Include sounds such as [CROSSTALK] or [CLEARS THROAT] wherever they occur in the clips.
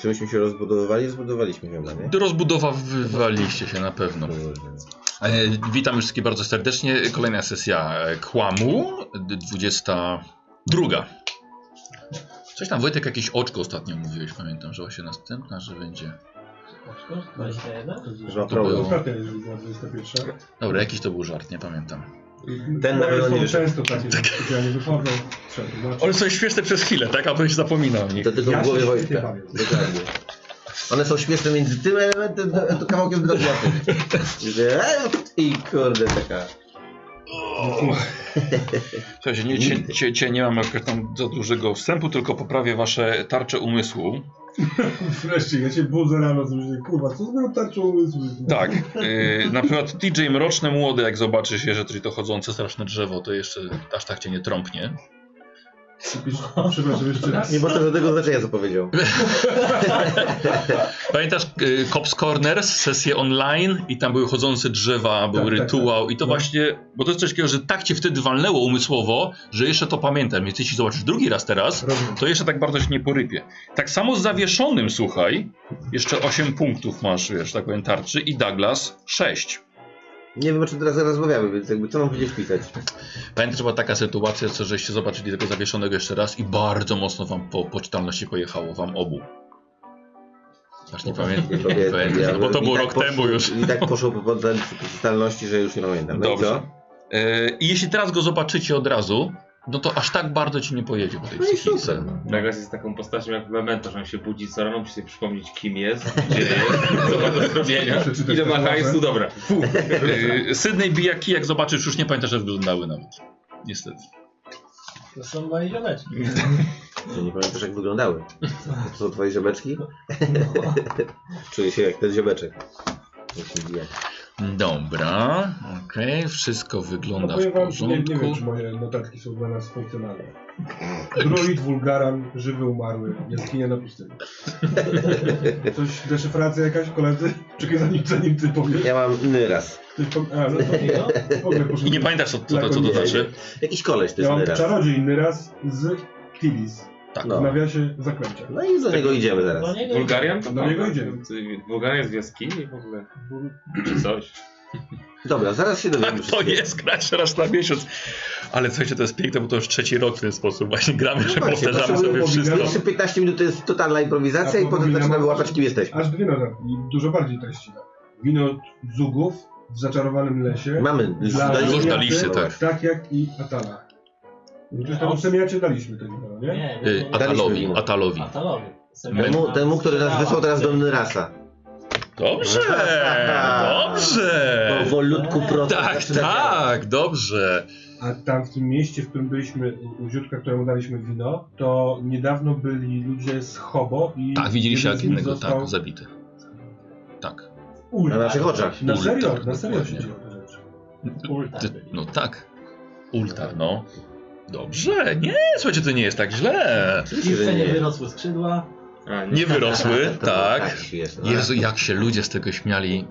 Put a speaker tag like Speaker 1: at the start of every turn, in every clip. Speaker 1: Czy myśmy się rozbudowywali? Zbudowaliśmy chyba, nie?
Speaker 2: Rozbudowywaliście się na pewno. E, Witam wszystkich bardzo serdecznie. Kolejna sesja e, Kłamu, d- 22. Coś tam Wojtek jakieś oczko ostatnio mówiłeś, pamiętam, że właśnie następna, że będzie.
Speaker 1: Że ma
Speaker 2: To
Speaker 1: problem.
Speaker 2: było-
Speaker 3: Ostatnia jest na 21.
Speaker 2: Dobra, jakiś to był żart, nie pamiętam.
Speaker 1: Ten na pewno
Speaker 3: Są
Speaker 1: nie wyszedł.
Speaker 3: często takie, że specjalnie wychodzą. Trzeba to zobaczyć.
Speaker 2: One są śmieszne przez chwilę, tak? A potem się zapomina o nich.
Speaker 1: To tylko
Speaker 3: Ja
Speaker 1: w
Speaker 3: się
Speaker 1: głowie
Speaker 3: świetnie
Speaker 1: Wojtka.
Speaker 3: bawię.
Speaker 1: Dokładnie. One są śmieszne między tym elementem, a a kawałkiem drobiazgu. Że- e, I kurde taka.
Speaker 2: Słuchajcie, nie, cie, cie, cie nie mam jakoś tam za dużego wstępu, tylko poprawię wasze tarcze umysłu.
Speaker 3: Wreszcie, ja się budzę rano, co myślę, kurwa, co z moją tarczą umysłu?
Speaker 2: Tak, y, na przykład DJ Mroczny Młody, jak zobaczy się, że to chodzące straszne drzewo, to jeszcze aż tak cię nie trąpnie.
Speaker 3: Przepraszam, jeszcze raz.
Speaker 1: Nie ma to żadnego znaczenia, co powiedział.
Speaker 2: Pamiętasz y, Cops Corners, sesję online i tam były chodzące drzewa, był
Speaker 3: tak,
Speaker 2: rytuał i to
Speaker 3: No.
Speaker 2: właśnie, bo to jest coś takiego, że tak cię wtedy walnęło umysłowo, że jeszcze to pamiętam, więc jeśli zobaczysz drugi raz teraz,
Speaker 3: Rozumiem.
Speaker 2: to jeszcze tak bardzo się nie porypie. Tak samo z zawieszonym, słuchaj, jeszcze 8 punktów masz, wiesz, tak powiem, tarczy i Douglas 6.
Speaker 1: Nie wiem, o czym teraz rozmawiamy, więc jakby co mam gdzieś pisać.
Speaker 2: Pamiętam, że była taka sytuacja, co żeście zobaczyli tego zawieszonego jeszcze raz i bardzo mocno wam po poczytalności pojechało, wam obu. Aż
Speaker 3: No
Speaker 2: nie pamiętam,
Speaker 1: Nie
Speaker 2: nie pamiętam,
Speaker 1: pamiętam,
Speaker 2: bo to
Speaker 1: I
Speaker 2: było
Speaker 1: tak
Speaker 2: rok
Speaker 1: poszło-
Speaker 2: temu już.
Speaker 1: I tak poszło po podręczu totalności, że już nie pamiętam. No
Speaker 2: Dobrze.
Speaker 1: i co?
Speaker 2: E, I jeśli teraz go zobaczycie od razu, no to aż tak bardzo ci nie pojedzie po tej
Speaker 1: No i
Speaker 2: psychice.
Speaker 1: super.
Speaker 4: Nagas jest taką postacią jak w Memento, że on się budzi co rano, musi sobie przypomnieć kim
Speaker 3: [LAUGHS]
Speaker 4: jest, gdzie jest, co ma do zrobienia,
Speaker 3: Przeczytać
Speaker 4: ile ma
Speaker 3: tę
Speaker 4: hajsu,
Speaker 3: mowę.
Speaker 4: dobra. Fu.
Speaker 2: E, Sydney bijaki, jak zobaczysz, już nie pamiętasz, że wyglądały nawet. Niestety.
Speaker 5: To są moje ziomeczki.
Speaker 1: [LAUGHS] Że Nie pamiętasz jak wyglądały. To są twoje ziomeczki? [LAUGHS] Czuję się jak ten ziomeczek. Jaki jak.
Speaker 2: Dobra, okej, wszystko
Speaker 3: No,
Speaker 2: wygląda w
Speaker 3: powiem wam, że nie, nie wiem,
Speaker 2: porządku.
Speaker 3: czy moje notatki są dla nas funkcjonalne. Druid, wulgaran, żywy, umarły, jaskinia na pustyni. Coś, deszyfracja jakaś, koledzy? Czekaj, zanim, zanim ty powiesz.
Speaker 1: Ja mam inny raz.
Speaker 3: Ktoś po... A, no
Speaker 5: [LAUGHS]
Speaker 3: to nie, no. W ogóle poszedłem.
Speaker 2: I nie pamiętasz, co, co, to- co to
Speaker 1: Nie,
Speaker 2: znaczy?
Speaker 1: nie. Jakiś koleś to
Speaker 3: Ja
Speaker 1: jest
Speaker 3: mam
Speaker 1: inny raz.
Speaker 3: czarodziej inny raz z Tilis.
Speaker 2: Tak.
Speaker 3: W nawiasie zaklęcia.
Speaker 1: No i do niego idziemy
Speaker 5: Do
Speaker 3: No
Speaker 1: zaraz.
Speaker 5: niego
Speaker 4: Bulgarian? To
Speaker 3: Do niego idziemy.
Speaker 4: Bulgarian jest w jaskini w ogóle. Czy coś.
Speaker 1: Dobra, zaraz się dowiemy.
Speaker 2: Tak to
Speaker 1: wszystkiego.
Speaker 2: jest, grać raz na miesiąc. Ale słuchajcie, to jest piękne, bo to już trzeci rok w ten sposób właśnie gramy, że
Speaker 1: No właśnie,
Speaker 2: powtarzamy
Speaker 3: to są
Speaker 2: sobie wszystko.
Speaker 3: obligacja.
Speaker 1: Pierwsze 15 minut to jest totalna improwizacja
Speaker 3: A
Speaker 1: i potem
Speaker 3: powinna-
Speaker 1: zaczynamy łapać kim jesteśmy.
Speaker 3: Aż dwie notatki, dużo bardziej treściwe. Wino Zugów w zaczarowanym lesie.
Speaker 1: Mamy list
Speaker 3: Dla-
Speaker 1: do
Speaker 2: Już
Speaker 1: listy.
Speaker 3: Dla-
Speaker 2: na liście, tak.
Speaker 3: Tak jak i Atala. Już tam semiacie daliśmy to wino,
Speaker 5: Nie,
Speaker 3: nie?
Speaker 5: nie,
Speaker 2: Y,
Speaker 5: nie.
Speaker 2: Atalowi,
Speaker 1: wino.
Speaker 2: Atalowi.
Speaker 5: Atalowi. Sobie
Speaker 1: Temu,
Speaker 5: tam
Speaker 1: temu, który nas
Speaker 5: sprzedałam.
Speaker 1: wysłał teraz do Nyrasa.
Speaker 3: [LAUGHS]
Speaker 2: Dobrze, Tak, dobrze.
Speaker 3: No,
Speaker 1: Powolutku prosto.
Speaker 2: E. Tak,
Speaker 1: zaczyna działać.
Speaker 2: tak, dobrze.
Speaker 3: A tam w tym mieście, w którym byliśmy, u u ziutka, któremu daliśmy wino, to niedawno byli ludzie z Hobo i...
Speaker 2: Tak, widzieliście jak
Speaker 3: jeden z nich
Speaker 2: innego,
Speaker 3: został
Speaker 2: tak, zabity. Tak.
Speaker 3: ul-
Speaker 1: Na naszych oczach.
Speaker 3: Na
Speaker 2: ul-
Speaker 3: serio,
Speaker 2: tak,
Speaker 3: na serio się
Speaker 2: dokładnie.
Speaker 3: dzieje to rzecz.
Speaker 5: Ultar
Speaker 2: Ty,
Speaker 5: byli.
Speaker 2: no tak. Ultar, no. Dobrze, nie, słuchajcie, to nie jest tak źle.
Speaker 1: że
Speaker 5: Jeszcze nie
Speaker 1: nie.
Speaker 5: wyrosły skrzydła.
Speaker 4: A, nie.
Speaker 1: [LAUGHS]
Speaker 2: Nie wyrosły,
Speaker 1: To-
Speaker 2: tak.
Speaker 1: jest, no.
Speaker 2: Jezu, jak się ludzie z tego śmiali.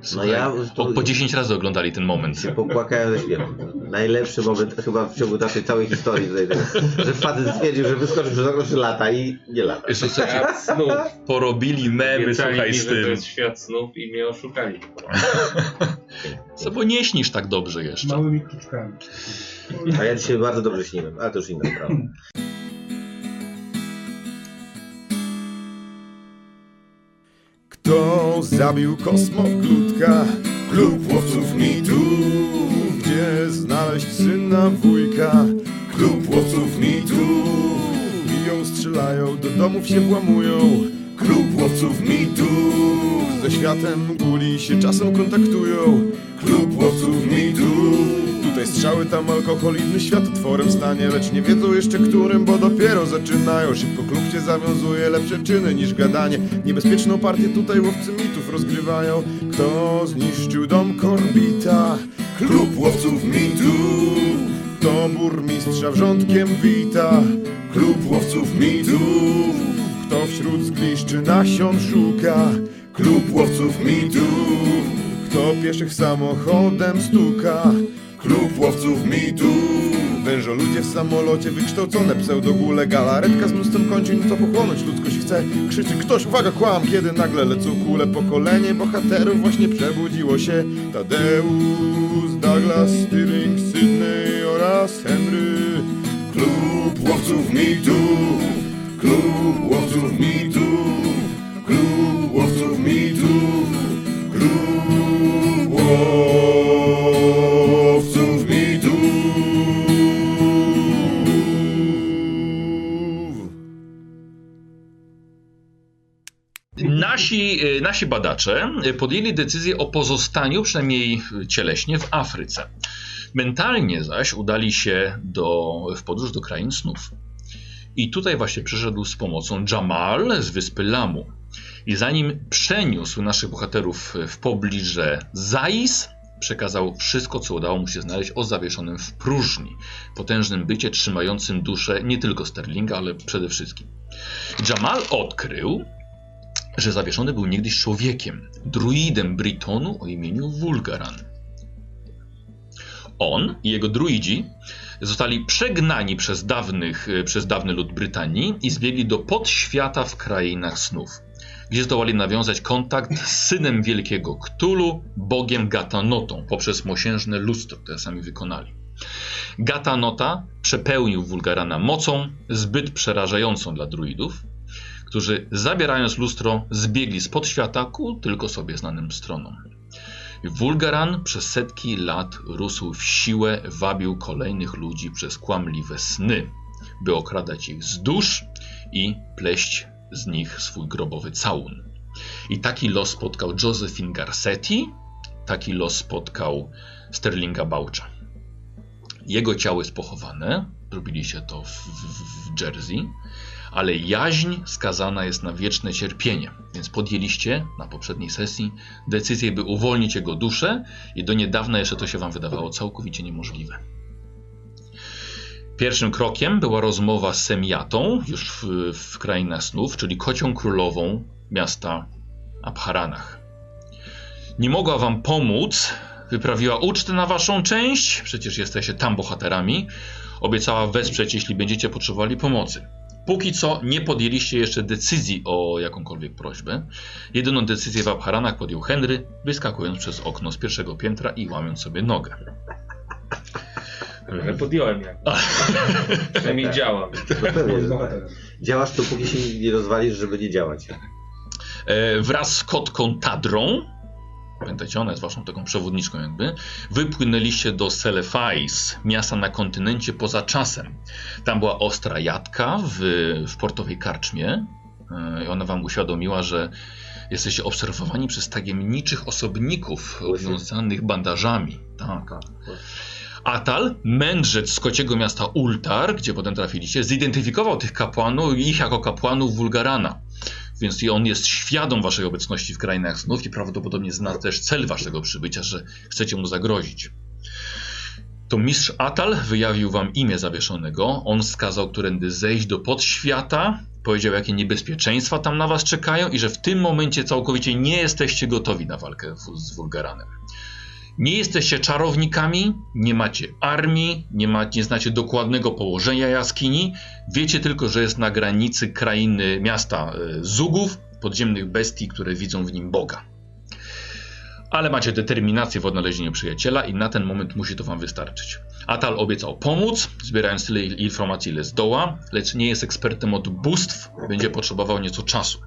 Speaker 2: Słuchaj,
Speaker 1: ja-
Speaker 2: po, po 10 razy oglądali ten moment.
Speaker 1: [LAUGHS] się popłakałem ze śmiechu. Najlepszy moment chyba w ciągu naszej całej historii tutaj teraz. Że facet stwierdził, że wyskoczył przez okno, że lata i nie lata.
Speaker 2: Jezu, słuchajcie,
Speaker 4: Świat snów.
Speaker 2: porobili memy,
Speaker 4: Obiecali
Speaker 2: słuchaj,
Speaker 4: mi,
Speaker 2: z
Speaker 4: że To
Speaker 2: tym.
Speaker 4: jest świat snów i mnie oszukali.
Speaker 2: Co, bo nie śnisz tak dobrze jeszcze.
Speaker 3: Małymi kruczkami.
Speaker 2: Tak.
Speaker 1: A ja dzisiaj bardzo dobrze śniłem, ale to już inna sprawa.
Speaker 6: Kto zabił kosmoklutka? Klub łowców mitu Gdzie znaleźć syna wujka? Klub łowców mitu Biją, strzelają, do domów się włamują Klub łowców mitu Ze światem guli się czasem kontaktują Klub łowców mitu Tutaj strzały, tam alkohol, inny świat otworem stanie Lecz nie wiedzą jeszcze którym, bo dopiero zaczynają Szybko klub się zawiązuje, lepsze czyny niż gadanie Niebezpieczną partię tutaj łowcy mitów rozgrywają Kto zniszczył dom Korbita? Klub łowców mitów Kto burmistrza wrzątkiem wita? Klub łowców mitów Kto wśród zgliszczy nasion szuka? Klub łowców mitów kto pieszych samochodem stuka Klub łowców mitów Wężoludzie w samolocie, wykształcone pseudogule Galaretka z mnóstwem kończyn, co pochłonąć ludzkość chce Krzyczy ktoś, uwaga, kłam, kiedy nagle lecą kule Pokolenie bohaterów właśnie przebudziło się Tadeusz, Douglas, Stirling, Sydney oraz Henry Klub łowców mitów, klub łowców mitów, klub łowców mitów, klub łowców mitów.
Speaker 2: Nasi, y, nasi badacze y, podjęli decyzję o pozostaniu, przynajmniej y, cieleśnie, w Afryce. Mentalnie zaś udali się do, w podróż do krain snów. I tutaj właśnie przyszedł z pomocą Jamal z wyspy Lamu. I zanim przeniósł naszych bohaterów w pobliże Zais, przekazał wszystko, co udało mu się znaleźć o zawieszonym w próżni, potężnym bycie trzymającym duszę nie tylko Sterlinga, ale przede wszystkim. Jamal odkrył, że zawieszony był niegdyś człowiekiem, druidem Britonu o imieniu Wulgaran. On i jego druidzi zostali przegnani przez, dawnych, e, przez dawny lud Brytanii i zbiegli do podświata w krainach snów, gdzie zdołali nawiązać kontakt z synem wielkiego Ktulu, bogiem Gatanotą, poprzez mosiężne lustro, które sami wykonali. Gatanota przepełnił Wulgarana mocą zbyt przerażającą dla druidów, którzy zabierając lustro zbiegli z podświata ku tylko sobie znanym stronom. Wulgaran przez setki lat rósł w siłę, wabił kolejnych ludzi przez kłamliwe sny, by okradać ich z dusz i pleść z nich swój grobowy całun. I taki los spotkał Josephine Garcetti, taki los spotkał Sterlinga Baucza. Jego ciało jest pochowane, robili się to w, w, w Jersey, ale jaźń skazana jest na wieczne cierpienie. Więc podjęliście na poprzedniej sesji decyzję, by uwolnić jego duszę i do niedawna jeszcze to się wam wydawało całkowicie niemożliwe. Pierwszym krokiem była rozmowa z Semiatą już w, w krainach snów, czyli kocią królową miasta Abharanach. Nie mogła wam pomóc, wyprawiła ucztę na waszą część, przecież jesteście tam bohaterami. Obiecała wesprzeć, jeśli będziecie potrzebowali pomocy. Póki co nie podjęliście jeszcze decyzji o jakąkolwiek prośbę. Jedyną decyzję w Abharanach podjął Henry, wyskakując przez okno z pierwszego piętra i łamiąc sobie nogę. Mhm.
Speaker 4: Ale
Speaker 2: [LAUGHS]
Speaker 4: podjąłem jak. Przynajmniej
Speaker 2: Tak.
Speaker 4: działam.
Speaker 1: No pewnie,
Speaker 3: Jest
Speaker 1: że tak.
Speaker 3: bohaterem.
Speaker 1: Działasz tu, póki się nie rozwalisz, żeby nie działać.
Speaker 2: E, wraz z kotką Tadrą, pamiętajcie, ona jest waszą taką przewodniczką jakby, wypłynęliście do Selefais, miasta na kontynencie poza czasem. Tam była ostra jadka w, w portowej karczmie e, i ona wam uświadomiła, że jesteście obserwowani przez tajemniczych osobników
Speaker 1: Łysy.
Speaker 2: obwiązanych bandażami. Tak. Atal, mędrzec z kociego miasta Ultar, gdzie potem trafiliście, zidentyfikował tych kapłanów i ich jako kapłanów Wulgarana. Więc i on jest świadom waszej obecności w krainach snów i prawdopodobnie zna też cel waszego przybycia, że chcecie mu zagrozić. To mistrz Atal wyjawił wam imię zawieszonego. On wskazał, którędy zejść do podświata. Powiedział, jakie niebezpieczeństwa tam na was czekają i że w tym momencie całkowicie nie jesteście gotowi na walkę w- z Wulgaranem. Nie jesteście czarownikami, nie macie armii, nie, ma, nie znacie dokładnego położenia jaskini. Wiecie tylko, że jest na granicy krainy miasta e, Zugów, podziemnych bestii, które widzą w nim Boga. Ale macie determinację w odnalezieniu przyjaciela i na ten moment musi to wam wystarczyć. Atal obiecał pomóc, zbierając tyle il- informacji, ile zdoła, lecz nie jest ekspertem od bóstw, będzie potrzebował nieco czasu.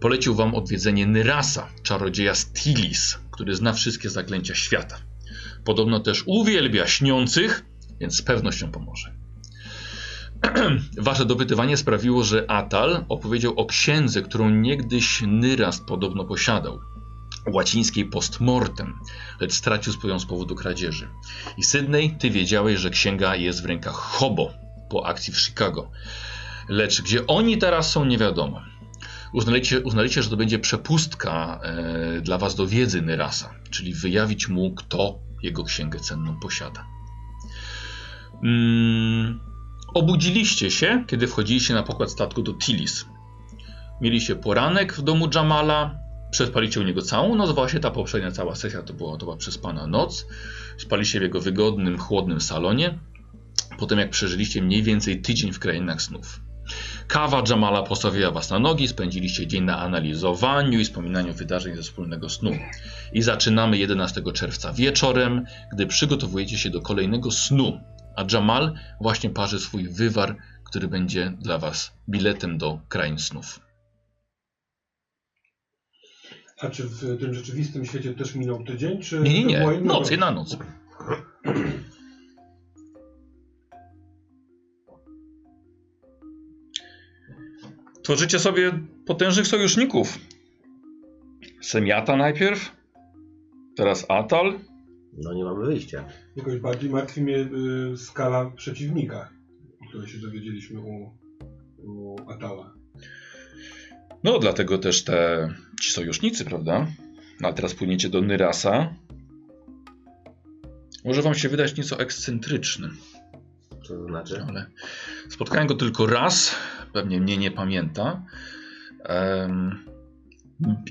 Speaker 2: Polecił wam odwiedzenie Nyrasa, czarodzieja Stilis, który zna wszystkie zaklęcia świata. Podobno też uwielbia śniących, więc z pewnością pomoże. [CLEARS THROAT] Wasze dopytywanie sprawiło, że Atal opowiedział o księdze, którą niegdyś Nyras podobno posiadał. Łacińskiej postmortem, lecz stracił swoją z powodu kradzieży. I Sydney, ty wiedziałeś, że księga jest w rękach Hobo po akcji w Chicago. Lecz gdzie oni teraz są, nie wiadomo. Uznaliście, uznaliście że to będzie przepustka e, dla was do wiedzy Nyrasa, czyli wyjawić mu, kto jego księgę cenną posiada. Mm, obudziliście się, kiedy wchodziliście na pokład statku do Tilis. Mieliście poranek w domu Jamala, przespaliście u niego całą noc, właśnie ta poprzednia cała sesja to była, to była przespana noc. Spaliście w jego wygodnym, chłodnym salonie. po tym jak przeżyliście mniej więcej tydzień w krainach snów. Kawa Jamala postawiła was na nogi, spędziliście dzień na analizowaniu i wspominaniu wydarzeń ze wspólnego snu. I zaczynamy 11 czerwca wieczorem, gdy przygotowujecie się do kolejnego snu, a Jamal właśnie parzy swój wywar, który będzie dla was biletem do krain snów.
Speaker 3: A czy w tym rzeczywistym świecie też minął tydzień, czy...
Speaker 2: Nie, nie,
Speaker 3: to była
Speaker 2: nie,
Speaker 3: inna
Speaker 2: noc,
Speaker 3: noc?
Speaker 2: jedna noc. Tworzycie sobie potężnych sojuszników. Semiata najpierw, teraz Atal.
Speaker 1: No nie mamy wyjścia.
Speaker 3: Jakoś bardziej martwi mnie y, skala przeciwnika, o której się dowiedzieliśmy u, u Atala.
Speaker 2: No, dlatego też te ci sojusznicy, prawda? No, a teraz płyniecie do Nyrasa. Może wam się wydać nieco ekscentrycznym.
Speaker 1: Co to znaczy?
Speaker 2: ale spotkałem go tylko raz, pewnie mnie nie pamięta. Em,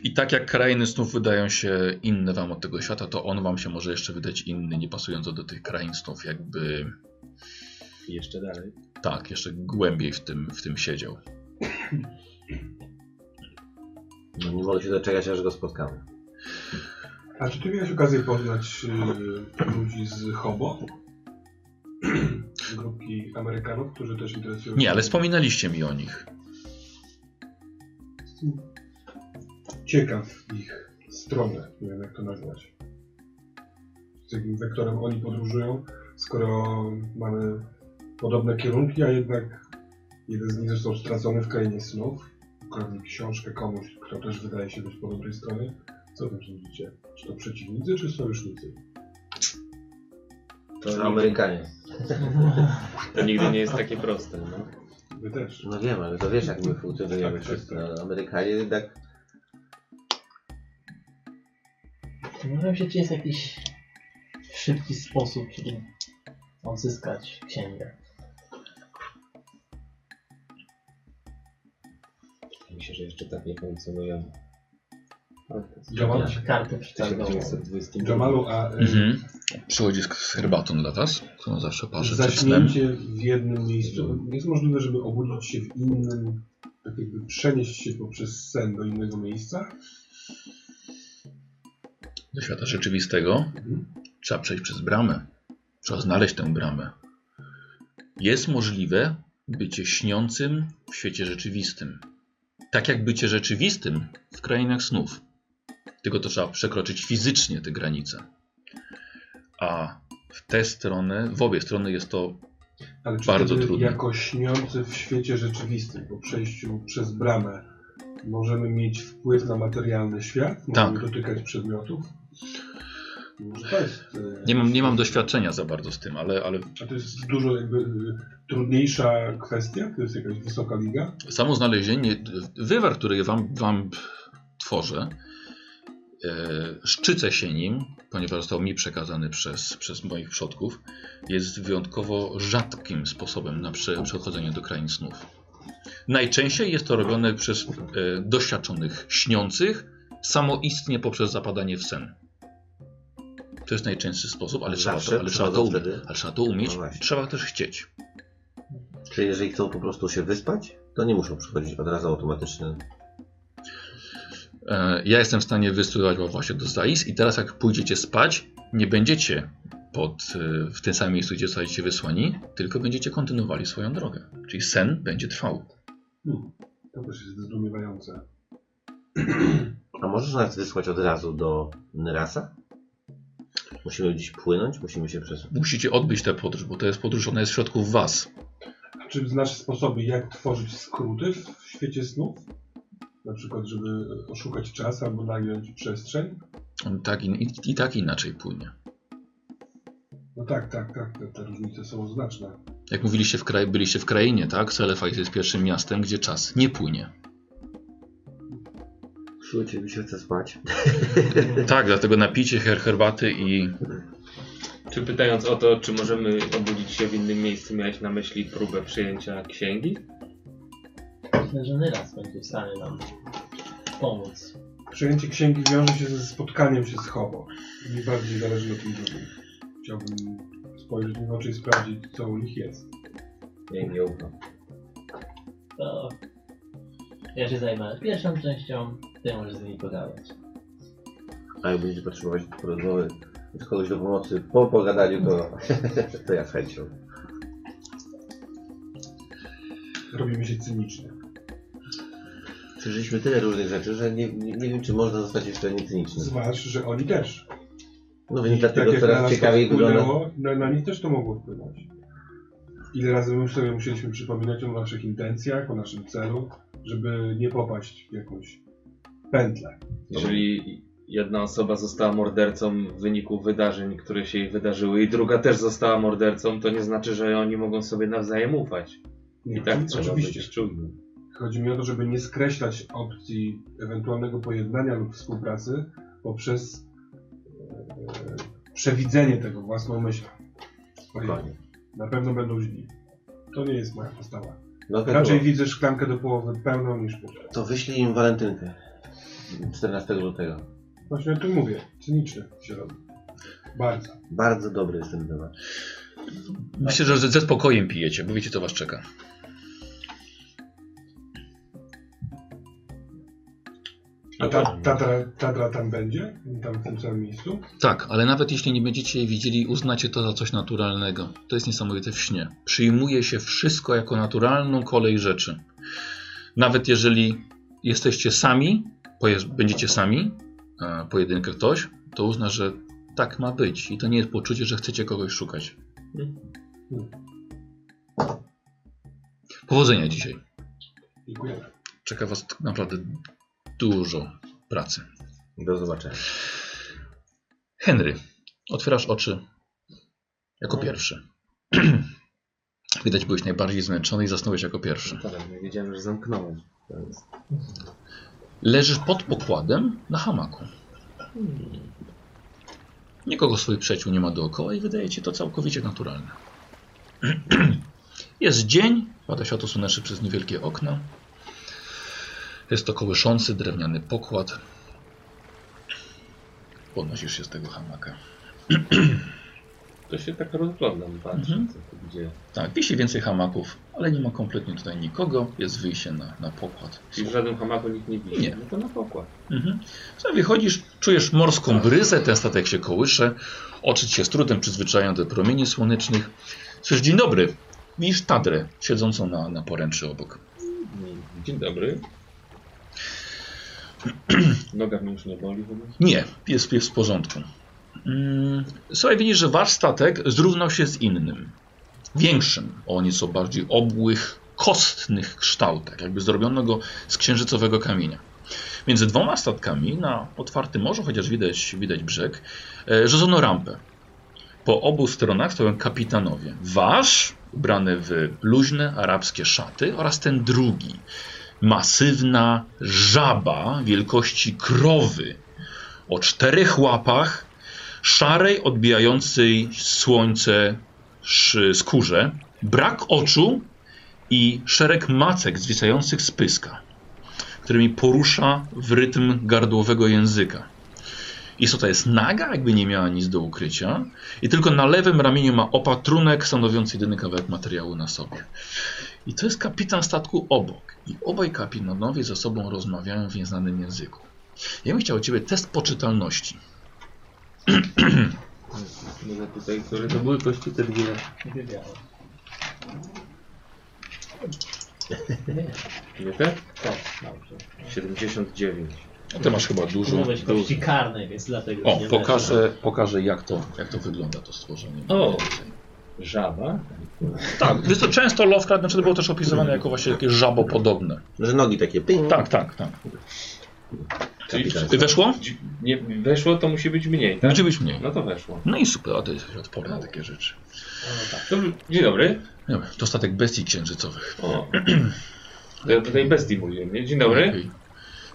Speaker 2: I tak jak krainy snów wydają się inne wam od tego świata, to on wam się może jeszcze wydać inny, nie pasujący do tych krain snów, jakby
Speaker 1: Jeszcze dalej.
Speaker 2: tak, jeszcze głębiej w tym, w tym siedział.
Speaker 1: No nie mogę się doczekać, aż go spotkamy.
Speaker 3: A czy ty miałeś okazję poznać y, ludzi z Hobo? [CLEARS THROAT] Z grupki Amerykanów, którzy też interesują
Speaker 2: Nie,
Speaker 3: się-
Speaker 2: ale wspominaliście mi o nich.
Speaker 3: Ciekaw ich stronę, nie wiem jak to nazwać. Z jakim wektorem oni podróżują, skoro mamy podobne kierunki, a jednak jeden z nich został stracony w krainie snów. Ukradli książkę komuś, kto też wydaje się być po dobrej stronie. Co wy sądzicie? Czy to przeciwnicy, czy sojusznicy?
Speaker 1: No,
Speaker 4: To, nigdy,
Speaker 1: Amerykanie.
Speaker 4: to nigdy nie jest takie proste. No.
Speaker 3: Wy też.
Speaker 1: No wiem, ale to wiesz jak my funkcjonujemy
Speaker 3: Tak,
Speaker 1: wszyscy.
Speaker 3: tak,
Speaker 1: No, Amerykanie jednak...
Speaker 5: Zastanawiam się, czy jest jakiś szybki sposób, żeby odzyskać księgę.
Speaker 4: Myślę, że jeszcze tak nie funkcjonują.
Speaker 3: Jamal,
Speaker 5: Kartę przetargową.
Speaker 3: Jamalu, a y,
Speaker 2: Mhm. Przychodzi z, z herbatą dla was, którą zawsze parzę przed snem.
Speaker 3: zaśnięcie w jednym miejscu jest możliwe, żeby obudzić się w innym, tak jakby przenieść się poprzez sen do innego miejsca?
Speaker 2: Do świata rzeczywistego
Speaker 3: Mhm.
Speaker 2: trzeba przejść przez bramę. Trzeba znaleźć tę bramę. Jest możliwe bycie śniącym w świecie rzeczywistym. Tak jak bycie rzeczywistym w krainach snów. Tylko to trzeba przekroczyć fizycznie te granice. A w tę stronę, w obie strony jest to
Speaker 3: Ale czy
Speaker 2: Bardzo
Speaker 3: Bardzo
Speaker 2: trudne.
Speaker 3: jako śniący w świecie rzeczywistym, po przejściu przez bramę, możemy mieć wpływ na materialny świat? Możemy
Speaker 2: Tak.
Speaker 3: dotykać przedmiotów? Może to jest... e,
Speaker 2: nie mam, nie mam doświadczenia za bardzo z tym, ale, ale
Speaker 3: A to jest dużo jakby e, trudniejsza kwestia? To jest jakaś wysoka liga?
Speaker 2: samo znalezienie, wywar, który wam, wam tworzę, e, szczycę się nim, ponieważ został mi przekazany przez, przez moich przodków, jest wyjątkowo rzadkim sposobem na prze, przechodzenie do krain snów. Najczęściej jest to robione przez e, doświadczonych śniących, samoistnie poprzez zapadanie w sen. To jest najczęstszy sposób, ale, trzeba
Speaker 1: Zawsze
Speaker 2: to, ale, trzeba, to
Speaker 1: przychodzą
Speaker 2: umieć,
Speaker 1: wtedy?
Speaker 2: ale trzeba to umieć,
Speaker 1: No właśnie.
Speaker 2: trzeba też chcieć.
Speaker 1: Czy jeżeli chcą po prostu się wyspać, to nie muszą przychodzić od razu automatycznie.
Speaker 2: E, Ja jestem w stanie wystudować właśnie do Zais i teraz jak pójdziecie spać, nie będziecie pod, e, w tym samym miejscu, gdzie zostaliście wysłani, tylko będziecie kontynuowali swoją drogę. Czyli sen będzie trwał.
Speaker 3: Hmm. To też jest zdumiewające.
Speaker 1: A możesz nas wysłać od razu do Nyrasa? Musimy gdzieś płynąć, musimy się przesunąć.
Speaker 2: Musicie odbyć tę podróż, bo to jest podróż, ona jest w środku w was.
Speaker 3: A czy znasz sposoby, jak tworzyć skróty w świecie snów? Na przykład, żeby oszukać czas albo nagiąć przestrzeń?
Speaker 2: On tak in, i, i tak inaczej płynie.
Speaker 3: No tak, tak, tak, te, te różnice są znaczne.
Speaker 2: Jak mówiliście, w kraj, byliście w krainie, tak? Selefajs jest pierwszym miastem, gdzie czas nie płynie.
Speaker 1: Słuchajcie, mi się chce spać.
Speaker 2: Tak, dlatego napicie her, herbaty i
Speaker 4: Czy pytając o to, czy możemy obudzić się w innym miejscu, miałeś na myśli próbę przyjęcia księgi?
Speaker 5: Myślę, że Nyras będzie w stanie nam pomóc.
Speaker 3: Przejęcie księgi wiąże się ze spotkaniem się z Hobo. Mi bardziej zależy na tym drugim. Chciałbym spojrzeć mi w oczy i sprawdzić, co u nich jest.
Speaker 4: Ja im nie ufam.
Speaker 5: To ja się zajmę pierwszą częścią, ty możesz z nimi pogadać.
Speaker 1: A jak będziecie potrzebować rozmowy z kogoś do pomocy po pogadaniu, to, [LAUGHS] to ja z chęcią.
Speaker 3: Robimy się cyniczni.
Speaker 1: Przeżyliśmy tyle różnych rzeczy, że nie, nie, nie wiem, czy można zostać jeszcze niecynicznym.
Speaker 3: Zwłaszcza, że oni też.
Speaker 1: No
Speaker 3: I
Speaker 1: więc dlatego
Speaker 3: jak na
Speaker 1: coraz
Speaker 3: nas to
Speaker 1: ciekawiej wygląda.
Speaker 3: wpłynęło, Na, na nich też to mogło wpłynąć. Ile razy my sobie musieliśmy przypominać o naszych intencjach, o naszym celu, żeby nie popaść w jakąś pętlę.
Speaker 4: Jeżeli jedna osoba została mordercą w wyniku wydarzeń, które się jej wydarzyły i druga też została mordercą, to nie znaczy, że oni mogą sobie nawzajem ufać. I tak trzeba
Speaker 3: oczywiście.
Speaker 4: być czujnym.
Speaker 3: Chodzi mi o to, żeby nie skreślać opcji ewentualnego pojednania lub współpracy poprzez e, przewidzenie tego własną myślą. Ojej,
Speaker 1: Dokładnie.
Speaker 3: Na pewno będą źli. To nie jest moja postawa.
Speaker 1: No,
Speaker 3: Raczej
Speaker 1: Raczej...
Speaker 3: widzę szklankę do połowy pełną niż puszczę.
Speaker 1: To wyślij im walentynkę 14 lutego.
Speaker 3: Właśnie o tym mówię. Cyniczny się robi. Bardzo.
Speaker 1: Bardzo dobry jest ten temat.
Speaker 2: Myślę, że ze spokojem pijecie, bo wiecie, co was czeka.
Speaker 3: A ta, tatra, tatra tam będzie? Tam w tym samym miejscu?
Speaker 2: Tak, ale nawet jeśli nie będziecie jej widzieli, uznacie to za coś naturalnego. To jest niesamowite w śnie. Przyjmuje się wszystko jako naturalną kolej rzeczy. Nawet jeżeli jesteście sami, poje- będziecie sami, e, pojedynkę ktoś, to uzna, że tak ma być. I to nie jest poczucie, że chcecie kogoś szukać. Powodzenia dzisiaj.
Speaker 3: Dziękuję.
Speaker 2: Czeka Was t- naprawdę dużo pracy.
Speaker 1: Do zobaczenia.
Speaker 2: Henry, otwierasz oczy jako pierwszy. [CLEARS THROAT] Widać, byłeś najbardziej zmęczony i zasnąłeś jako pierwszy.
Speaker 4: Dobra, nie wiedziałem, że zamknąłem.
Speaker 2: Leżysz pod pokładem na hamaku. Nikogo swoich przyjaciół nie ma dookoła i wydaje ci to całkowicie naturalne. [CLEARS THROAT] Jest dzień, pada światło słoneczne przez niewielkie okna. Jest to kołyszący drewniany pokład. Podnosisz się z tego hamaka.
Speaker 4: To się tak rozglądam, patrzę, co tu gdzie.
Speaker 2: Tak, wisi więcej hamaków, ale nie ma kompletnie tutaj nikogo. Jest wyjście na, na pokład.
Speaker 4: Czyli w żadnym hamaku nikt nie widzi.
Speaker 2: Nie.
Speaker 4: No to na pokład.
Speaker 2: Mhm. Słuchaj, wychodzisz, czujesz morską bryzę, ten statek się kołysze, oczy ci się z trudem przyzwyczajają do promieni słonecznych. Słyszysz, dzień dobry, widzisz Tadrę siedzącą na, na poręczy obok.
Speaker 4: Dzień dobry. [CLEARS THROAT] Noga mnie już nie boli w ogóle.
Speaker 2: Nie, jest, jest w porządku. Mm, Słuchaj, widzisz, że wasz statek zrównał się z innym. Większym, o nieco bardziej obłych, kostnych kształtach, jakby zrobiono go z księżycowego kamienia. Między dwoma statkami na otwartym morzu, chociaż widać, widać brzeg, e, rzucono rampę. Po obu stronach stoją kapitanowie. Wasz, ubrany w luźne arabskie szaty, oraz ten drugi. Masywna żaba wielkości krowy, o czterech łapach, szarej, odbijającej słońce sz- skórze, brak oczu i szereg macek zwisających z pyska, którymi porusza w rytm gardłowego języka. Istota jest naga, jakby nie miała nic do ukrycia i tylko na lewym ramieniu ma opatrunek stanowiący jedyny kawałek materiału na sobie. I to jest kapitan statku obok. I obaj kapitanowie ze sobą rozmawiają w nieznanym języku. Ja bym chciał od Ciebie test poczytalności.
Speaker 4: Może tutaj, które to były kości te dwie.
Speaker 5: Wybiałem.
Speaker 4: Nie te?
Speaker 5: Tak, dobrze.
Speaker 4: 79.
Speaker 2: No Ty masz chyba dużo.
Speaker 5: Użyłeś kości karnej, więc dlatego
Speaker 2: O,
Speaker 5: nie weszło.
Speaker 2: pokażę, pokażę jak, to, jak to wygląda to stworzenie.
Speaker 4: O! Żaba?
Speaker 2: Tak, No, wiesz co, często Lovecraft na przykład było też opisywane jako właśnie takie żabopodobne.
Speaker 1: Że nogi takie ping.
Speaker 2: Tak, tak, tak.
Speaker 4: Czyli
Speaker 1: Kapitan.
Speaker 2: Weszło?
Speaker 4: dzi- nie, weszło to musi być mniej, tak?
Speaker 2: Tak. Znaczy być mniej.
Speaker 4: No to weszło.
Speaker 2: No i super, a to jest odporny na takie rzeczy.
Speaker 4: To, dzień dobry.
Speaker 2: Nie wiem, to statek bestii księżycowych.
Speaker 4: O. To ja tutaj bestii mówiłem, nie? Dzień dobry.
Speaker 2: Lepiej,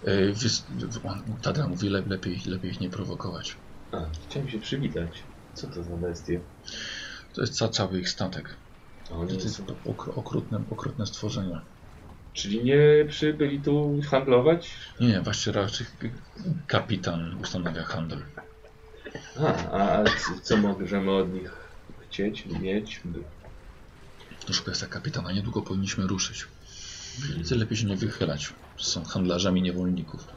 Speaker 2: e, wys- w- on- Tadra mówi le, lepiej, lepiej ich nie prowokować.
Speaker 4: A, chciałem się przywitać. Co to za bestie?
Speaker 2: To jest ca, cały ich statek. To
Speaker 4: Oni
Speaker 2: jest
Speaker 4: są...
Speaker 2: okro, okrutne, okrutne stworzenia.
Speaker 4: Czyli nie przybyli tu handlować?
Speaker 2: Nie, Nie, właśnie raczej kapitan ustanawia handel.
Speaker 4: A, a c- co możemy od nich chcieć, mieć, by.
Speaker 2: To szkoda jest ta kapitana, niedługo powinniśmy ruszyć. Więc lepiej się nie wychylać. Są handlarzami niewolników.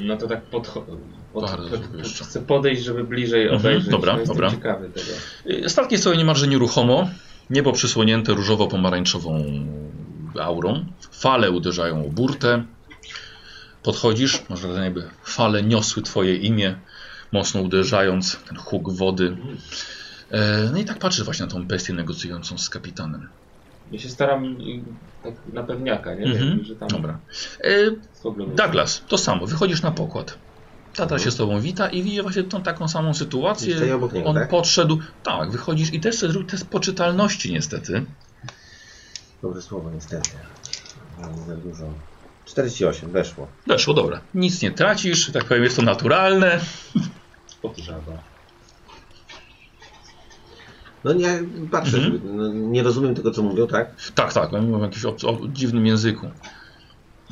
Speaker 4: No to tak podchodzę. Pod,
Speaker 2: Bardzo
Speaker 4: pod,
Speaker 2: dziękuję
Speaker 4: pod,
Speaker 2: jeszcze.
Speaker 4: chcę podejść, żeby bliżej
Speaker 2: Mhm,
Speaker 4: obejrzeć.
Speaker 2: dobra,
Speaker 4: no, jestem
Speaker 2: dobra.
Speaker 4: ciekawy tego.
Speaker 2: Y, Statki stoją niemalże nieruchomo. Niebo przysłonięte różowo-pomarańczową aurą. Fale uderzają o burtę. Podchodzisz, może jakby fale niosły twoje imię, mocno uderzając, ten huk wody. E, No i tak patrzysz właśnie na tą bestię negocjującą z kapitanem.
Speaker 4: Ja się staram y, tak na pewniaka, nie?
Speaker 2: Mhm.
Speaker 4: Jakby, Że tam
Speaker 2: Dobra. E,
Speaker 4: spoglądam.
Speaker 2: Douglas, to samo, wychodzisz na pokład. Tata się z tobą wita i widzi właśnie tą taką samą sytuację.
Speaker 1: Stoi Mhm. obok niego,
Speaker 2: On
Speaker 1: tak?
Speaker 2: podszedł. Tak, wychodzisz i też sobie zrobił test poczytalności niestety.
Speaker 1: Dobre słowo, niestety. Ale za dużo. 48, weszło.
Speaker 2: Weszło, dobra. Nic nie tracisz, tak powiem, jest to naturalne.
Speaker 4: Podżaba.
Speaker 1: No nie, patrzę,
Speaker 2: Mhm.
Speaker 1: żeby- no, nie rozumiem tego, co mówią, tak?
Speaker 2: Tak, tak, oni mówią w jakimś obc- o, dziwnym języku.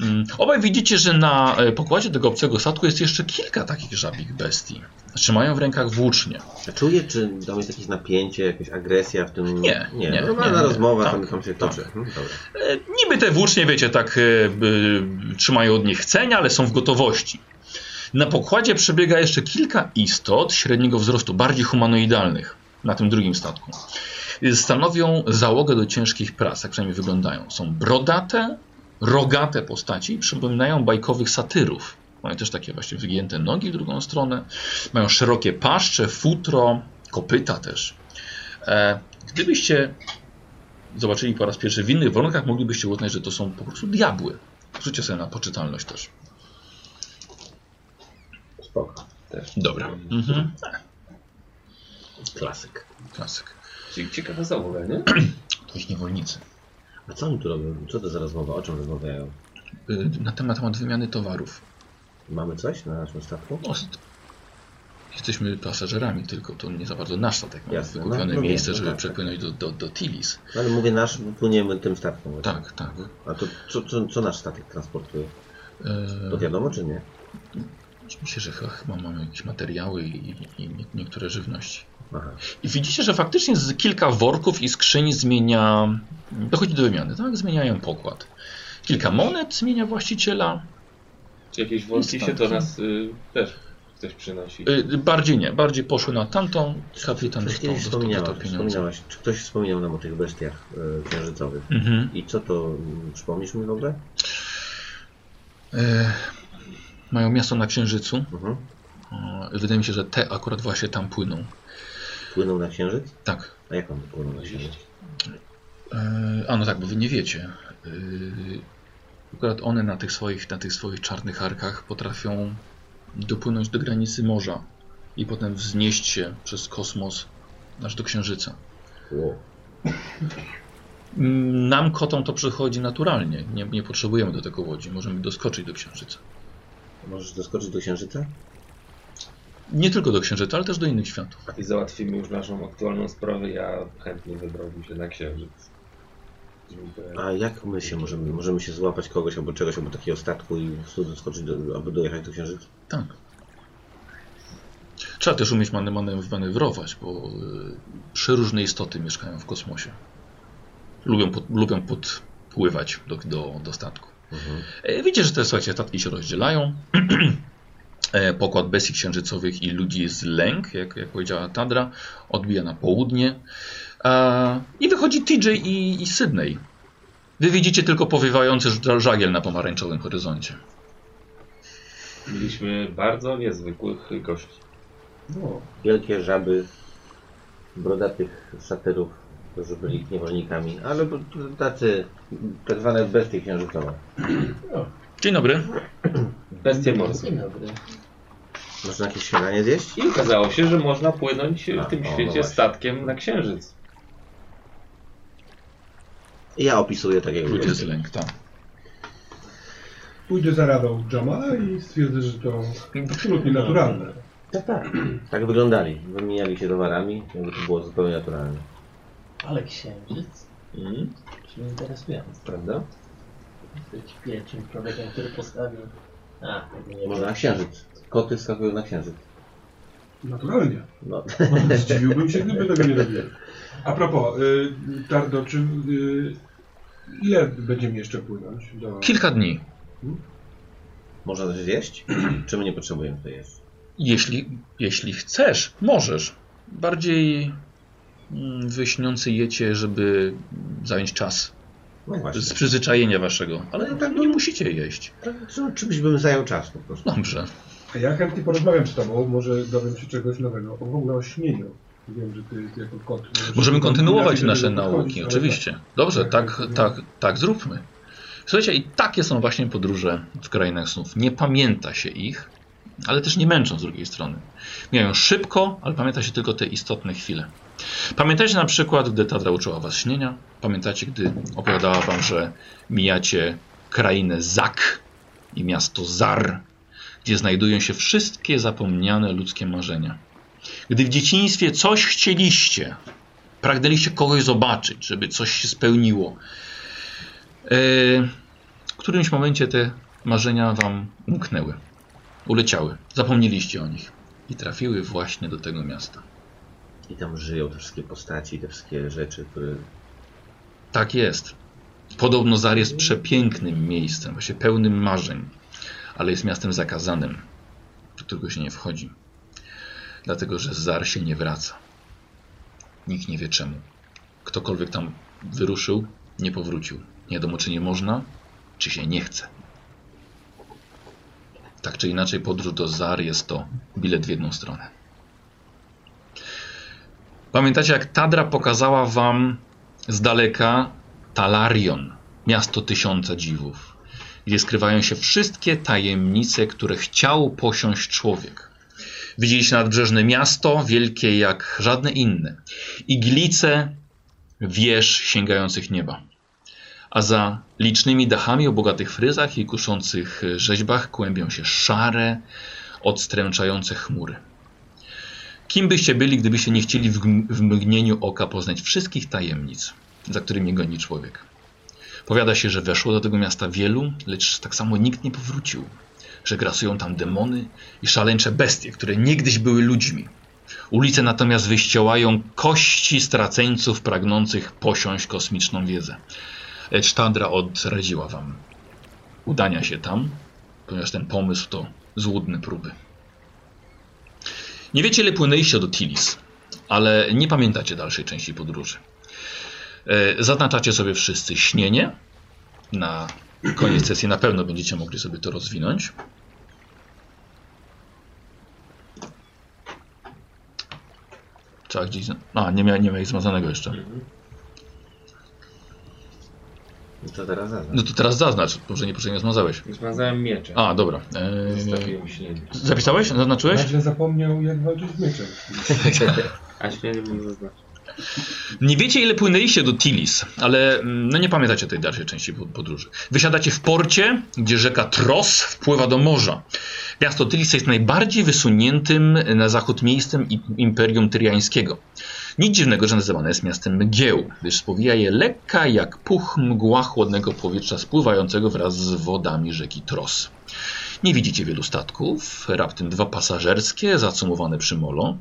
Speaker 2: Mm, Obaj widzicie, że na e, pokładzie tego obcego statku jest jeszcze kilka takich żabich bestii. Trzymają w rękach włócznie.
Speaker 1: A Czuję, czy tam jest jakieś napięcie, jakaś agresja w tym...
Speaker 2: Nie,
Speaker 1: nie.
Speaker 2: nie,
Speaker 1: normalna
Speaker 2: nie, nie.
Speaker 1: rozmowa
Speaker 2: Tak,
Speaker 1: tam, tam się
Speaker 2: tak.
Speaker 1: toczy. Hmm, dobra.
Speaker 2: E, Niby te włócznie, wiecie, tak e, e, trzymają od nich chcenia, ale są w gotowości. Na pokładzie przebiega jeszcze kilka istot średniego wzrostu, bardziej humanoidalnych, na tym drugim statku. E, Stanowią załogę do ciężkich prac, tak przynajmniej wyglądają. Są brodate, rogate postaci, przypominają bajkowych satyrów. Mają też takie właśnie wygięte nogi w drugą stronę, mają szerokie paszcze, futro, kopyta też. E, Gdybyście zobaczyli po raz pierwszy w innych warunkach, moglibyście uznać, że to są po prostu diabły. Rzućcie sobie na poczytalność też.
Speaker 1: Spoko. Też.
Speaker 2: Dobra. Mhm.
Speaker 1: Klasyk.
Speaker 2: Klasyk.
Speaker 4: Czyli ciekawa załoga, nie?
Speaker 2: To ich niewolnicy.
Speaker 1: A co oni tu robią? Co to za rozmowa? O czym rozmawiają?
Speaker 2: Y, Na temat, temat wymiany towarów.
Speaker 1: Mamy coś na naszym statku?
Speaker 2: No, s- jesteśmy pasażerami tylko, to nie za bardzo nasz statek. Mamy
Speaker 1: Jasne, no,
Speaker 2: wykupione
Speaker 1: no wiem,
Speaker 2: miejsce,
Speaker 1: no
Speaker 2: żeby
Speaker 1: tak,
Speaker 2: przepłynąć do, do, do Tilis.
Speaker 1: No, ale mówię nasz, bo płyniemy tym statkiem.
Speaker 2: Tak, tak.
Speaker 1: A to co, co, co nasz statek transportuje? To
Speaker 2: Yy,
Speaker 1: wiadomo czy nie?
Speaker 2: myślę, że chyba- chyba mamy jakieś materiały i, i nie- niektóre żywności.
Speaker 1: Aha.
Speaker 2: I widzicie, że faktycznie z kilka worków i skrzyni zmienia. Dochodzi do wymiany, tak? Zmieniają pokład. Kilka monet zmienia właściciela.
Speaker 4: Czy jakieś wątki się do nas y, też ktoś przynosi?
Speaker 2: Y, bardziej nie, bardziej poszły na tamtą. Kapitan
Speaker 1: Przed
Speaker 2: dostał,
Speaker 1: chwilą
Speaker 2: dostał, dostał
Speaker 1: wspominałaś,
Speaker 2: pieniądze.
Speaker 1: wspominałaś, czy ktoś wspominał nam o tych bestiach y, księżycowych.
Speaker 2: Mhm.
Speaker 1: I co to, mm, przypomnisz mi w ogóle?
Speaker 2: Y, mają miasto na Księżycu.
Speaker 1: Mhm.
Speaker 2: Y, wydaje mi się, że te akurat właśnie tam płyną.
Speaker 1: Płynął na księżyc?
Speaker 2: Tak.
Speaker 1: A jak on płynął na księżyc?
Speaker 2: Y, a no tak, bo wy nie wiecie. Y, akurat one na tych, swoich, na tych swoich czarnych arkach potrafią dopłynąć do granicy morza i potem wznieść się przez kosmos aż do Księżyca.
Speaker 1: Wow.
Speaker 2: Mm, Nam kotom to przychodzi naturalnie. Nie, nie potrzebujemy do tego łodzi. Możemy doskoczyć do Księżyca.
Speaker 1: Możesz doskoczyć do księżyca?
Speaker 2: Nie tylko do Księżyca, ale też do innych światów.
Speaker 4: I załatwimy już naszą aktualną sprawę. Ja chętnie wybrałbym się na księżyc. Dziękuję.
Speaker 1: A jak my się możemy, możemy się złapać kogoś albo czegoś, albo takiego statku i po prostu doskoczyć, do, albo dojechać do księżyca?
Speaker 2: Tak. Trzeba też umieć many- many- manewrować, bo y, przeróżne istoty mieszkają w kosmosie. Lubią, pod, lubią podpływać do, do, do statku.
Speaker 1: Mhm.
Speaker 2: E, Widzicie, że te słuchajcie, statki się rozdzielają. [CLEARS THROAT] E, Pokład bestii księżycowych i ludzi z lęk, jak, jak powiedziała Tadra, odbija na południe. E, I wychodzi TJ i, i Sydney. Wy widzicie tylko powiewający ża- żagiel na pomarańczowym horyzoncie.
Speaker 4: Mieliśmy bardzo niezwykłych gości.
Speaker 3: No,
Speaker 1: Wielkie żaby brodatych satyrów, którzy byli niewolnikami, ale b- tacy tak zwane bestie księżycowe.
Speaker 2: Dzień dobry.
Speaker 4: Bestie morskie.
Speaker 5: Dzień dobry.
Speaker 1: Można jakieś śniadanie zjeść?
Speaker 4: I okazało się, że można płynąć
Speaker 1: A,
Speaker 4: w tym
Speaker 1: o, no
Speaker 4: świecie
Speaker 1: właśnie.
Speaker 4: statkiem na księżyc.
Speaker 1: Ja opisuję tak jak
Speaker 2: Ludzie z
Speaker 1: ludzie.
Speaker 2: lęk, tak.
Speaker 3: pójdę za radą Jamala i stwierdzę, że to absolutnie naturalne.
Speaker 1: Tak, tak. Tak wyglądali. Wymieniali się towarami, jakby to było zupełnie naturalne.
Speaker 5: Ale księżyc?
Speaker 4: Mm,
Speaker 5: Brzmi interesująco.
Speaker 4: prawda?
Speaker 5: Być pierwszym człowiekiem, który postawił... A, nie
Speaker 1: Może na księżyc. Koty skakują na księżyc.
Speaker 3: Naturalnie.
Speaker 1: No, [LAUGHS]
Speaker 3: Zdziwiłbym się, gdyby tego nie robiłem. A propos, y, Tardo, czy y, ile będziemy jeszcze płynąć? Do...
Speaker 2: Kilka dni.
Speaker 1: można coś zjeść? [CLEARS THROAT] Czy my nie potrzebujemy to jeść?
Speaker 2: Jeśli, jeśli chcesz, możesz. Bardziej mm, wyśniący jecie, żeby zająć czas
Speaker 1: No właśnie.
Speaker 2: z przyzwyczajenia waszego. Ale tak nie musicie jeść.
Speaker 1: Tak, Czy, czymś bym zajął czas po prostu.
Speaker 2: Dobrze.
Speaker 3: A ja chętnie porozmawiam z tobą, może dowiem się czegoś nowego. O, W ogóle o śnieniu. Wiem, że ty jako kot... możesz-
Speaker 2: Możemy kontynuować
Speaker 3: inaczej
Speaker 2: nasze
Speaker 3: do tego podchodzić,
Speaker 2: nauki,
Speaker 3: ale
Speaker 2: oczywiście. Dobrze, tak,
Speaker 3: Tak,
Speaker 2: tak, tak zróbmy. Słuchajcie, i takie są właśnie podróże w krainach snów. Nie pamięta się ich, ale też nie męczą z drugiej strony. Mijają szybko, ale pamięta się tylko te istotne chwile. Pamiętajcie na przykład, gdy Tadra uczyła was śnienia. Pamiętacie, gdy opowiadała wam, że mijacie krainę Zak i miasto Zar, gdzie znajdują się wszystkie zapomniane ludzkie marzenia. Gdy w dzieciństwie coś chcieliście, pragnęliście kogoś zobaczyć, żeby coś się spełniło. E, W którymś momencie te marzenia wam umknęły, uleciały, zapomnieliście o nich i trafiły właśnie do tego miasta.
Speaker 1: I tam żyją te wszystkie postaci, te wszystkie rzeczy, które...
Speaker 2: Tak jest. Podobno Zar jest przepięknym miejscem, właśnie pełnym marzeń, ale jest miastem zakazanym, do którego się nie wchodzi. Dlatego, że Zar się nie wraca. Nikt nie wie czemu. Ktokolwiek tam wyruszył, nie powrócił. Nie wiadomo, czy nie można, czy się nie chce. Tak czy inaczej, podróż do Zar jest to bilet w jedną stronę. Pamiętacie, jak Tadra pokazała wam z daleka Talarion, miasto tysiąca dziwów, gdzie skrywają się wszystkie tajemnice, które chciał posiąść człowiek. Widzieliście nadbrzeżne miasto, wielkie jak żadne inne. Iglice wież sięgających nieba. A za licznymi dachami o bogatych fryzach i kuszących rzeźbach kłębią się szare, odstręczające chmury. Kim byście byli, gdybyście nie chcieli w, gm- w mgnieniu oka poznać wszystkich tajemnic, za którymi goni człowiek? Powiada się, że weszło do tego miasta wielu, lecz tak samo nikt nie powrócił, że grasują tam demony i szaleńcze bestie, które niegdyś były ludźmi. Ulice natomiast wyściołają kości straceńców pragnących posiąść kosmiczną wiedzę. Lecz Tandra odradziła wam udania się tam, ponieważ ten pomysł to złudne próby. Nie wiecie, ile płynęliście do Tilis, ale nie pamiętacie dalszej części podróży. E, Zaznaczacie sobie wszyscy śnienie. Na koniec sesji na pewno będziecie mogli sobie to rozwinąć. Trzeba gdzieś. za- A, nie miałem, nie miałem zmazanego jeszcze.
Speaker 1: No to teraz zaznacz.
Speaker 2: No to teraz zaznacz, może nie, proszę, nie zmazałeś.
Speaker 4: Zmazałem miecze.
Speaker 2: A, dobra. E,
Speaker 4: Zostawiłem śnieg.
Speaker 2: zapisałeś? Zaznaczyłeś?
Speaker 3: tak. Nagle zapomniał, jak walczyć z mieczem.
Speaker 4: A śnieg bym zaznaczył.
Speaker 2: Nie wiecie, ile płynęliście do Tilis, ale mm, no nie pamiętacie tej dalszej części pod- podróży. Wysiadacie w porcie, gdzie rzeka Tros wpływa do morza. Miasto Tilis jest najbardziej wysuniętym na zachód miejscem i- Imperium Tyriańskiego. Nic dziwnego, że nazywane jest miastem mgieł, gdyż spowija je lekka jak puch mgła chłodnego powietrza spływającego wraz z wodami rzeki Tros. Nie widzicie wielu statków, raptem dwa pasażerskie zacumowane przy molo.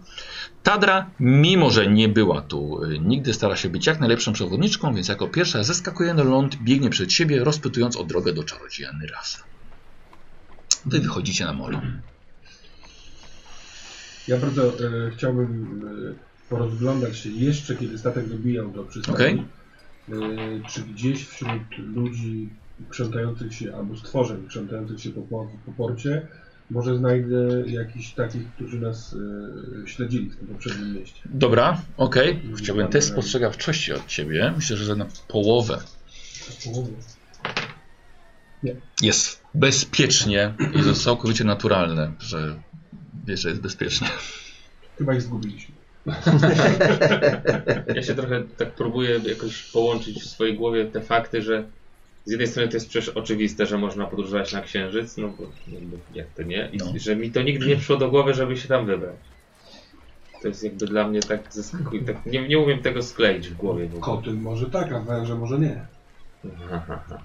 Speaker 2: Tadra, mimo że nie była tu y, nigdy, stara się być jak najlepszą przewodniczką, więc jako pierwsza zeskakuje na ląd, biegnie przed siebie, rozpytując o drogę do czarodzieja Nyras. Wy wychodzicie na molo.
Speaker 3: Ja bardzo e, chciałbym e, porozglądać się jeszcze, kiedy statek dobijał do przystani.
Speaker 2: Okej.
Speaker 3: E, czy gdzieś wśród ludzi krzątających się, albo stworzeń krzątających się po, po, po porcie, może znajdę jakichś takich, którzy nas e, śledzili w tym poprzednim mieście.
Speaker 2: Dobra, okej. Chciałbym test spostrzegawczości od ciebie. Myślę, że za na połowę. Jest bezpiecznie i to jest całkowicie naturalne, że wiesz, że jest bezpiecznie.
Speaker 3: Chyba ich zgubiliśmy.
Speaker 4: Ja się trochę tak próbuję jakoś połączyć w swojej głowie te fakty, że z jednej strony to jest przecież oczywiste, że można podróżować na Księżyc, no bo jakby jak to nie, i
Speaker 2: No.
Speaker 4: że mi to nigdy nie przyszło do głowy, żeby się tam wybrać. To jest jakby dla mnie tak zaskakujące, tak nie, nie umiem tego skleić w głowie. w ogóle.
Speaker 3: Koty może tak, a węże może nie.
Speaker 4: Aha, aha.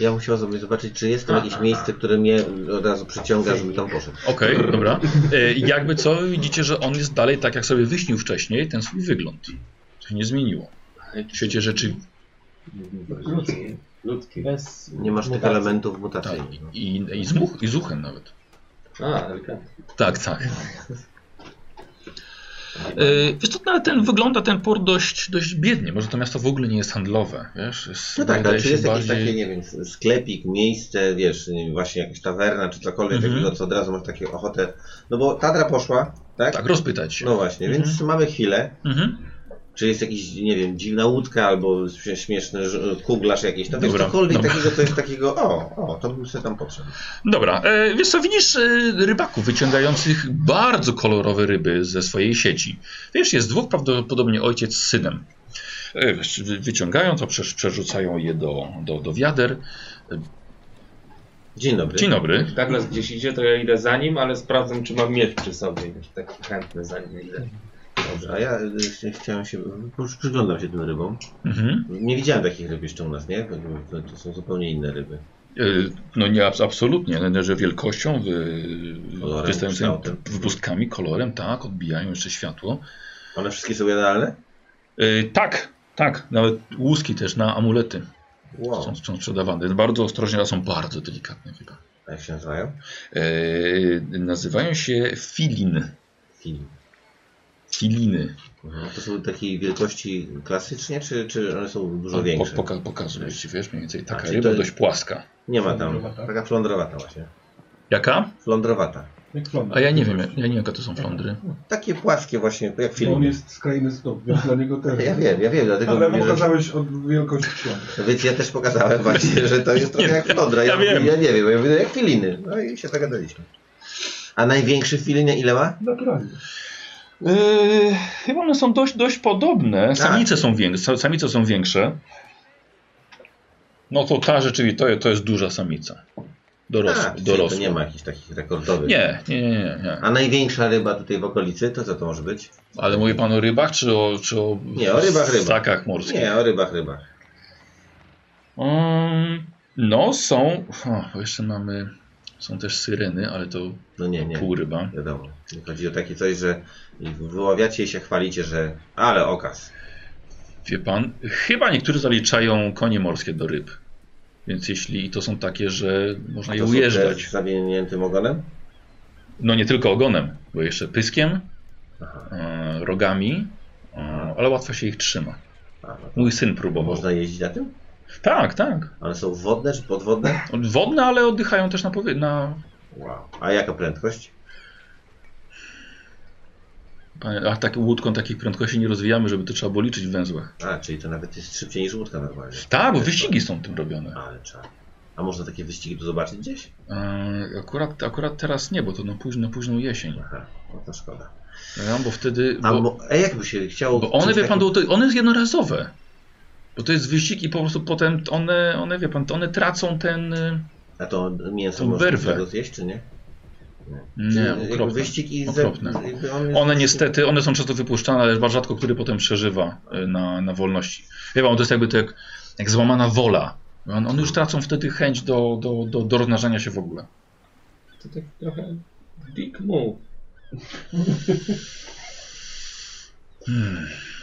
Speaker 1: Ja bym chciał sobie zobaczyć, czy jest tam jakieś miejsce, które mnie od razu przyciąga, żeby tam poszedł.
Speaker 2: Okej, dobra. E, jakby co, widzicie, że on jest dalej tak, jak sobie wyśnił wcześniej, ten swój wygląd. To się nie zmieniło. W świecie rzeczy
Speaker 5: Ludzki.
Speaker 4: Ludzki.
Speaker 5: Bez
Speaker 1: Nie masz tych
Speaker 5: mutacji.
Speaker 1: elementów
Speaker 2: tak,
Speaker 1: mutacyjnych. no.
Speaker 2: i, i, z much, i z uchem nawet.
Speaker 4: A, elegant.
Speaker 2: Tak,
Speaker 1: [LAUGHS]
Speaker 2: tak. E, Wiesz co, nawet ten, wygląda ten port dość, dość biednie, może to miasto w ogóle nie jest handlowe, wiesz? Jest,
Speaker 1: No tak, ale
Speaker 2: wydaje
Speaker 1: czy
Speaker 2: się
Speaker 1: jest jakieś
Speaker 2: bardziej-
Speaker 1: takie, nie wiem, sklepik, miejsce, wiesz, nie wiem, właśnie jakaś tawerna czy cokolwiek
Speaker 2: Mhm.
Speaker 1: takiego, co od razu masz takie ochotę. No bo Tadra poszła, tak?
Speaker 2: Tak, rozpytać się.
Speaker 1: No właśnie,
Speaker 2: Mhm.
Speaker 1: więc mamy chwilę.
Speaker 2: Mhm.
Speaker 1: Czy jest jakiś, nie wiem, dziwna łódka albo śmie- śmieszny ż- kuglarz jakiś. No wiesz,
Speaker 2: Dobra,
Speaker 1: cokolwiek
Speaker 2: dobra.
Speaker 1: takiego, to jest takiego, o, o, to bym sobie tam potrzebny.
Speaker 2: Dobra, e, wiesz co, widzisz e, rybaków wyciągających bardzo kolorowe ryby ze swojej sieci. Wiesz, jest dwóch, prawdopodobnie ojciec z synem. E, wiesz, wy- wyciągają to, przesz- przerzucają je do, do, do wiader.
Speaker 1: Dzień dobry.
Speaker 2: Dzień dobry.
Speaker 4: Douglas gdzieś idzie, to ja idę za nim, ale sprawdzam, czy mam miecz przy sobie. Wiesz, taki chętny za nim idę.
Speaker 1: Dobrze, a ja y, chci- chciałem się, już przyglądam się tym rybom.
Speaker 2: Mhm.
Speaker 1: Nie widziałem takich ryb jeszcze u nas, nie? To, to są zupełnie inne ryby.
Speaker 2: E, No nie, abs- absolutnie, ale że wielkością, wy,
Speaker 1: Kolorem,
Speaker 2: wystającymi
Speaker 1: kształtem.
Speaker 2: wypustkami, kolorem, tak, odbijają jeszcze światło.
Speaker 1: One wszystkie są jadalne?
Speaker 2: E, tak, tak, nawet łuski też na amulety
Speaker 1: Wow.
Speaker 2: są, są sprzedawane. Bardzo ostrożnie, ale są bardzo delikatne chyba.
Speaker 1: A jak się nazywają?
Speaker 2: Eee, nazywają się filin.
Speaker 1: Film.
Speaker 2: Filiny.
Speaker 1: Mhm. To są takiej wielkości klasycznie, czy, czy one są dużo
Speaker 2: Po,
Speaker 1: większe?
Speaker 2: poka, pokazuję ci, wiesz, mniej więcej taka
Speaker 1: czyli
Speaker 2: ryba
Speaker 1: to-
Speaker 2: dość płaska.
Speaker 1: Nie ma tam.
Speaker 3: Flądrowata.
Speaker 1: Taka flądrowata właśnie.
Speaker 2: Jaka?
Speaker 1: Flądrowata.
Speaker 3: Jak flądra.
Speaker 2: A ja nie wiem, ja, ja nie wiem, jakie to są flądry.
Speaker 1: Takie płaskie właśnie, jak
Speaker 3: Bo On
Speaker 1: film.
Speaker 3: jest z krainy snów, więc dla niego też.
Speaker 1: Ja wiem, ja wiem, dlatego
Speaker 3: Ale
Speaker 1: mówię, że-
Speaker 3: pokazałeś od wielkości flądry.
Speaker 1: Więc ja też
Speaker 2: [LAUGHS]
Speaker 1: pokazałem właśnie, że to jest trochę jak flodra. Ja,
Speaker 2: ja wiem.
Speaker 1: ja nie wiem, ja mówię, no jak filiny. No i się zagadaliśmy. A największy filin ile ma?
Speaker 3: Naturalnie.
Speaker 2: Eee, chyba one są dość, dość
Speaker 1: Tak.
Speaker 2: podobne. Samice są, większe, samice są większe. No to ta rzeczywiście, to, to jest duża samica. Dorosła.
Speaker 1: A, czyli
Speaker 2: dorosła.
Speaker 1: Tak, To nie ma jakichś takich rekordowych.
Speaker 2: Nie, nie, nie, nie, nie.
Speaker 1: A największa ryba tutaj w okolicy, to co to może być?
Speaker 2: Ale mówi pan o rybach, czy o, czy o,
Speaker 1: Nie, o rybach, rybach.
Speaker 2: ssakach morskich?
Speaker 1: Nie, o rybach, rybach.
Speaker 2: Mm, no, są. O, bo jeszcze mamy. Są też syreny, ale to
Speaker 1: No nie, nie.
Speaker 2: pół ryba.
Speaker 1: Wiadomo. Chodzi o takie coś, że wyławiacie i się chwalicie, że ale okaz.
Speaker 2: Wie pan, chyba niektórzy zaliczają konie morskie do ryb. Więc jeśli i to są takie, że można je
Speaker 1: To są te
Speaker 2: ujeżdżać.
Speaker 1: Z zawiniętym ogonem?
Speaker 2: No nie tylko ogonem, bo jeszcze pyskiem, e, rogami, e, ale łatwo się ich trzyma.
Speaker 1: A, no to
Speaker 2: Mój syn próbował.
Speaker 1: Można jeździć na tym?
Speaker 2: Tak, tak.
Speaker 1: One są wodne czy podwodne?
Speaker 2: Wodne, ale oddychają też na, powie- na
Speaker 1: Wow. A jaka prędkość?
Speaker 2: Panie, a tak łódką takich prędkości nie rozwijamy, żeby to trzeba było liczyć w węzłach.
Speaker 1: A, czyli to nawet jest szybciej niż łódka normalnie.
Speaker 2: Tak, bo wyścigi są tym robione.
Speaker 1: Ale czar. A można takie wyścigi tu zobaczyć gdzieś?
Speaker 2: Eee, Akurat, akurat teraz nie, bo to na późno, późną jesień.
Speaker 1: Aha, no to szkoda.
Speaker 2: Ja, bo wtedy.
Speaker 1: A,
Speaker 2: Bo,
Speaker 1: bo, a jakby się chciało...
Speaker 2: bo one,
Speaker 1: coś
Speaker 2: wie pan,
Speaker 1: takiego-
Speaker 2: to, one jest jednorazowe. Bo to jest wyścig i po prostu potem one, one wie pan, to one tracą ten. y,
Speaker 1: A to mięso
Speaker 2: tą
Speaker 1: można z
Speaker 2: werwę.
Speaker 1: tego zjeść, czy nie? Czy
Speaker 2: Nie,
Speaker 1: jakby
Speaker 2: okropne.
Speaker 1: wyścig i... ze-
Speaker 2: Okropne.
Speaker 1: jakby on jest-
Speaker 2: One niestety, one są często wypuszczane, ale bardzo rzadko który potem przeżywa y, na, na wolności. Wie pan, to jest jakby to jak, jak złamana wola. On, one już tracą wtedy chęć do, do, do, do rozmnażania się w ogóle.
Speaker 4: To tak trochę dick move.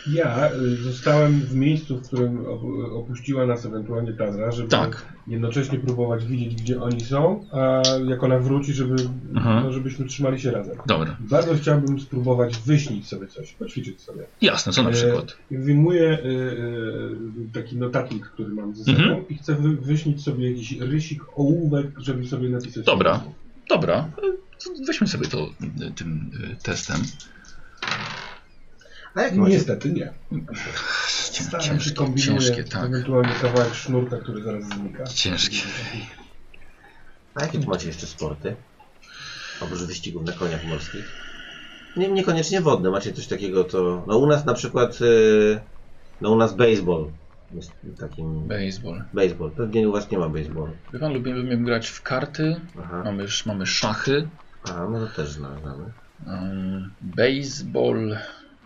Speaker 3: Ja y, zostałem w miejscu, w którym op- opuściła nas ewentualnie Tadra, żeby
Speaker 2: Tak.
Speaker 3: jednocześnie próbować widzieć, gdzie oni są, a jak ona wróci, żeby,
Speaker 2: Mhm.
Speaker 3: no, żebyśmy trzymali się razem.
Speaker 2: Dobra.
Speaker 3: Bardzo chciałbym spróbować wyśnić sobie coś, poćwiczyć sobie.
Speaker 2: Jasne, co na
Speaker 3: E,
Speaker 2: przykład?
Speaker 3: Wyjmuję y, y, taki notatnik, który mam ze sobą
Speaker 2: Mhm.
Speaker 3: i chcę wy, wyśnić sobie jakiś rysik, ołówek, żeby sobie napisać.
Speaker 2: Dobra. Dobra, e, weźmy sobie to e, tym e, testem.
Speaker 1: A jak macie...
Speaker 3: Niestety nie.
Speaker 2: Cię-
Speaker 3: Staram się
Speaker 2: Ciężkie,
Speaker 3: kombinuję,
Speaker 2: ciężkie, tak.
Speaker 3: ewentualnie kawałek sznurka, który zaraz znika.
Speaker 2: Ciężkie.
Speaker 1: A jakie tu macie jeszcze sporty? Oprócz wyścigów na koniach morskich? Nie, niekoniecznie wodne. Macie coś takiego, co... No u nas na przykład... y, No u nas baseball. Jest takim...
Speaker 2: Baseball.
Speaker 1: Baseball. Pewnie u was nie ma baseballu.
Speaker 2: Wie pan, lubimy, lubimy grać w karty,
Speaker 1: Aha.
Speaker 2: mamy, sz- mamy szachy,
Speaker 1: A, no to też zna- znamy.
Speaker 2: um, baseball.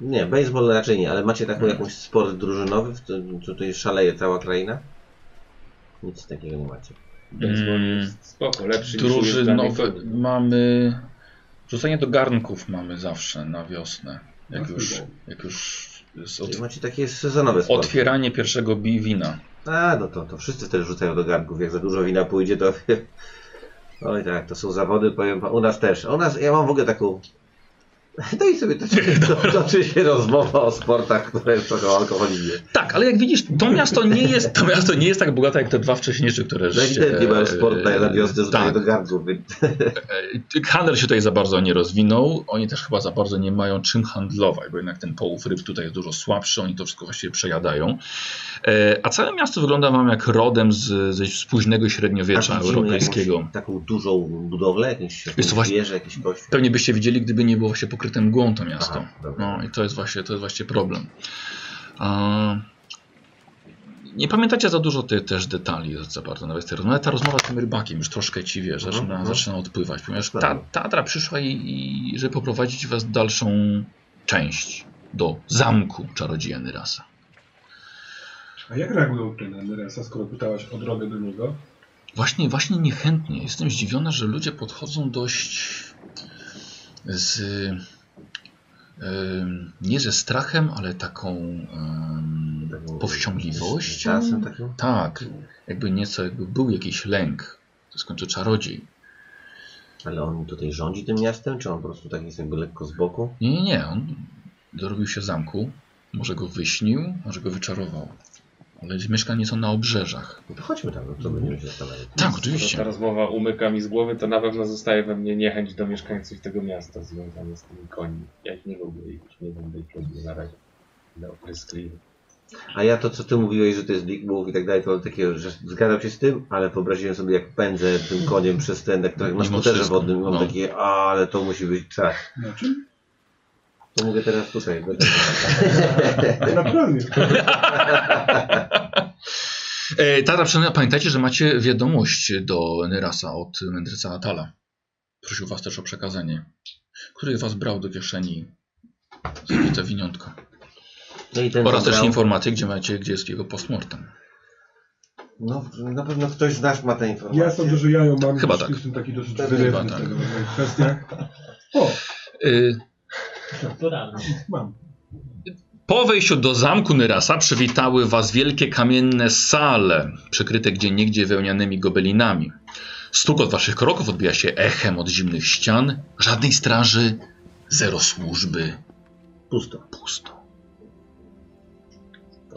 Speaker 1: Nie, baseball
Speaker 2: Hmm.
Speaker 1: raczej nie, ale macie taką jakąś sport drużynowy, w którym tutaj szaleje cała kraina? Nic takiego nie macie.
Speaker 4: Baseball jest spoko, lepszy niż
Speaker 2: Drużynowe
Speaker 4: ujeżdżanie koni.
Speaker 2: mamy. Rzucanie do garnków mamy zawsze na wiosnę. Jak już, jak już jest
Speaker 1: No, Czyli
Speaker 2: od,
Speaker 1: macie takie sezonowe sporty.
Speaker 2: otwieranie pierwszego bi wina.
Speaker 1: A, no to, to wszyscy też rzucają do garnków. Jak za dużo wina pójdzie, to... [LAUGHS] Oj tak, to są zawody, powiem wam. U nas też. U nas, ja mam w ogóle taką... [LAUGHS] No i sobie toczy, to, toczy się rozmowa o sportach, które są o alkoholizmie.
Speaker 2: Tak, ale jak widzisz, to miasto nie jest, to miasto nie jest tak bogate jak te dwa wcześniejsze, które
Speaker 1: No ewidentnie mają
Speaker 2: e,
Speaker 1: sport na na wiosnę, rzucają
Speaker 2: tak,
Speaker 1: do garnków. więc-
Speaker 2: E, Handel się tutaj za bardzo nie rozwinął. Oni też chyba za bardzo nie mają czym handlować, bo jednak ten połów ryb tutaj jest dużo słabszy, oni to wszystko właściwie przejadają. E, A całe miasto wygląda wam jak rodem z, ze- z późnego średniowiecza
Speaker 1: A widzimy
Speaker 2: europejskiego.
Speaker 1: jakąś Taką dużą budowlę, jakieś
Speaker 2: Jest to właśnie-
Speaker 1: wieże, jakiś kościół.
Speaker 2: Pewnie byście widzieli, gdyby nie było się pokryte mgłą to miasto.
Speaker 1: Aha, dobra.
Speaker 2: No i to jest właśnie, to jest właśnie problem. A... Nie pamiętacie za dużo tych też detali za bardzo nawet tej rozmowy. Ale ta rozmowa z tym rybakiem już troszkę ci wie, zaczyna,
Speaker 1: mhm. Tak.
Speaker 2: zaczyna odpływać, ponieważ ta,
Speaker 1: Dobra.
Speaker 2: Tatra przyszła i, i żeby poprowadzić was w dalszą część do zamku czarodzieja Nyrasa.
Speaker 3: A jak reagują tutaj na Neresa, skoro pytałaś o drogę do niego?
Speaker 2: Właśnie, właśnie niechętnie. Jestem zdziwiona, że ludzie podchodzą dość z. em, nie ze strachem, ale taką em,
Speaker 1: Taką-
Speaker 2: powściągliwością.
Speaker 1: Czasem takim.
Speaker 2: Tak, jakby nieco, jakby był jakiś lęk. To skończy czarodziej.
Speaker 1: Ale on tutaj rządzi tym miastem, czy on po prostu tak jest jakby lekko z boku?
Speaker 2: Nie, nie, nie. On dorobił się zamku. Może go wyśnił, może go wyczarował. Ale mieszka nieco na obrzeżach.
Speaker 1: No to chodźmy tam, no to będziemy się zastanawiać.
Speaker 2: Tak,
Speaker 4: Ta
Speaker 2: oczywiście.
Speaker 4: rozmowa umyka mi z głowy, to na pewno zostaje we mnie niechęć do mieszkańców tego miasta związana z tymi koni. Ja ich nie lubię i już nie będę ich lubił na razie. No, pryskliwy.
Speaker 1: A ja to, co ty mówiłeś, że to jest Big Move i tak dalej, to takie, że zgadzam się z tym, ale wyobraziłem sobie, jak pędzę tym koniem przez ten, jak, tak na
Speaker 2: Mimo
Speaker 1: skuterze
Speaker 2: wszystko,
Speaker 1: wodnym, mam
Speaker 2: no.
Speaker 1: takie, "A, ale to musi być czas.
Speaker 3: Na czym?
Speaker 1: To mówię teraz tutaj. bo-
Speaker 3: Tak, Naturalnie.
Speaker 2: E, Tara, przynajmniej pamiętajcie, że macie wiadomość do Nyrasa od mędrca Atala. Prosił was też o przekazanie. Który was brał do kieszeni te winiątko.
Speaker 1: No i ten
Speaker 2: Oraz
Speaker 1: zabrał-
Speaker 2: też informacje, gdzie macie, gdzie jest jego postmortem.
Speaker 1: No, na pewno ktoś z nas ma te informacje.
Speaker 3: Ja sądzę, że ja ją mam.
Speaker 2: Chyba
Speaker 3: gdzieś,
Speaker 2: tak.
Speaker 3: Jestem taki dosyć
Speaker 1: Chyba
Speaker 3: wyrywny
Speaker 2: tak.
Speaker 3: w tego rodzaju kwestiach. O,
Speaker 2: Y,
Speaker 5: Strukturalne.
Speaker 3: mam.
Speaker 2: Po wejściu do zamku Nyrasa przywitały was wielkie kamienne sale, przykryte gdzie niegdzie wełnianymi gobelinami. Stukot waszych kroków odbija się echem od zimnych ścian. Żadnej straży, zero służby,
Speaker 1: Pusto.
Speaker 2: pusto.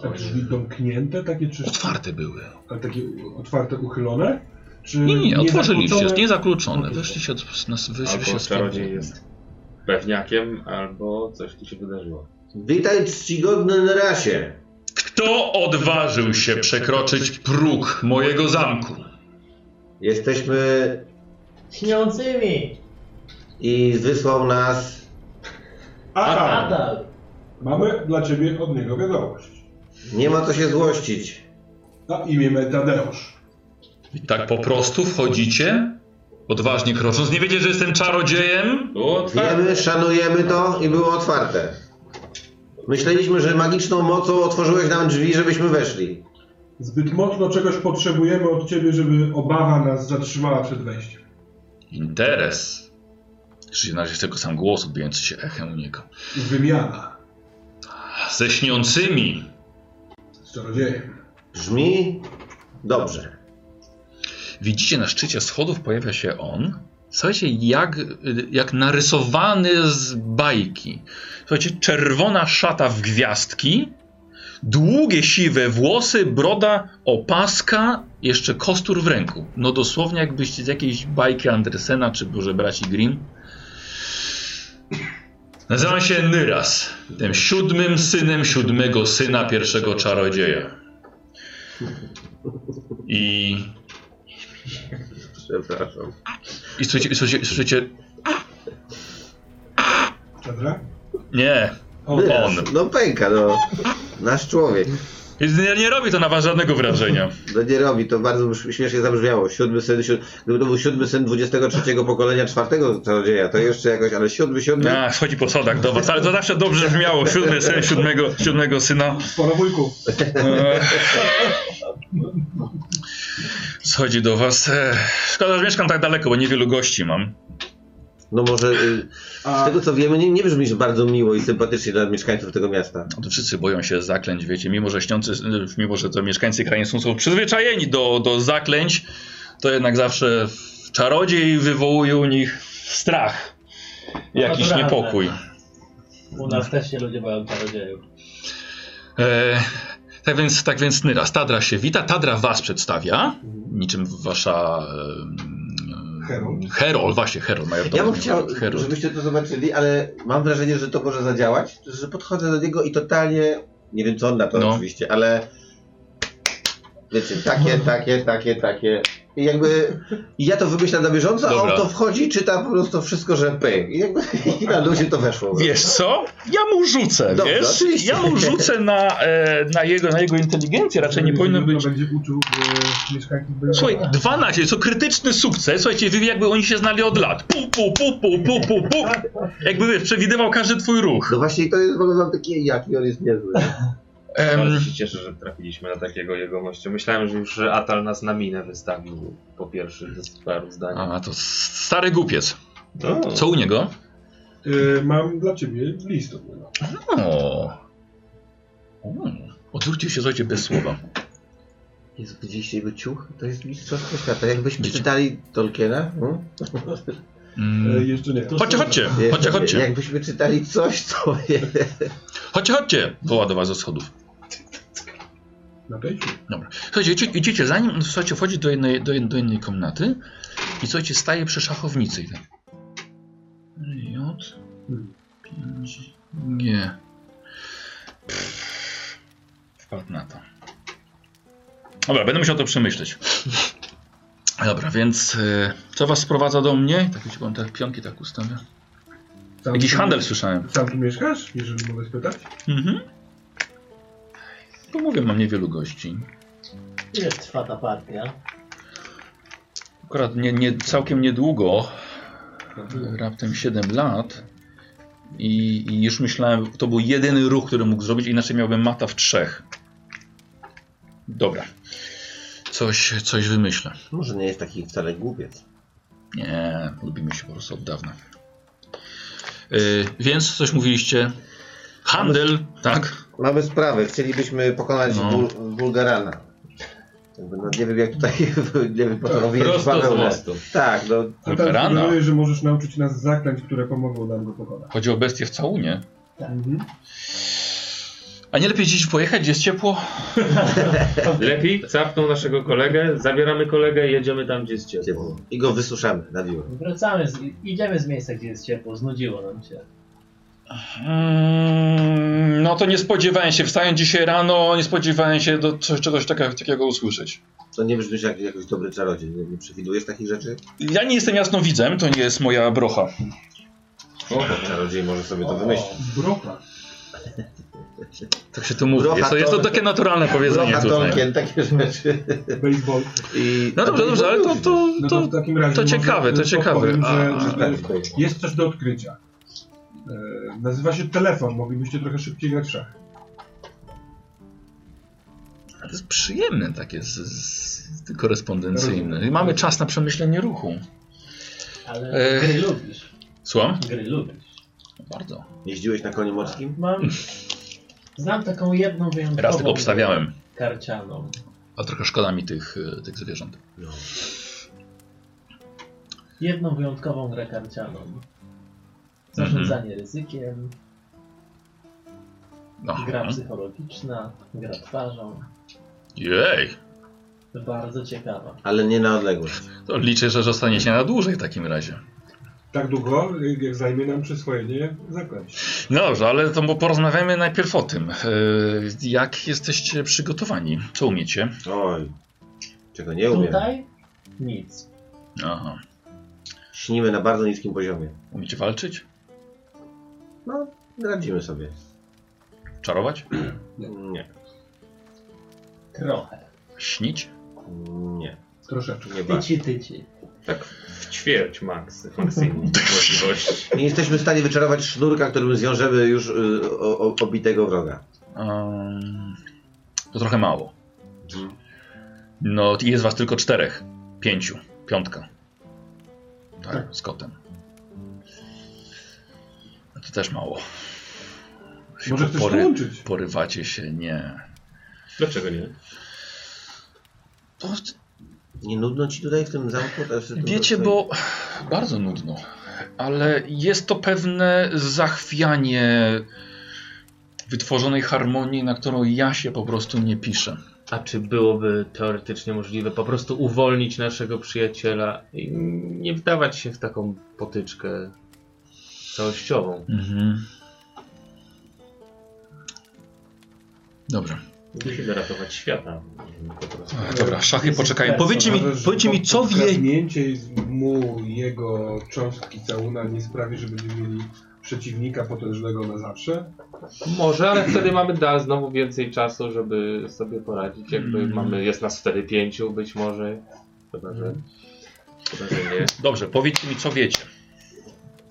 Speaker 3: A drzwi Tak, domknięte, takie czy
Speaker 2: Otwarte były.
Speaker 3: a takie otwarte, uchylone? Czy
Speaker 2: Nie, nie, otworzyliście,
Speaker 3: zakłócone?
Speaker 2: nie zakluczone.
Speaker 3: No,
Speaker 2: Weszliście od nas,
Speaker 4: Albo
Speaker 2: wyszliście z
Speaker 4: czarodziej jest pewniakiem, albo coś tu się wydarzyło.
Speaker 1: Witaj czcigodny na rasie.
Speaker 2: Kto odważył się przekroczyć próg mojego zamku?
Speaker 1: Jesteśmy
Speaker 5: Śniącymi!
Speaker 1: i wysłał nas.
Speaker 3: Aha,
Speaker 5: Nadal!
Speaker 3: mamy dla ciebie od niego wiadomość.
Speaker 1: Nie ma co się złościć.
Speaker 3: Na imię Tadeusz.
Speaker 2: I tak po prostu wchodzicie, odważnie krocząc. Nie wiecie, że jestem czarodziejem?
Speaker 4: Było otwarte.
Speaker 1: Wiemy, szanujemy to i było otwarte. Myśleliśmy, że magiczną mocą otworzyłeś nam drzwi, żebyśmy weszli.
Speaker 3: Zbyt mocno czegoś potrzebujemy od ciebie, żeby obawa nas zatrzymała przed wejściem.
Speaker 2: Interes. Czyli na razie jest tylko sam głos odbijający się echem u niego.
Speaker 3: Wymiana
Speaker 2: Ze śniącymi.
Speaker 3: z czarodziejem.
Speaker 1: Brzmi? Dobrze.
Speaker 2: Widzicie na szczycie schodów pojawia się on. Słuchajcie, jak, jak narysowany z bajki. Słuchajcie, czerwona szata w gwiazdki, długie siwe włosy, broda, opaska, jeszcze kostur w ręku. No dosłownie jakbyście z jakiejś bajki Andersena czy Boże Braci Grimm. Nazywam się Nyras, tym siódmym synem siódmego syna pierwszego czarodzieja. I
Speaker 1: Przepraszam.
Speaker 2: I słyszycie, i słyszycie, i słyszycie
Speaker 3: Dobra?
Speaker 2: nie,
Speaker 3: O,
Speaker 1: Wyraz.
Speaker 2: On.
Speaker 1: No pęka, no. Nasz człowiek.
Speaker 2: nie, nie robi to na was żadnego wrażenia.
Speaker 1: No nie robi, to bardzo brz- śmiesznie zabrzmiało. Siódmy syn, siód... gdyby to był siódmy syn 23 pokolenia czwartego czarodzieja, to jeszcze jakoś, ale siódmy, siódmy...
Speaker 2: A, chodzi po sodach do was, ale to zawsze dobrze brzmiało, siódmy syn, siódmego, siódmego syna.
Speaker 3: Sporo wujków.
Speaker 2: Eee. Schodzi do was. E, Szkoda, że mieszkam tak daleko, bo niewielu gości mam.
Speaker 1: No może y, z
Speaker 3: A
Speaker 1: tego co wiemy, nie, nie brzmi, że bardzo miło i sympatycznie dla mieszkańców tego miasta.
Speaker 2: No to wszyscy boją się zaklęć, wiecie, mimo że śniący, e, mimo że to mieszkańcy krajeńską są przyzwyczajeni do, do zaklęć, to jednak zawsze w- czarodziej wywołuje u nich strach, jakiś
Speaker 5: Naturalne.
Speaker 2: niepokój.
Speaker 5: U nas też się ludzie boją czarodziejów.
Speaker 2: E, tak więc, tak więc Nyras, Tadra się wita, Tadra was przedstawia, niczym wasza... E,
Speaker 3: Heron?
Speaker 2: Herol, właśnie Herol.
Speaker 1: Ja
Speaker 2: majordomo-
Speaker 1: bym chciał,
Speaker 2: Herol.
Speaker 1: żebyście to zobaczyli, ale mam wrażenie, że to może zadziałać, że podchodzę do niego i totalnie, nie wiem co on na to
Speaker 2: No.
Speaker 1: oczywiście, ale wiecie, takie, takie, takie, takie i jakby i ja to wymyślam na bieżąco, a on
Speaker 2: Dobra.
Speaker 1: to wchodzi, czyta po prostu wszystko, że py i jakby [LAUGHS] i na luzie to weszło.
Speaker 2: Wiesz co? Ja mu rzucę,
Speaker 1: Dobrze,
Speaker 2: wiesz?
Speaker 1: oczywiście.
Speaker 2: Ja mu rzucę na, e, na, jego, na jego inteligencję, raczej Znaczy, nie powinno być...
Speaker 3: będzie uczył e, mieszkańców Bejrzyna.
Speaker 2: Słuchaj, 12, co krytyczny sukces, słuchajcie, wy jakby oni się znali od lat. Pu, pu, pu, pu, pu, pu, pu. Jakby wiesz, przewidywał każdy twój ruch.
Speaker 1: No właśnie i to jest, wyglądam taki jaki on jest niezły.
Speaker 4: Bardzo
Speaker 2: Em,
Speaker 4: się cieszę, że trafiliśmy na takiego jegomościa. Myślałem, że już Atal nas na minę wystawił po pierwszych paru zdaniach.
Speaker 2: a, to s- stary głupiec.
Speaker 4: No.
Speaker 2: Co u niego?
Speaker 3: E, Mam dla ciebie list E, od niego.
Speaker 2: O. Mm. Odwrócił się, słuchajcie, bez słowa.
Speaker 1: Jezu, widzieliście jego ciuch? To jest mistrzostwo świata. Jakbyśmy
Speaker 2: Wiecie.
Speaker 1: czytali Tolkiena, hmm?
Speaker 3: E,
Speaker 2: Mm.
Speaker 3: Jeszcze nie.
Speaker 2: Chodźcie, chodźcie, chodźcie, chodźcie,
Speaker 1: jakbyśmy czytali coś, co
Speaker 2: chodźcie, chodźcie, woła do was ze schodów.
Speaker 3: Na Bejrzynie.
Speaker 2: Słuchajcie, idzie- idziecie za nim, słuchajcie, wchodzi do jednej, do, jed- do jednej komnaty i słuchajcie, staje przy szachownicy. i tak. J. 5. G. Wpadł na to. Dobra, będę musiał to przemyśleć. Dobra, więc e, co was sprowadza do mnie? Tak, wiecie, bo on te pionki tak ustawia.
Speaker 3: Sam
Speaker 2: Jakiś
Speaker 3: tu-
Speaker 2: handel słyszałem.
Speaker 3: Sam tu mieszkasz, jeżeli mogę spytać?
Speaker 2: Mhm. To mówię, mam niewielu gości.
Speaker 5: Ile trwa ta partia?
Speaker 2: Akurat nie, nie, całkiem niedługo, raptem 7 lat. I, I już myślałem, to był jedyny ruch, który mógł zrobić, inaczej miałbym mata w trzech. Dobra. Coś, coś wymyślę.
Speaker 1: Może nie jest taki wcale głupiec.
Speaker 2: Nie, lubimy się po prostu od dawna. Yy, więc coś mówiliście. Handel, tak?
Speaker 1: Mamy sprawę, chcielibyśmy pokonać
Speaker 2: No.
Speaker 1: Bul- Bulgarana. Jakby, No, nie wiem jak tutaj, [LAUGHS] nie wiem po
Speaker 2: Tak,
Speaker 1: co robię
Speaker 4: Prosto z mostu.
Speaker 1: Tak, no,
Speaker 3: A
Speaker 2: Rana.
Speaker 3: teraz sugeruję, że możesz nauczyć nas zaklęć, które pomogą nam go pokonać.
Speaker 2: Chodzi o bestię w całunie.
Speaker 3: Mhm.
Speaker 2: A nie lepiej dziś pojechać, gdzie jest ciepło?
Speaker 4: Lepiej capnął naszego kolegę, zabieramy kolegę i jedziemy tam, gdzie jest ciepło.
Speaker 1: ciepło. I go wysuszamy na biurę.
Speaker 5: Wracamy, z, idziemy z miejsca, gdzie jest ciepło, znudziło nam się.
Speaker 2: Mm, No to nie spodziewałem się, wstając dzisiaj rano, nie spodziewałem się do coś, czegoś takiego, takiego usłyszeć.
Speaker 1: To nie brzmisz jak jakoś dobry czarodziej. Nie, nie przewidujesz takich rzeczy?
Speaker 2: Ja nie jestem jasnowidzem, to nie jest moja brocha.
Speaker 1: O, czarodziej może sobie to wymyślić.
Speaker 3: Brocha.
Speaker 2: Tak się to mówi.
Speaker 1: Brocha
Speaker 2: Jest to, jest to
Speaker 1: Tol-
Speaker 2: takie naturalne powiedzenie
Speaker 1: Brocha
Speaker 2: tutaj.
Speaker 1: Tolkien, takie rzeczy.
Speaker 3: Baseball.
Speaker 1: I
Speaker 2: No dobrze, dobrze, ale to, to,
Speaker 3: No to
Speaker 2: to,
Speaker 3: w takim razie
Speaker 2: to
Speaker 3: może
Speaker 2: ciekawe, to ciekawe.
Speaker 3: podpowiem,
Speaker 2: A-
Speaker 3: że, że jest coś do odkrycia. E, nazywa się telefon, moglibyście trochę szybciej grać w szachy.
Speaker 2: to jest przyjemne takie z, z, korespondencyjne. I mamy czas na przemyślenie ruchu.
Speaker 5: Ale
Speaker 2: Ech.
Speaker 5: gry lubisz.
Speaker 2: Słucham?
Speaker 5: Gry lubisz.
Speaker 2: No, Bardzo.
Speaker 1: Jeździłeś na koniu morskim?
Speaker 5: Mam... Znam taką jedną wyjątkową...
Speaker 2: Raz tylko obstawiałem,
Speaker 5: Karcianą.
Speaker 2: a trochę szkoda mi tych, e, tych zwierząt.
Speaker 1: No.
Speaker 5: Jedną wyjątkową grę karcianą. Zarządzanie ryzykiem,
Speaker 2: Aha.
Speaker 5: gra psychologiczna, gra twarzą.
Speaker 2: Jej,
Speaker 5: Bardzo ciekawa.
Speaker 1: Ale nie na odległość.
Speaker 2: to liczę, że zostaniecie na dłużej w takim razie.
Speaker 3: Tak długo, jak jak zajmie nam przyswojenie zaklęć.
Speaker 2: No dobrze, ale to bo porozmawiamy najpierw o tym, yy, jak jesteście przygotowani, co umiecie.
Speaker 1: Oj, czego nie umiem.
Speaker 5: Tutaj nic.
Speaker 2: Aha.
Speaker 1: Śnimy na bardzo niskim poziomie.
Speaker 2: Umiecie walczyć?
Speaker 1: No, radzimy sobie.
Speaker 2: Czarować?
Speaker 1: Nie.
Speaker 5: Trochę.
Speaker 2: Śnić?
Speaker 1: Nie.
Speaker 3: Troszeczkę.
Speaker 1: Nie bardzo.
Speaker 5: Tyci, tyci.
Speaker 4: W ćwierć maksy, maksimum możliwości.
Speaker 1: Nie jesteśmy w stanie wyczarować sznurka, którym zwiążemy już y, o, o, obitego wroga.
Speaker 2: Ehm, to trochę mało. No, jest was tylko czterech. Pięciu. Piątka. Tak, z kotem. No To też mało. Się
Speaker 3: Może chcesz
Speaker 2: pory-
Speaker 3: połączyć?
Speaker 2: Porywacie się, nie.
Speaker 4: Dlaczego nie?
Speaker 2: To,
Speaker 1: Nie nudno ci tutaj w tym zamku? Też w tym
Speaker 2: wiecie,
Speaker 1: dostoi-
Speaker 2: bo bardzo nudno, ale jest to pewne zachwianie wytworzonej harmonii, na którą ja się po prostu nie piszę.
Speaker 4: A czy byłoby teoretycznie możliwe po prostu uwolnić naszego przyjaciela i nie wdawać się w taką potyczkę całościową?
Speaker 2: Mhm. Dobra.
Speaker 4: Musimy ratować świata. mm, Po prostu.
Speaker 2: Dobra, szachy poczekają. Powiedzcie mi,
Speaker 3: Zauważysz,
Speaker 2: powiedzcie
Speaker 3: że
Speaker 2: mi co wie.
Speaker 3: Kradnięcie z- mu jego cząstki całuna nie sprawi, że będziemy mieli przeciwnika potężnego na zawsze?
Speaker 4: Może, ale wtedy mamy dal znowu więcej czasu, żeby sobie poradzić. Jakby
Speaker 2: Mm.
Speaker 4: mamy, jest nas wtedy pięciu być może. Chyba, że, chyba, że nie.
Speaker 2: Dobrze, powiedzcie mi, co wiecie.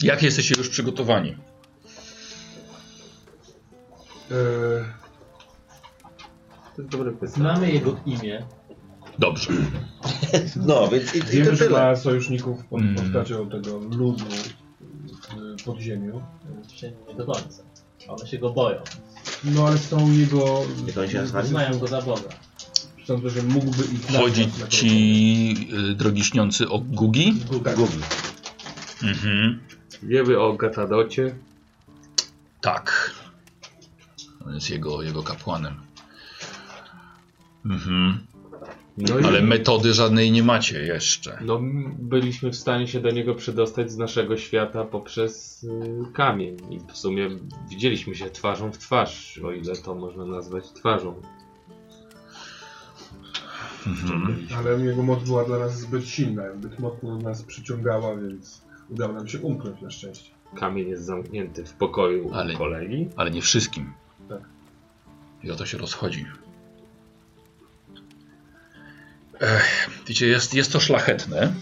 Speaker 2: Jak jesteście już przygotowani?
Speaker 3: E,
Speaker 4: To jest dobre pytanie.
Speaker 5: Znamy jego imię.
Speaker 2: Dobrze.
Speaker 1: No, więc i, i to
Speaker 3: wiemy, że
Speaker 1: tyle.
Speaker 3: ma sojuszników pod
Speaker 2: Mm.
Speaker 3: postacią tego ludu e, w podziemiu.
Speaker 5: Jeszcze nie e, do końca. One się go boją.
Speaker 4: Tak.
Speaker 3: No ale są jego...
Speaker 1: Jak oni się nazwali?
Speaker 5: Znają go za Boga.
Speaker 3: Sądzę, że mógłby ich...
Speaker 2: Chodzi
Speaker 3: nazwać na
Speaker 2: ci, y, drogi śniący, o Gugi?
Speaker 3: Tak.
Speaker 1: Gugi.
Speaker 2: Mhm.
Speaker 4: Wiemy o Gatadocie.
Speaker 2: Tak. On jest jego, jego kapłanem. Mhm.
Speaker 4: No i
Speaker 2: Ale metody żadnej nie macie jeszcze.
Speaker 4: no, m- byliśmy w stanie się do niego przedostać z naszego świata poprzez y, kamień. I w sumie widzieliśmy się twarzą w twarz, o ile to można nazwać twarzą.
Speaker 2: Mhm.
Speaker 3: Ale jego moc była dla nas zbyt silna, zbyt mocno nas przyciągała, więc udało nam się umknąć na szczęście.
Speaker 4: Kamień jest zamknięty w pokoju
Speaker 2: Ale-
Speaker 4: u kolegi.
Speaker 2: Ale nie wszystkim.
Speaker 3: Tak.
Speaker 2: I o to się rozchodzi. Ech, wiecie, jest, jest to szlachetne,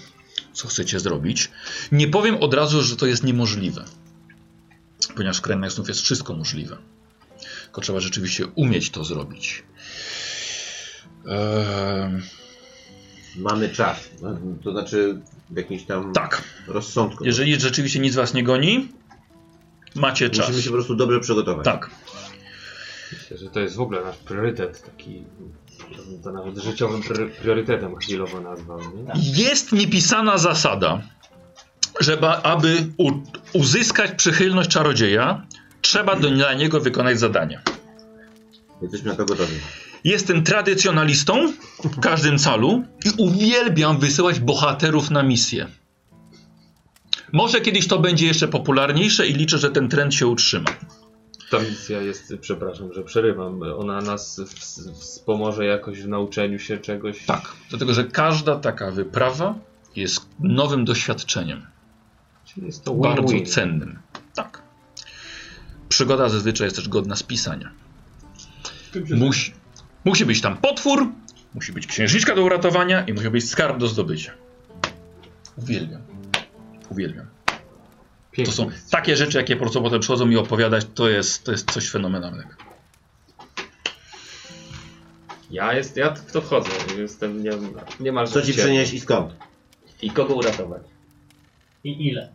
Speaker 2: co chcecie zrobić. Nie powiem od razu, że to jest niemożliwe. Ponieważ w krainach snów jest wszystko możliwe. Tylko trzeba rzeczywiście umieć to zrobić. Ehm,
Speaker 1: Mamy czas. No, To znaczy w jakimś tam
Speaker 2: tak,
Speaker 1: rozsądku.
Speaker 2: jeżeli rzeczywiście nic was nie goni, macie czas.
Speaker 1: Musimy się po prostu dobrze przygotować.
Speaker 2: Tak.
Speaker 4: Myślę, że to jest w ogóle nasz priorytet, taki ja bym to nawet życiowym pry- priorytetem chwilowo nazwał. Nie?
Speaker 2: Jest niepisana zasada, że ba- aby u, uzyskać przychylność czarodzieja, trzeba do, dla niego wykonać zadania.
Speaker 1: Jesteśmy na to gotowi.
Speaker 2: Jestem tradycjonalistą w każdym calu i uwielbiam wysyłać bohaterów na misje. Może kiedyś to będzie jeszcze popularniejsze i liczę, że ten trend się utrzyma.
Speaker 4: Ta misja jest, przepraszam, że przerywam, ona nas w- wspomoże jakoś w nauczeniu się czegoś.
Speaker 2: Tak, dlatego że każda taka wyprawa jest nowym doświadczeniem.
Speaker 4: Czyli jest to win-win.
Speaker 2: bardzo cennym. Tak. Przygoda zazwyczaj jest też godna spisania.
Speaker 3: Z tym się
Speaker 2: Musi, musi być tam potwór, musi być księżniczka do uratowania i musi być skarb do zdobycia. Uwielbiam. Uwielbiam. To
Speaker 4: Pięknie.
Speaker 2: są takie rzeczy, jakie po prostu potem przychodzą mi opowiadać, to jest, to jest coś fenomenalnego.
Speaker 4: Ja, jest, ja w to wchodzę, jestem nie, niemalże
Speaker 1: Co ci
Speaker 4: ciepły.
Speaker 1: przynieść i skąd?
Speaker 4: I kogo uratować?
Speaker 5: I ile?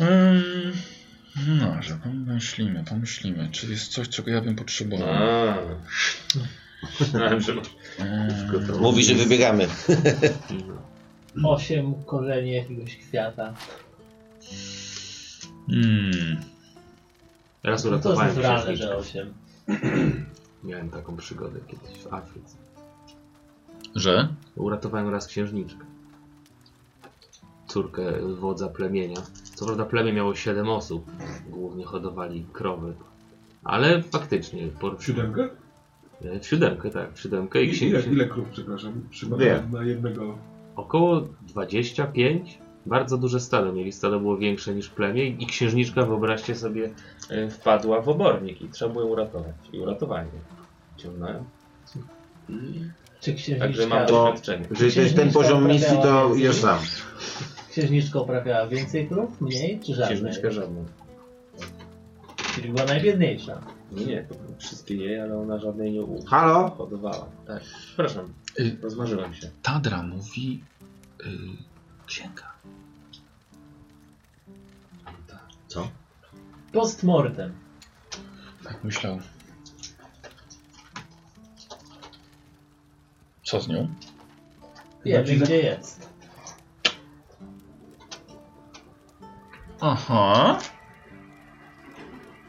Speaker 2: Ym, Hmm. No, że pomyślimy, pomyślimy. Czy jest coś, czego ja bym potrzebował?
Speaker 4: [LAUGHS] Znałem, że masz.
Speaker 2: Ym,
Speaker 1: Mówi, że wybiegamy.
Speaker 5: Osiem korzeni jakiegoś kwiata.
Speaker 2: mm.
Speaker 4: Raz
Speaker 5: No to jest
Speaker 4: uratowałem
Speaker 5: naturalne,
Speaker 4: księżniczkę.
Speaker 5: że osiem.
Speaker 4: Miałem taką przygodę kiedyś w Afryce.
Speaker 2: Że?
Speaker 4: Uratowałem raz księżniczkę. Córkę wodza plemienia. Co prawda plemię miało 7 osób. Głównie hodowali krowy. Ale faktycznie, po
Speaker 3: W siódemkę?
Speaker 4: e, w siódemkę, tak, w siódemkę i
Speaker 3: I ile,
Speaker 4: księżniczkę.
Speaker 3: ile krów, przepraszam,
Speaker 1: Dwie.
Speaker 3: przypadło na jednego...
Speaker 4: Około 25. Bardzo duże stado mieli. Stado było większe niż plemię i księżniczka, wyobraźcie sobie, e, wpadła w obornik i trzeba było ją uratować. I uratowałem ją. Ciągnąłem.
Speaker 5: Czy
Speaker 4: Także
Speaker 5: księżniczka,
Speaker 4: mam doświadczenie.
Speaker 1: Jeżeli to jest ten poziom misji, to idziesz sam.
Speaker 5: księżniczka uprawiała więcej krów? Mniej czy żadnej?
Speaker 4: Księżniczkę żadną.
Speaker 5: Czyli była najbiedniejsza.
Speaker 4: Nie, No nie, wszystkie jej, ale ona żadnej nie
Speaker 1: Halo?
Speaker 4: uhodowała. Tak. Proszę,
Speaker 2: Y,
Speaker 4: rozmarzyłem się.
Speaker 2: Tadra mówi y, księga.
Speaker 5: Postmortem.
Speaker 2: Tak myślał. Co z nią?
Speaker 5: Wiemy,
Speaker 2: Znaczy,
Speaker 5: gdzie jest.
Speaker 2: Aha.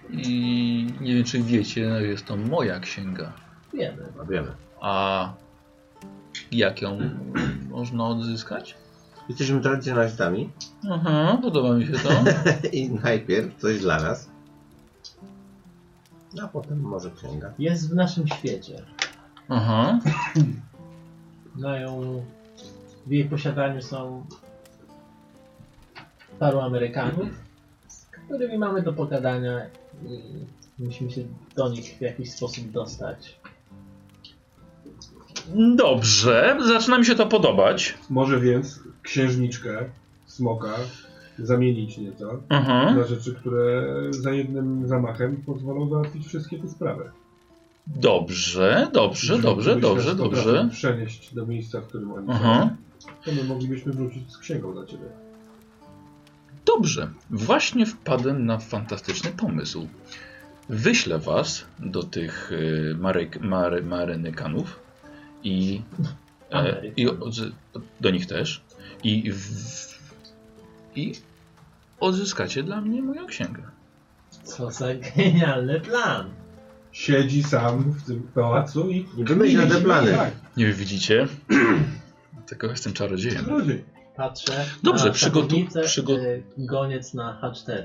Speaker 2: I nie wiem, czy wiecie, ale jest to moja księga.
Speaker 5: Wiemy.
Speaker 1: No, wiemy.
Speaker 2: A jak ją można odzyskać?
Speaker 1: Jesteśmy tradycjonalistami [LAUGHS]
Speaker 2: Aha, podoba mi się to.
Speaker 1: i najpierw coś dla nas, a potem może księga.
Speaker 5: Jest w naszym świecie.
Speaker 2: Aha.
Speaker 5: Mają... W jej posiadaniu są paru Amerykanów, z którymi mamy do pogadania i musimy się do nich w jakiś sposób dostać.
Speaker 2: Dobrze, zaczyna mi się to podobać.
Speaker 3: Może więc księżniczkę smoka zamienić nieco
Speaker 2: Aha.
Speaker 3: na rzeczy, które za jednym zamachem pozwolą załatwić wszystkie te sprawy.
Speaker 2: Dobrze, dobrze,
Speaker 3: Żeby
Speaker 2: dobrze,
Speaker 3: byśmy
Speaker 2: dobrze,
Speaker 3: z
Speaker 2: dobrze.
Speaker 3: powrotem Przenieść do miejsca, w którym oni
Speaker 2: Aha.
Speaker 3: są. To my moglibyśmy wrócić z księgą dla ciebie.
Speaker 2: Dobrze, właśnie wpadłem na fantastyczny pomysł. Wyślę was do tych y, Marek, Mary, Marynykanów i, e,
Speaker 5: Amerykanów.
Speaker 2: i odzy- do nich też i, w, i odzyskacie dla mnie moją księgę.
Speaker 5: Co za genialny plan!
Speaker 3: Siedzi sam w tym pałacu i
Speaker 1: Wymyśla te plany.
Speaker 3: Tak,
Speaker 2: Nie wiem, widzicie? [CLEARS THROAT] Tylko jestem czarodziejem.
Speaker 3: czarodziej.
Speaker 5: Patrzę.
Speaker 2: Dobrze,
Speaker 5: na
Speaker 2: przygotu-
Speaker 5: szachownicę,
Speaker 2: przygo-
Speaker 5: y, Goniec na H4.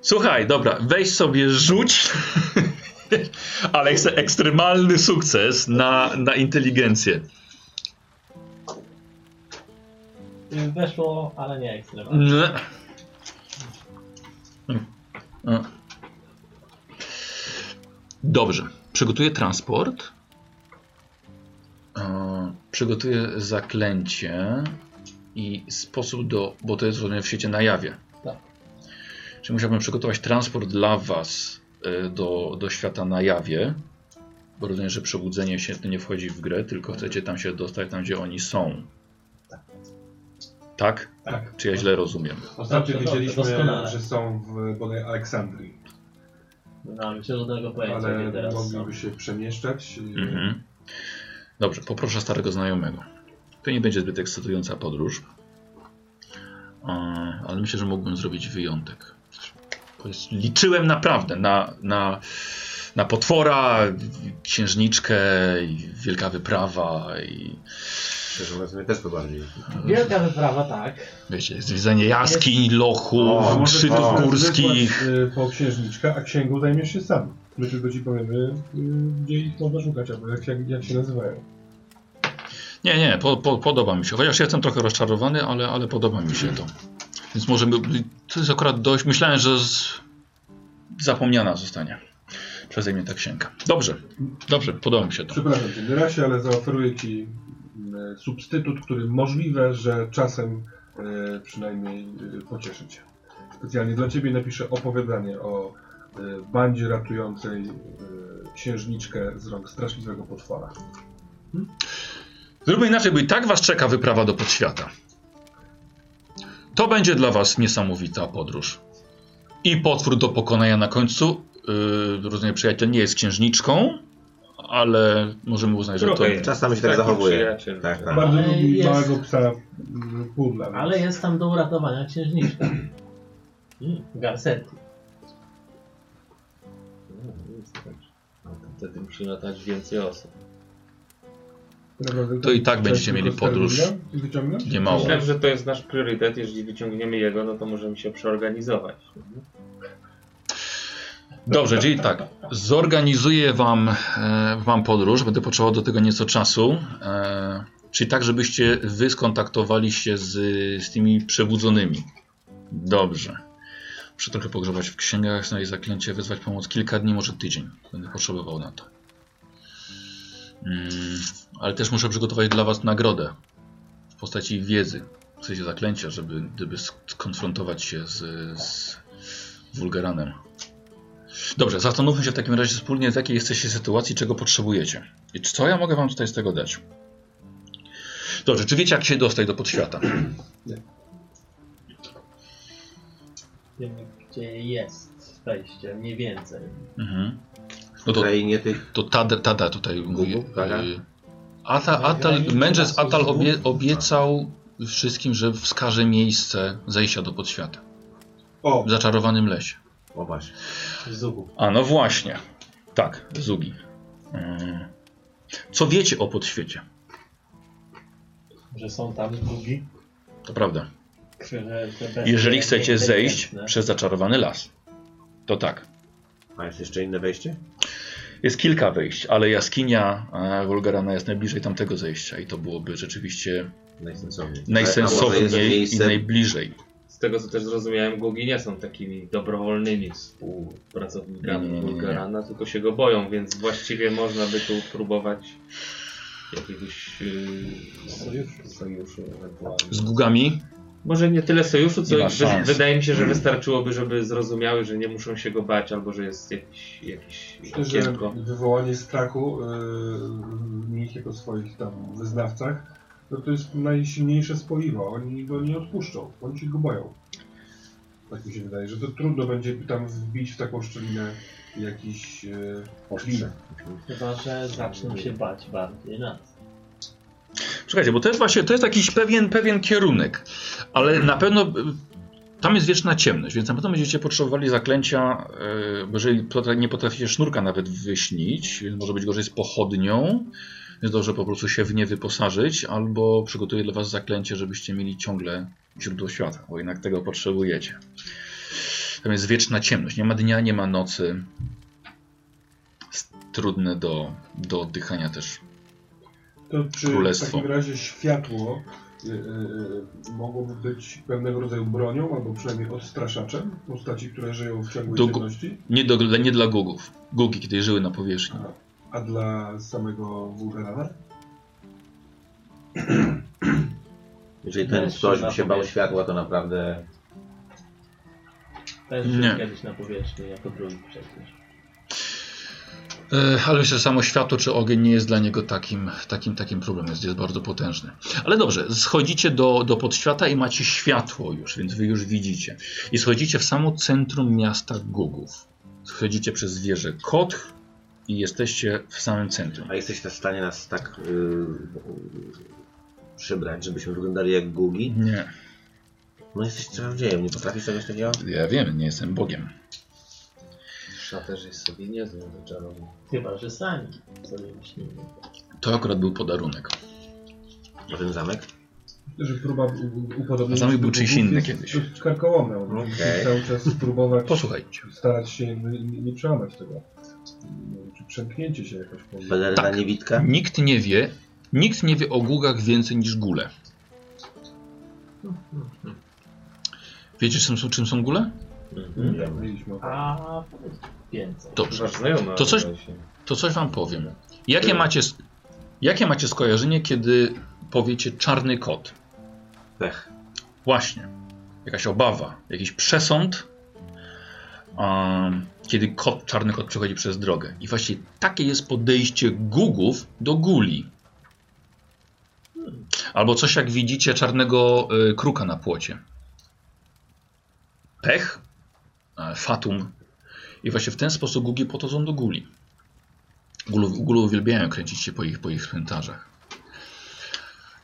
Speaker 2: Słuchaj, dobra, weź sobie rzuć. [LAUGHS] Ale chcę ekstremalny sukces na, na inteligencję.
Speaker 5: Y, Weszło, ale nie ekstremalnie.
Speaker 2: Mm. Mm. Dobrze. Przygotuję transport. E, Przygotuję zaklęcie i sposób do. Bo to jest rozumiem w świecie na jawie.
Speaker 5: Tak.
Speaker 2: Czyli musiałbym przygotować transport dla Was e, do, do świata na jawie. Bo rozumiem, że przebudzenie się nie wchodzi w grę, tylko chcecie tam się dostać, tam gdzie oni są. Tak?
Speaker 3: Tak.
Speaker 2: Czy ja źle rozumiem?
Speaker 3: Ostatnio
Speaker 5: Dobrze, dobrze,
Speaker 3: wiedzieliśmy,
Speaker 5: Tak, doskonale.
Speaker 3: że są w bodaj Aleksandrii,
Speaker 5: Nie mam żadnego pojęcia, gdzie
Speaker 3: ale
Speaker 5: teraz są.
Speaker 3: mogliby się przemieszczać.
Speaker 2: Mhm. Dobrze, poproszę starego znajomego. To nie będzie zbyt ekscytująca podróż, E, ale myślę, że mógłbym zrobić wyjątek. Bo jest- Liczyłem naprawdę na, na, na potwora, księżniczkę, i wielka wyprawa i
Speaker 1: Szczerze mówiąc, mnie też to bardziej.
Speaker 5: Wielka wyprawa, tak.
Speaker 2: wiecie, zwiedzanie jaskiń,
Speaker 1: O, a
Speaker 2: lochów,
Speaker 1: może
Speaker 2: szczytów
Speaker 1: teraz
Speaker 2: górskich.
Speaker 3: Wysłać, y, po księżniczkę, a księgą zajmiesz się sam. My tylko ci powiemy, y, gdzie ich można szukać, albo jak, jak, jak się nazywają.
Speaker 2: Nie, nie, po, po, podoba mi się. Chociaż ja jestem trochę rozczarowany, ale, ale podoba mi się to. Więc może by, to jest akurat dość. Myślałem, że z, zapomniana zostanie przeze mnie ta księga. Dobrze, dobrze, podoba mi się to.
Speaker 3: Przepraszam cię, Dyrasie, ale zaoferuję ci y, substytut, który możliwe, że czasem y, przynajmniej y, pocieszy cię. Specjalnie dla ciebie napiszę opowiadanie o y, bandzie ratującej y, księżniczkę z rąk straszliwego potwora.
Speaker 2: Zróbmy inaczej, bo i tak was czeka wyprawa do podświata. To będzie dla was niesamowita podróż. I potwór do pokonania na końcu. Yy, rozumiem, przyjaciel nie jest księżniczką, ale możemy uznać, że to...
Speaker 4: Trochę jest.
Speaker 1: Czasami się tak
Speaker 4: Taki
Speaker 1: zachowuje.
Speaker 4: przyjaciel.
Speaker 1: Tak, tak.
Speaker 3: Bardzo
Speaker 5: Ale
Speaker 3: lubi
Speaker 5: jest-
Speaker 3: małego psa y, pudla. więc-
Speaker 5: Ale jest tam do uratowania księżniczka. Mm, Garcetti.
Speaker 4: No, nic tak. No, to Wtedy musi latać więcej osób.
Speaker 3: Naprawdę,
Speaker 2: To i tak
Speaker 3: czy
Speaker 2: będziecie
Speaker 3: ja
Speaker 2: mieli
Speaker 3: tylko
Speaker 2: podróż.
Speaker 3: sterydnia Wyciągnę?
Speaker 2: Nie mało.
Speaker 4: Myślę, że to jest nasz priorytet. Jeśli wyciągniemy jego, no to możemy się przeorganizować.
Speaker 2: Dobrze, czyli tak. Zorganizuję wam, e, wam podróż, będę potrzebował do tego nieco czasu. E, czyli tak, żebyście wy skontaktowali się z, z tymi przebudzonymi. Dobrze. Muszę trochę pogrzebać w księgach, znaleźć zaklęcie, wezwać pomoc. Kilka dni, może tydzień. Będę potrzebował na to. Mm, ale też muszę przygotować dla was nagrodę w postaci wiedzy. W sensie zaklęcia, żeby gdyby sk- skonfrontować się z, z, wulgaranem. Dobrze, zastanówmy się w takim razie wspólnie, w jakiej jesteście sytuacji, czego potrzebujecie. I co ja mogę wam tutaj z tego dać? Dobrze, czy wiecie, jak się dostać do podświata?
Speaker 5: Wiemy, gdzie jest wejście, mniej więcej.
Speaker 2: Mhm. No
Speaker 1: W
Speaker 2: to,
Speaker 1: krainie tych
Speaker 2: to tada, tada tutaj mówi.
Speaker 1: Gugu, Gaga.
Speaker 2: y, Ata, Atal, mędrzec Atal obie, obiecał wszystkim, że wskaże miejsce zejścia do podświata.
Speaker 3: O,
Speaker 2: W zaczarowanym lesie.
Speaker 1: O właśnie.
Speaker 5: Zugu.
Speaker 2: A no właśnie. Tak, Zugi. Mm. Co wiecie o podświecie?
Speaker 5: Że są tam długi.
Speaker 2: To prawda.
Speaker 5: Że te bestie
Speaker 2: Jeżeli chcecie zejść
Speaker 5: inteligentne.
Speaker 2: przez zaczarowany las, to tak.
Speaker 1: A jest jeszcze inne wejście?
Speaker 2: Jest kilka wyjść, ale jaskinia e, Wolgarana jest najbliżej tamtego zejścia i to byłoby rzeczywiście
Speaker 1: Najsensowniej. Ale- a może jest
Speaker 2: najsensowniej i
Speaker 1: miejsce-
Speaker 2: najbliżej.
Speaker 4: Z tego co też zrozumiałem, Gugi nie są takimi dobrowolnymi współpracownikami
Speaker 2: Nie, nie, nie, nie.
Speaker 4: Bulgarana, tylko się go boją, więc właściwie można by tu próbować jakiegoś yy,
Speaker 3: sojuszu, sojuszu ewentualnie.
Speaker 2: Z gugami?
Speaker 4: Może nie tyle sojuszu, co
Speaker 2: Nie ma
Speaker 4: wy-
Speaker 2: szans.
Speaker 4: wydaje mi się, że wystarczyłoby, żeby zrozumiały, że nie muszą się go bać, albo że jest jakiś, jakiś
Speaker 3: Myślę, że
Speaker 4: okienko.
Speaker 3: wywołanie strachu yy, w nich jako swoich tam wyznawcach, no to jest najsilniejsze spoiwo. Oni go nie odpuszczą, oni się go boją. Tak mi się wydaje, że to trudno będzie tam wbić w taką szczelinę jakiś yy,
Speaker 1: Ostrze.
Speaker 5: Chyba, że zaczną się bać bardziej nas.
Speaker 2: Czekajcie, bo to jest właśnie to jest jakiś pewien, pewien kierunek, ale na pewno y, tam jest wieczna ciemność, więc na pewno będziecie potrzebowali zaklęcia, y, bo jeżeli potra- nie potraficie sznurka nawet wyśnić, więc może być gorzej z pochodnią, więc dobrze po prostu się w nie wyposażyć, albo przygotuję dla was zaklęcie, żebyście mieli ciągle źródło świata, bo jednak tego potrzebujecie. Tam jest wieczna ciemność, nie ma dnia, nie ma nocy. Jest trudne do, do oddychania też.
Speaker 3: To czy
Speaker 2: Królestwo.
Speaker 3: w takim razie światło y, y, y, mogłoby być pewnego rodzaju bronią, albo przynajmniej odstraszaczem postaci, które żyją w ciągłej
Speaker 2: Do-
Speaker 3: ciemności,
Speaker 2: Nie, do, nie dla gugów. Gugi kiedyś żyły na powierzchni.
Speaker 3: a dla samego Wulgarana?
Speaker 1: Jeżeli ten
Speaker 5: Jeszcze
Speaker 1: ktoś by
Speaker 5: na
Speaker 1: się bał
Speaker 5: powierzchni.
Speaker 1: światła, to naprawdę...
Speaker 5: Ten żył
Speaker 2: Nie.
Speaker 5: kiedyś na powierzchni, jako drugi przecież.
Speaker 2: E, ale myślę, że samo światło czy ogień nie jest dla niego takim, takim, takim problemem. Jest, jest bardzo potężny. Ale dobrze, schodzicie do, do podświata i macie światło już, więc wy już widzicie. I schodzicie w samo centrum miasta gugów. Schodzicie przez wieżę Koch i jesteście w samym centrum.
Speaker 1: A jesteś w stanie nas tak yy, przybrać, żebyśmy wyglądali jak gugi?
Speaker 2: Nie,
Speaker 1: No jesteś czarodziejem, nie potrafisz czegoś takiego?
Speaker 2: ja wiem, nie jestem Bogiem.
Speaker 4: Szaterz jest sobie niezły do czarowni.
Speaker 5: Chyba, że sami sobie myślimy.
Speaker 2: To akurat był podarunek.
Speaker 1: A ten zamek?
Speaker 3: że próba u-
Speaker 2: A
Speaker 3: upodobnienia
Speaker 2: zamek był
Speaker 3: do
Speaker 2: czyjś
Speaker 3: bogów
Speaker 2: inny
Speaker 3: jest
Speaker 2: kiedyś.
Speaker 3: dość karkołomna. bo
Speaker 1: Okej.
Speaker 3: musimy Cały czas próbować
Speaker 2: Posłuchajcie.
Speaker 3: starać się nie, nie, nie przełamać tego. Nie wiem, Czy przemknięcie się jakoś po
Speaker 1: Peleryna
Speaker 2: Tak.
Speaker 1: niewitka?
Speaker 2: Nikt nie wie, nikt nie wie o gugach więcej niż gule. Wiecie, czym są, czym są gule? Mhm.
Speaker 1: Wiemy.
Speaker 3: Mieliśmy o-
Speaker 5: A powiedz więcej.
Speaker 2: Dobrze.
Speaker 4: Wasz znajomy.
Speaker 2: To coś-
Speaker 4: okazał się.
Speaker 2: To coś wam powiem. Jakie macie, jakie macie skojarzenie, kiedy powiecie czarny kot?
Speaker 1: Pech.
Speaker 2: Właśnie. Jakaś obawa, jakiś przesąd, um, kiedy kot, czarny kot przechodzi przez drogę. I właśnie takie jest podejście gugów do guli. Albo coś jak widzicie czarnego y, kruka na płocie. Pech, e, fatum. I właśnie w ten sposób gugi podchodzą do guli. Gulu, gulu uwielbiają kręcić się po ich, po ich cmentarzach.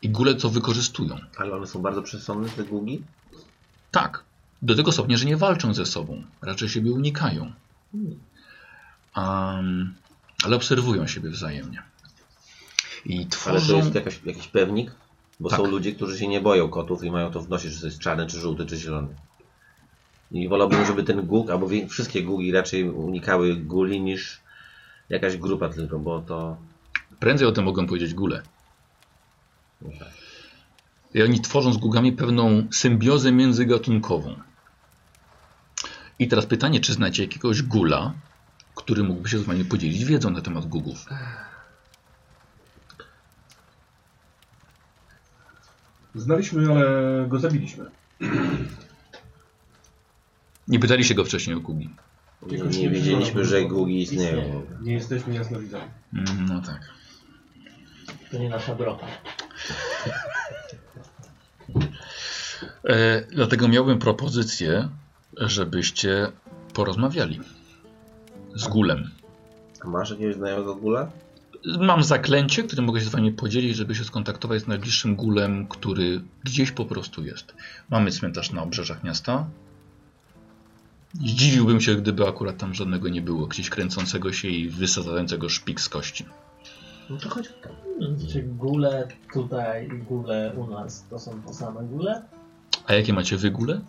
Speaker 2: I gule to wykorzystują.
Speaker 1: Ale one są bardzo przesądne, te gugi?
Speaker 2: Tak. Do tego stopnia, że nie walczą ze sobą. Raczej siebie unikają. Am, ale obserwują siebie wzajemnie. I
Speaker 1: Ale to
Speaker 2: tworzą...
Speaker 1: jest jakaś, jakiś pewnik? Bo
Speaker 2: Tak.
Speaker 1: są ludzie, którzy się nie boją kotów i mają to w nosie, czy to jest czarny, czy żółty, czy zielony. I wolałbym, żeby ten gug, albo wie- wszystkie gugi raczej unikały guli niż jakaś grupa tylko, bo to...
Speaker 2: Prędzej o tym mogą powiedzieć gule. I oni tworzą z gugami pewną symbiozę międzygatunkową. I teraz pytanie, czy znacie jakiegoś gula, który mógłby się z wami podzielić wiedzą na temat gugów?
Speaker 3: Znaliśmy, ale go zabiliśmy.
Speaker 2: Nie pytaliście go wcześniej o Kugi.
Speaker 1: Nie, nie wiedzieliśmy, że gugi istnieją.
Speaker 3: Nie jesteśmy jasnowidzami.
Speaker 2: Mm, No tak.
Speaker 5: To nie nasza brota.
Speaker 2: E, dlatego miałbym propozycję, żebyście porozmawiali z Gulem.
Speaker 1: A Masz jakiegoś znajomego gula?
Speaker 2: Mam zaklęcie, które mogę się z wami podzielić, żeby się skontaktować z najbliższym gulem, który gdzieś po prostu jest. Mamy cmentarz na obrzeżach miasta. Zdziwiłbym się, gdyby akurat tam żadnego nie było, gdzieś kręcącego się i wysadzającego szpik z kości.
Speaker 1: No to chodź tam.
Speaker 5: Czy góle tutaj i góle u nas to są te same góle?
Speaker 2: A jakie macie wy gule?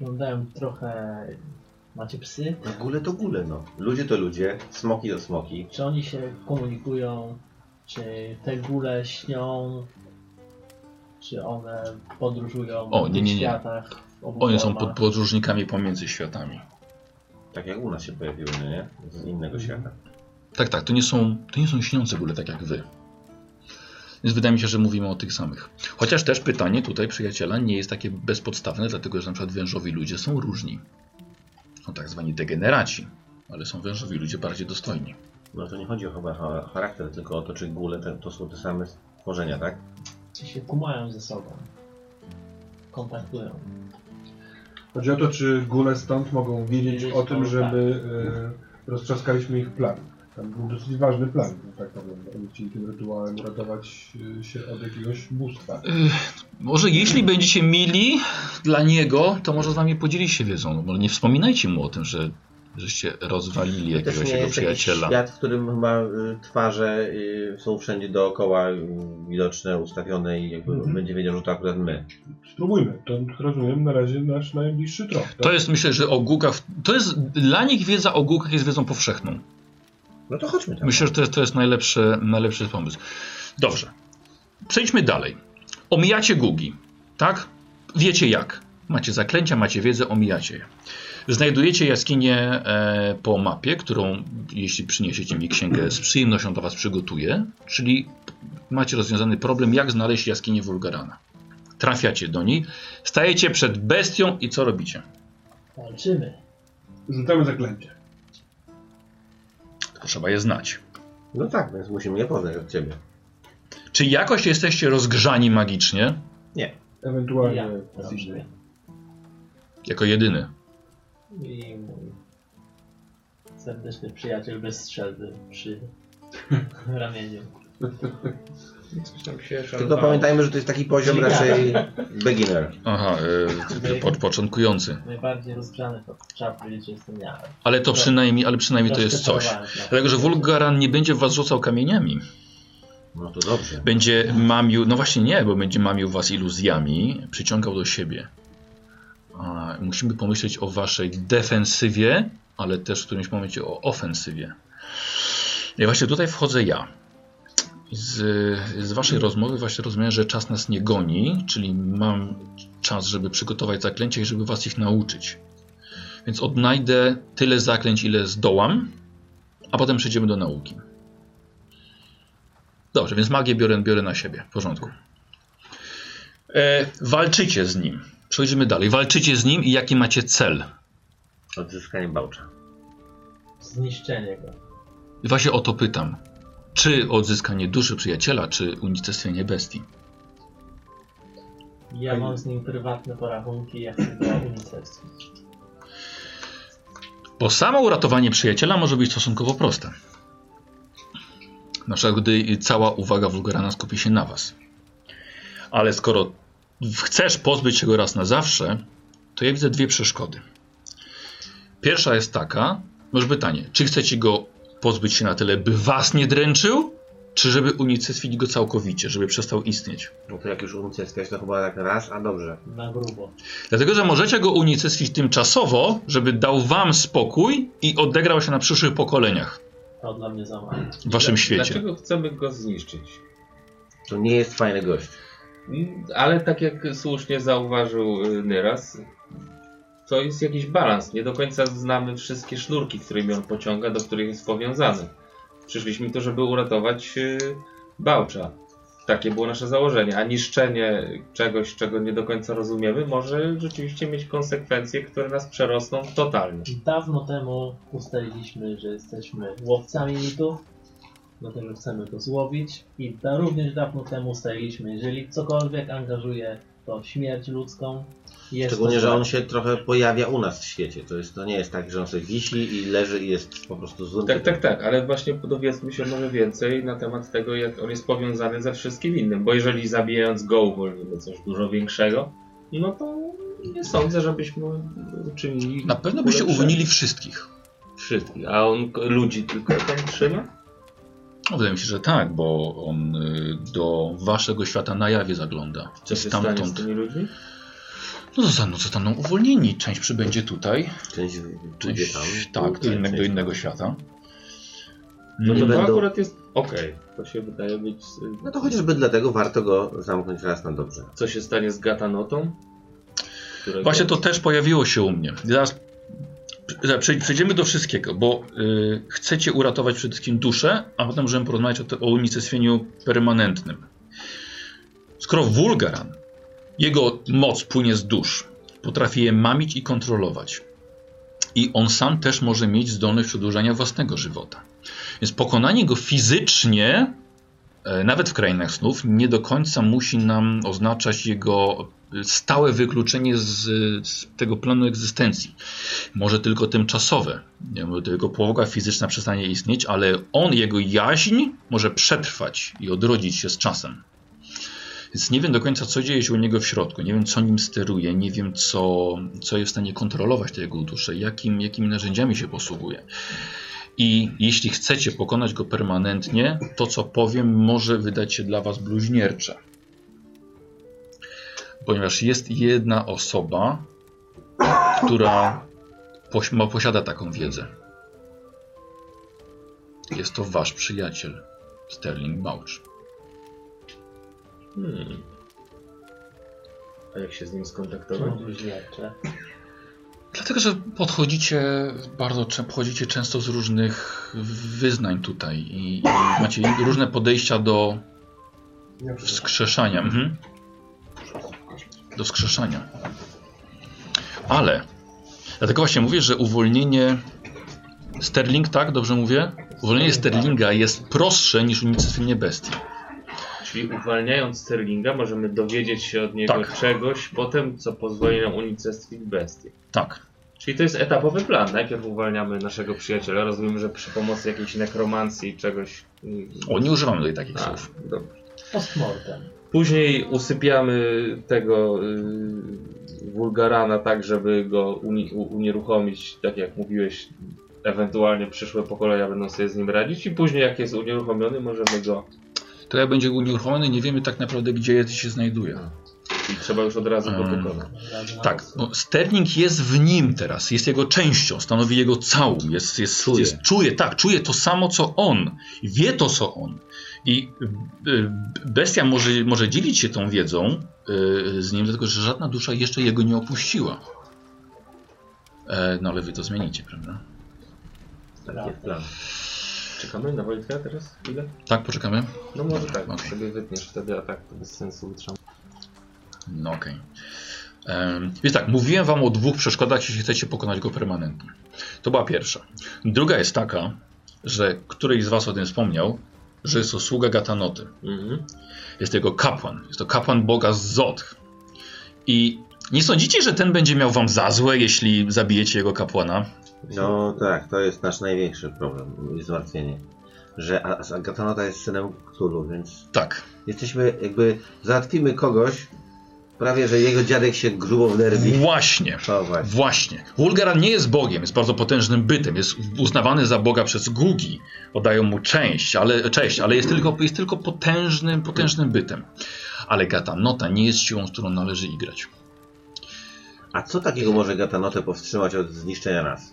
Speaker 5: Oglądałem trochę... Macie psy?
Speaker 1: No gule to gule, no. Ludzie to ludzie, smoki to smoki.
Speaker 5: Czy oni się komunikują? Czy te góle śnią? Czy one podróżują
Speaker 2: O, nie, nie, nie.
Speaker 5: w światach? w obu
Speaker 2: One są pod
Speaker 5: formach?
Speaker 2: podróżnikami pomiędzy światami.
Speaker 1: Tak jak u nas się pojawiły, no nie? Z innego świata.
Speaker 2: Tak, tak, to nie są, to nie są śniące góle, tak jak wy. Więc wydaje mi się, że mówimy o tych samych. Chociaż też pytanie tutaj przyjaciela nie jest takie bezpodstawne, dlatego że na przykład wężowi ludzie są różni. Są tak zwani degeneraci, ale są wężowi ludzie bardziej dostojni.
Speaker 1: No to nie chodzi o chyba o charakter, tylko o to, czy gule te, to są te same stworzenia, tak?
Speaker 5: Czy się kumają ze sobą? Kontaktują.
Speaker 3: Chodzi o to, czy góle stąd mogą wiedzieć o tym, żeby e, roztrzaskaliśmy ich plan. Tam był dosyć ważny plan, tak powiem. Oni chcieli tym rytuałem uratować e, się od jakiegoś bóstwa.
Speaker 2: Yy, Może jeśli będziecie mili dla niego, to może z wami podzieli się wiedzą. No, Może nie wspominajcie mu o tym, że żeście rozwalili
Speaker 1: To też
Speaker 2: jakiegoś
Speaker 1: nie
Speaker 2: jego
Speaker 1: jest jakiś
Speaker 2: przyjaciela.
Speaker 1: świat, w którym chyba y, twarze y, są wszędzie dookoła y, widoczne, ustawione i jakby
Speaker 3: Mhm.
Speaker 1: będzie wiedział, że to akurat my.
Speaker 3: Spróbujmy. To jak rozumiem na razie nasz najbliższy trop. Tak?
Speaker 2: To jest myślę, że o gukach. To jest dla nich wiedza o gukach jest wiedzą powszechną.
Speaker 1: No to chodźmy tam.
Speaker 2: Myślę, że to jest, to jest najlepszy, najlepszy pomysł. Dobrze. Przejdźmy dalej. Omijacie gugi, tak? Wiecie jak. Macie zaklęcia, macie wiedzę, omijacie je. Znajdujecie jaskinię e, po mapie, którą jeśli przyniesiecie mi księgę, z przyjemnością dla Was przygotuję. Czyli macie rozwiązany problem, jak znaleźć jaskinię Wulgarana. Trafiacie do niej, stajecie przed bestią i co robicie?
Speaker 5: Walczymy.
Speaker 3: Rzucamy zaklęcie.
Speaker 2: Tylko trzeba je znać.
Speaker 1: No tak, więc musimy je poznać od ciebie.
Speaker 2: Czy jakoś jesteście rozgrzani magicznie?
Speaker 3: Ewentualnie
Speaker 5: Ja
Speaker 3: z innej.
Speaker 5: robię.
Speaker 2: Jako jedyny.
Speaker 5: I mój serdeczny przyjaciel bez strzelby przy [LAUGHS] ramieniu.
Speaker 7: Coś tam się
Speaker 4: Tak,
Speaker 1: Tylko pamiętajmy, że to jest taki poziom
Speaker 5: Czyli
Speaker 1: raczej [LAUGHS] beginner.
Speaker 2: Aha, y, po, początkujący.
Speaker 5: Najbardziej rozgrzany to trzeba powiedzieć, że jestem ja.
Speaker 2: Ale to
Speaker 5: Tak.
Speaker 2: przynajmniej, ale przynajmniej to
Speaker 5: Troszkę
Speaker 2: jest coś.
Speaker 5: parowałem, tak.
Speaker 2: Dlatego, że Wulgaran nie będzie w was rzucał kamieniami.
Speaker 1: No to dobrze.
Speaker 2: Będzie mamił, no właśnie nie, bo będzie mamił was iluzjami, przyciągał do siebie. A, musimy pomyśleć o waszej defensywie, ale też w którymś momencie o ofensywie. I właśnie tutaj wchodzę ja. Z, z waszej rozmowy właśnie rozumiem, że czas nas nie goni, czyli mam czas, żeby przygotować zaklęcia i żeby was ich nauczyć. Więc odnajdę tyle zaklęć, ile zdołam, a potem przejdziemy do nauki. Dobrze, więc magię biorę, biorę na siebie. W porządku. E, walczycie z nim. Przejrzymy dalej. Walczycie z nim i jaki macie cel?
Speaker 1: Odzyskanie bałcza.
Speaker 5: Zniszczenie go.
Speaker 2: I Właśnie o to pytam. Czy odzyskanie duszy przyjaciela, czy unicestwienie bestii?
Speaker 5: Ja mam z nim prywatne porachunki, ja chcę go unicestwić.
Speaker 2: Bo samo uratowanie przyjaciela może być stosunkowo proste. Na przykład, gdy cała uwaga Wulgarana skupi się na was. Ale skoro chcesz pozbyć się go raz na zawsze, to ja widzę dwie przeszkody. Pierwsza jest taka, może pytanie, czy chcecie go pozbyć się na tyle, by was nie dręczył, czy żeby unicestwić go całkowicie, żeby przestał istnieć?
Speaker 1: No to jak już unicestwiać, to chyba tak raz, a dobrze.
Speaker 5: Na grubo.
Speaker 2: Dlatego, że możecie go unicestwić tymczasowo, żeby dał wam spokój i odegrał się na przyszłych pokoleniach
Speaker 5: To dla mnie za mało.
Speaker 2: w waszym
Speaker 4: Dla-
Speaker 2: świecie.
Speaker 4: Dlaczego chcemy go zniszczyć?
Speaker 1: To nie jest fajny gość.
Speaker 4: Mm, Ale tak jak słusznie zauważył y, Nyras, to jest jakiś balans. Nie do końca znamy wszystkie sznurki, którymi on pociąga, do których jest powiązany. Przyszliśmy tu, żeby uratować y, Bałcza. Takie było nasze założenie. A niszczenie czegoś, czego nie do końca rozumiemy, może rzeczywiście mieć konsekwencje, które nas przerosną totalnie.
Speaker 5: Dawno temu ustaliliśmy, że jesteśmy łowcami mitów, dlatego chcemy go złowić. I da, również dawno temu ustaliliśmy, jeżeli cokolwiek angażuje to śmierć ludzką. Jest
Speaker 1: Szczególnie,
Speaker 5: to
Speaker 1: że
Speaker 5: złe.
Speaker 1: on się trochę pojawia u nas w świecie. To, jest, to nie jest tak, że on sobie wisi i leży i jest po prostu złym.
Speaker 4: Tak,
Speaker 1: typem.
Speaker 4: tak, tak, ale właśnie dowiedzmy się może więcej na temat tego, jak on jest powiązany ze wszystkim innym, bo jeżeli zabijając go uwolnimy coś dużo większego, no to nie sądzę, żebyśmy czynili
Speaker 2: Na pewno byście
Speaker 4: ulepszenie.
Speaker 2: uwolnili wszystkich.
Speaker 7: Wszystkich. A on k- ludzi tylko tam trzyma?
Speaker 2: No, Wydaje mi się, że tak, bo on y, do waszego świata na jawie zagląda.
Speaker 4: Co
Speaker 2: I
Speaker 4: się stanie z
Speaker 2: stamtąd.
Speaker 4: tymi ludźmi?
Speaker 2: No zostaną, zostaną uwolnieni. Część przybędzie tutaj,
Speaker 1: Część pójdzie
Speaker 2: część
Speaker 1: tam.
Speaker 2: tak, do
Speaker 1: pójdzie,
Speaker 2: innego, do
Speaker 1: część-
Speaker 2: innego świata.
Speaker 4: No to,
Speaker 1: Nie
Speaker 4: to
Speaker 1: będą-
Speaker 4: akurat jest okej, to się wydaje być...
Speaker 1: No to chociażby dlatego warto go zamknąć raz na dobrze.
Speaker 4: Co się stanie z Gatanotą? Którego...
Speaker 2: Właśnie to też pojawiło się u mnie. Zaraz zaraz przej- przejdziemy do wszystkiego, bo y, chcecie uratować przede wszystkim duszę, a potem możemy porozmawiać o, te- o unicestwieniu permanentnym. Skoro Wulgaran, jego moc płynie z dusz, potrafi je mamić i kontrolować. I on sam też może mieć zdolność przedłużania własnego żywota. Więc pokonanie go fizycznie, e, nawet w krainach snów, nie do końca musi nam oznaczać jego stałe wykluczenie z, z tego planu egzystencji. Może tylko tymczasowe. Nie, może tylko połoga fizyczna przestanie istnieć, ale on, jego jaźń może przetrwać i odrodzić się z czasem. Więc nie wiem do końca, co dzieje się u niego w środku. Nie wiem, co nim steruje. Nie wiem, co, co jest w stanie kontrolować tę jego duszę. Jakim, jakimi narzędziami się posługuje. I jeśli chcecie pokonać go permanentnie, to co powiem może wydać się dla was bluźniercze ponieważ jest jedna osoba, która poś- ma, posiada taką wiedzę. Jest to wasz przyjaciel, Sterling Bouch.
Speaker 4: Hmm. A jak się z nim skontaktować?
Speaker 2: No.
Speaker 5: Czemu bluźniercze?
Speaker 2: Dlatego, że podchodzicie bardzo czę- podchodzicie często z różnych wyznań tutaj i, i macie różne podejścia do
Speaker 3: Ja przepraszam.
Speaker 2: wskrzeszania. Mhm. Do skrzeszania. Ale, dlatego właśnie mówię, że uwolnienie Sterling, tak? Dobrze mówię? Uwolnienie Sterlinga jest prostsze niż unicestwienie bestii.
Speaker 4: Czyli uwalniając Sterlinga możemy dowiedzieć się od niego
Speaker 2: Tak.
Speaker 4: czegoś potem, co pozwoli nam unicestwić bestię.
Speaker 2: Tak.
Speaker 4: Czyli to jest etapowy plan. Najpierw uwalniamy naszego przyjaciela. Rozumiem, że przy pomocy jakiejś nekromancji czegoś. mm,
Speaker 2: O, nie używamy tutaj takich
Speaker 4: a,
Speaker 2: słów.
Speaker 4: dobra.
Speaker 5: Postmortem.
Speaker 4: Później usypiamy tego y, wulgarana tak, żeby go uni- u- unieruchomić, tak jak mówiłeś. Ewentualnie przyszłe pokolenia będą sobie z nim radzić i później jak jest unieruchomiony możemy go
Speaker 2: To jak będzie unieruchomiony, nie wiemy tak naprawdę, gdzie się znajduje.
Speaker 4: i trzeba już od razu go
Speaker 2: Mm.
Speaker 4: pokonać.
Speaker 5: Razem na
Speaker 2: Tak,
Speaker 5: noc.
Speaker 2: bo Sterling jest w nim teraz, jest jego częścią, stanowi jego całą, jest, jest, czuje. jest czuje, tak, czuje to samo co on, wie to co on. I y, y, bestia może, może dzielić się tą wiedzą y, z nim, dlatego że żadna dusza jeszcze jego nie opuściła. E, no ale wy to zmienicie, prawda?
Speaker 5: Prawda.
Speaker 4: plan. Czekamy na Wojtka teraz? Ile?
Speaker 2: Tak, poczekamy.
Speaker 4: No może tak,
Speaker 2: Okej.
Speaker 4: sobie wytniesz wtedy atak, to bez sensu utrzymam.
Speaker 2: No okej. Em, Więc tak, mówiłem wam o dwóch przeszkodach, jeśli chcecie pokonać go permanentnie. To była pierwsza. Druga jest taka, że któryś z was o tym wspomniał, że jest to sługa Gatanoty.
Speaker 4: Mhm.
Speaker 2: Jest to jego kapłan. Jest to kapłan boga Zod. I nie sądzicie, że ten będzie miał wam za złe, jeśli zabijecie jego kapłana?
Speaker 1: No tak, to jest nasz największy problem i zmartwienie. Że A- A- Agatonota jest synem Cthulhu, więc
Speaker 2: Tak.
Speaker 1: jesteśmy jakby, załatwimy kogoś, prawie że jego dziadek się grubo wnerwi.
Speaker 2: Właśnie.
Speaker 1: To właśnie.
Speaker 2: Właśnie. Wulgaran nie jest Bogiem, jest bardzo potężnym bytem, jest uznawany za Boga przez Gugi. Oddają mu część, ale, cześć, ale jest tylko, jest tylko potężnym, potężnym bytem. Ale Gatanota nie jest siłą, z którą należy igrać.
Speaker 1: A co takiego może Gatanotę powstrzymać od zniszczenia nas?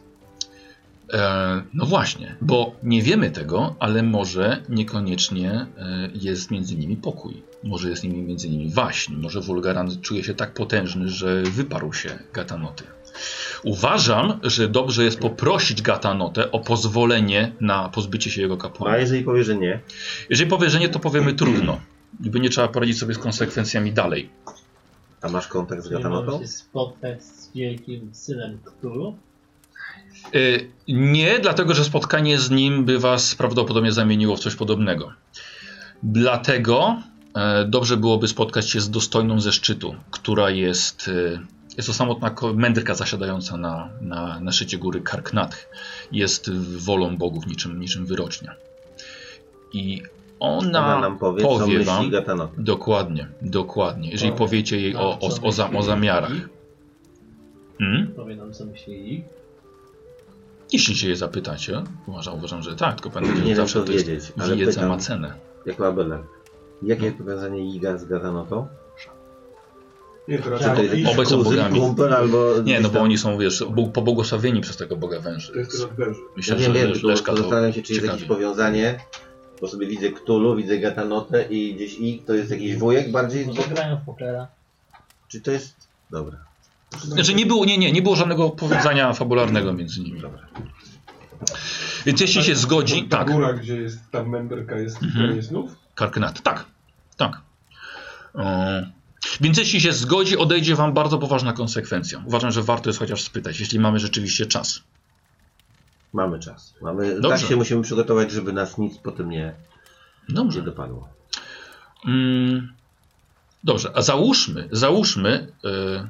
Speaker 2: E, no właśnie, bo nie wiemy tego, ale może niekoniecznie e, jest między nimi pokój. Może jest nimi- między nimi waśń. Może Wulgaran czuje się tak potężny, że wyparł się Gatanoty. Uważam, że dobrze jest poprosić Gatanotę o pozwolenie na pozbycie się jego
Speaker 1: A
Speaker 2: kapłana.
Speaker 1: jeżeli powie, że nie,
Speaker 2: Jeżeli powie, że nie, to powiemy trudno. Niby nie trzeba poradzić sobie z konsekwencjami dalej.
Speaker 1: A masz kontakt z
Speaker 5: Czy możesz
Speaker 1: Gatanotą?
Speaker 5: się spotkać z wielkim synem Cthulhu?
Speaker 2: Y, Nie, dlatego że spotkanie z nim by was prawdopodobnie zamieniło w coś podobnego. Dlatego e, dobrze byłoby spotkać się z dostojną ze szczytu, która jest. e, Jest to samotna ko- mędrka zasiadająca na, na, na szczycie góry Karknath. Jest wolą bogów, niczym, niczym wyrocznia. I ona,
Speaker 1: Ona nam powie, co
Speaker 2: powie
Speaker 1: myśli
Speaker 2: wam-
Speaker 1: Gatanota.
Speaker 2: Dokładnie, dokładnie. Jeżeli
Speaker 5: O,
Speaker 2: powiecie jej
Speaker 1: tak,
Speaker 2: o, o, o, za- o zamiarach. Hmm?
Speaker 5: Powie nam co myśli ich.
Speaker 2: Jeśli się je zapytacie, uważam, uważam, że tak, tylko
Speaker 1: Nie
Speaker 2: pamiętajcie,
Speaker 1: wiem,
Speaker 2: że zawsze
Speaker 1: co
Speaker 2: to jest
Speaker 1: wiedzieć, ale
Speaker 2: wiedza ma
Speaker 1: pytam,
Speaker 2: cenę.
Speaker 1: jako Abelard. Jakie
Speaker 5: No.
Speaker 1: jest powiązanie Iga z Gatanotą?
Speaker 3: Nie, teraz
Speaker 5: Tak,
Speaker 3: to
Speaker 1: jakiś
Speaker 3: iść.
Speaker 2: obaj są
Speaker 1: kuzyn,
Speaker 2: bogami.
Speaker 1: Kumpel, albo
Speaker 2: Nie, no
Speaker 1: gdzieś
Speaker 2: bo
Speaker 1: tam-
Speaker 2: oni są, wiesz, bóg- pobłogosławieni przez tego Boga węży.
Speaker 3: To jest teraz węży.
Speaker 1: Ja
Speaker 2: Myślę,
Speaker 1: wiem,
Speaker 2: że
Speaker 1: wiem,
Speaker 2: Lesz-
Speaker 1: tylko
Speaker 2: Leszka to
Speaker 1: zastanawiam się, czy jest jakieś
Speaker 2: ciekawi.
Speaker 1: powiązanie, bo sobie widzę Ktulu, widzę Gatanotę i gdzieś I, to jest jakiś wujek bardziej,
Speaker 5: Może grają w pokera.
Speaker 1: czy to jest... Dobra,
Speaker 2: Znaczy
Speaker 3: No,
Speaker 2: nie było, nie, nie, nie było żadnego powiązania fabularnego między nimi.
Speaker 1: dobra.
Speaker 2: Więc jeśli się
Speaker 3: Ta
Speaker 2: zgodzi, tak,
Speaker 3: góra, gdzie jest ta memberka, jest
Speaker 2: Mhm.
Speaker 3: krainie snów?
Speaker 2: Karknat, tak, tak. E, Więc jeśli się zgodzi, odejdzie wam bardzo poważna konsekwencja. Uważam, że warto jest chociaż spytać, jeśli mamy rzeczywiście czas.
Speaker 1: Mamy czas. Mamy... Tak
Speaker 2: Dobrze.
Speaker 1: się musimy przygotować, żeby nas nic potem nie, nie
Speaker 2: Dobrze.
Speaker 1: dopadło.
Speaker 2: Mm, dobrze, a załóżmy, załóżmy, y,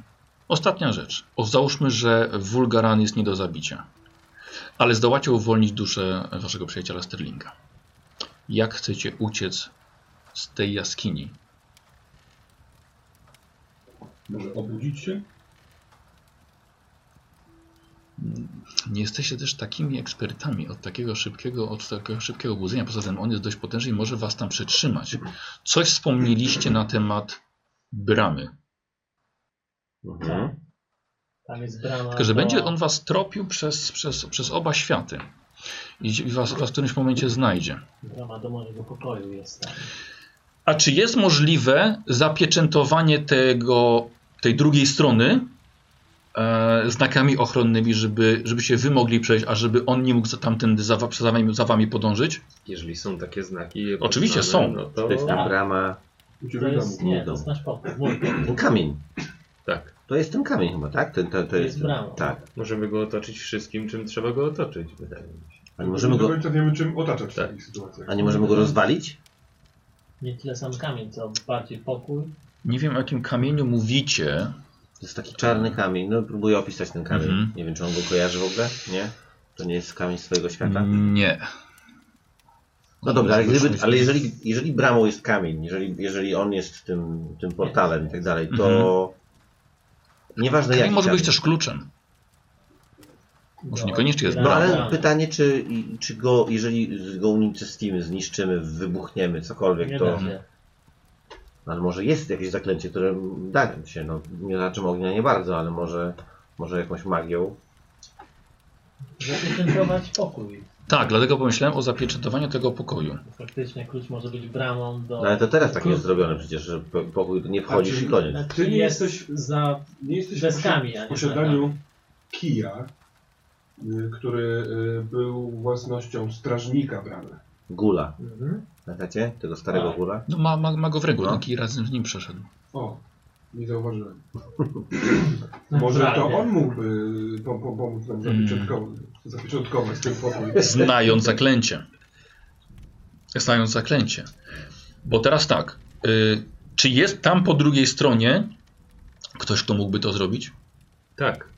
Speaker 2: ostatnia rzecz. O, załóżmy, że Wulgaran jest nie do zabicia, ale zdołacie uwolnić duszę waszego przyjaciela Sterlinga. Jak chcecie uciec z tej jaskini?
Speaker 3: Może obudzić się?
Speaker 2: Nie jesteście też takimi ekspertami od takiego szybkiego, od takiego szybkiego budzenia. Poza tym on jest dość potężny i może was tam przetrzymać. Coś wspomnieliście na temat bramy.
Speaker 1: Mhm.
Speaker 5: Tam jest brama.
Speaker 2: Tylko, że
Speaker 5: do-
Speaker 2: będzie on was tropił przez, przez, przez oba światy. I was, was w którymś momencie znajdzie.
Speaker 5: Brama do mojego pokoju jest tam.
Speaker 2: A czy jest możliwe zapieczętowanie tego, tej drugiej strony e, znakami ochronnymi, żeby, żeby się wy mogli przejść, a żeby on nie mógł za- tamtędy za, wa- za, wami, za wami podążyć?
Speaker 7: Jeżeli są takie znaki. je
Speaker 2: Oczywiście
Speaker 7: poznamy,
Speaker 2: są.
Speaker 7: No to...
Speaker 1: To jest
Speaker 2: Tak.
Speaker 1: ta brama...
Speaker 3: U
Speaker 5: To
Speaker 3: ciebie
Speaker 5: jest,
Speaker 3: domu.
Speaker 5: nie, to jest nasz pokój. Mój pokój.
Speaker 1: Ten kamień.
Speaker 7: Tak.
Speaker 1: To jest ten kamień chyba, tak? Ten, to, to
Speaker 5: jest
Speaker 1: jest,
Speaker 5: brama.
Speaker 1: Tak.
Speaker 7: Możemy go otoczyć wszystkim, czym trzeba go otoczyć, wydaje mi się.
Speaker 1: A nie możemy go,
Speaker 3: Do końca nie wiem, czym otaczać
Speaker 7: Tak.
Speaker 3: w takich sytuacjach.
Speaker 1: a nie możemy go rozwalić?
Speaker 5: Nie tyle sam kamień, co bardziej pokój.
Speaker 2: Nie wiem, o jakim kamieniu mówicie.
Speaker 1: To jest taki czarny kamień. No próbuję opisać ten kamień.
Speaker 2: Mhm.
Speaker 1: Nie wiem, czy on go kojarzy w ogóle, nie? To nie jest kamień swojego świata.
Speaker 2: Nie.
Speaker 1: No dobra, ale, gdyby, ale jeżeli, jeżeli bramą jest kamień, jeżeli, jeżeli on jest tym, tym portalem i tak dalej, to
Speaker 5: Mhm.
Speaker 1: nieważne
Speaker 2: Kamień
Speaker 1: jaki
Speaker 2: może być
Speaker 1: kamień.
Speaker 2: też kluczem. Może
Speaker 5: Do
Speaker 2: niekoniecznie jest
Speaker 1: No
Speaker 5: bramy.
Speaker 1: ale pytanie, czy, i- czy go, jeżeli go unicestwimy, zniszczymy, wybuchniemy, cokolwiek,
Speaker 5: Nie
Speaker 1: to...
Speaker 5: da się.
Speaker 1: Ale może jest jakieś zaklęcie, które da nam się, no nie znaczy ognia nie bardzo, ale może, może jakąś magią.
Speaker 5: Zapieczętować pokój.
Speaker 2: Tak, dlatego pomyślałem o zapieczętowaniu tego pokoju.
Speaker 5: Faktycznie klucz może być bramą do...
Speaker 1: No ale to teraz tak jest zrobione przecież, że po- pokój nie wchodzisz i koniec.
Speaker 5: Znaczy,
Speaker 3: Ty nie
Speaker 5: jest
Speaker 3: jesteś-
Speaker 5: za
Speaker 3: Nie jesteś
Speaker 5: deskami, a
Speaker 3: w
Speaker 5: nie tak.
Speaker 3: posiadaniu kija, y, który y, był własnością strażnika bramy.
Speaker 1: Gula.
Speaker 5: Mhm.
Speaker 1: Pamiętacie? Tego starego
Speaker 5: Tak.
Speaker 1: gula?
Speaker 2: No ma, ma, ma go w ręku,
Speaker 1: No.
Speaker 2: taki razem z nim przeszedł.
Speaker 3: O, nie zauważyłem. Może to on mógłby y, pom- pom- pomóc nam
Speaker 2: Hmm.
Speaker 3: zapieczątkować, zapieczątkować ten pokój.
Speaker 5: [LAUGHS]
Speaker 2: Znając zaklęcie. Znając zaklęcie. Bo teraz tak. y, czy jest tam po drugiej stronie ktoś, kto mógłby to zrobić?
Speaker 7: Tak.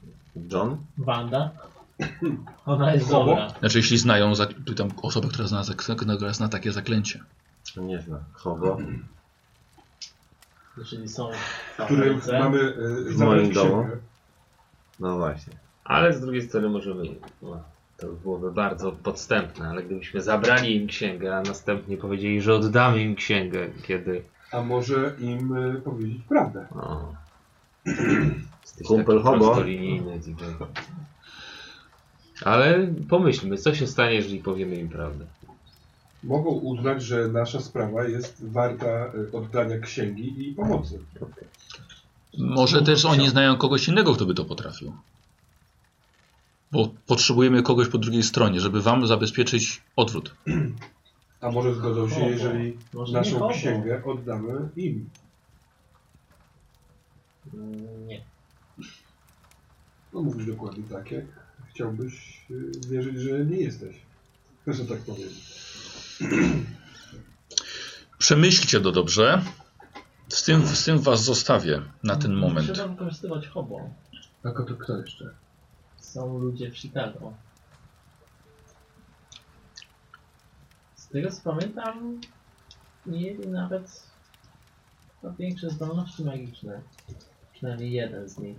Speaker 1: John?
Speaker 5: Wanda. Ona jest
Speaker 3: Kogo?
Speaker 5: dobra.
Speaker 2: Znaczy, jeśli znają zak- tu tam osobę, która zna, zak- która zna takie zaklęcie.
Speaker 1: No nie zna. Hobo.
Speaker 5: Czyli są
Speaker 3: w którym
Speaker 5: samolce.
Speaker 3: mamy y,
Speaker 1: W
Speaker 3: zabrać
Speaker 1: moim domu.
Speaker 3: księgę.
Speaker 1: No właśnie.
Speaker 7: Ale z drugiej strony możemy. No, to byłoby bardzo podstępne, ale gdybyśmy zabrali im księgę, a następnie powiedzieli, że oddamy im księgę, kiedy.
Speaker 3: A może im y, powiedzieć prawdę.
Speaker 7: O, jesteś
Speaker 1: Kumpel
Speaker 7: taki
Speaker 1: hobo.
Speaker 7: prostolinijny, DJ. Ale pomyślmy, co się stanie, jeżeli powiemy im prawdę.
Speaker 3: Mogą uznać, że nasza sprawa jest warta y, oddania księgi i pomocy.
Speaker 2: Może też oni znają kogoś innego, kto by to potrafił. Bo potrzebujemy kogoś po drugiej stronie, żeby wam zabezpieczyć odwrót.
Speaker 3: A może zgodzą się,
Speaker 5: O, o.
Speaker 3: jeżeli
Speaker 5: Może
Speaker 3: naszą
Speaker 5: nikogo.
Speaker 3: księgę oddamy im.
Speaker 5: Mm, Nie.
Speaker 3: No mówisz dokładnie tak, jak chciałbyś y, wierzyć, że nie jesteś. Zresztą tak powiem.
Speaker 2: Przemyślcie to dobrze. Z tym, z tym was zostawię na ten moment.
Speaker 5: Trzeba wykorzystywać hobo.
Speaker 3: A to kto jeszcze?
Speaker 5: Są ludzie w Chicago. Z tego co pamiętam, mieli nawet chyba większe zdolności magiczne. Przynajmniej jeden z nich.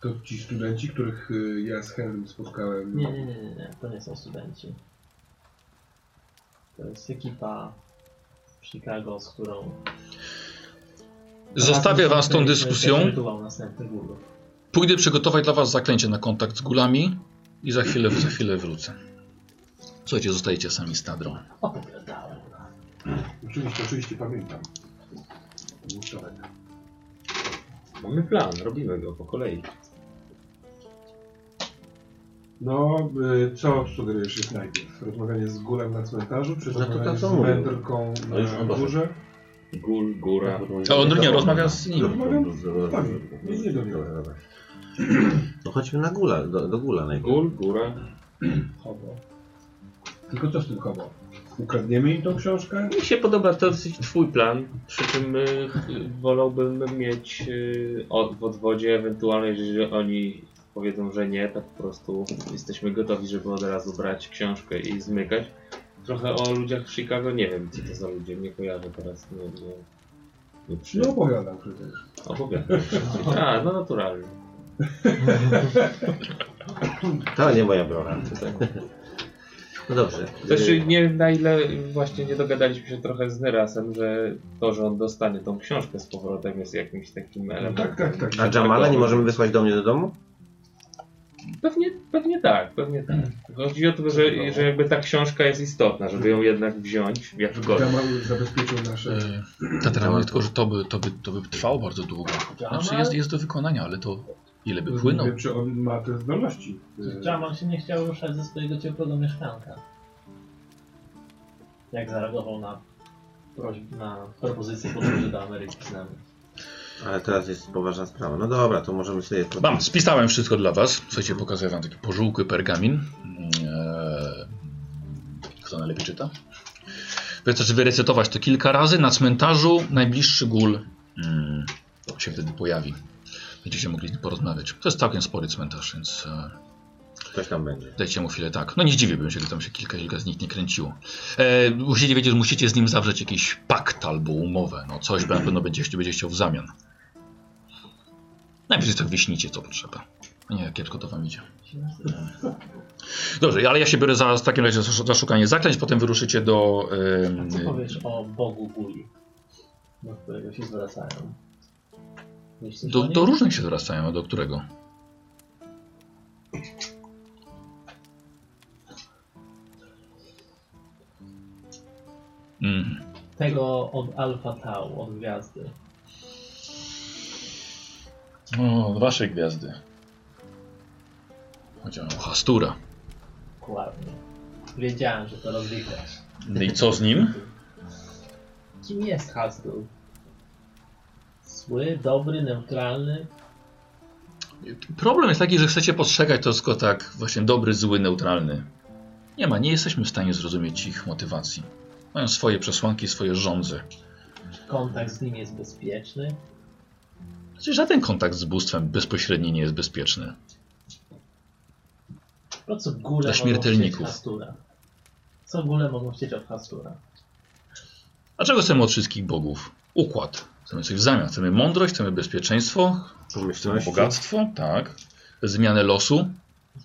Speaker 3: To ci studenci, których y, ja z Henrym spotkałem.
Speaker 5: Nie, nie, nie, nie, nie, to nie są studenci. To jest ekipa w Chicago, z którą.
Speaker 2: Zostawię was tą dyskusją.
Speaker 5: Rytuał następny guru.
Speaker 2: Pójdę przygotować dla was zaklęcie na kontakt z gulami i za chwilę, za chwilę wrócę. Słuchajcie, zostajecie sami z Tadrą.
Speaker 5: Opowiadałem.
Speaker 3: Oczywiście, oczywiście pamiętam. Wczoraj.
Speaker 4: Mamy plan, robimy go po kolei.
Speaker 3: No, y, co sugerujesz jest najpierw? Rozmawianie z górem na cmentarzu, czy
Speaker 1: No to
Speaker 3: rozmawianie
Speaker 1: tak to
Speaker 3: z
Speaker 1: mówię.
Speaker 3: wędrką
Speaker 1: No już
Speaker 3: na
Speaker 1: oba są.
Speaker 3: górze?
Speaker 4: Gul, góra.
Speaker 2: A on nie rozmawia z nim.
Speaker 3: Rozmawiam? Tak, nie, nie
Speaker 1: Dobra,
Speaker 3: dowiemy.
Speaker 1: dobra. No chodźmy na gula, do, do gula najpierw.
Speaker 4: Gul, góra.
Speaker 5: Hobo.
Speaker 3: Tylko co z tym kobo? Ukradniemy im tą książkę?
Speaker 4: Mi się podoba to dosyć twój plan, przy czym y, y, wolałbym mieć y, od, w odwodzie ewentualnie, jeżeli oni powiedzą, że nie, to po prostu jesteśmy gotowi, żeby od razu brać książkę i zmykać. Trochę o ludziach w Chicago nie wiem, co to za ludzie, nie kojarzę teraz, nie, nie, nie przy...
Speaker 3: Nie opowiadam przecież.
Speaker 4: opowiadam. A, no naturalnie.
Speaker 1: To nie moja broń.
Speaker 2: [LAUGHS]
Speaker 1: No dobrze.
Speaker 4: Znaczy, nie na ile właśnie nie dogadaliśmy się trochę z Nerasem, że to, że on dostanie tą książkę z powrotem jest jakimś takim elementem.
Speaker 3: Tak, tak, tak.
Speaker 1: A Jamala nie możemy wysłać do mnie do domu?
Speaker 4: Pewnie, pewnie tak, pewnie tak. Chodzi o to, że, że jakby ta książka jest istotna, żeby ją jednak wziąć jakkolwiek.
Speaker 3: Jamal zabezpieczył nasze...
Speaker 2: E, Tatra mówi tylko, że to by, to by, to by trwało bardzo długo. Znaczy jest, jest do wykonania, ale to ile
Speaker 1: E,
Speaker 2: by płynął?
Speaker 3: Nie wiem, czy on ma te zdolności. Y,
Speaker 5: Jamal się nie chciał ruszać ze swojego ciepłego mieszkanka. Jak zareagował na, prośb- na propozycję podróży do Ameryki z nami.
Speaker 1: Ale teraz jest poważna sprawa. No dobra, to możemy sobie... To...
Speaker 2: Mam, spisałem wszystko dla was. Słuchajcie, pokazuję wam taki pożółkły pergamin. Eee, kto najlepiej czyta? Wystarczy wyrecytować to kilka razy. Na cmentarzu najbliższy gól mm, się wtedy pojawi. Będziecie mogli porozmawiać. To jest całkiem spory cmentarz, więc e,
Speaker 1: Coś tam będzie.
Speaker 2: Dajcie mu chwilę, tak. No nie zdziwiłbym się, gdy tam się kilka, kilka z nich nie kręciło. E, musicie wiedzieć, że musicie z nim zawrzeć jakiś pakt albo umowę. No coś na pewno będzie, będzie chciał w zamian. Najpierw to wyśnicie, co potrzeba. A nie, kiepsko to wam idzie. Dobrze, ale ja się biorę za w takim razie za szu- za szukanie zaklęć, potem wyruszycie do... em,
Speaker 5: Co powiesz o Bogu Guli, do którego się zwracają? Myślisz
Speaker 2: do,
Speaker 5: o nim?
Speaker 2: do różnych się zwracają, a do którego? Mhm.
Speaker 5: Tego od Alfa Tau, od gwiazdy.
Speaker 2: No, waszej gwiazdy. Powiedziałem, Hastura.
Speaker 5: Dokładnie. Wiedziałem, że to rozliczasz.
Speaker 2: No i co z nim?
Speaker 5: Kim jest Hasdrul? Zły, dobry, neutralny.
Speaker 2: Problem jest taki, że chcecie postrzegać to tylko tak właśnie dobry, zły, neutralny. Nie ma, nie jesteśmy w stanie zrozumieć ich motywacji. Mają swoje przesłanki, swoje żądze.
Speaker 5: Kontakt z nim jest bezpieczny.
Speaker 2: Znaczy żaden kontakt z bóstwem bezpośredni nie jest bezpieczny.
Speaker 5: Po co góle
Speaker 2: Dla
Speaker 5: mogą
Speaker 2: śmiertelników.
Speaker 5: chcieć Hastura? Co góle mogą chcieć od Hastura?
Speaker 2: A czego chcemy od wszystkich bogów? Układ. Chcemy coś w zamian. Chcemy mądrość, chcemy bezpieczeństwo, chcemy
Speaker 1: Pomyślności.
Speaker 2: bogactwo, tak. Zmianę losu.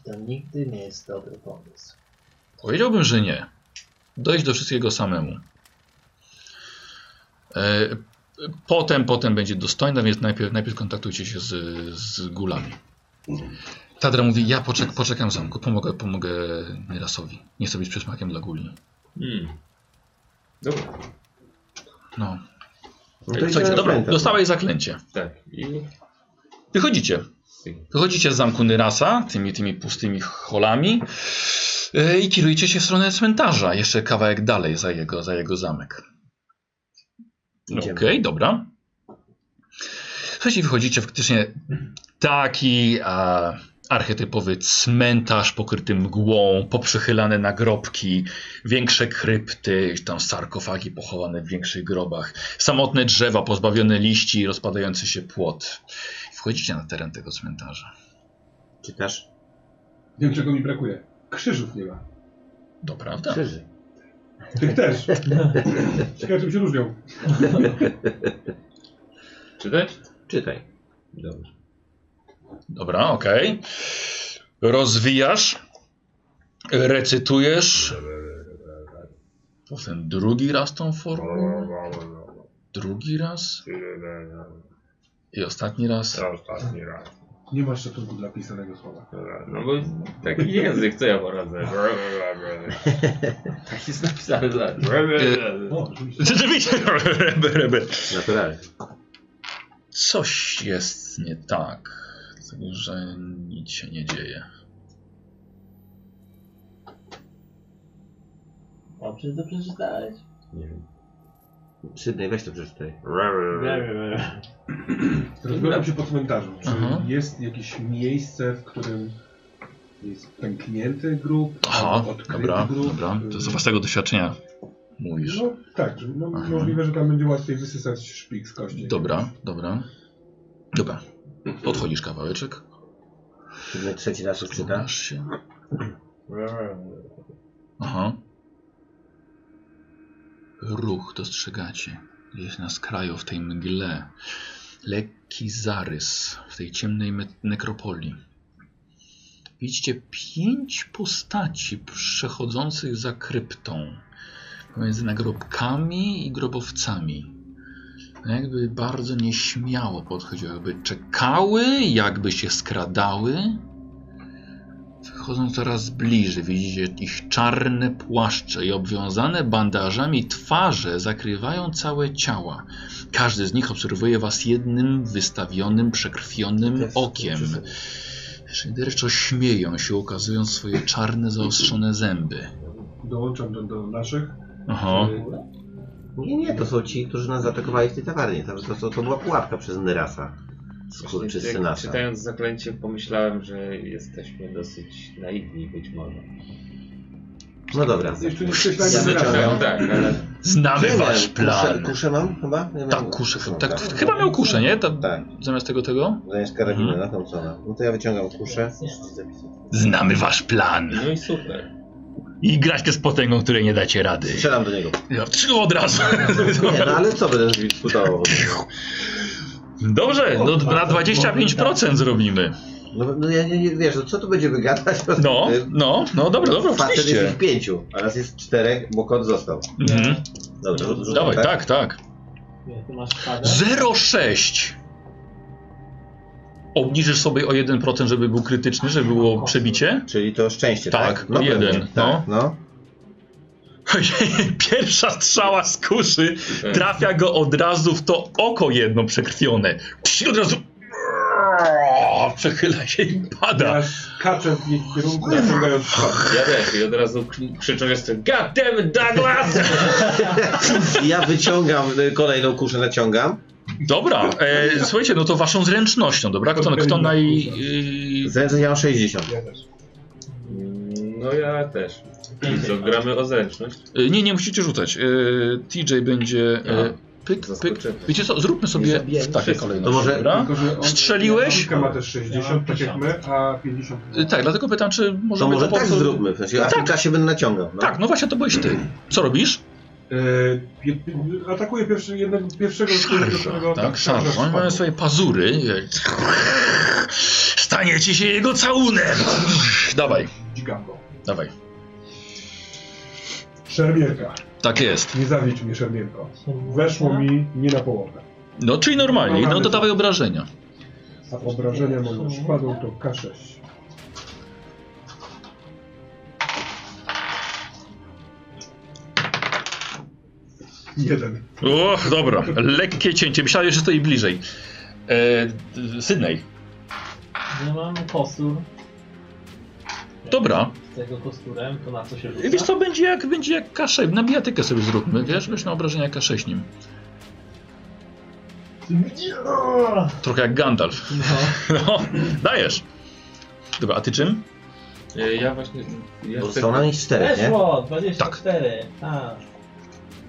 Speaker 5: To nigdy nie jest dobry pomysł.
Speaker 2: Powiedziałbym, że nie. Dojść do wszystkiego samemu. E, Potem, potem będzie dostojna, więc najpierw, najpierw kontaktujcie się z, z gulami. Tadra mówi, ja poczek, poczekam w zamku, pomogę, pomogę Rasowi. Nie chcę być przysmakiem dla guli.
Speaker 4: Hmm. Dobra,
Speaker 2: No.
Speaker 1: No
Speaker 2: Słuchajcie,
Speaker 1: idziemy
Speaker 2: dobra,
Speaker 1: na cmentarz.
Speaker 2: dostałeś zaklęcie.
Speaker 4: tak. I
Speaker 2: Wychodzicie. Wychodzicie z zamku Nyrasa, tymi, tymi pustymi holami e, i kierujecie się w stronę cmentarza, jeszcze kawałek dalej za jego, za jego zamek. Okej,
Speaker 1: Idziemy.
Speaker 2: dobra. Słuchajcie, wychodzicie faktycznie taki a, archetypowy cmentarz pokryty mgłą, poprzychylane nagrobki, większe krypty, tam sarkofagi pochowane w większych grobach, samotne drzewa pozbawione liści i rozpadający się płot. Wchodzicie na teren tego cmentarza.
Speaker 1: Czytasz?
Speaker 3: Wiem, czego mi brakuje. Krzyżów nie ma.
Speaker 2: To prawda?
Speaker 1: Krzyży.
Speaker 3: Tych
Speaker 1: [LAUGHS]
Speaker 3: też. Ciekawe, czym się różnią.
Speaker 7: Czytać?
Speaker 1: Czytaj.
Speaker 7: Dobrze.
Speaker 2: Dobra, okej. Rozwijasz, recytujesz. Potem drugi raz tą formułę. Drugi raz. I ostatni raz.
Speaker 8: Ostatni raz.
Speaker 3: Nie ma szacunku dla pisanego słowa.
Speaker 7: No bo taki język, co ja poradzę. Tak jest napisane dla
Speaker 3: O, oczywiście.
Speaker 2: Rzeczywiście, rebe, rebe.
Speaker 1: Naturalnie.
Speaker 2: Coś jest nie tak. Dlatego, że nic się nie dzieje.
Speaker 5: Dobrze to przeczytałeś?
Speaker 1: Nie wiem. Sydney, weź to przeczytaj.
Speaker 3: Rozglądam się po cmentarzu. Czy
Speaker 2: Aha.
Speaker 3: jest jakieś miejsce, w którym jest pęknięty grób?
Speaker 2: Aha,
Speaker 3: albo odkryty
Speaker 2: dobra,
Speaker 3: grób?
Speaker 2: dobra. To z
Speaker 3: Y,
Speaker 2: własnego doświadczenia mówisz.
Speaker 3: No tak, że no,
Speaker 2: Aha.
Speaker 3: możliwe, że tam będzie łatwiej wysysać szpik z kości.
Speaker 2: Dobra, dobra. Dobra. Podchodzisz kawałeczek.
Speaker 1: Sydney trzeci raz już czyta.
Speaker 2: Przydasz się. Aha. Ruch dostrzegacie. Jest na skraju w tej mgle. Lekki zarys w tej ciemnej me- nekropolii. Widzicie pięć postaci przechodzących za kryptą. Pomiędzy nagrobkami i grobowcami. No Jakby bardzo nieśmiało podchodziły, jakby czekały, jakby się skradały. Wchodzą coraz bliżej, widzicie ich czarne płaszcze i obwiązane bandażami twarze zakrywają całe ciała. Każdy z nich obserwuje was jednym wystawionym, przekrwionym okiem. Szyderczo śmieją się, ukazując swoje czarne, zaostrzone zęby.
Speaker 3: Dołączam do, do naszych.
Speaker 2: Aha.
Speaker 3: Y,
Speaker 1: Nie, nie, to są ci, którzy nas zaatakowali w tej tawernie. To, to, to, to była pułapka przez Nyrasa. Skurczysty
Speaker 7: Jak
Speaker 1: nasa.
Speaker 7: czytając zaklęcie pomyślałem, że jesteśmy dosyć naiwni być może.
Speaker 1: No dobra.
Speaker 3: Jeszcze nie przeczytałem
Speaker 1: Ja
Speaker 3: Nyrasa.
Speaker 1: zaczynam.
Speaker 7: Zaczynałem tak, ale
Speaker 2: Znamy wasz
Speaker 1: Kuszę,
Speaker 2: plan.
Speaker 1: kuszę mam chyba? Nie wiem.
Speaker 2: Tak, kuszę.
Speaker 1: Kuszę,
Speaker 2: Tak, chyba Mhm. miał kuszę, nie? Ta,
Speaker 1: Tak,
Speaker 2: zamiast tego, tego?
Speaker 1: zamiast karabiny natącona. No to ja wyciągam kuszę.
Speaker 2: Znamy wasz plan.
Speaker 7: no i super.
Speaker 2: I graćcie z potęgą, której nie dacie rady.
Speaker 1: Strzelam do
Speaker 2: [LAUGHS]
Speaker 1: niego.
Speaker 2: Ja Trzy od
Speaker 1: [LAUGHS]
Speaker 2: razu.
Speaker 1: Nie, no ale co będę z nim dyskutował?
Speaker 2: Dobrze, no na 25% zrobimy.
Speaker 1: No, no ja nie, nie wiesz, no co tu będziemy gadać? [LAUGHS]
Speaker 2: No, no, no dobra, dobra,
Speaker 1: Facet jest
Speaker 2: oczywiście.
Speaker 1: ich pięciu, a raz jest czterech, bo kot został.
Speaker 2: Mhm.
Speaker 1: Dobra, rzu- rzucam,
Speaker 2: Dawaj, tak, tak.
Speaker 5: Nie, Ty masz szpadę?
Speaker 2: 0,6. Obniżysz sobie o 1%, żeby był krytyczny, żeby było przebicie? [LAUGHS]
Speaker 1: Czyli to szczęście, tak?
Speaker 2: Tak, jeden,
Speaker 1: pewnie, Tak, no.
Speaker 2: Pierwsza strzała z kuszy trafia go od razu w to oko jedno przekrwione. Psi od razu przechyla się i pada.
Speaker 3: Ja skaczę w jej kierunku, naciągając szpad.
Speaker 7: Ja też i od razu kli- krzyczę jeszcze God damn it, Douglas!
Speaker 1: I Ja wyciągam, y, kolejną kuszę naciągam.
Speaker 2: Dobra, e, słuchajcie, no to waszą zręcznością, dobra? Kto, kto naj... y,
Speaker 1: Zręczność ja mam 60.
Speaker 3: Ja też.
Speaker 7: No ja też. I co, gramy o zręczność?
Speaker 2: Y, Nie, nie musicie rzucać. Y, TJ będzie. y, Pyk, pyk.
Speaker 7: Zaskoczenie.
Speaker 2: Wiecie co, zróbmy sobie
Speaker 5: zabijajmy
Speaker 2: w takiej
Speaker 5: wszystkich.
Speaker 2: kolejności.
Speaker 1: To może-
Speaker 2: Dobra?
Speaker 3: Tylko,
Speaker 1: No,
Speaker 3: że on-
Speaker 2: Strzeliłeś?
Speaker 3: Monika ma też 60, tak jak my, a 50.
Speaker 2: Y, Tak, dlatego pytam, czy
Speaker 1: To
Speaker 2: możemy
Speaker 1: może
Speaker 2: po
Speaker 1: tak
Speaker 2: prostu-
Speaker 1: zróbmy, w sensie, a w
Speaker 2: tak.
Speaker 1: tym czasie będę naciągał. No.
Speaker 2: Tak, no właśnie to byłeś ty. Co robisz?
Speaker 3: Yy, pie- atakuje pierwszy, jednego, pierwszego,
Speaker 2: Szarża, tak, szarża. Oni mają
Speaker 3: szpadł.
Speaker 2: swoje pazury. Stanie ci się jego całunem. Dawaj,
Speaker 3: Dzigam go.
Speaker 2: dawaj.
Speaker 3: Szermierka.
Speaker 2: Tak jest.
Speaker 3: Nie zawiedź mnie, Szermierko. Weszło mi nie na połowę.
Speaker 2: No, czyli normalnie. No to dawaj obrażenia.
Speaker 3: A obrażenia mojego szpadą to K6. Jeden.
Speaker 2: Och, dobra. Lekkie cięcie. Myślałem, że stoi bliżej. E, Sydney.
Speaker 5: Nie mam kostur.
Speaker 2: Dobra.
Speaker 5: Z tego kosturem to na co się rzuca?
Speaker 2: Wiesz co, będzie jak, będzie jak K6, na bijatykę sobie zróbmy, wiesz, weź na obrażenia K6 nim.
Speaker 5: No!
Speaker 2: [LAUGHS] Trochę jak Gandalf. No, dajesz. Dobra, a ty czym?
Speaker 7: E, Ja właśnie. Ja
Speaker 1: Został na nich czterech, nie?
Speaker 5: Weszło!
Speaker 2: Tak.
Speaker 5: 24! A.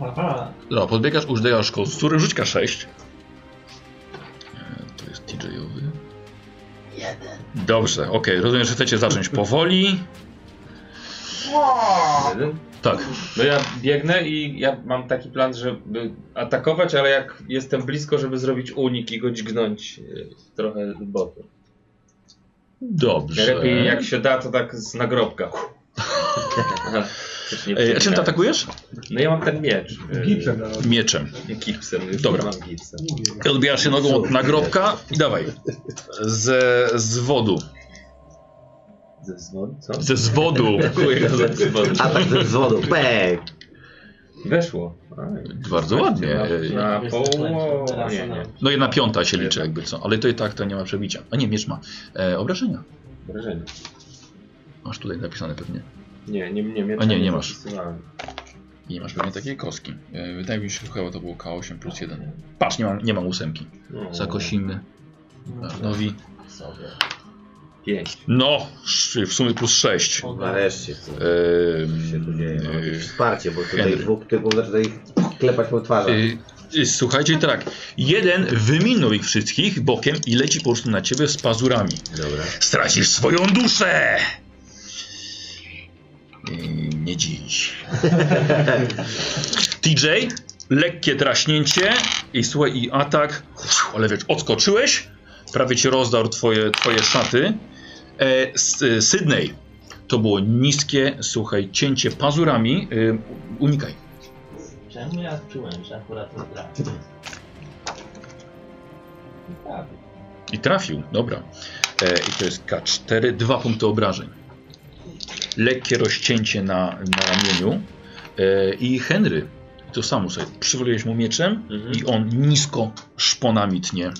Speaker 5: Aha.
Speaker 2: No, podbiegasz, używasz kostury, rzuć K6. E, To jest TJ-owy. Dobrze, okej, rozumiem, że chcecie zacząć powoli.
Speaker 7: jeden.
Speaker 2: Tak.
Speaker 7: No ja biegnę i ja mam taki plan, żeby atakować, ale jak jestem blisko, żeby zrobić unik i go dźgnąć e, trochę bokiem.
Speaker 2: Dobrze.
Speaker 7: Lepiej jak się da, to tak z nagrobka. Aha, coś nie
Speaker 2: E, a czym
Speaker 7: przyjechałem.
Speaker 2: ty atakujesz?
Speaker 7: No ja mam ten miecz. e,
Speaker 3: Gipsem na nas.
Speaker 2: Mieczem.
Speaker 7: Gipsem. no Już
Speaker 2: Dobra.
Speaker 7: Mam gipsem.
Speaker 2: I odbijasz się nogą od nagrobka i dawaj. Ze, z wodu.
Speaker 7: Ze dzwon, co?
Speaker 2: Ze zwodu.
Speaker 7: Dziękuję za dzwon.
Speaker 1: Atak tak ze wzwodu. Pek!
Speaker 7: Weszło. Aj.
Speaker 2: Bardzo ładnie. E,
Speaker 7: Na
Speaker 5: Jest
Speaker 7: połowę.
Speaker 5: to teraz
Speaker 7: Nie, nie.
Speaker 5: nam-
Speaker 2: No jedna piąta się liczy jakby co, ale to i tak to nie ma przebicia. A nie, miecz ma. E, obrażenia.
Speaker 7: Wrażenie.
Speaker 2: Masz tutaj napisane pewnie.
Speaker 7: Nie, nie, nie, miecza
Speaker 2: A nie, nie masz.
Speaker 7: zapisywałem.
Speaker 2: Nie masz pewnie takiej kostki. E, wydaje mi się, że chyba to było K8 plus 1. Patrz, nie mam, nie mam ósemki.
Speaker 7: No,
Speaker 2: Zakosimy. Arnowi.
Speaker 7: Sobie. Pięć.
Speaker 2: No, sz- w sumie plus 6.
Speaker 1: Nareszcie, co
Speaker 2: E,
Speaker 1: się tu dzieje. No, jakieś
Speaker 2: e,
Speaker 1: wsparcie, bo tutaj
Speaker 2: Henry.
Speaker 1: dwóch typów zaczyna ich klepać po twarzy.
Speaker 2: Y, y, Słuchajcie, tak. Jeden wyminął ich wszystkich bokiem i leci po prostu na ciebie z pazurami.
Speaker 1: Dobra.
Speaker 2: Stracisz swoją duszę! Y, Nie dziś. TJ, lekkie traśnięcie i słuchaj, i atak. Ale wiesz, odskoczyłeś, prawie ci rozdarł twoje, twoje szaty. E, S- y, Sydney, to było niskie, słuchaj, cięcie pazurami. Y, unikaj.
Speaker 5: Czemu ja czułem, że akurat to trafi? Tak.
Speaker 2: I trafił, dobra. E, I to jest K4, dwa punkty obrażeń. Lekkie rozcięcie na, na ramieniu. E, I Henry, to samo sobie, przywaliłeś mu mieczem
Speaker 7: Mhm.
Speaker 2: i on nisko szponami tnie.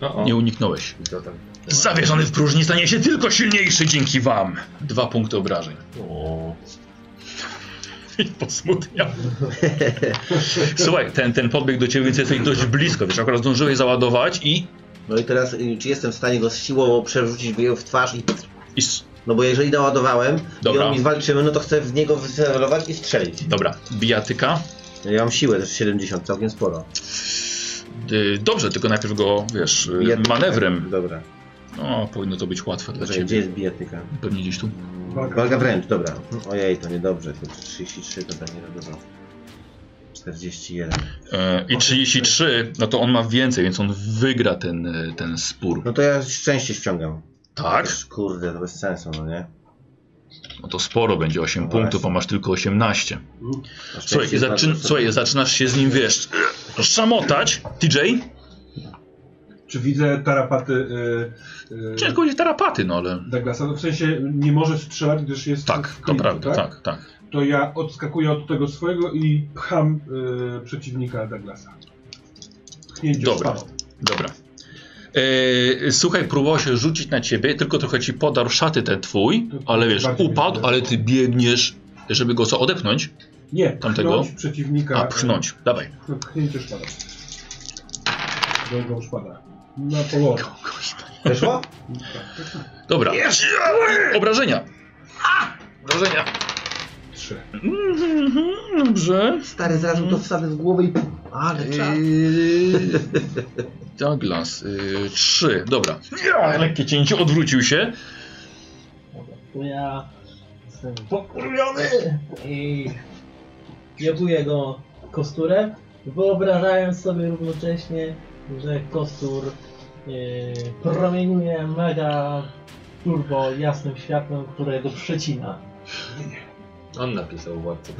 Speaker 7: No, o.
Speaker 2: Nie uniknąłeś.
Speaker 7: I tak. co tam?
Speaker 2: Zawieszony w próżni stanie się tylko silniejszy dzięki wam. Dwa punkty obrażeń.
Speaker 7: O.
Speaker 2: [LAUGHS] I posmutniał. Słuchaj, ten, ten podbieg do ciebie, więc jesteś dość blisko, wiesz, akurat zdążyłeś załadować i...
Speaker 1: No i teraz, y, czy jestem w stanie go siłowo przerzucić go w twarz i...
Speaker 2: i s-
Speaker 1: No bo jeżeli doładowałem
Speaker 2: Dobra.
Speaker 1: i on mi walczymy, no to chcę w niego wycelować i strzelić.
Speaker 2: dobra, bijatyka.
Speaker 1: Ja mam siłę też 70, całkiem sporo.
Speaker 2: Y, Dobrze, tylko najpierw go, wiesz, y,
Speaker 1: Bijatyka.
Speaker 2: manewrem.
Speaker 1: Dobra.
Speaker 2: O, powinno to być łatwe dla
Speaker 1: Czekaj, gdzie
Speaker 2: ciebie.
Speaker 1: jest bijatyka?
Speaker 2: Pewnie gdzieś tu.
Speaker 1: Walka wręcz, dobra. Ojej, to niedobrze, to 33 to tak niedobrze. 41.
Speaker 2: E, I 33, no to on ma więcej, więc on wygra ten, e, ten spór.
Speaker 1: No to ja szczęście ściągam.
Speaker 2: Tak?
Speaker 1: Też, Kurde, to bez sensu, no nie?
Speaker 2: No to sporo będzie 8
Speaker 1: No
Speaker 2: punktów, a
Speaker 1: właśnie.
Speaker 2: masz tylko 18.
Speaker 1: Na
Speaker 2: Słuchaj,
Speaker 1: szczęście
Speaker 2: i zaczyn,
Speaker 1: bardzo-
Speaker 2: słuchaj, zaczynasz się z nim, wiesz, szamotać. TJ?
Speaker 3: Czy widzę tarapaty y, y,
Speaker 2: Ciężko powiedzieć tarapaty, no ale...
Speaker 3: Douglasa? No w sensie nie może strzelać, gdyż jest
Speaker 2: Tak,
Speaker 3: w
Speaker 2: to
Speaker 3: klipu,
Speaker 2: prawda, tak, tak.
Speaker 3: To ja odskakuję od tego swojego i pcham y, przeciwnika Douglasa. Pchnięcie
Speaker 2: Dobra.
Speaker 3: szpadą.
Speaker 2: Dobra. E, słuchaj, próbował się rzucić na ciebie, tylko trochę ci podarł szaty ten twój, ale wiesz,
Speaker 3: Bardziej
Speaker 2: upadł,
Speaker 3: mnie
Speaker 2: ale ty biegniesz, żeby go co, odepchnąć?
Speaker 3: Nie,
Speaker 2: Tamtego?
Speaker 3: pchnąć przeciwnika.
Speaker 2: A, pchnąć, dawaj.
Speaker 3: y, Pchnięcie szpada. Drogą szpada. Na połowę.
Speaker 1: Weszło?
Speaker 2: Dobra. Obrażenia. Obrażenia.
Speaker 3: Trzy.
Speaker 2: Mhm, Dobrze. Yy,
Speaker 1: Stary, zaraz mu to wsadzę w głowę i... Ale czas.
Speaker 2: [LAUGHS] Douglas, yy, trzy, dobra. Ja, Lekkie cięcie, odwrócił się.
Speaker 5: To ja jestem pokurwiony i jebuję go kosturem, wyobrażając sobie równocześnie, że kostur yy, promieniuje mega turbo jasnym światłem, które go przecina.
Speaker 7: On napisał władcę.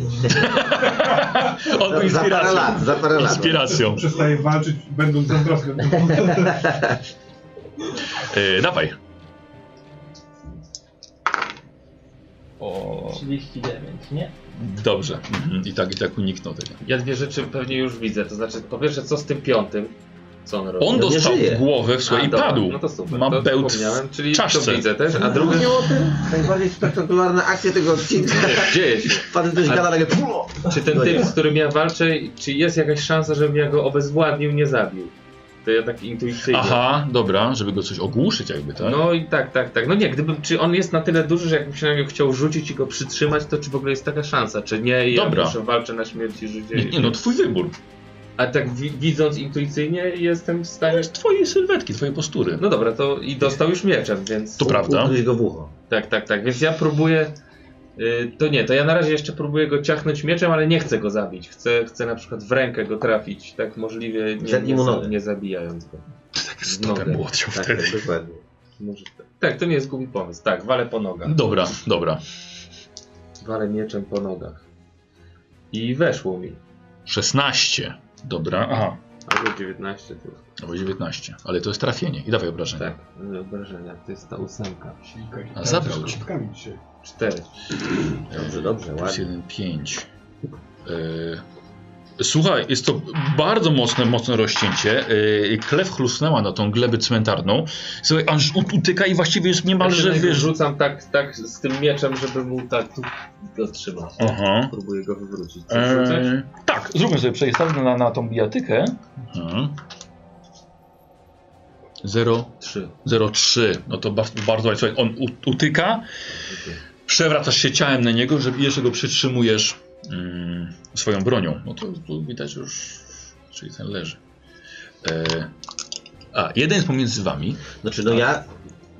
Speaker 1: Za
Speaker 2: On
Speaker 1: parę
Speaker 2: inspiracją.
Speaker 1: lat, za parę lat.
Speaker 2: Inspiracją.
Speaker 3: Przestaje walczyć, będąc zazdrosny.
Speaker 2: Yy, dawaj.
Speaker 5: 39, nie?
Speaker 2: Dobrze. Mhm, I tak, i tak uniknął tego.
Speaker 7: Ja dwie rzeczy pewnie już widzę. To znaczy, po pierwsze, co z tym piątym?
Speaker 4: co on robi.
Speaker 2: On
Speaker 1: nie
Speaker 2: dostał
Speaker 1: żyje.
Speaker 2: w głowę w
Speaker 4: A,
Speaker 2: swojej i
Speaker 4: dobra,
Speaker 2: padł.
Speaker 4: No to super.
Speaker 2: Ma
Speaker 4: to
Speaker 2: bełt w
Speaker 4: wspomniałem, czyli
Speaker 2: czaszce.
Speaker 4: to widzę też, a drugi...
Speaker 1: Mówią o tym? Najbardziej spektakularna akcja tego odcinka. [LAUGHS]
Speaker 4: Dzieje się.
Speaker 1: Pan ktoś
Speaker 4: A-
Speaker 1: gada tak jak...
Speaker 4: Czy ten
Speaker 1: No nie
Speaker 4: typ,
Speaker 1: ma.
Speaker 4: z którym ja walczę, czy jest jakaś szansa, żebym ja go obezwładnił, nie zabił? To ja tak intuicyjnie.
Speaker 2: Aha, dobra, żeby go coś ogłuszyć jakby, tak?
Speaker 4: No i tak, tak, tak. No nie, gdybym, czy on jest na tyle duży, że jakbym się na niego chciał rzucić i go przytrzymać, to czy w ogóle jest taka szansa, czy nie? I Ja
Speaker 2: Dobra.
Speaker 4: muszę walczę na śmierć i życie.
Speaker 2: nie, nie, no twój wybór.
Speaker 4: A tak wi widząc intuicyjnie jestem w
Speaker 2: To
Speaker 4: stanie...
Speaker 2: jest twoje sylwetki, twoje postury.
Speaker 4: No dobra, to i dostał już mieczem, więc...
Speaker 2: To prawda.
Speaker 1: Ukryj go w ucho.
Speaker 4: Tak, tak, tak. Więc ja próbuję. y, To nie, to ja na razie jeszcze próbuję go ciachnąć mieczem, ale nie chcę go zabić. Chcę, chcę na przykład w rękę go trafić, tak możliwie nie,
Speaker 1: Zetnij
Speaker 4: nie,
Speaker 1: mu
Speaker 4: za-
Speaker 1: nogę.
Speaker 4: nie zabijając go.
Speaker 2: Tak
Speaker 4: z
Speaker 2: stopę
Speaker 4: nogę.
Speaker 2: mu odciął
Speaker 1: Tak,
Speaker 2: wtedy. [LAUGHS]
Speaker 1: tak, dokładnie.
Speaker 4: Może tak. tak, to nie jest głupi pomysł. Tak, walę po nogach.
Speaker 2: Dobra, dobra.
Speaker 4: Walę mieczem po nogach. I weszło mi.
Speaker 2: 16. Dobra, aha.
Speaker 4: Albo 19 tu.
Speaker 2: Albo 19. Ale to jest trafienie. I dawaj obrażenia.
Speaker 4: Tak, y, obrażenia. To jest ta ósemka.
Speaker 2: A zabrał ci.
Speaker 3: kostkami dzisiaj.
Speaker 4: Cztery.
Speaker 1: Dobrze, dobrze,
Speaker 2: Plus
Speaker 1: ładnie.
Speaker 2: 1, 5. E, Słuchaj, jest to bardzo mocne, mocne rozcięcie. Yy, Klew chlusnęła na tą glebę cmentarną. Słuchaj, aż ut- utyka i właściwie jest niemalże
Speaker 4: Ja się
Speaker 2: wyrzut.
Speaker 4: rzucam tak, tak z tym mieczem, żeby mu tak tu go trzymać.
Speaker 2: Aha.
Speaker 4: Próbuję go wywrócić. Chcesz rzucać?
Speaker 2: Eee, tak, zróbmy sobie przejestawkę na, na tą bijatykę. Mhm.
Speaker 4: 3.
Speaker 2: 0,3. No to ba- bardzo ładnie. Słuchaj, on u- utyka. Przewracasz się ciałem na niego, żeby jeszcze go przytrzymujesz mm, swoją bronią. No to tu widać już, czyli ten leży. E, a, jeden jest pomiędzy wami.
Speaker 1: Znaczy, no ja...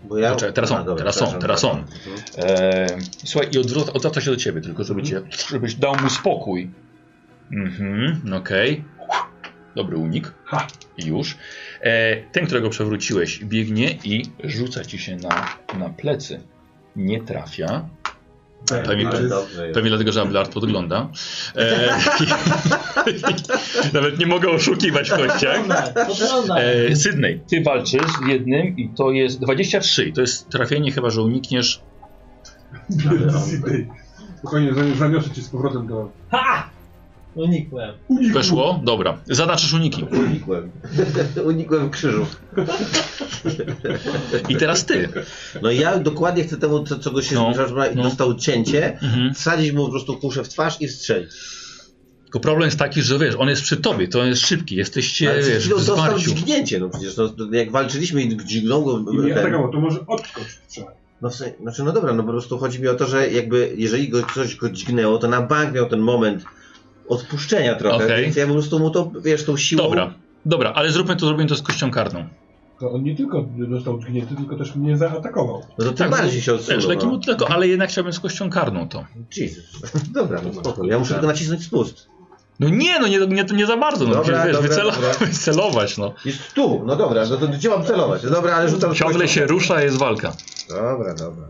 Speaker 1: Bo ja...
Speaker 2: Poczekaj, teraz on,
Speaker 1: A, dobra,
Speaker 2: teraz on,
Speaker 1: przepraszam,
Speaker 2: teraz on.
Speaker 1: przepraszam. Mhm.
Speaker 2: E, słuchaj, i odwraca, odwraca się do ciebie, tylko żeby cię, żebyś dał mu spokój. Mhm, okej. Dobry unik.
Speaker 3: Ha.
Speaker 2: I już. E, ten, którego przewróciłeś, biegnie i rzuca ci się na, na plecy. Nie trafia. Pewnie,
Speaker 3: Ale
Speaker 1: Ale
Speaker 3: jest-
Speaker 1: dobrze jest.
Speaker 2: pewnie dlatego, że Abelard podgląda. E, [LAUGHS] nawet nie mogę oszukiwać w kościach.
Speaker 5: Tak, Oglądaj,
Speaker 2: E, Sydney, ty walczysz z jednym i to jest 23. i To jest trafienie, chyba że unikniesz. Tak,
Speaker 3: Sydney. Spokojnie, zani- zaniosę cię z powrotem do...
Speaker 5: unikłem.
Speaker 2: Weszło? Dobra. Zaznaczysz uniki.
Speaker 1: Unikłem. [LAUGHS] Unikłem krzyżów.
Speaker 2: I teraz ty.
Speaker 1: No ja dokładnie chcę temu, co, co go się
Speaker 2: No,
Speaker 1: no, zbliża, żeby
Speaker 2: no.
Speaker 1: dostał cięcie,
Speaker 2: Mhm.
Speaker 1: wsadzić mu po prostu kuszę w twarz i strzelić.
Speaker 2: Tylko problem jest taki, że wiesz, on jest przy tobie, to on jest szybki, jesteście
Speaker 1: Ale przed
Speaker 2: wiesz,
Speaker 1: chwilą
Speaker 2: w
Speaker 1: dostał
Speaker 2: zwarciu.
Speaker 1: dźgnięcie, no przecież no, jak walczyliśmy i dźgnął go...
Speaker 2: No,
Speaker 3: I mnie
Speaker 2: tak.
Speaker 1: ten-
Speaker 3: atakował, to może odskocz trzeba.
Speaker 1: No, w sensie, znaczy, no dobra, no po prostu chodzi mi o to, że jakby jeżeli go coś go dźgnęło, to na bank miał ten moment odpuszczenia trochę,
Speaker 2: Okej.
Speaker 1: więc ja po prostu mu to, wiesz, tą siłą...
Speaker 2: Dobra, dobra, ale zróbmy to, zrobimy to z kością karną.
Speaker 3: To on nie tylko został dźgnięty, tylko też mnie zaatakował.
Speaker 1: No to tym
Speaker 2: Tak,
Speaker 1: bardziej się odsunął.
Speaker 2: Wiesz, lekkim
Speaker 1: No.
Speaker 2: utleko, ale jednak chciałbym z kością karną to.
Speaker 1: Jesus. [LAUGHS] Dobra, no spoko. Ja muszę tylko nacisnąć spust.
Speaker 2: No nie, no nie, nie, nie za bardzo, no
Speaker 1: Dobra,
Speaker 2: przecież wiesz,
Speaker 1: dobra,
Speaker 2: wycela-
Speaker 1: dobra.
Speaker 2: [LAUGHS] wycelować, no.
Speaker 1: Jest tu, no dobra, no to gdzie mam celować? No dobra, ale rzucam... z
Speaker 2: Ciągle
Speaker 1: kością.
Speaker 2: się rusza, jest walka.
Speaker 1: Dobra, dobra.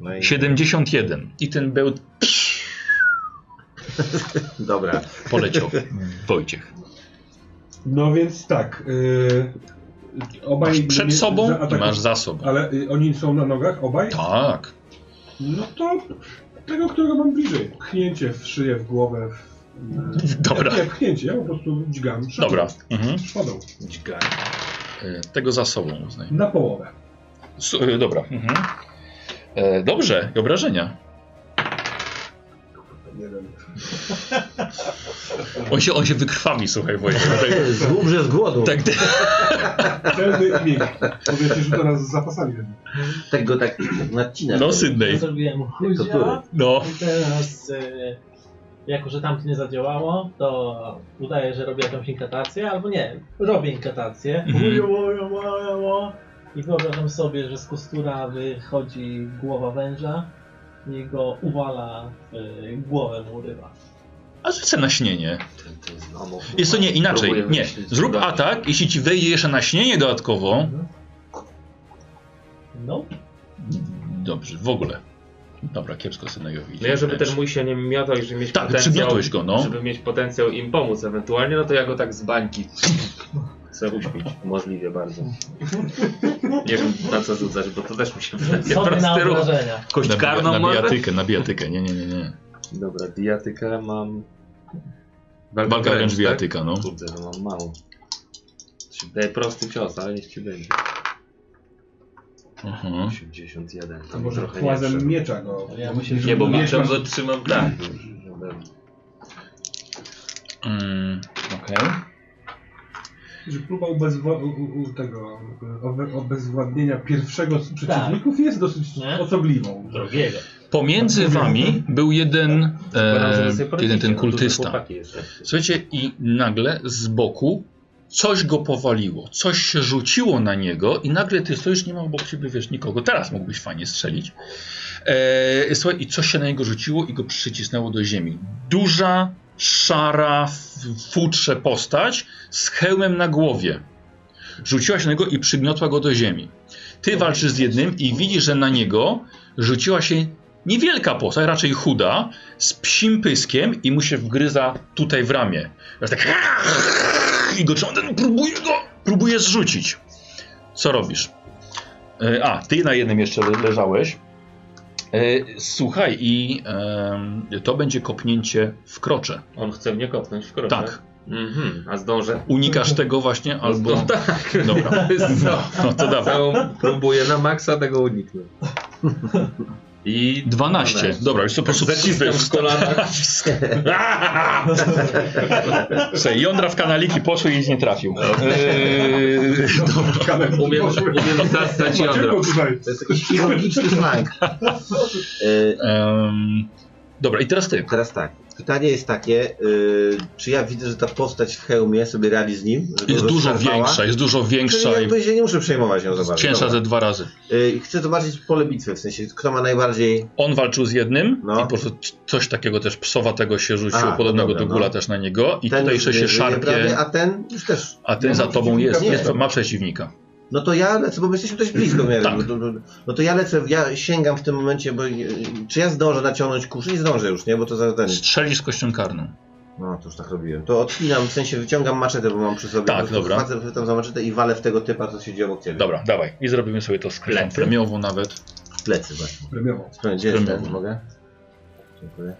Speaker 1: No i...
Speaker 2: 71. I ten bełt
Speaker 1: Dobra.
Speaker 4: [LAUGHS]
Speaker 2: poleciał. Wojciech.
Speaker 3: No więc tak. y, obaj
Speaker 2: Masz
Speaker 3: mnie
Speaker 2: przed sobą i
Speaker 3: zaatakowa-
Speaker 2: masz za sobą.
Speaker 3: Ale y, oni są na nogach, obaj?
Speaker 2: Tak.
Speaker 3: No to tego, którego mam bliżej. Pchnięcie w szyję, w głowę. W...
Speaker 2: Dobra,
Speaker 3: Nie, pchnięcie, ja po prostu dźgam. szybko.
Speaker 2: dobra. Mhm.
Speaker 3: Szkodą.
Speaker 2: E, Tego za sobą uznaj.
Speaker 3: Na połowę.
Speaker 2: S- e, Dobra. Mhm. E, Dobrze, i obrażenia.
Speaker 3: Nie wiem.
Speaker 2: On się, on się wykrwawi, słuchaj Wojciech. Tak,
Speaker 1: Zgub, że z głodu. Tak,
Speaker 4: [LAUGHS]
Speaker 2: tak, tak,
Speaker 3: Celny i miękki. Powiecie, że teraz z zapasami. robię.
Speaker 1: tak go tak nacinasz.
Speaker 2: no Sydney.
Speaker 5: Zrobiłem
Speaker 1: który?
Speaker 5: chuzia
Speaker 2: No,
Speaker 5: i teraz, e, jako że tamto nie zadziałało, to udaję, że robię jakąś inkatację, albo nie, robię inkatację.
Speaker 2: Mhm.
Speaker 5: Ło, ło, ło, ło. I wyobrażam sobie, że z kostura wychodzi głowa węża i go uwala, e, głowę mu urywa.
Speaker 2: a rzucę na śnienie. Jest to nie, inaczej.
Speaker 4: Próbuję
Speaker 2: Nie,
Speaker 4: wymyślić.
Speaker 2: zrób
Speaker 4: Dobra.
Speaker 2: atak, jeśli ci wejdzie jeszcze na śnienie dodatkowo.
Speaker 5: No,
Speaker 2: Dobrze, w ogóle. Dobra, kiepsko Synejowi.
Speaker 4: No ja żeby ten mój się nie miotał i żeby mieć
Speaker 2: Tak,
Speaker 4: potencjał,
Speaker 2: przygniotłeś go, no.
Speaker 4: żeby mieć potencjał im pomóc ewentualnie, no to ja go tak z bańki chcę uśpić. Możliwie bardzo. Nie wiem na co rzucać, bo to też mi się wydaje
Speaker 5: sobie na
Speaker 4: prosty ruch.
Speaker 5: obrażenia.
Speaker 4: Kość
Speaker 2: na, bi-
Speaker 4: karną
Speaker 2: na
Speaker 4: może?
Speaker 2: bijatykę, na bijatykę, nie, nie, nie, nie.
Speaker 4: Dobra, bijatykę mam...
Speaker 2: Walka wręcz
Speaker 4: tak?
Speaker 2: bijatyka, no.
Speaker 4: Kurde, no mam mało.
Speaker 7: Daję prosty cios, ale niech ci będzie.
Speaker 2: Mhm.
Speaker 7: 81.
Speaker 3: To może
Speaker 7: trochę
Speaker 3: płazem
Speaker 7: nie
Speaker 3: miecza go.
Speaker 5: Ja myślę, że
Speaker 7: Nie, bo
Speaker 3: miecz
Speaker 7: mieczem
Speaker 3: masz-
Speaker 7: go trzymam tak.
Speaker 2: Mm, Okej.
Speaker 3: Że próba ubezwa- u- u- tego e, obe- obezwładnienia pierwszego z przeciwników jest dosyć
Speaker 5: Nie?
Speaker 3: osobliwą.
Speaker 5: drugiego.
Speaker 2: Pomiędzy wami był jeden,
Speaker 7: Składam, że
Speaker 2: e,
Speaker 7: wy sobie
Speaker 2: jeden
Speaker 7: poradzicie,
Speaker 2: ten
Speaker 7: no, duże
Speaker 2: kultysta.
Speaker 7: chłopaki jesteście.
Speaker 2: Słuchajcie, i nagle z boku coś go powaliło, coś się rzuciło na niego i nagle ty stoisz, nie ma obok ciebie, wiesz, nikogo. Teraz mógłbyś fajnie strzelić. E, słuchaj, i coś się na niego rzuciło i go przycisnęło do ziemi. Duża, szara, w futrze postać z hełmem na głowie. Rzuciła się na niego i przygniotła go do ziemi. Ty walczysz z jednym i widzisz, że na niego rzuciła się niewielka postać, raczej chuda, z psim pyskiem i mu się wgryza tutaj w ramię. Aż tak i go ciągle próbujesz go, próbujesz zrzucić. Co robisz? E, A, ty na jednym jeszcze le- leżałeś. E, Słuchaj, i em, to będzie kopnięcie w krocze.
Speaker 7: On chce mnie kopnąć w krocze.
Speaker 2: Tak.
Speaker 7: Mhm, a zdążę.
Speaker 2: Unikasz tego właśnie,
Speaker 7: Albo... No
Speaker 2: albo.
Speaker 7: tak.
Speaker 2: Dobra,
Speaker 4: [LAUGHS]
Speaker 7: No.
Speaker 2: no to dawaj.
Speaker 7: Całą próbuję na maksa tego uniknąć. I
Speaker 2: 12. Dobra, już to po prostu
Speaker 7: zaciskam w kolanach.
Speaker 2: [LAUGHS] Słuchaj, jądra w kanaliki poszły i nie trafił.
Speaker 7: No. Umiem, umiem zastać jądra.
Speaker 3: Dlaczego tutaj?
Speaker 1: To jest jakiś [LAUGHS] chirurgiczny slang. E,
Speaker 2: Em, dobra, i teraz ty.
Speaker 1: Teraz tak. Pytanie jest takie, y, czy ja widzę, że ta postać w hełmie sobie radzi z nim? że go
Speaker 2: Jest dużo
Speaker 1: rozszarpała?
Speaker 2: większa, jest dużo
Speaker 1: Czyli
Speaker 2: większa i
Speaker 1: jakby się nie muszę przejmować nią za bardzo.
Speaker 2: cięższa
Speaker 1: Dobra.
Speaker 2: ze dwa razy.
Speaker 1: Y, Chcę zobaczyć pole bitwy, w sensie kto ma najbardziej...
Speaker 2: On walczył z jednym
Speaker 1: No.
Speaker 2: i po prostu c- coś takiego też psowatego się rzuciło,
Speaker 1: A,
Speaker 2: podobnego
Speaker 1: dobra,
Speaker 2: do gula
Speaker 1: no.
Speaker 2: też na niego i
Speaker 1: ten
Speaker 2: tutaj
Speaker 1: już
Speaker 2: jeszcze się
Speaker 1: nie żyje prawie,
Speaker 2: szarpie,
Speaker 1: A ten już też.
Speaker 2: a ten
Speaker 3: Nie
Speaker 2: za
Speaker 3: ma
Speaker 2: tobą jest,
Speaker 1: przeciwnika,
Speaker 2: jest
Speaker 1: nie.
Speaker 2: ma przeciwnika.
Speaker 1: No to ja lecę, bo my jesteśmy dość blisko w miarę.
Speaker 2: Tak.
Speaker 1: No, no, no to ja lecę, ja sięgam w tym momencie, bo y, czy ja zdążę naciągnąć kurz? Nie zdążę już, nie? Bo to za ten...
Speaker 2: Strzeli z kością karną.
Speaker 1: No to już tak robiłem. To odpinam, w sensie wyciągam maczetę, bo mam przy sobie.
Speaker 2: Tak,
Speaker 1: Po prostu
Speaker 2: dobra.
Speaker 1: Chwycę, chwytam za maczetę i walę w tego typa, co siedzi obok ciebie.
Speaker 2: Dobra, dawaj. I zrobimy sobie to z krwią premiową nawet.
Speaker 1: W plecy właśnie.
Speaker 3: Premiowo.
Speaker 1: Sprawdzę, gdzie jest
Speaker 2: Premium.
Speaker 1: ten? Mogę? Dziękuję.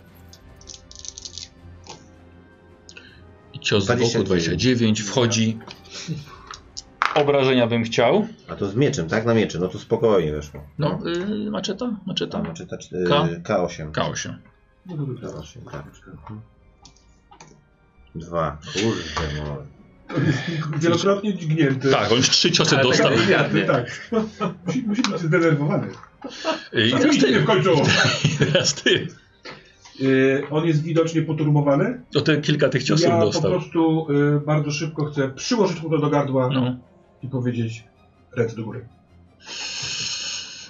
Speaker 2: I cios z boku
Speaker 1: 29.
Speaker 2: 29, wchodzi. Obrażenia bym chciał.
Speaker 1: A to z mieczem, tak? Na mieczy. No to spokojnie weszło.
Speaker 2: No, y, maczeta? Maczeta.
Speaker 1: Tam maczeta czty-
Speaker 2: K?
Speaker 1: K8.
Speaker 2: K8.
Speaker 1: K8, tak. Mhm. Dwa. Kurde, no.
Speaker 3: Wielokrotnie dźgnięty.
Speaker 2: Tak, on już trzy ciosy
Speaker 7: Ale
Speaker 2: dostał.
Speaker 7: tak-
Speaker 3: Dźgnięty, tak. Musi, musi być zdenerwowany.
Speaker 2: Y, I
Speaker 3: Tak,
Speaker 2: teraz
Speaker 3: nie
Speaker 2: ty.
Speaker 3: kończą.
Speaker 2: I teraz ty.
Speaker 3: Y, on jest widocznie poturbowany.
Speaker 2: O te kilka tych ciosów
Speaker 3: Ja po
Speaker 2: dostał.
Speaker 3: prostu y, bardzo szybko chcę przyłożyć mu to do gardła
Speaker 2: No.
Speaker 3: i powiedzieć ręce do góry.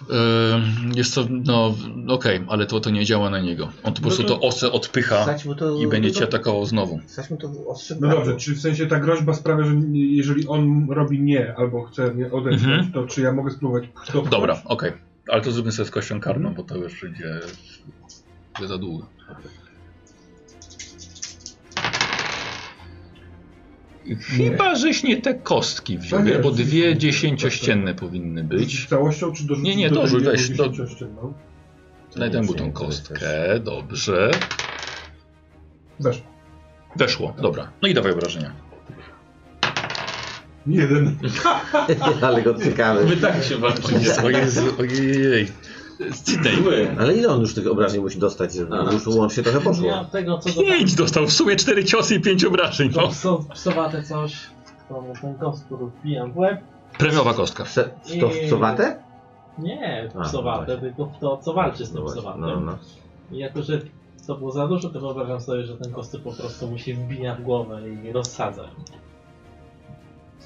Speaker 2: Ym, Jest to, no okej, ale to, to nie działa na niego. On po prostu to osę odpycha
Speaker 1: Wsadź mu to...
Speaker 2: i będzie cię
Speaker 1: no to-
Speaker 2: atakował znowu.
Speaker 1: Wsadź mu to w ostrze w
Speaker 3: No
Speaker 1: gardło.
Speaker 3: dobrze, czy w sensie ta groźba sprawia, że nie- jeżeli on robi nie albo chce mnie odepchnąć,
Speaker 2: Mhm.
Speaker 3: to czy ja mogę spróbować pchnąć?
Speaker 2: Dobra, okej. Ale to zróbmy sobie z kością karną, bo to już będzie, będzie za długo. Chyba, żeś nie te kostki wziął,
Speaker 3: No nie,
Speaker 2: bo dwie
Speaker 3: nie.
Speaker 2: dziesięciościenne powinny
Speaker 3: Być?
Speaker 2: być.
Speaker 3: Całością czy dorzucić
Speaker 2: Nie, nie,
Speaker 3: do tej No,
Speaker 2: dorzuć, weź,
Speaker 3: jednej
Speaker 2: do-
Speaker 3: dziesięciościenną?
Speaker 2: Znajdę mu tą kostkę, dobrze.
Speaker 3: Weszło.
Speaker 2: Weszło, dobra. No i dawaj obrażenia.
Speaker 3: Jeden.
Speaker 1: [LAUGHS] Ale go
Speaker 7: My
Speaker 1: cykamy.
Speaker 7: tak się walczycie.
Speaker 2: Ojej, Sydney.
Speaker 7: Zły.
Speaker 1: Ale ile on już tych obrażeń musi dostać, żeby
Speaker 7: A.
Speaker 1: już łącz się trochę poszło?
Speaker 5: Ja tego, co go tam
Speaker 2: Pięć dostał, w sumie cztery ciosy i pięć obrażeń.
Speaker 5: to
Speaker 2: No.
Speaker 5: pso, psowate coś, to mu ten kostur wbijam w łeb.
Speaker 2: Premiowa kostka.
Speaker 1: Prze- w to w cowate?
Speaker 5: Nie,
Speaker 1: A, no
Speaker 5: psowate,
Speaker 1: właśnie.
Speaker 5: tylko w to, co walczy z tym
Speaker 1: No właśnie,
Speaker 5: psowatem.
Speaker 1: no, no.
Speaker 5: I jako, że to było za dużo, to wyobrażam sobie, że ten kostur po prostu mu się wbija w głowę i rozsadza.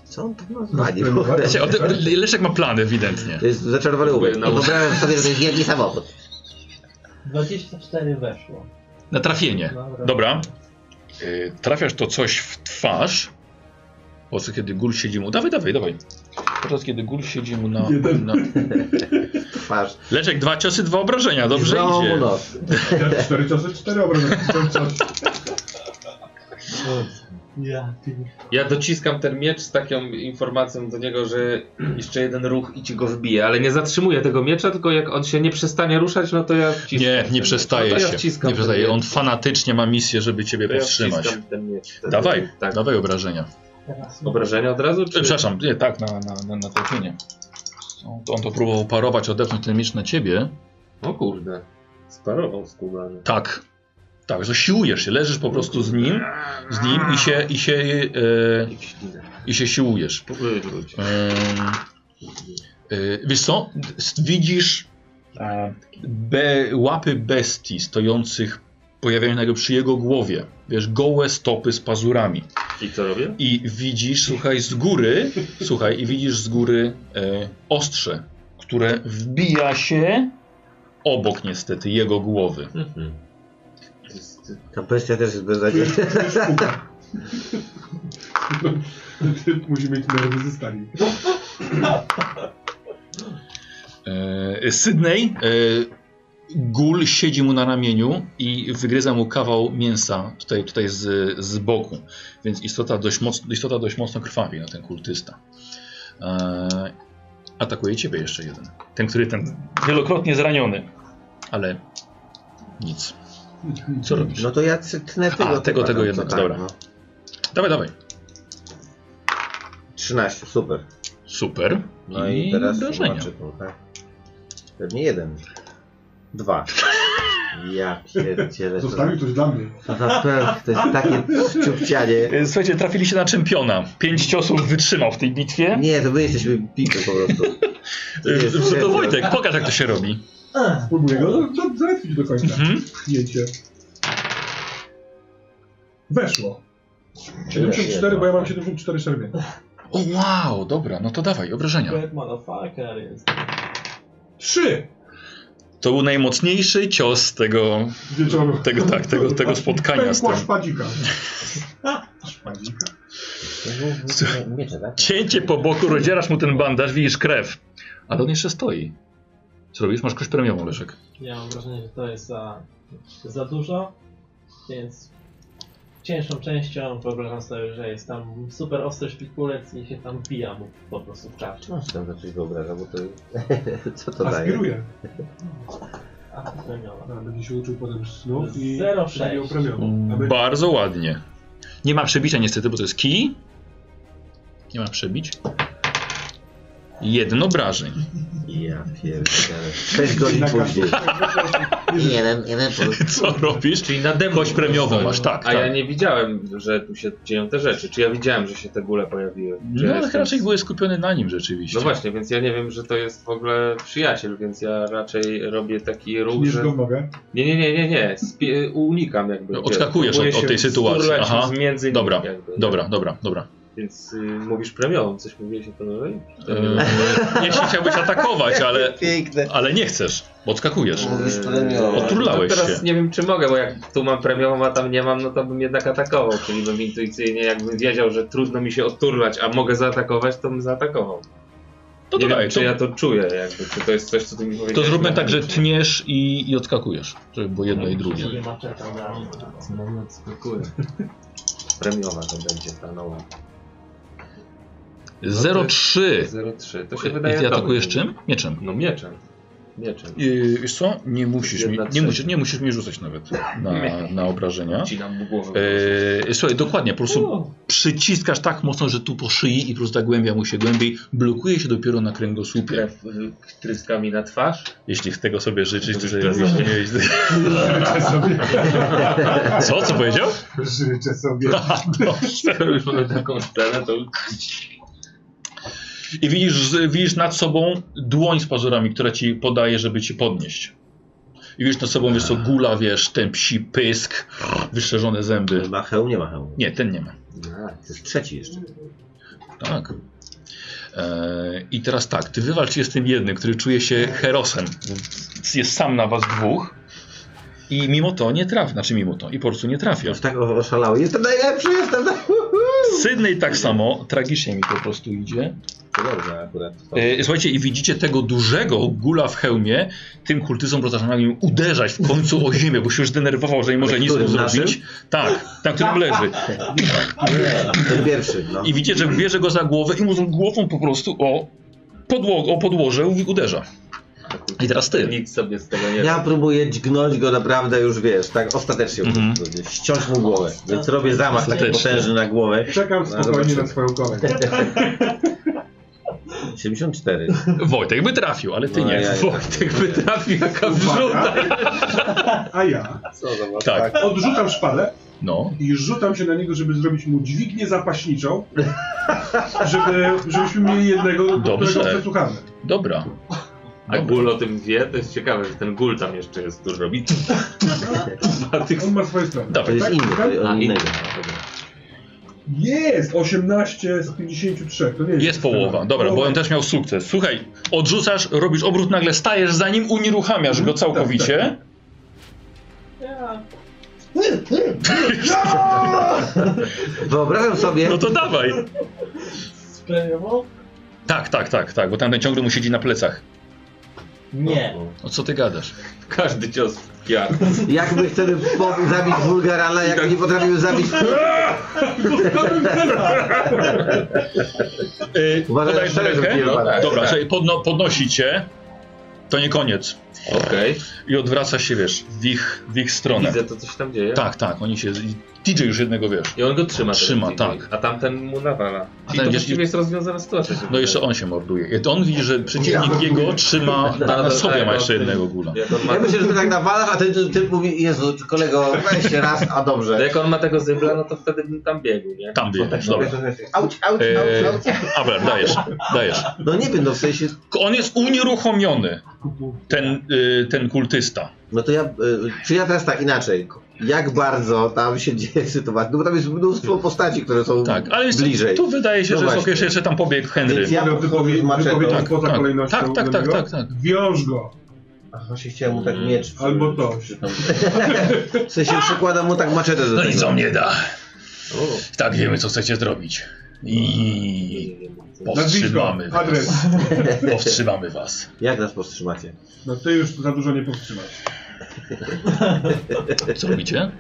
Speaker 1: Co on tam nazwali?
Speaker 2: Znaczy, o tym- Leszek ma plan ewidentnie.
Speaker 1: No, To jest zaczerwany umysł.
Speaker 7: Próbuję nauczyć.
Speaker 1: Wyobrażam sobie, że to jest wielki samochód.
Speaker 5: 24 weszło.
Speaker 2: Na trafienie.
Speaker 5: Dobra.
Speaker 2: Dobra. Y, Trafiasz to coś w twarz. Po co kiedy gul siedzi mu. Dawaj, dawaj, dawaj. Podczas kiedy gul siedzi mu na. na...
Speaker 1: Twarz.
Speaker 2: Leszek, dwa ciosy, dwa obrażenia. Dobrze
Speaker 1: Złamał mu
Speaker 2: idzie.
Speaker 1: nos.
Speaker 3: Cztery- Cztery ciosy, cztery obrazy. Cztery ciosy.
Speaker 5: Ja, ty.
Speaker 7: Ja dociskam ten miecz z taką informacją do niego, że jeszcze jeden ruch i ci go wbije, ale nie zatrzymuję tego miecza, tylko jak on się nie przestanie ruszać, no to ja wciskam.
Speaker 2: Nie,
Speaker 7: ten
Speaker 2: nie
Speaker 7: miecz. no
Speaker 2: przestaje
Speaker 7: to
Speaker 2: się.
Speaker 7: ja wciskam
Speaker 2: Nie
Speaker 7: ten
Speaker 2: przestaje.
Speaker 7: miecz.
Speaker 2: On fanatycznie ma misję, żeby ciebie
Speaker 7: To ja
Speaker 2: powstrzymać.
Speaker 7: wciskam ten miecz.
Speaker 2: Dawaj,
Speaker 7: Tak.
Speaker 2: dawaj obrażenia.
Speaker 5: Teraz
Speaker 4: Obrażenia od razu? Czy...
Speaker 2: Przepraszam, nie, tak, na, na, na, na trafienie. On, on to próbował parować, odepchnąć ten miecz na ciebie.
Speaker 4: O kurde. Sparował skubany.
Speaker 2: Tak. Tak, że siłujesz się, leżysz po prostu z nim, z nim i się, i się, e, i się siłujesz.
Speaker 4: Wywróć.
Speaker 2: Em, e, wiesz co, S- widzisz e, be, łapy bestii stojących, pojawiają się przy jego głowie. Wiesz, gołe stopy z pazurami.
Speaker 4: I co robię?
Speaker 2: I widzisz, słuchaj, z góry, słuchaj, i widzisz z góry e, ostrze, które wbija się obok niestety jego głowy.
Speaker 4: Mhm.
Speaker 1: Ta bestia też jest beznadziejna.
Speaker 3: Typ musi mieć nerwy ze stali.
Speaker 2: E, Sydney, e, gul siedzi mu na ramieniu i wygryza mu kawał mięsa tutaj, tutaj z, z boku. Więc istota dość mocno, istota dość mocno krwawi na ten kultysta. E, atakuje ciebie jeszcze jeden. Ten, który ten wielokrotnie zraniony. Ale nic. Co robisz?
Speaker 1: No to ja c- tnę tego.
Speaker 2: tego,
Speaker 1: typa
Speaker 2: tego
Speaker 1: tam,
Speaker 2: jednak,
Speaker 1: co tam, no.
Speaker 2: dobra. Dawaj, dawaj.
Speaker 1: 13, super.
Speaker 2: Super.
Speaker 1: No i, teraz
Speaker 2: obrażenia.
Speaker 1: zobaczę trochę. Pewnie jeden.
Speaker 2: [LAUGHS]
Speaker 1: Dwa. Ja pierdzielę. to-
Speaker 3: Zostawił coś dla mnie.
Speaker 1: To, naprawdę- to jest takie ciupcianie.
Speaker 2: E, Słuchajcie, trafiliście na czempiona. Pięć ciosów wytrzymał w tej bitwie.
Speaker 1: Nie, to my jesteśmy pipy po prostu.
Speaker 2: E,
Speaker 1: jest
Speaker 2: [LAUGHS] To
Speaker 1: serio.
Speaker 2: Wojtek, pokaż jak to się robi.
Speaker 3: Spróbuję go no, za- załatwić do końca.
Speaker 2: Mhm.
Speaker 3: Zdjęcie. Weszło. 74, bo ja mam 74 czerwienia.
Speaker 2: O wow, dobra, no to dawaj, obrażenia.
Speaker 5: Bad motherfucker jest.
Speaker 3: 3!
Speaker 2: To był najmocniejszy cios tego,
Speaker 3: Wieczoru.
Speaker 2: tego tak, tego, tego spotkania z tym.
Speaker 3: Pękła szpadzika. Szpadzika.
Speaker 1: Miecze, tak?
Speaker 2: Cięcie po boku, rozdzierasz mu ten bandaż, widzisz krew. Ale on jeszcze stoi. Co robisz? Masz kość premiową, Leszek.
Speaker 5: Ja mam wrażenie, że to jest za, za dużo, więc cięższą częścią wyobrażam sobie, że jest tam super ostry szpikulec i się tam bija mu po prostu w czarcie.
Speaker 1: Masz tam za coś wyobraża, bo to... [LAUGHS] Co to daje?
Speaker 3: Aspiruję.
Speaker 5: A, premiowa.
Speaker 3: A, Będzie się uczył potem snów i
Speaker 5: Zero sześć.
Speaker 3: będzie
Speaker 2: Mm,
Speaker 3: uprawiony. A będzie
Speaker 2: Bardzo ładnie. Nie ma przebicia niestety, bo to jest kij. Nie ma przebić. Jedno obrażeń. [LAUGHS]
Speaker 1: Ja pierdolę. 6 godzin później.
Speaker 3: [LAUGHS]
Speaker 1: Jeden, jeden po prostu.
Speaker 2: Co robisz? Czyli
Speaker 4: nade mną
Speaker 2: Kość premiową
Speaker 4: stoją.
Speaker 2: masz, tak.
Speaker 4: A
Speaker 2: tak.
Speaker 4: ja nie widziałem, że tu się dzieją te rzeczy. Czy ja widziałem, że się te bóle pojawiły? Czy ja
Speaker 2: No ale
Speaker 4: jestem-
Speaker 2: raczej byłeś skupiony na nim rzeczywiście.
Speaker 4: No właśnie, więc ja nie wiem, że to jest w ogóle przyjaciel, więc ja raczej robię taki ruch,
Speaker 3: Niż
Speaker 4: że...
Speaker 3: go mogę.
Speaker 4: Nie, nie, nie, nie, nie. Spie... Unikam jakby.
Speaker 2: No, odskakujesz
Speaker 4: Próbuję
Speaker 2: od- od
Speaker 4: się
Speaker 2: tej sytuacji.
Speaker 4: wsturlać
Speaker 2: Aha.
Speaker 4: Między nimi
Speaker 2: Dobra,
Speaker 4: jakby.
Speaker 2: Dobra, dobra, dobra.
Speaker 4: Więc y, mówisz premiową, coś mówiłeś o premiowej?
Speaker 2: [LAUGHS] Eee, jeśli chciałbyś atakować, ale,
Speaker 1: Piękne.
Speaker 2: ale nie chcesz, bo odskakujesz.
Speaker 1: Mówisz premiowo.
Speaker 2: Oturlałeś
Speaker 4: E, to teraz
Speaker 2: się.
Speaker 4: nie wiem, czy mogę, bo jak tu mam premiową, a tam nie mam, no to bym jednak atakował. Czyli bym intuicyjnie, jakbym wiedział, że trudno mi się oturlać, a mogę zaatakować, to bym zaatakował.
Speaker 2: To
Speaker 4: nie
Speaker 2: dodaj,
Speaker 4: wiem, czy
Speaker 2: to,
Speaker 4: ja to czuję, jakby, czy to jest coś, co ty mi powiedziałeś.
Speaker 2: to zróbmy tak, że
Speaker 4: mechanicznie.
Speaker 2: tniesz i, i odskakujesz, żeby było jedno No i drugie.
Speaker 5: Czyli maczeta na
Speaker 4: Premiowa to będzie ta nowa.
Speaker 2: 0,3.
Speaker 4: 0,3. To się wydaje
Speaker 2: I ty atakujesz
Speaker 4: dobre.
Speaker 2: czym? Mieczem.
Speaker 4: No mieczem. Mieczem.
Speaker 2: Yy, wiesz co? Nie musisz, mi,
Speaker 4: Jedna
Speaker 2: nie,
Speaker 4: trzecia.
Speaker 2: musisz, nie musisz mi rzucać nawet na, na obrażenia.
Speaker 4: Wcinam mu głowę.
Speaker 2: Yy, słuchaj, dokładnie, po prostu przyciskasz tak mocno, że tu po szyi i po prostu zagłębia mu się głębiej, blokuje się dopiero na kręgosłupie.
Speaker 4: krew y, tryskami na [LAUGHS] twarz.
Speaker 2: Jeśli tego sobie życzysz, to
Speaker 4: Życzę
Speaker 2: sobie
Speaker 4: sobie.
Speaker 2: miałeś...
Speaker 3: Życzę
Speaker 1: [LAUGHS]
Speaker 3: sobie.
Speaker 2: [LAUGHS] Co? Co powiedział?
Speaker 3: Życzę sobie.
Speaker 1: No,
Speaker 2: Dobrze.
Speaker 4: Już mamy taką scenę, to
Speaker 2: I widzisz, widzisz nad sobą dłoń z pazurami, która ci podaje, żeby ci podnieść. I widzisz nad sobą, wiesz co, gula, wiesz, ten psi pysk, wyszerzone zęby.
Speaker 1: Ma hełm, nie ma hełmu.
Speaker 2: Nie, ten nie ma.
Speaker 1: To jest trzeci jeszcze.
Speaker 2: Tak. Eee, I teraz tak, ty wywalcz się z tym jednym, który czuje się herosem. Jest sam na was dwóch. I mimo to nie trafia, znaczy mimo to, i po prostu nie trafia.
Speaker 1: Już tak o- oszalały. Jestem najlepszy, jestem naj...
Speaker 2: Sydney tak samo, tragicznie mi to po prostu idzie.
Speaker 1: To dobrze akurat.
Speaker 2: E, Słuchajcie, i widzicie tego dużego gula w hełmie, tym kultyzom rozważaniem uderzać w końcu o ziemię, bo się już denerwował, że nie może
Speaker 1: Ale
Speaker 2: nic
Speaker 1: którym,
Speaker 2: zrobić.
Speaker 1: naszym?
Speaker 2: Tak, tam którym leży.
Speaker 1: Ten pierwszy, no.
Speaker 2: I widzicie, że bierze go za głowę i mu z głową po prostu o, podło o podłoże uderza.
Speaker 4: Marku.
Speaker 2: I teraz ty.
Speaker 4: Nic sobie z tego nie
Speaker 1: Ja próbuję dźgnąć go naprawdę już, wiesz, tak ostatecznie
Speaker 2: Mhm.
Speaker 1: mm ściąć mu głowę, więc robię zamach taki
Speaker 2: Ostatecznie.
Speaker 1: potężny na głowę.
Speaker 3: Czekam spokojnie na swoją kolej.
Speaker 1: 74.
Speaker 2: Wojtek by trafił, ale ty
Speaker 1: No,
Speaker 2: nie.
Speaker 1: ja- ja-
Speaker 2: Wojtek by
Speaker 1: nie.
Speaker 2: trafił, jaka wrzuta.
Speaker 3: Uwaga. A ja
Speaker 2: Tak,
Speaker 3: odrzucam szpadę
Speaker 2: no.
Speaker 3: i rzucam się na niego, żeby zrobić mu dźwignię zapaśniczą, żeby, żebyśmy mieli jednego, do
Speaker 2: Dobrze.
Speaker 3: którego przesłuchamy.
Speaker 2: Dobra.
Speaker 4: A gul o tym wie, to jest ciekawe, że ten gul tam jeszcze jest, który robi. A tych
Speaker 3: On ma swoje strony.
Speaker 1: To
Speaker 2: Dobra.
Speaker 1: jest inny, to jest
Speaker 4: A, inny.
Speaker 1: innego.
Speaker 3: Jest! 18 z 53. To nie jest,
Speaker 2: Jest połowa, dobra, bo on też miał sukces. Słuchaj, odrzucasz, robisz obrót, nagle stajesz za nim, unieruchamiasz go całkowicie.
Speaker 1: Wyobrażam sobie,
Speaker 2: No to dawaj.
Speaker 5: Sprawował?
Speaker 2: Tak, tak, tak, tak, bo tamten ciągle mu siedzi na plecach.
Speaker 5: Nie.
Speaker 2: O co ty gadasz?
Speaker 4: każdy cios w piach.
Speaker 1: jakby wtedy po- zabić Wulgarana, jak nie potrafił
Speaker 2: [LAUGHS]
Speaker 1: zabić...
Speaker 2: Yy,
Speaker 1: Uważaj,
Speaker 2: podajesz
Speaker 1: że
Speaker 2: rękę?
Speaker 1: rzuciłem
Speaker 2: Dobra,
Speaker 1: palec.
Speaker 2: Dobra, słuchaj, podno, podnosi cię. To nie koniec.
Speaker 4: Okej,
Speaker 2: I odwraca się, wiesz, w ich, w ich stronę.
Speaker 4: widzę to, co się tam dzieje.
Speaker 2: Tak, tak, oni się... DJ już jednego, wiesz.
Speaker 4: I on go trzyma.
Speaker 2: Trzyma,
Speaker 4: ten DJ.
Speaker 2: tak.
Speaker 4: A tamten mu nawala.
Speaker 2: A
Speaker 4: I
Speaker 2: ten
Speaker 4: to
Speaker 2: gdzieś-
Speaker 4: właściwie jest rozwiązana sytuacja. się
Speaker 2: No
Speaker 4: wydaje.
Speaker 2: jeszcze on się morduje. On widzi, że przeciwnik jego trzyma... [LAUGHS] Na, na sobie ma jeszcze jednego gula.
Speaker 4: Jak on ma,
Speaker 1: Ja myślę, że ty tak nawalasz, a ten ten typ mówi, Jezu, kolego, weź się raz, a dobrze.
Speaker 4: [LAUGHS] jak on ma tego zybla, no to wtedy bym tam biegł, nie?
Speaker 2: Tam biegniesz, dobra.
Speaker 1: Auć, auć,
Speaker 2: Eee,
Speaker 1: auć, auć.
Speaker 2: Abel, dajesz, dajesz.
Speaker 1: No nie wiem, no w sensie,
Speaker 2: On jest unieruchomiony, ten, y, ten kultysta.
Speaker 1: no to ja, y, czy ja teraz tak inaczej, jak bardzo tam się dzieje sytuacja, no bo tam jest mnóstwo postaci, które są
Speaker 2: Tak, ale jest,
Speaker 1: bliżej.
Speaker 2: tu wydaje się,
Speaker 1: No
Speaker 2: że jest
Speaker 1: właśnie.
Speaker 2: okej, że jeszcze tam pobiegł Henry.
Speaker 1: Więc ja
Speaker 3: Mówią
Speaker 1: wypowiedź
Speaker 3: wypowiedź, wypowiedź
Speaker 2: Tak,
Speaker 3: poza
Speaker 2: tak.
Speaker 3: kolejnością.
Speaker 2: Tak, tak,
Speaker 3: do
Speaker 2: tak,
Speaker 3: niego.
Speaker 2: tak, tak.
Speaker 3: Wiąż go.
Speaker 1: Ach, właśnie chciałem mu tak
Speaker 2: Mm.
Speaker 1: miecz. przy-
Speaker 3: Albo to.
Speaker 1: przy- tam- W sensie przykładam mu tak maczetę do
Speaker 2: No
Speaker 1: tego.
Speaker 2: nic on nie da.
Speaker 1: O,
Speaker 2: Tak wiemy, co chcecie zrobić. I
Speaker 3: Nazwisko,
Speaker 2: powstrzymamy was.
Speaker 3: adres.
Speaker 2: Powstrzymamy was.
Speaker 1: Jak nas powstrzymacie?
Speaker 3: No ty już za dużo nie powstrzymasz.
Speaker 2: Co robicie?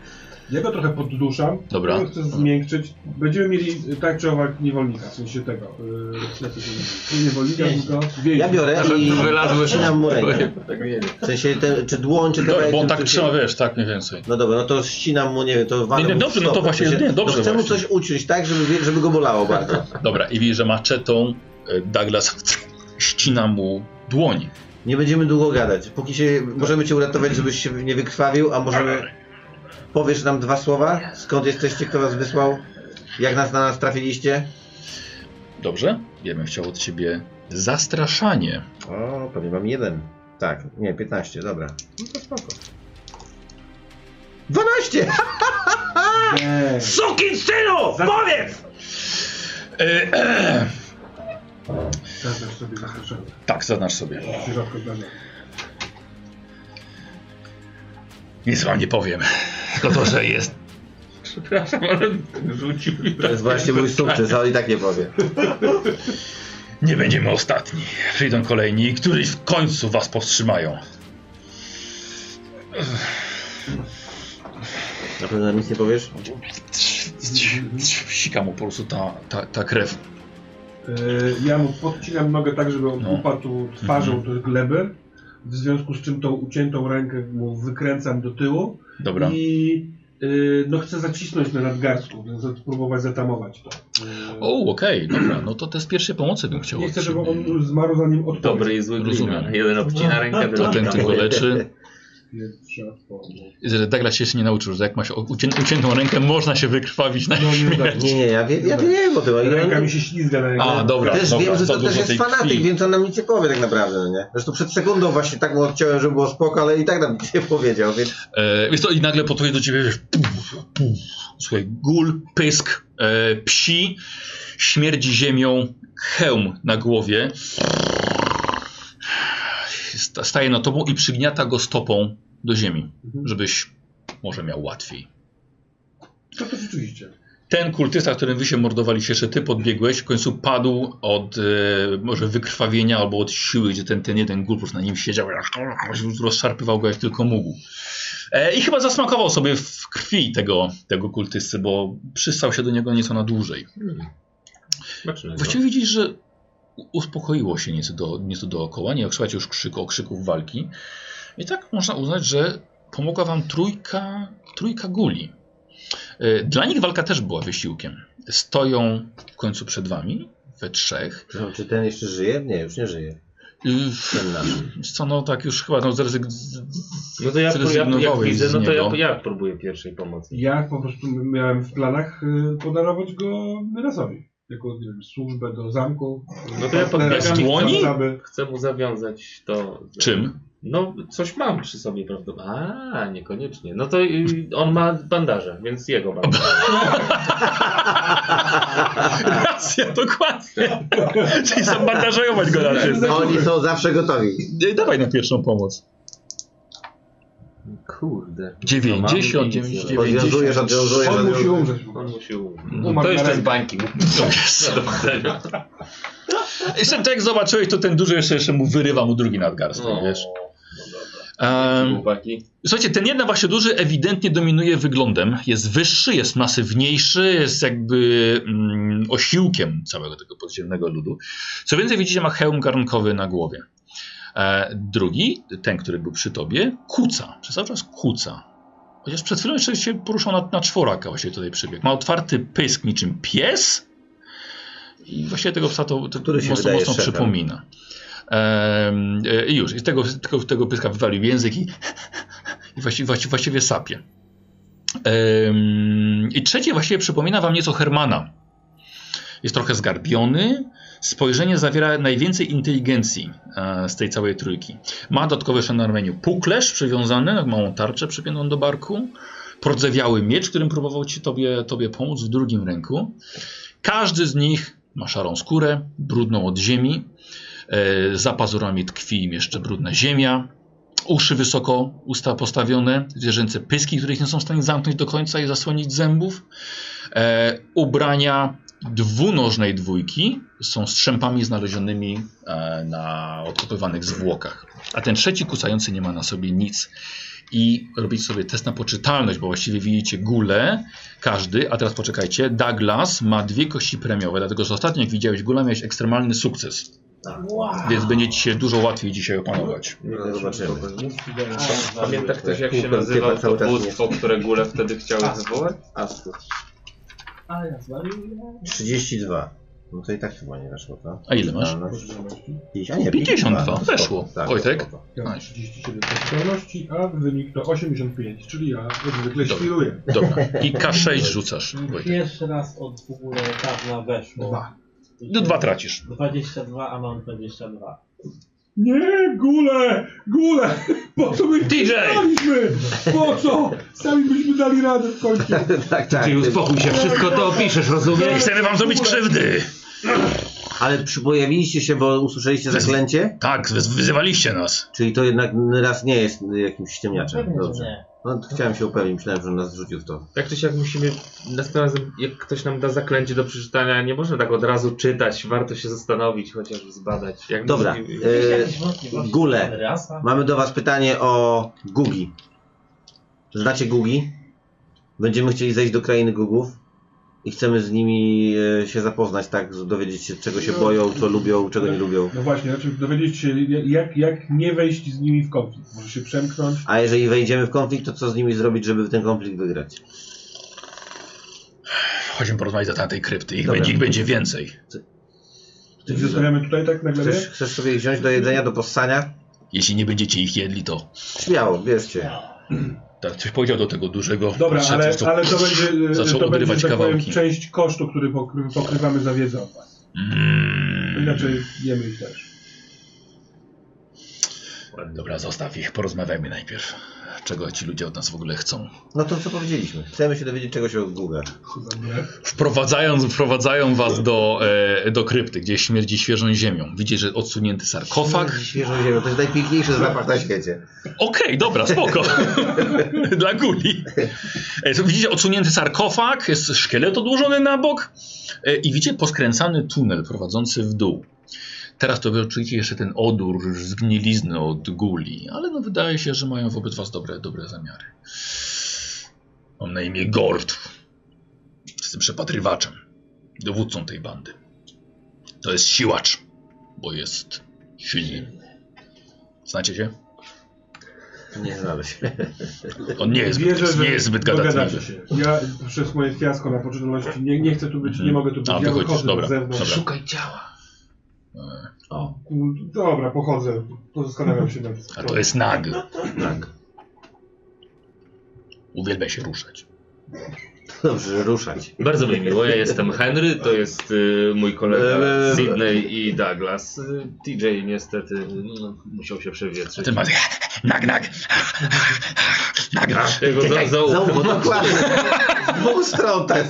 Speaker 3: Ja go trochę podduszam.
Speaker 2: Dobra.
Speaker 3: Ja chcę zmiękczyć. Będziemy mieli y, tak czy owak niewolnika, w sensie tego. Yy, nie niewolnika,
Speaker 5: Więźnia.
Speaker 3: tylko więźnia.
Speaker 1: Ja biorę i
Speaker 4: Wylazły
Speaker 1: ścinam mu rękę.
Speaker 4: Tak nie wiem.
Speaker 1: W sensie, te, czy dłoń, czy
Speaker 2: Dobra,
Speaker 1: kawałek-
Speaker 2: bo on
Speaker 1: czy-
Speaker 2: tak
Speaker 1: czy-
Speaker 2: trzyma, wiesz, tak mniej więcej.
Speaker 1: No dobra, no to ścinam mu, nie wiem, to walę
Speaker 2: Nie, nie,
Speaker 1: mu w
Speaker 2: dobrze, no to
Speaker 1: stopę.
Speaker 2: właśnie,
Speaker 1: W sensie,
Speaker 2: nie, dobrze
Speaker 1: No chcę mu
Speaker 2: właśnie.
Speaker 1: coś uczyć, tak, żeby, wie- żeby go bolało bardzo.
Speaker 2: Dobra, i widzi, że maczetą y, [LAUGHS] Douglas ścina mu dłoń.
Speaker 1: Nie będziemy długo gadać. Póki się, możemy cię uratować, żebyś się nie wykrwawił, a możemy... Powiesz nam dwa słowa? Skąd jesteście, kto was wysłał? Jak nas na nas trafiliście?
Speaker 2: Dobrze? Ja bym chciał od ciebie zastraszanie.
Speaker 1: O, pewnie mam jeden. Tak, nie, 15, dobra. No to spoko. 12!
Speaker 3: Nie.
Speaker 2: Sukin synu! Powiedz! E,
Speaker 3: Zaznacz sobie zaskoczenie.
Speaker 2: tak, zaznacz sobie.
Speaker 3: To się rzadko zdarza.
Speaker 2: Nic wam nie powiem. Tylko to, że jest.
Speaker 4: Przepraszam, ale rzucił mi
Speaker 1: To jest właśnie mój sukces, ale i tak nie powie.
Speaker 2: Nie będziemy ostatni. Przyjdą kolejni i któryś w końcu was powstrzymają.
Speaker 1: Na pewno nam nic nie powiesz? Mhm.
Speaker 2: Sika mu po prostu ta, ta, ta krew.
Speaker 3: Yy, ja mu podcinam nogę tak, żeby on
Speaker 2: No. Mhm.
Speaker 3: upadł twarzą do gleby. W związku z czym tą uciętą rękę mu wykręcam do tyłu.
Speaker 2: Dobra.
Speaker 3: I y, no chcę zacisnąć na nadgarstku, więc spróbować zatamować to. Yy,
Speaker 2: O, okej, dobra. No to te z pierwszej pomocy bym chciał.
Speaker 3: nie chcę,
Speaker 2: od
Speaker 3: żeby
Speaker 2: ciebie.
Speaker 3: on zmarł zanim odpowie.
Speaker 4: Dobry i zły glina.
Speaker 2: Rozumiem.
Speaker 4: Jeden obcina rękę,
Speaker 2: To
Speaker 4: drugi
Speaker 2: ten
Speaker 4: tam.
Speaker 2: tylko leczy.
Speaker 3: Pierwsza odpowiedź.
Speaker 2: Że Douglas się jeszcze nie nauczył, że jak ma się ucię- uciętą rękę, można się wykrwawić na
Speaker 3: No nie
Speaker 2: [LAUGHS]
Speaker 3: udało.
Speaker 1: Nie, tak. nie, ja, wie, ja wiem o tym. ale-
Speaker 3: Ręka mi się ślizga na jego.
Speaker 2: A, dobra,
Speaker 1: Też
Speaker 2: dobra,
Speaker 1: wiem, że
Speaker 2: za
Speaker 1: to
Speaker 2: dużo
Speaker 1: też jest
Speaker 2: tej
Speaker 1: fanatyk,
Speaker 2: krwi.
Speaker 1: więc on nam nic nie powie tak naprawdę, no nie? Zresztą przed sekundą właśnie tak mu odciąłem, żeby było spoko, ale i tak nam nic nie powiedział, więc...
Speaker 2: E, wiesz co, i nagle podchodzi do ciebie, wiesz, puf, puf. słuchaj, gul, pysk, e, psi, śmierdzi ziemią, hełm na głowie. Sta- Staje na tobą i przygniata go stopą do ziemi, żebyś może miał łatwiej.
Speaker 3: To to rzeczywiście.
Speaker 2: Ten kultysta, którym wy się mordowaliście, jeszcze ty podbiegłeś, w końcu padł od e, może wykrwawienia albo od siły, gdzie ten, ten jeden gul po prostu na nim siedział, rozszarpywał go jak tylko mógł. E, I chyba zasmakował sobie w krwi tego, tego kultysty, bo przystał się do niego nieco na dłużej.
Speaker 4: Zobaczymy, no.
Speaker 2: Właściwie widzisz, że u- uspokoiło się nieco, do, nieco dookoła, nie słychać już krzyku, okrzyków walki. I tak można uznać, że pomogła wam trójka, trójka guli. E, Dla nich walka też była wysiłkiem. Stoją w końcu przed wami, we trzech.
Speaker 1: Przepraszam, czy ten jeszcze żyje? Nie, już nie żyje.
Speaker 2: Y,
Speaker 1: Ten nasz.
Speaker 2: Wiesz Co no tak już chyba no, zrezygn- z- z-
Speaker 7: No to ja, pró- ja jak
Speaker 2: zrezygnowałeś
Speaker 7: widzę,
Speaker 2: z
Speaker 7: no to ja,
Speaker 2: niego.
Speaker 7: ja próbuję pierwszej pomocy.
Speaker 3: Ja po prostu miałem w planach y, podarować go Myrasowi. Jako nie wiem, służbę do zamku.
Speaker 7: No to ja
Speaker 3: Partnera,
Speaker 7: podbiegam i
Speaker 2: dłoni?
Speaker 3: wracamy.
Speaker 7: Chcę mu zawiązać to.
Speaker 2: Czym?
Speaker 7: No, coś mam przy sobie prawdopodobnie. A, niekoniecznie. No to y, on ma bandaże, więc jego bandaże.
Speaker 2: [LAUGHS] Racja, [LAUGHS] dokładnie. Czyli zabandażować go na tym.
Speaker 1: No, Oni są zawsze gotowi.
Speaker 2: Nie, Dawaj na pierwszą pomoc.
Speaker 7: Kurde.
Speaker 2: 90,
Speaker 7: No, mam nic,
Speaker 2: 90,
Speaker 7: nie
Speaker 1: Odwiązujesz,
Speaker 2: 90.
Speaker 1: odwiązujesz,
Speaker 3: On musi
Speaker 1: odwiązujesz.
Speaker 3: umrzeć.
Speaker 7: On musi umrzeć.
Speaker 3: Umarł na
Speaker 7: to jeszcze z
Speaker 3: rękę.
Speaker 7: bańki.
Speaker 2: No, wiesz co. [LAUGHS] Jeszcze jak zobaczyłeś, to ten duży jeszcze, jeszcze mu wyrywa mu drugi nadgarstek,
Speaker 7: No,
Speaker 2: wiesz.
Speaker 7: no dobra.
Speaker 2: Em,
Speaker 7: Chłopaki.
Speaker 2: słuchajcie, ten jeden właśnie duży ewidentnie dominuje wyglądem. Jest wyższy, jest masywniejszy, jest jakby mm, osiłkiem całego tego podziemnego ludu. Co więcej, widzicie, ma hełm garnkowy na głowie. E, drugi, ten, który był przy tobie, kuca. Przez cały czas kuca. Chociaż przed chwilą jeszcze się poruszał na, na czworaka, właśnie tutaj przybiegł. Ma otwarty pysk niczym pies. I właściwie tego psa to, to
Speaker 1: Który się
Speaker 2: mocno,
Speaker 1: wydaje
Speaker 2: mocno
Speaker 1: szefem.
Speaker 2: przypomina. Em, e, I już. I z tego, z tego, tego pyska wywalił język i, i właściwie, właściwie, właściwie sapie. Em, I trzecie właściwie przypomina wam nieco Hermana. Jest trochę zgarbiony, Spojrzenie zawiera najwięcej inteligencji e, z tej całej trójki. Ma dodatkowy jeszcze na ramieniu puklerz przywiązany, małą tarczę przypiętą do barku, prodzewiały miecz, którym próbował ci tobie, tobie pomóc w drugim ręku. Każdy z nich ma szarą skórę, brudną od ziemi, e, za pazurami tkwi im jeszcze brudna ziemia, uszy wysoko, usta postawione, zwierzęce pyski, których nie są w stanie zamknąć do końca i zasłonić zębów, e, ubrania dwunożnej dwójki są strzępami znalezionymi e, na odkopywanych zwłokach. A ten trzeci kucający nie ma na sobie nic. I robić sobie test na poczytalność, bo właściwie widzicie gulę, każdy, a teraz poczekajcie, Douglas ma dwie kości premiowe, dlatego że ostatnio jak widziałeś gulę, miałeś ekstremalny sukces,
Speaker 5: Wow.
Speaker 2: więc będzie ci się dużo łatwiej dzisiaj opanować.
Speaker 1: No, zobaczymy.
Speaker 7: Pamięta ktoś jak się
Speaker 1: Kółko
Speaker 7: nazywał
Speaker 1: typa cały czas Tak.
Speaker 7: powództwo, które góle wtedy chciały wywołać? Astus.
Speaker 5: A ja zwaliłem.
Speaker 1: 32. No to i tak chyba nie weszło, to.
Speaker 2: A ile masz?
Speaker 1: A nie,
Speaker 2: 52.
Speaker 1: Spoko,
Speaker 2: Weszło.
Speaker 1: tak,
Speaker 2: Wojtek?
Speaker 1: spoko. [LAUGHS]
Speaker 3: Ja mam 37 poczytalności, a wynik to 85, czyli ja jak zwykle
Speaker 2: Dobra.
Speaker 3: świruję.
Speaker 2: Dobra. I K6 rzucasz. Wojtek.
Speaker 5: Pierwszy raz od w ogóle dawna weszło.
Speaker 3: Dwa.
Speaker 2: No dwa tracisz.
Speaker 5: 22, a mam 22.
Speaker 3: Nie, gule! Gule! Po co my
Speaker 2: DJ!
Speaker 3: daliśmy? Po co? Sami byśmy dali radę w końcu.
Speaker 1: tak, tak.
Speaker 7: Czyli uspokój się, wszystko to opiszesz, rozumiesz?
Speaker 2: Nie chcemy wam zrobić krzywdy!
Speaker 1: Ale przypojawiliście się, bo usłyszeliście zaklęcie?
Speaker 2: Tak, wy- wyzywaliście nas.
Speaker 1: Czyli to jednak raz nie jest jakimś ciemniaczem.
Speaker 5: Pewnie, że
Speaker 1: Dobrze.
Speaker 5: nie.
Speaker 1: No, chciałem się upewnić, myślałem, że on nas rzucił w to.
Speaker 7: Tak czy siak musimy, następnym razem jak ktoś nam da zaklęcie do przeczytania, nie można tak od razu czytać, warto się zastanowić, chociaż zbadać. Jak
Speaker 1: Dobra.
Speaker 7: Mówi,
Speaker 5: Jakieś
Speaker 1: E,
Speaker 5: jakieś wątpliwości,
Speaker 1: Gule.
Speaker 5: czy Rasa?
Speaker 1: Mamy do Was pytanie o Gugi. Znacie Gugi? Będziemy chcieli zejść do krainy Gugów i chcemy z nimi e, się zapoznać, tak? z- Dowiedzieć się, czego się boją, co lubią, czego nie lubią.
Speaker 3: No właśnie, znaczy dowiedzieć się jak, jak nie wejść z nimi w konflikt. Może się przemknąć.
Speaker 1: A jeżeli wejdziemy w konflikt, to co z nimi zrobić, żeby ten konflikt wygrać?
Speaker 2: Chodźmy porozmawiać na temat tej krypty. Ich
Speaker 1: Dobra.
Speaker 2: będzie, ich będzie więcej.
Speaker 3: Czy zostawiamy tutaj tak na glebie?
Speaker 1: Chcesz, chcesz sobie ich wziąć do jedzenia, do possania?
Speaker 2: Jeśli nie będziecie ich jedli, to...
Speaker 1: Śmiało, bierzcie.
Speaker 2: Tak, coś powiedział do tego dużego.
Speaker 3: Dobra,
Speaker 2: Patrzę,
Speaker 3: ale,
Speaker 2: coś tu-
Speaker 3: ale to będzie,
Speaker 2: zaczął
Speaker 3: to będzie
Speaker 2: odrywać
Speaker 3: że tak powiem,
Speaker 2: kawałki.
Speaker 3: część kosztu, który pokry, pokrywamy za wiedzę od was.
Speaker 2: Mm.
Speaker 3: Inaczej jemy ich też.
Speaker 2: Dobra, zostaw ich. Porozmawiajmy najpierw. Czego ci ludzie od nas w ogóle chcą.
Speaker 1: No to co powiedzieliśmy? Chcemy się dowiedzieć czegoś o Gugach.
Speaker 3: Chyba nie.
Speaker 2: Wprowadzają, wprowadzają was do, e, do krypty, gdzie śmierdzi świeżą ziemią. Widzicie, że odsunięty sarkofag.
Speaker 1: Świeżą ziemią, to jest najpiękniejszy zapach na świecie.
Speaker 2: Okej, dobra, spoko. Dla guli. E, to Widzicie odsunięty sarkofag, jest szkielet odłożony na bok e, i widzicie poskręcany tunel prowadzący w dół. Teraz to wy czujecie jeszcze ten odór zgnilizny od guli, ale no wydaje się, że mają wobec was dobre, dobre zamiary. Mam na imię Gord. Jestem przepatrywaczem, dowódcą tej bandy. To jest siłacz. bo jest silny. Znacie się?
Speaker 1: Nie znamy się.
Speaker 2: On nie jest,
Speaker 3: Wierzę,
Speaker 2: zbyt,
Speaker 3: że
Speaker 2: nie jest zbyt gadatliwy.
Speaker 3: dogadacie się. Ja przez moje fiasko na poczytalności nie, nie chcę tu być,
Speaker 2: Mhm.
Speaker 3: nie mogę tu być.
Speaker 2: A,
Speaker 3: ja
Speaker 2: wychodzisz,
Speaker 3: wychodzę
Speaker 2: dobra,
Speaker 3: na zewnątrz.
Speaker 2: dobra.
Speaker 7: Szukaj ciała.
Speaker 1: O,
Speaker 3: Kur- Dobra, pochodzę. Pozastanawiam się nad
Speaker 2: A to jest nag. Uwielbia się ruszać.
Speaker 1: dobrze, że ruszać.
Speaker 7: Bardzo mi miło, ja jestem Henry, to jest y, mój kolega
Speaker 1: Eee.
Speaker 7: Sydney i Douglas. Y, TJ niestety no, musiał się przewietrzyć.
Speaker 2: Ty masz nag, nag, nag,
Speaker 7: [LAUGHS]
Speaker 2: nag.
Speaker 7: Tego za, za
Speaker 1: Znowu, no dokładnie. Z dwóch stron tak.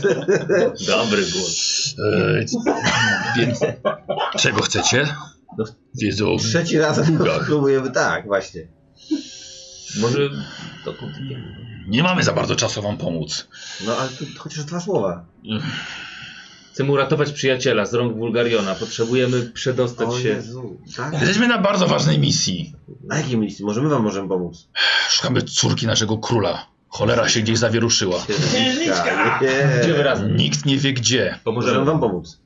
Speaker 7: Dobry głos.
Speaker 2: E, Więc czego chcecie?
Speaker 1: No,
Speaker 2: Wiedzą o
Speaker 1: Trzeci raz
Speaker 2: długach.
Speaker 1: próbujemy, tak, właśnie.
Speaker 7: Może to kupię.
Speaker 2: Nie mamy za bardzo czasu wam pomóc.
Speaker 1: No, ale tu chociaż dwa słowa.
Speaker 7: Chcemy uratować przyjaciela z rąk Bulgariona. Potrzebujemy przedostać
Speaker 1: O
Speaker 7: się.
Speaker 1: Jezu, tak?
Speaker 2: Jesteśmy na bardzo ważnej misji.
Speaker 1: Na jakiej misji? Może my wam możemy pomóc?
Speaker 2: Szukamy córki naszego króla. Cholera się gdzieś zawieruszyła.
Speaker 1: Księżniczka! Nie.
Speaker 7: Idziemy razem.
Speaker 2: Nikt nie wie gdzie.
Speaker 1: Możemy
Speaker 7: Pomożemy.
Speaker 1: wam pomóc.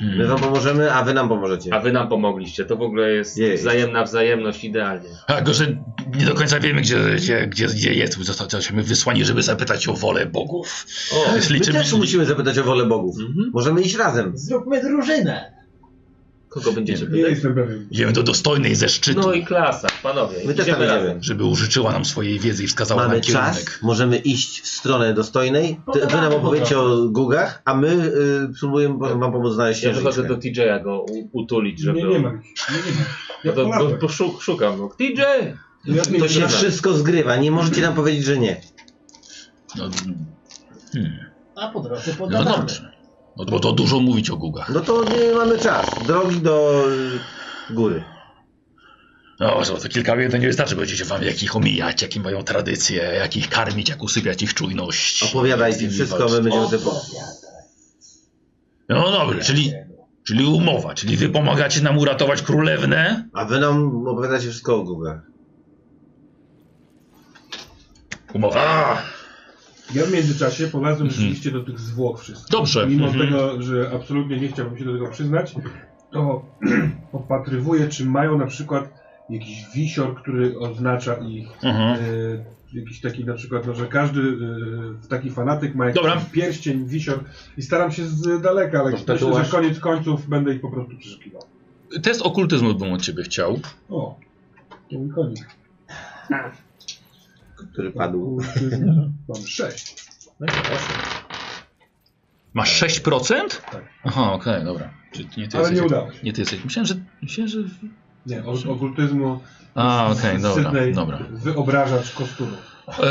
Speaker 1: My
Speaker 2: Hmm.
Speaker 1: wam pomożemy, a wy nam pomożecie.
Speaker 7: A wy nam pomogliście. To w ogóle jest
Speaker 1: Jej.
Speaker 7: wzajemna wzajemność idealnie.
Speaker 2: A go, że nie do końca wiemy, gdzie, gdzie, gdzie, gdzie jest. Zostaliśmy wysłani, żeby zapytać o wolę bogów.
Speaker 7: O,
Speaker 2: Więc
Speaker 1: Tak, My
Speaker 2: liczymy-
Speaker 1: też musimy zapytać o wolę bogów.
Speaker 7: mhm.
Speaker 1: Możemy iść razem.
Speaker 5: Zróbmy drużynę!
Speaker 7: kogo będziecie
Speaker 3: Nie
Speaker 7: pytać?
Speaker 3: jestem pewien.
Speaker 2: Idziemy do dostojnej ze szczytu,
Speaker 7: No i klasa, panowie.
Speaker 1: My też tam
Speaker 7: razem.
Speaker 1: idziemy.
Speaker 2: żeby użyczyła nam swojej wiedzy i wskazała
Speaker 1: Mamy
Speaker 2: nam
Speaker 1: czas,
Speaker 2: kierunek.
Speaker 1: możemy iść w stronę dostojnej.
Speaker 3: No
Speaker 1: Ty, wy
Speaker 3: tak,
Speaker 1: nam opowiecie o gugach, a my y, spróbujemy potem wam pomóc znaleźć
Speaker 7: Ja wychodzę
Speaker 1: księżniczkę.
Speaker 7: do TJ-a go u- utulić, żeby...
Speaker 3: Nie, nie ma ich. Nie, nie ma.
Speaker 7: No
Speaker 3: Ja
Speaker 7: to go,
Speaker 3: polazłem.
Speaker 7: go szu- szukam. No. TJ!
Speaker 3: Ja
Speaker 1: To
Speaker 3: nie
Speaker 1: się
Speaker 3: wiem.
Speaker 1: wszystko zgrywa, nie możecie nam powiedzieć, że nie.
Speaker 2: No,
Speaker 5: A po drodze
Speaker 2: no
Speaker 5: pogadamy.
Speaker 2: dobrze. No bo to dużo mówić o gugach.
Speaker 1: No to nie mamy czas. Drogi do y, góry.
Speaker 2: No, że to kilka wiedzy nie wystarczy. Będziecie wam jakich omijać, jakie mają tradycje, jak ich karmić, jak usypiać ich czujność.
Speaker 1: Opowiadajcie
Speaker 2: Jak z nimi
Speaker 1: wszystko,
Speaker 2: walczyć.
Speaker 1: my będziemy sobie po...
Speaker 5: Opowiadaj.
Speaker 2: No dobrze, czyli, czyli umowa, czyli wy pomagacie nam uratować królewnę.
Speaker 1: A wy nam opowiadacie wszystko o gugach.
Speaker 2: Umowa.
Speaker 3: Ja w międzyczasie polazłem
Speaker 2: Mhm.
Speaker 3: rzeczywiście do tych zwłok wszystkich.
Speaker 2: Dobrze.
Speaker 3: Mimo
Speaker 2: Mhm.
Speaker 3: tego, że absolutnie nie chciałbym się do tego przyznać, to [CLEARS THROAT] opatrywuję, czy mają na przykład jakiś wisior, który oznacza ich.
Speaker 2: Mhm.
Speaker 3: E, jakiś taki na przykład, no, że każdy e, taki fanatyk ma jakiś
Speaker 2: Dobra.
Speaker 3: pierścień, wisior i staram się z daleka, ale
Speaker 7: To
Speaker 3: myślę,
Speaker 7: tatuaż.
Speaker 3: że koniec końców będę ich po prostu przeszukiwał.
Speaker 2: Test okultyzmu bym od ciebie chciał.
Speaker 3: O, to mój koniec.
Speaker 1: który padł.
Speaker 3: Mam sześć.
Speaker 2: Masz 6%?
Speaker 3: Tak.
Speaker 2: Aha, okej, dobra. Czy nie ty
Speaker 3: Ale
Speaker 2: jesteś,
Speaker 3: nie udało się.
Speaker 2: nie ty jesteś. Myślałem, że... Myślałem, że...
Speaker 3: Nie, o, okultyzmu
Speaker 2: A,
Speaker 3: z-
Speaker 2: okej,
Speaker 3: z
Speaker 2: dobra,
Speaker 3: Sydney
Speaker 2: dobra.
Speaker 3: wyobrażacz kosturu.
Speaker 2: Ehm,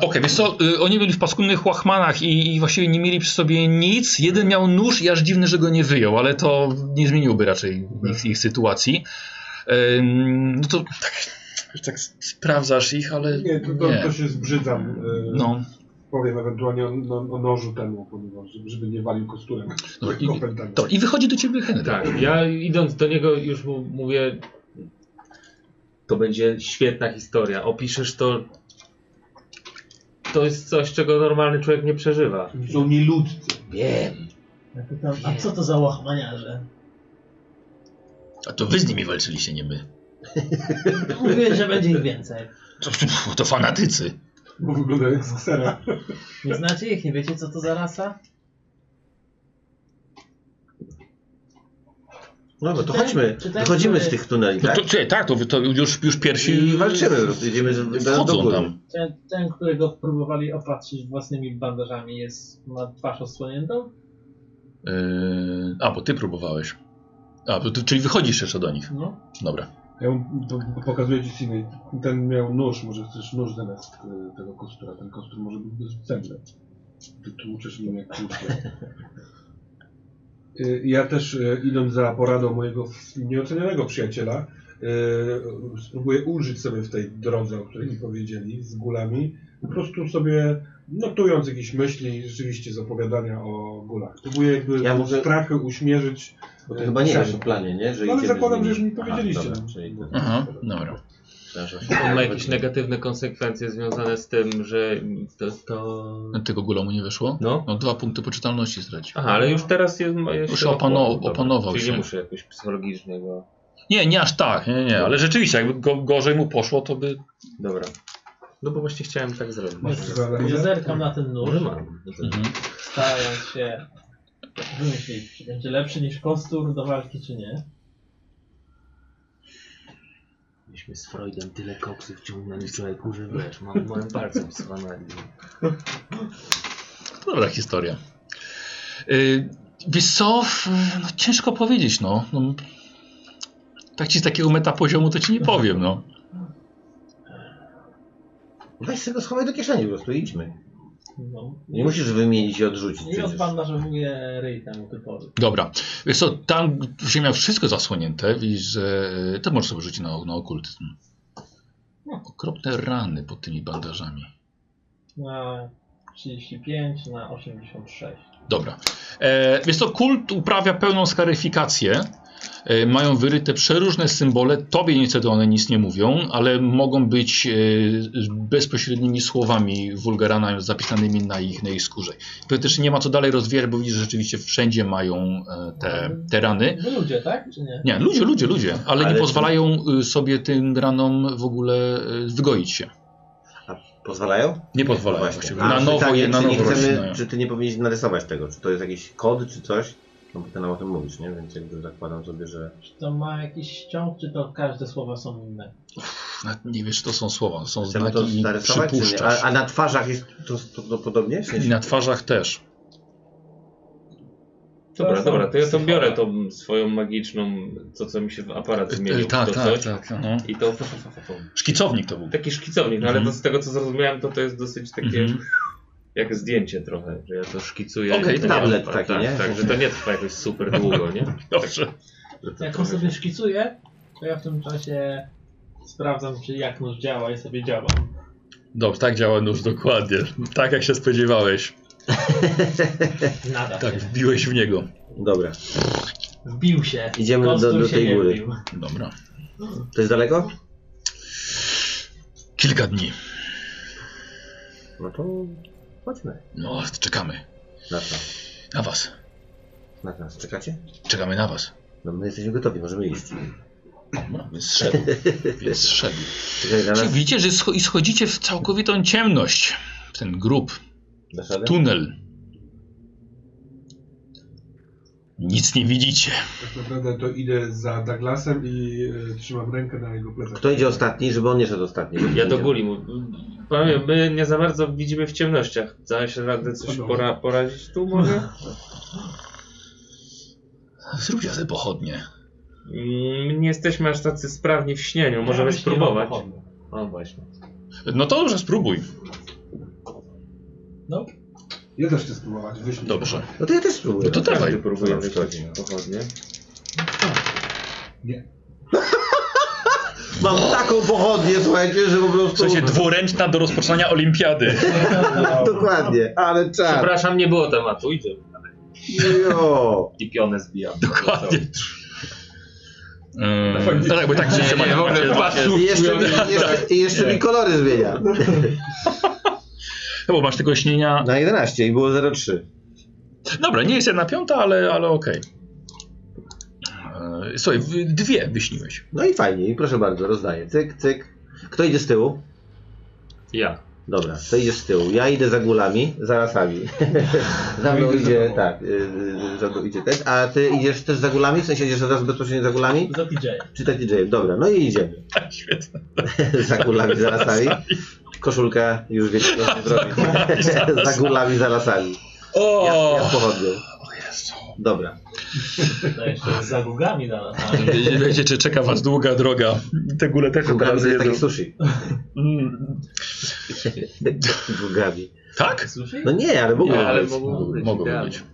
Speaker 2: Okej, więc co, y, oni byli w paskudnych łachmanach i, i właściwie nie mieli przy sobie nic. Jeden miał nóż i aż dziwny, że go nie wyjął, ale to nie zmieniłoby raczej ich, ich sytuacji. Ehm, no to tak, tak sprawdzasz ich, ale
Speaker 3: Nie, to, to,
Speaker 2: nie.
Speaker 3: to się zbrzydzam. e,
Speaker 2: No,
Speaker 3: Powiem ewentualnie o, o, o nożu temu, ponieważ żeby- żeby nie walił kosturem. tak,
Speaker 2: Dobra, i-
Speaker 3: Kopętami.
Speaker 2: to, i wychodzi do ciebie Henry.
Speaker 7: Tak, ja idąc do niego już mu mówię... To będzie świetna historia. Opiszesz to... To jest coś, czego normalny człowiek nie przeżywa.
Speaker 3: Są nieludcy.
Speaker 7: Wiem.
Speaker 5: Ja pytam, a co to za łachmaniarze?
Speaker 2: A to wy z nimi walczyliście, nie my.
Speaker 5: Mówiłeś, że będzie ich więcej.
Speaker 2: To, to fanatycy.
Speaker 3: Bo wyglądają jak z ksera.
Speaker 5: Nie znacie ich? Nie wiecie, co to za rasa?
Speaker 1: No bo to
Speaker 5: Czy ten-
Speaker 1: chodźmy,
Speaker 5: czy ten,
Speaker 1: wychodzimy
Speaker 5: który-
Speaker 1: z tych tuneli,
Speaker 2: No
Speaker 1: tak?
Speaker 2: to, czekaj, tak, to, wy- to już, już
Speaker 1: I
Speaker 2: pierwsi
Speaker 1: walczymy, no idziemy z- do
Speaker 2: wchodzą
Speaker 1: góry.
Speaker 2: tam.
Speaker 5: Ten, ten, którego próbowali opatrzyć własnymi bandażami, jest, ma twarz odsłoniętą?
Speaker 2: Yy, a, bo ty próbowałeś. A, bo ty, czyli wychodzisz jeszcze do nich.
Speaker 5: No.
Speaker 2: Dobra.
Speaker 3: Ja mu po- po- pokazuję ci Sydney. Ten miał nóż, może chcesz nóż zamiast e, tego kostura. Ten kostur może być bezcenny. Ty tłuczesz mnie jak tłuczę. [LAUGHS] E, Ja też e, idąc za poradą mojego f- nieocenionego przyjaciela, e, spróbuję ulżyć sobie w tej drodze, o której mi powiedzieli, z gulami. Po prostu sobie notując jakieś myśli rzeczywiście z opowiadania o gulach. Próbuję jakby
Speaker 1: Ja
Speaker 3: ja
Speaker 1: może-
Speaker 3: strachy uśmierzyć.
Speaker 1: Bo
Speaker 3: e,
Speaker 1: ty chyba nie
Speaker 3: przeszłość.
Speaker 1: wiesz o planie, nie? Że
Speaker 3: No ale
Speaker 1: idziemy
Speaker 3: zakładam,
Speaker 1: z
Speaker 3: że
Speaker 1: nim.
Speaker 3: już mi powiedzieliście.
Speaker 1: Aha, dobra, czyli to-
Speaker 2: Aha, dobra.
Speaker 1: Pytałem się właśnie-
Speaker 7: On ma jakieś negatywne konsekwencje związane z tym, że to... to...
Speaker 2: No, Tego gulamu nie wyszło?
Speaker 7: No.
Speaker 2: No dwa punkty poczytalności stracił.
Speaker 7: Aha, ale już teraz jest... jest
Speaker 2: Już
Speaker 7: szeroko.
Speaker 2: opano-
Speaker 7: Dobra,
Speaker 2: opanował
Speaker 7: Czyli
Speaker 2: się.
Speaker 7: nie muszę jakoś psychologicznego...
Speaker 2: Nie, nie aż tak, nie, nie, ale rzeczywiście, jakby go, gorzej mu poszło, to by...
Speaker 7: Dobra. No bo właśnie chciałem tak zrobić.
Speaker 3: Masz przykład?
Speaker 5: Ja zerkam na ten nóż,
Speaker 7: Może mam.
Speaker 5: starając się wymyślić, czy będzie lepszy niż kostur do walki, czy nie.
Speaker 7: Myśmy z Freudem tyle koksów ciągnęli człowieku, że wiesz, mam moim palcem schwanali.
Speaker 2: Dobra historia. Yy, wiesz co, w- no, ciężko powiedzieć, no. no. Tak ci z takiego metapoziomu to ci nie powiem, no.
Speaker 1: Weź sobie go schowaj do kieszeni po prostu i idźmy.
Speaker 5: No.
Speaker 1: Nie musisz wymienić i odrzucić.
Speaker 5: I
Speaker 1: przecież.
Speaker 5: odpadna, że mówię ryj temu typowi.
Speaker 2: Dobra, wiesz co, tam się miał wszystko zasłonięte, widzisz, że... yy, To możesz sobie rzucić na, na okultyzm. No, Okropne rany pod tymi bandażami.
Speaker 5: Na 35 na 86.
Speaker 2: Dobra. E, Wiesz co, kult uprawia pełną skaryfikację. E, Mają wyryte przeróżne symbole. Tobie niestety one nic nie mówią, ale mogą być e, bezpośrednimi słowami wulgarana zapisanymi na ich, na ich skórze. To też nie ma co dalej rozwijać, bo widzisz, że rzeczywiście wszędzie mają e, te, te rany.
Speaker 5: Wy ludzie, tak? Czy nie?
Speaker 2: Nie, ludzie, ludzie, ludzie, ale,
Speaker 1: Ale
Speaker 2: nie
Speaker 1: czy-
Speaker 2: pozwalają y, sobie tym ranom w ogóle y, wygoić się.
Speaker 1: A pozwalają? No
Speaker 2: Nie pozwalają
Speaker 1: Właśnie.
Speaker 2: właściwie.
Speaker 1: A,
Speaker 2: Na nowo
Speaker 1: pytanie,
Speaker 2: je, na
Speaker 1: czy, nie
Speaker 2: nowo
Speaker 1: chcemy,
Speaker 2: rośnie.
Speaker 1: czy ty nie powinieneś narysować tego? Czy to jest jakiś kod, czy coś? No bo ty nam o tym mówisz, nie? Więc jakby zakładam sobie, że...
Speaker 5: Czy to ma jakiś ściąg, czy to każde słowa są inne?
Speaker 2: Nawet Nie wiesz, czy to są słowa, to są
Speaker 1: Chcemy
Speaker 2: znaki
Speaker 1: to
Speaker 2: i
Speaker 1: narysować, czy nie?
Speaker 2: No przypuszczasz.
Speaker 1: A, a na twarzach jest to, to, to podobnie? W sensie-
Speaker 2: I na twarzach też.
Speaker 7: Dobra,
Speaker 2: Tak,
Speaker 5: Teraz są
Speaker 7: dobra, to ja to
Speaker 5: psychole.
Speaker 7: biorę tą swoją magiczną, to co mi się w aparat zmienił,
Speaker 2: tak,
Speaker 7: to
Speaker 2: tak,
Speaker 7: coś.
Speaker 2: tak. No.
Speaker 7: I to fu, fu, fu, fu, fu.
Speaker 2: Szkicownik to był.
Speaker 1: Tak,
Speaker 7: taki szkicownik, no ale
Speaker 2: Mhm.
Speaker 7: to z tego co zrozumiałem, to to jest dosyć takie
Speaker 2: Mhm.
Speaker 7: jak zdjęcie trochę, że ja to szkicuję.
Speaker 2: Okej,
Speaker 7: i to
Speaker 1: tablet
Speaker 7: nie-
Speaker 1: taki,
Speaker 7: tak,
Speaker 1: nie?
Speaker 7: Tak, że to nie trwa jakoś super długo, nie?
Speaker 2: [LAUGHS] Dobrze.
Speaker 7: Że to
Speaker 5: Jak
Speaker 7: trochę-
Speaker 5: on sobie szkicuje, to ja w tym czasie sprawdzam, czy jak nóż działa i sobie działa.
Speaker 2: Dobrze, tak działa nóż dokładnie. Tak jak się spodziewałeś.
Speaker 5: Nada.
Speaker 2: Tak, wbiłeś w niego.
Speaker 1: Dobra.
Speaker 5: Wbił się.
Speaker 1: Idziemy do-
Speaker 5: Kostur
Speaker 1: do
Speaker 5: się
Speaker 1: tej
Speaker 5: nie
Speaker 1: góry.
Speaker 5: wbił.
Speaker 2: Dobra.
Speaker 1: To jest daleko?
Speaker 2: Kilka dni.
Speaker 1: No to chodźmy.
Speaker 2: No, czekamy.
Speaker 1: Na co?
Speaker 2: Na was.
Speaker 1: Na nas. Czekacie?
Speaker 2: Czekamy na was.
Speaker 1: No my jesteśmy gotowi, możemy iść.
Speaker 2: No, więc
Speaker 1: [LAUGHS]
Speaker 2: szedł. Więc szedł.
Speaker 1: Czekaj na
Speaker 2: Czyli
Speaker 1: nas.
Speaker 2: widzicie, że scho- i schodzicie w całkowitą ciemność. W ten grób.
Speaker 1: Na szadę?
Speaker 2: Tunel. Nic nie widzicie.
Speaker 3: Tak naprawdę to idę za Douglasem i e, trzymam rękę na jego plecach.
Speaker 1: Kto idzie ostatni, żeby on nie szedł ostatni?
Speaker 7: Ja do góry mu. Powiem, my nie za bardzo widzimy w ciemnościach. Dałeś radę coś pora, porazić tu może?
Speaker 2: Zróbcie sobie pochodnie.
Speaker 7: Mm, Nie jesteśmy aż tacy sprawni w śnieniu, możemy
Speaker 5: Ja myślę,
Speaker 7: spróbować.
Speaker 5: że pochodny.
Speaker 7: O właśnie.
Speaker 2: No to dobrze, spróbuj.
Speaker 3: Ja też chcę spróbować wyśmieć.
Speaker 2: Dobrze.
Speaker 1: No to ja też spróbuję.
Speaker 2: No to dawaj.
Speaker 7: Każdy próbuje
Speaker 1: Co nam
Speaker 7: wychodzić
Speaker 1: szkodzi, no?
Speaker 7: pochodnie.
Speaker 1: [LAUGHS] Mam taką pochodnię, słuchajcie, że po prostu...
Speaker 2: W sensie dwuręczna do rozpoczynania olimpiady.
Speaker 1: [LAUGHS] Dokładnie, ale czar.
Speaker 7: Tak. Przepraszam, nie było tematu, idziemy.
Speaker 1: Jo.
Speaker 7: I pionę zbijamy.
Speaker 2: [LAUGHS] Dokładnie. Ym, no tak, bo tak [LAUGHS] się
Speaker 7: nie,
Speaker 2: macie,
Speaker 7: w ogóle
Speaker 2: macie,
Speaker 7: patrz,
Speaker 2: macie,
Speaker 1: I jeszcze, mi,
Speaker 2: tak.
Speaker 1: jeszcze, i jeszcze mi kolory zmienia.
Speaker 2: no bo masz tego śnienia.
Speaker 1: Na 11 i było 0,3.
Speaker 2: Dobra, nie jest jedna piąta, ale, ale okej. Yy, Słuchaj, w- dwie wyśniłeś.
Speaker 1: No i fajnie, i proszę bardzo, rozdaję. Cyk, cyk. Kto idzie z tyłu?
Speaker 7: Ja.
Speaker 1: Dobra, to idziesz z tyłu. Ja idę za gulami, za rasami. [LAUGHS] za mną
Speaker 3: Ja idę za
Speaker 1: idzie,
Speaker 3: tobą.
Speaker 1: tak, y, y, za mną idzie ten. A ty idziesz też za gulami? W sensie idziesz od razu bezpośrednio za gulami?
Speaker 5: Za TJ.
Speaker 1: Czy tak DJ? Dobra, no i
Speaker 2: [LAUGHS]
Speaker 1: idziemy.
Speaker 2: Tak, Świetnie.
Speaker 1: [LAUGHS] za gulami, za
Speaker 2: [LAUGHS]
Speaker 1: lasami. Koszulka, już wiecie, co zrobić. [LAUGHS] za gulami, za lasami.
Speaker 2: O!
Speaker 1: Ja, ja pochodzę. Dobra.
Speaker 5: To jeszcze z zagugami na nas.
Speaker 2: Wiecie, czy czeka was długa droga. Te gule też
Speaker 1: Gugami to
Speaker 2: bardzo
Speaker 1: jest takie
Speaker 2: jedzą.
Speaker 1: sushi.
Speaker 2: Mm,
Speaker 1: Gugami.
Speaker 2: Tak?
Speaker 5: Sushi?
Speaker 1: No nie, ale mogą
Speaker 2: Nie, ale
Speaker 1: być.
Speaker 7: mogą być.
Speaker 2: Mogą
Speaker 7: Idealnie.
Speaker 2: być.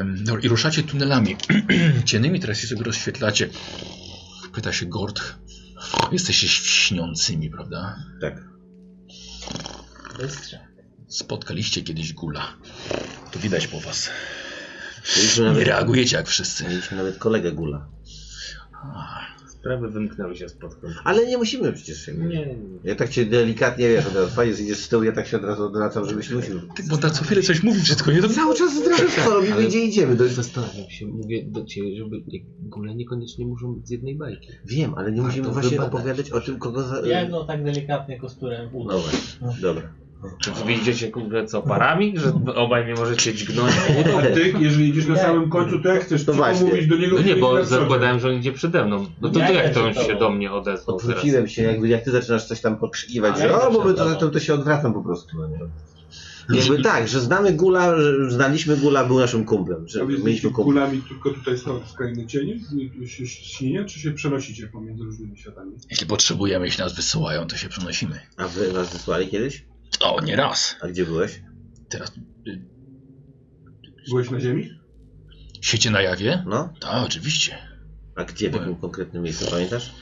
Speaker 2: Ym, Dobra, i ruszacie tunelami. [CLEARS THROAT] Ciennymi teraz się sobie rozświetlacie. Pyta się Gord. Jesteście śniącymi, prawda?
Speaker 1: Tak.
Speaker 5: Bystrze.
Speaker 2: Spotkaliście kiedyś gula. To widać po was.
Speaker 1: Mieliśmy
Speaker 2: Nie
Speaker 1: nawet,
Speaker 2: reagujecie jak wszyscy.
Speaker 1: mieliśmy nawet kolegę gula.
Speaker 7: sprawy wymknęły się spod kontroli.
Speaker 1: Ale nie musimy przecież się.
Speaker 7: Nie, nie, nie.
Speaker 1: Ja tak cię delikatnie wiesz, od razu fajnie zjedziesz z tyłu, ja tak się od razu odwracam, żebyś nie musiał.
Speaker 2: Ty, bo ta co chwilę coś mówi brzydko, nie? To...
Speaker 1: Cały czas zdradzisz, co robimy,
Speaker 7: ale-
Speaker 1: gdzie idziemy. Do...
Speaker 7: Zastanawiam się, mówię do ciebie, żeby gule niekoniecznie muszą być z jednej bajki.
Speaker 1: Wiem, ale nie
Speaker 7: Tak,
Speaker 1: musimy
Speaker 7: to
Speaker 1: właśnie
Speaker 7: wybadać.
Speaker 1: opowiadać o tym, kogo za...
Speaker 5: Jak go tak delikatnie kosturem
Speaker 1: No
Speaker 5: uda.
Speaker 1: właśnie, dobra.
Speaker 7: Czy wy idziecie kurde co, parami? Że obaj nie możecie dźgnąć?
Speaker 3: A ty, jeżeli idziesz na samym końcu, to jak chcesz
Speaker 1: To
Speaker 3: to
Speaker 1: No właśnie.
Speaker 3: mówić do niego?
Speaker 7: No nie,
Speaker 3: żeby
Speaker 7: bo
Speaker 3: na co dzień?
Speaker 7: zakładałem, że on idzie przede mną. No to,
Speaker 5: Ja
Speaker 7: to jak
Speaker 5: idę
Speaker 7: to on
Speaker 5: przed
Speaker 7: się
Speaker 5: tobą.
Speaker 7: do mnie odezwał teraz?
Speaker 1: Odwróciłem się, jakby jak ty zaczynasz coś tam pokrzykiwać,
Speaker 5: A
Speaker 1: że
Speaker 5: ja
Speaker 1: o,
Speaker 5: też
Speaker 1: bo my to
Speaker 5: tak.
Speaker 1: zatem to się odwracam po prostu. No nie? Jakby tak, że znamy Gula, że znaliśmy Gula, był naszym kumplem, że
Speaker 3: A wy
Speaker 1: mieliśmy
Speaker 3: jesteście
Speaker 1: kumpla.
Speaker 3: kulami tylko tutaj stąd skrajny cieni? Tu się śnienia, czy się przenosicie pomiędzy różnymi światami?
Speaker 2: Jeśli potrzebujemy, jeśli nas wysyłają, to się przenosimy.
Speaker 1: A wy nas wysłali kiedyś?
Speaker 2: O, nie raz.
Speaker 1: A gdzie byłeś?
Speaker 2: Teraz
Speaker 3: Byłeś na ziemi?
Speaker 2: siecie na jawie?
Speaker 1: No?
Speaker 2: Tak, oczywiście.
Speaker 1: A gdzie, w jakim konkretnym miejscu, pamiętasz?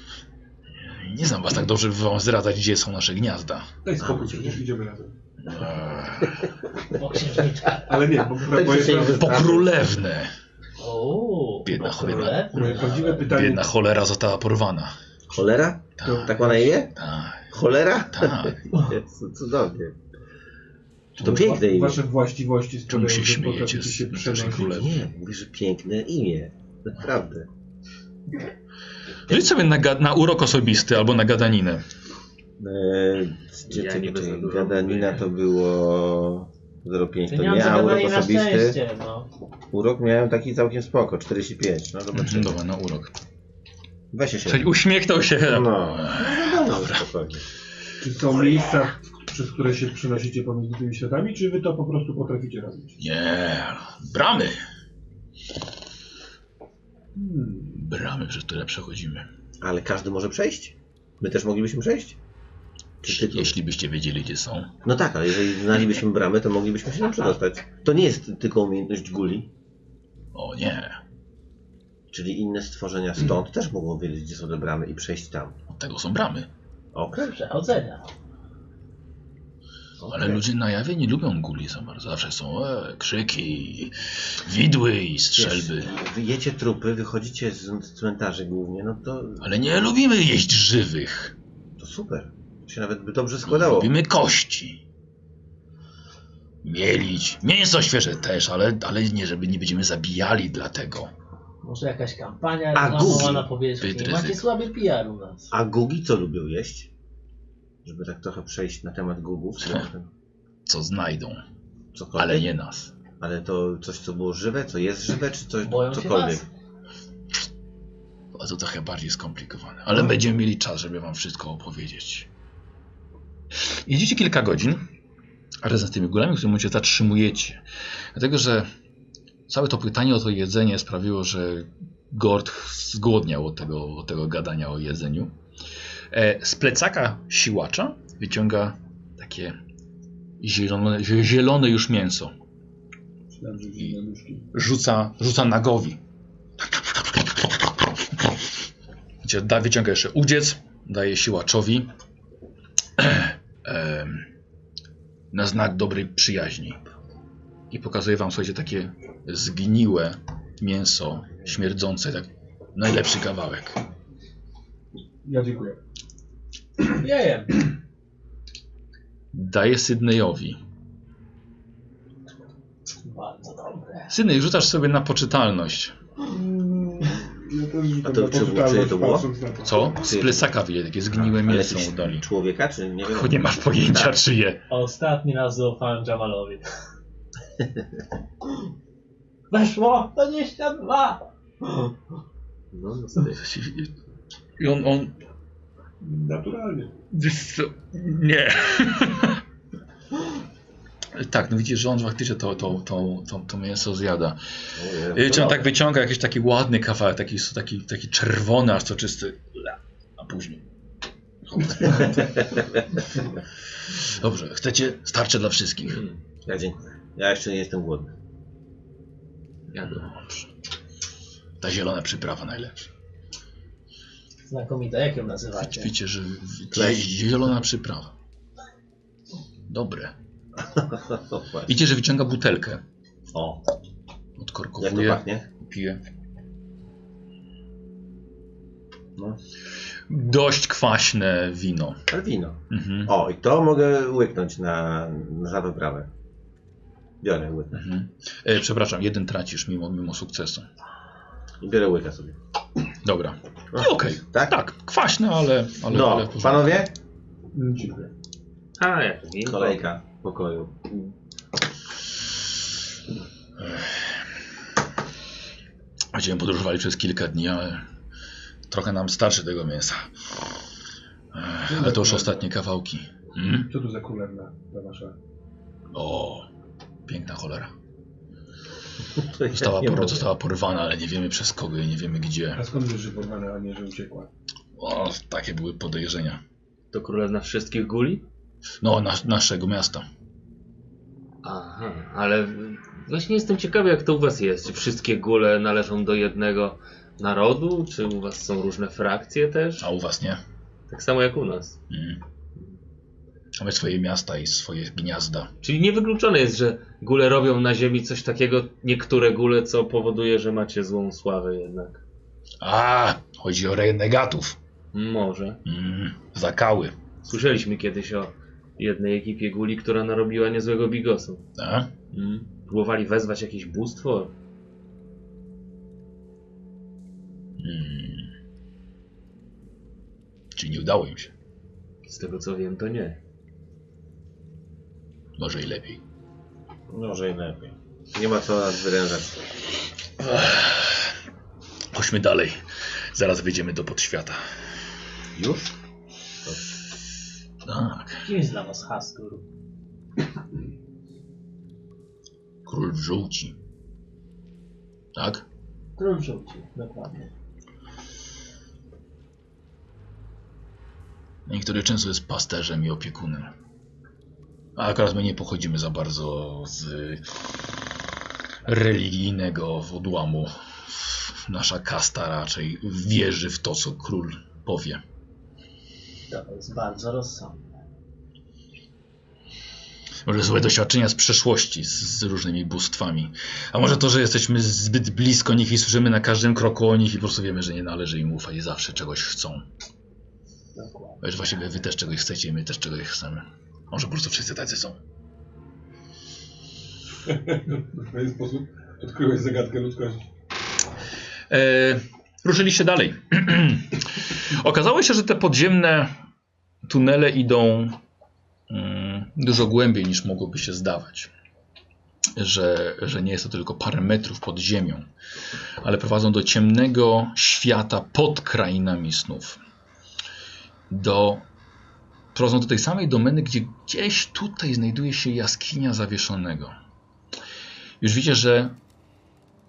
Speaker 2: Nie znam was tak dobrze, by wam zdradzać, gdzie są nasze gniazda.
Speaker 3: Daj
Speaker 1: A,
Speaker 3: No
Speaker 1: no
Speaker 3: spokój,
Speaker 1: gdzie?
Speaker 3: przecież idziemy razem.
Speaker 2: Eee,
Speaker 5: O, księżniczka.
Speaker 3: Ale nie, bo
Speaker 1: się
Speaker 3: moje,
Speaker 1: Tak, się
Speaker 3: pra-
Speaker 2: pokrólewne.
Speaker 5: O,
Speaker 2: Biedna
Speaker 5: no,
Speaker 2: cholera.
Speaker 5: królewna.
Speaker 3: moje prawdziwe
Speaker 1: Tak.
Speaker 3: pytanie,
Speaker 2: Biedna cholera została porwana.
Speaker 1: Cholera?
Speaker 2: Tak,
Speaker 1: Tak ma na imię?
Speaker 2: tak,
Speaker 1: Cholera? [LAUGHS]
Speaker 2: tak.
Speaker 1: Jezu, Cudownie.
Speaker 3: czy
Speaker 1: To
Speaker 3: wa-
Speaker 1: piękne imię.
Speaker 3: wasze właściwości
Speaker 2: Czemu się
Speaker 3: sprawiają, że
Speaker 2: śmiejecie
Speaker 3: potraficie
Speaker 2: z
Speaker 3: się
Speaker 2: z naszej
Speaker 3: przenosić.
Speaker 2: królewy?
Speaker 1: Nie, mówisz, że piękne imię. Naprawdę.
Speaker 2: Rzuć sobie na, ga- na urok osobisty albo na gadaninę.
Speaker 1: Eee, czy,
Speaker 7: Ja
Speaker 1: czekaj,
Speaker 7: niby za
Speaker 1: czekaj,
Speaker 7: dużo
Speaker 1: gadanina
Speaker 7: mówię.
Speaker 1: to było 05.
Speaker 5: Ty
Speaker 1: To
Speaker 5: nie mam
Speaker 1: nie, a urok
Speaker 5: zagadania na
Speaker 1: osobisty.
Speaker 5: szczęście, no.
Speaker 1: Urok miałem taki całkiem spoko, 45. No zobaczymy.
Speaker 2: Dobra, na urok.
Speaker 1: Weź się.
Speaker 2: Czyli uśmiechnął się.
Speaker 1: No, no, no, spokojnie.
Speaker 3: Czy są miejsca, przez które się przenosicie pomiędzy tymi światami, czy wy to po prostu potraficie robić?
Speaker 2: Nie, bramy.
Speaker 3: Hmm.
Speaker 2: Bramy, przez które przechodzimy.
Speaker 1: Ale każdy może przejść? My też moglibyśmy przejść? Czy tylko-
Speaker 2: Jeśli byście wiedzieli, gdzie są.
Speaker 1: No tak, ale jeżeli znalibyśmy bramę, to moglibyśmy się tam przedostać. To nie jest tylko umiejętność guli.
Speaker 2: O nie,
Speaker 1: Czyli inne stworzenia stąd też mogą wiedzieć, gdzie są te bramy i przejść tam.
Speaker 2: od tego są bramy.
Speaker 1: Okej.
Speaker 5: Dobrze, ocenia.
Speaker 2: Ale ludzie na jawie nie lubią guli za bardzo. Zawsze są e, krzyki, widły i strzelby.
Speaker 1: Wiesz, Jecie trupy, wychodzicie z cmentarzy głównie, no to,
Speaker 2: Ale nie lubimy jeść żywych.
Speaker 1: to super. To się nawet by dobrze składało.
Speaker 2: Lubimy kości. Mielić. Mięso świeże też, ale, ale nie, żeby nie będziemy zabijali dlatego.
Speaker 5: Może jakaś kampania
Speaker 1: A,
Speaker 5: reklamowa
Speaker 1: Google.
Speaker 5: na powierzchni.
Speaker 2: Zbyt
Speaker 5: Macie
Speaker 2: ryzyko.
Speaker 5: słaby PR u nas.
Speaker 1: A gugi co lubią jeść? Żeby tak trochę przejść na temat gugów. to-
Speaker 2: Co znajdą,
Speaker 1: Cokolwiek.
Speaker 2: ale nie nas.
Speaker 1: Ale to coś, co było żywe, co jest żywe, czy coś,
Speaker 5: Boją się
Speaker 1: cokolwiek.
Speaker 5: was.
Speaker 2: A to trochę bardziej skomplikowane.
Speaker 3: No.
Speaker 2: Ale będziemy mieli czas, żeby wam wszystko opowiedzieć. Jedziecie kilka godzin razem z tymi górami, w którym momencie zatrzymujecie. Dlatego, że całe to pytanie o to jedzenie sprawiło, że Gord zgłodniał od tego, od tego gadania o jedzeniu. E, Z plecaka siłacza wyciąga takie zielone, zie- zielone już mięso.
Speaker 3: Myślałem, że zimne nóżki.
Speaker 2: Rzuca, rzuca nagowi. Gdzie da, wyciąga jeszcze udziec, daje siłaczowi [CLEARS THROAT] em, na znak dobrej przyjaźni. I pokazuje wam, słuchajcie, takie zgniłe mięso, śmierdzące, tak najlepszy kawałek.
Speaker 3: Ja dziękuję.
Speaker 5: Ja jem.
Speaker 2: Daje Sydneyowi.
Speaker 5: Bardzo dobre.
Speaker 2: Sydney, rzucasz sobie na poczytalność.
Speaker 1: A
Speaker 3: Ja też rzucam
Speaker 1: to
Speaker 3: na
Speaker 1: czy- czy
Speaker 3: poczytalność,
Speaker 1: to było?
Speaker 3: patrząc na to.
Speaker 2: Co? Z plecaka wyje takie zgniłe
Speaker 1: Tak, Ale
Speaker 2: mięso
Speaker 1: jakiś
Speaker 2: mu dali.
Speaker 1: Człowieka, czy nie wiem.
Speaker 2: Tylko Nie masz pojęcia, czy je.
Speaker 5: Ostatni raz zaufałem Jamalowi. [LAUGHS] Weszło 22!
Speaker 1: No, no, sobie.
Speaker 2: I on, on...
Speaker 3: Naturalnie.
Speaker 2: wiesz co, Nie. Tak, no widzisz, że on faktycznie to, to, to, to, to mięso
Speaker 1: O,
Speaker 2: zjada. I
Speaker 1: nie,
Speaker 2: Czy on
Speaker 1: no.
Speaker 2: tak wyciąga jakiś taki ładny kawałek, taki, taki, taki czerwony, aż soczysty. A później. Dobrze, chcecie? Starczy dla wszystkich.
Speaker 1: Ja dziękuję. Ja jeszcze nie jestem głodny.
Speaker 2: Dobrze. Ta zielona przyprawa najlepsza.
Speaker 5: Znakomita, jak ją nazywacie?
Speaker 2: Widzicie, że że zielona przyprawa. Dobre.
Speaker 1: O, właśnie.
Speaker 2: Widzicie, że wyciąga butelkę.
Speaker 1: o
Speaker 2: Odkorkowuje.
Speaker 1: jak to pachnie?
Speaker 2: Piję.
Speaker 1: No.
Speaker 2: Dość kwaśne wino.
Speaker 1: Ale wino.
Speaker 2: Mhm.
Speaker 1: O, i to mogę łyknąć na, na za wyprawę. Biorę łyka.
Speaker 2: Mhm. E, przepraszam, jeden tracisz mimo, mimo sukcesu.
Speaker 1: I biorę łyka sobie.
Speaker 2: Dobra. No, Okej.
Speaker 1: Tak?
Speaker 2: Tak, kwaśne, ale. ale ale
Speaker 1: No,
Speaker 2: w porządku.
Speaker 1: panowie,
Speaker 3: Mm, Dziękuję.
Speaker 7: A, jak winko.
Speaker 1: kolejka w pokoju.
Speaker 2: Będziemy podróżowali przez kilka dni, ale trochę nam starczy tego mięsa. Ech, Ale
Speaker 1: No.
Speaker 2: to już ostatnie kawałki. Mm?
Speaker 3: Co tu za królewna ta wasza?
Speaker 2: O, piękna cholera.
Speaker 1: To ja
Speaker 2: Została,
Speaker 1: nie
Speaker 2: por
Speaker 1: mogę.
Speaker 2: została porwana, ale nie wiemy przez kogo i nie wiemy gdzie.
Speaker 3: A skąd wiesz, że porwana, a nie, że uciekła?
Speaker 2: O, takie były podejrzenia.
Speaker 7: To królewna wszystkich guli?
Speaker 2: No, nas naszego miasta.
Speaker 7: Aha, ale właśnie jestem ciekawy, jak to u was jest. Czy wszystkie gule należą do jednego narodu? Czy u was są różne frakcje też?
Speaker 2: A u was nie?
Speaker 7: Tak samo jak u nas.
Speaker 2: Mm. Mamy swoje miasta i swoje gniazda.
Speaker 7: Czyli niewykluczone jest, że gule robią na ziemi coś takiego, niektóre gule, co powoduje, że macie złą sławę jednak.
Speaker 2: A, chodzi o renegatów.
Speaker 7: Może.
Speaker 2: Mm, zakały.
Speaker 7: Słyszeliśmy kiedyś o jednej ekipie guli, która narobiła niezłego bigosu.
Speaker 2: A?
Speaker 7: Mm. Próbowali wezwać jakieś bóstwo.
Speaker 2: Mm. Czy nie udało im się?
Speaker 7: Z tego co wiem, to nie.
Speaker 2: Może i lepiej.
Speaker 1: Może i lepiej. Nie ma co nas wyrężać.
Speaker 2: Chodźmy dalej. Zaraz wyjdziemy do podświata.
Speaker 1: Już?
Speaker 2: Tak.
Speaker 5: Kim jest dla was Haskur?
Speaker 2: Król żółci. Tak?
Speaker 5: Król żółci, dokładnie.
Speaker 2: Niektóry często jest pasterzem i opiekunem. A akurat my nie pochodzimy za bardzo z religijnego odłamu. Nasza kasta raczej wierzy w to, co król powie.
Speaker 5: To jest bardzo rozsądne.
Speaker 2: Może złe doświadczenia z przeszłości, z, z różnymi bóstwami. A może to, że jesteśmy zbyt blisko nich i słyszymy na każdym kroku o nich i po prostu wiemy, że nie należy im ufać i zawsze czegoś chcą.
Speaker 5: Dokładnie.
Speaker 2: Wiesz, właściwie wy też czegoś chcecie i my też czegoś chcemy. Może po prostu wszyscy tacy są.
Speaker 3: W pewien sposób odkryłeś zagadkę ludzkości.
Speaker 2: E, ruszyliście dalej. [CLEARS THROAT] Okazało się, że te podziemne tunele idą mm, dużo głębiej niż mogłoby się zdawać. Że, że nie jest to tylko parę metrów pod ziemią, ale prowadzą do ciemnego świata pod krainami snów. Do, prowadzą do tej samej domeny, gdzie gdzieś tutaj znajduje się jaskinia zawieszonego. Już widzicie, że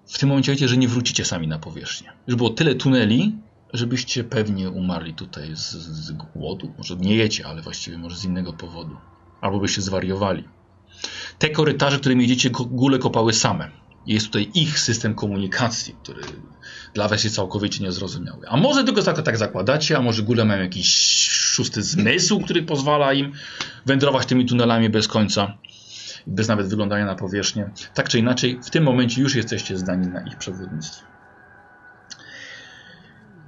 Speaker 2: w tym momencie wiecie, że nie wrócicie sami na powierzchnię. Już było tyle tuneli, żebyście pewnie umarli tutaj z, z głodu. Może nie jecie, ale właściwie może z innego powodu. Albo byście zwariowali. Te korytarze, którymi idziecie, ko- góle kopały same. Jest tutaj ich system komunikacji, który dla was jest całkowicie niezrozumiały. A może tylko tak, tak zakładacie, a może góle mają jakiś szósty zmysł, który pozwala im wędrować tymi tunelami bez końca bez nawet wyglądania na powierzchnię. Tak czy inaczej, w tym momencie już jesteście zdani na ich przewodnictwo.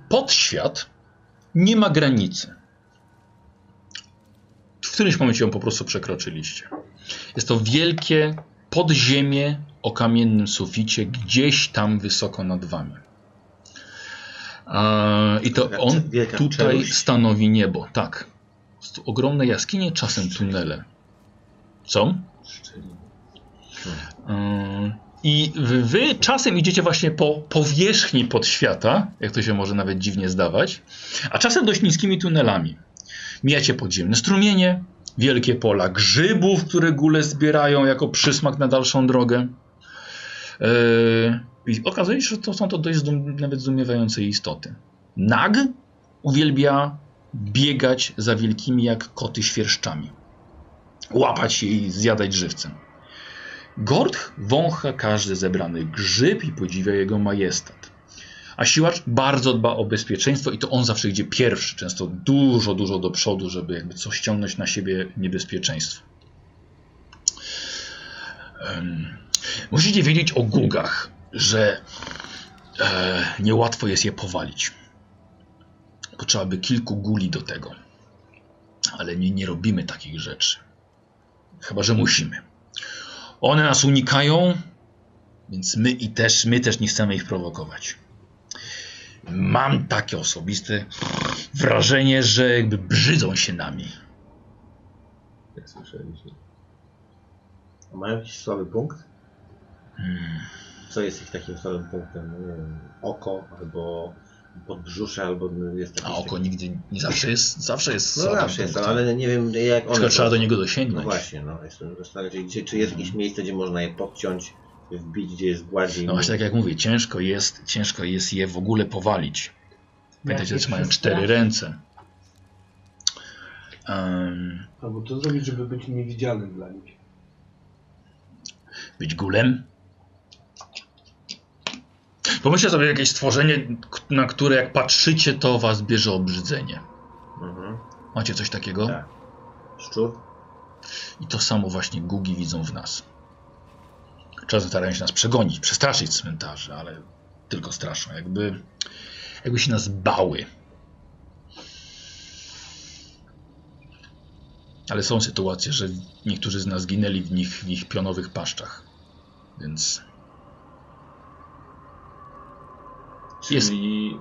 Speaker 2: Podświat nie ma granicy. W którymś momencie ją po prostu przekroczyliście. Jest to wielkie podziemie o kamiennym suficie, gdzieś tam wysoko nad wami. Eee, I to
Speaker 1: Taka
Speaker 2: on
Speaker 1: wielka
Speaker 2: tutaj
Speaker 1: czeluść.
Speaker 2: stanowi niebo, tak. Jest tu Ogromne jaskinie, czasem tunele. Co? Yy, I wy- wy czasem idziecie właśnie po powierzchni podświata, jak to się może nawet dziwnie zdawać, a czasem dość niskimi tunelami. Mijacie podziemne strumienie, wielkie pola grzybów, które góle zbierają jako przysmak na dalszą drogę. Yy, I okazuje się, że to są to dość zdum, nawet zdumiewające istoty. Nag uwielbia biegać za wielkimi jak koty świerszczami. Łapać je i zjadać żywcem. Gord wącha każdy zebrany grzyb i podziwia jego majestat. A siłacz bardzo dba o bezpieczeństwo i to on zawsze idzie pierwszy, często dużo, dużo do przodu, żeby jakby coś ściągnąć na siebie niebezpieczeństwo. Em, musicie wiedzieć o gugach, że e, niełatwo jest je powalić. Potrzeba by kilku guli do tego. Ale nie, nie robimy takich rzeczy. Chyba, że musimy. One nas unikają, więc my i też, my też nie chcemy ich prowokować. Mam takie osobiste wrażenie, że jakby brzydzą się nami.
Speaker 7: Jak słyszeliśmy.
Speaker 1: A mają jakiś słaby punkt?
Speaker 2: Hmm.
Speaker 1: Co jest ich takim słabym punktem? No Nie wiem, oko albo podbrzusze, albo jest
Speaker 2: A
Speaker 1: jakiś
Speaker 2: oko
Speaker 1: taki...
Speaker 2: nigdy nie zawsze jest, zawsze jest
Speaker 1: No
Speaker 2: słabym
Speaker 1: zawsze jest,
Speaker 2: punktem.
Speaker 1: ale nie wiem jak one...
Speaker 2: Tylko trzeba do niego
Speaker 1: No
Speaker 2: dosięgnąć.
Speaker 1: właśnie, no. Jestem zastanawiam się, gdzie, czy jest jakieś miejsce, gdzie można je podciąć, wbić, gdzie jest gładziej.
Speaker 2: No właśnie tak jak mówię, ciężko jest, ciężko jest je w ogóle powalić. Pamiętajcie,
Speaker 5: Jak
Speaker 2: że
Speaker 5: się
Speaker 2: mają cztery
Speaker 5: przestraszy.
Speaker 2: ręce. Em,
Speaker 3: Albo to zrobić, żeby być niewidzialnym dla nich.
Speaker 2: być gulem. Pomyślcie sobie jakieś stworzenie, k- na które jak patrzycie, to was bierze obrzydzenie.
Speaker 1: Mhm.
Speaker 2: Macie coś takiego?
Speaker 1: Tak. Szczur?
Speaker 2: I to samo właśnie gugi widzą w nas. Czasem starają się nas przegonić, przestraszyć z cmentarzy, ale tylko straszą. Jakby, jakby się nas bały. Ale są sytuacje, że niektórzy z nas ginęli w nich, w ich pionowych paszczach. Więc Jest.
Speaker 7: Czyli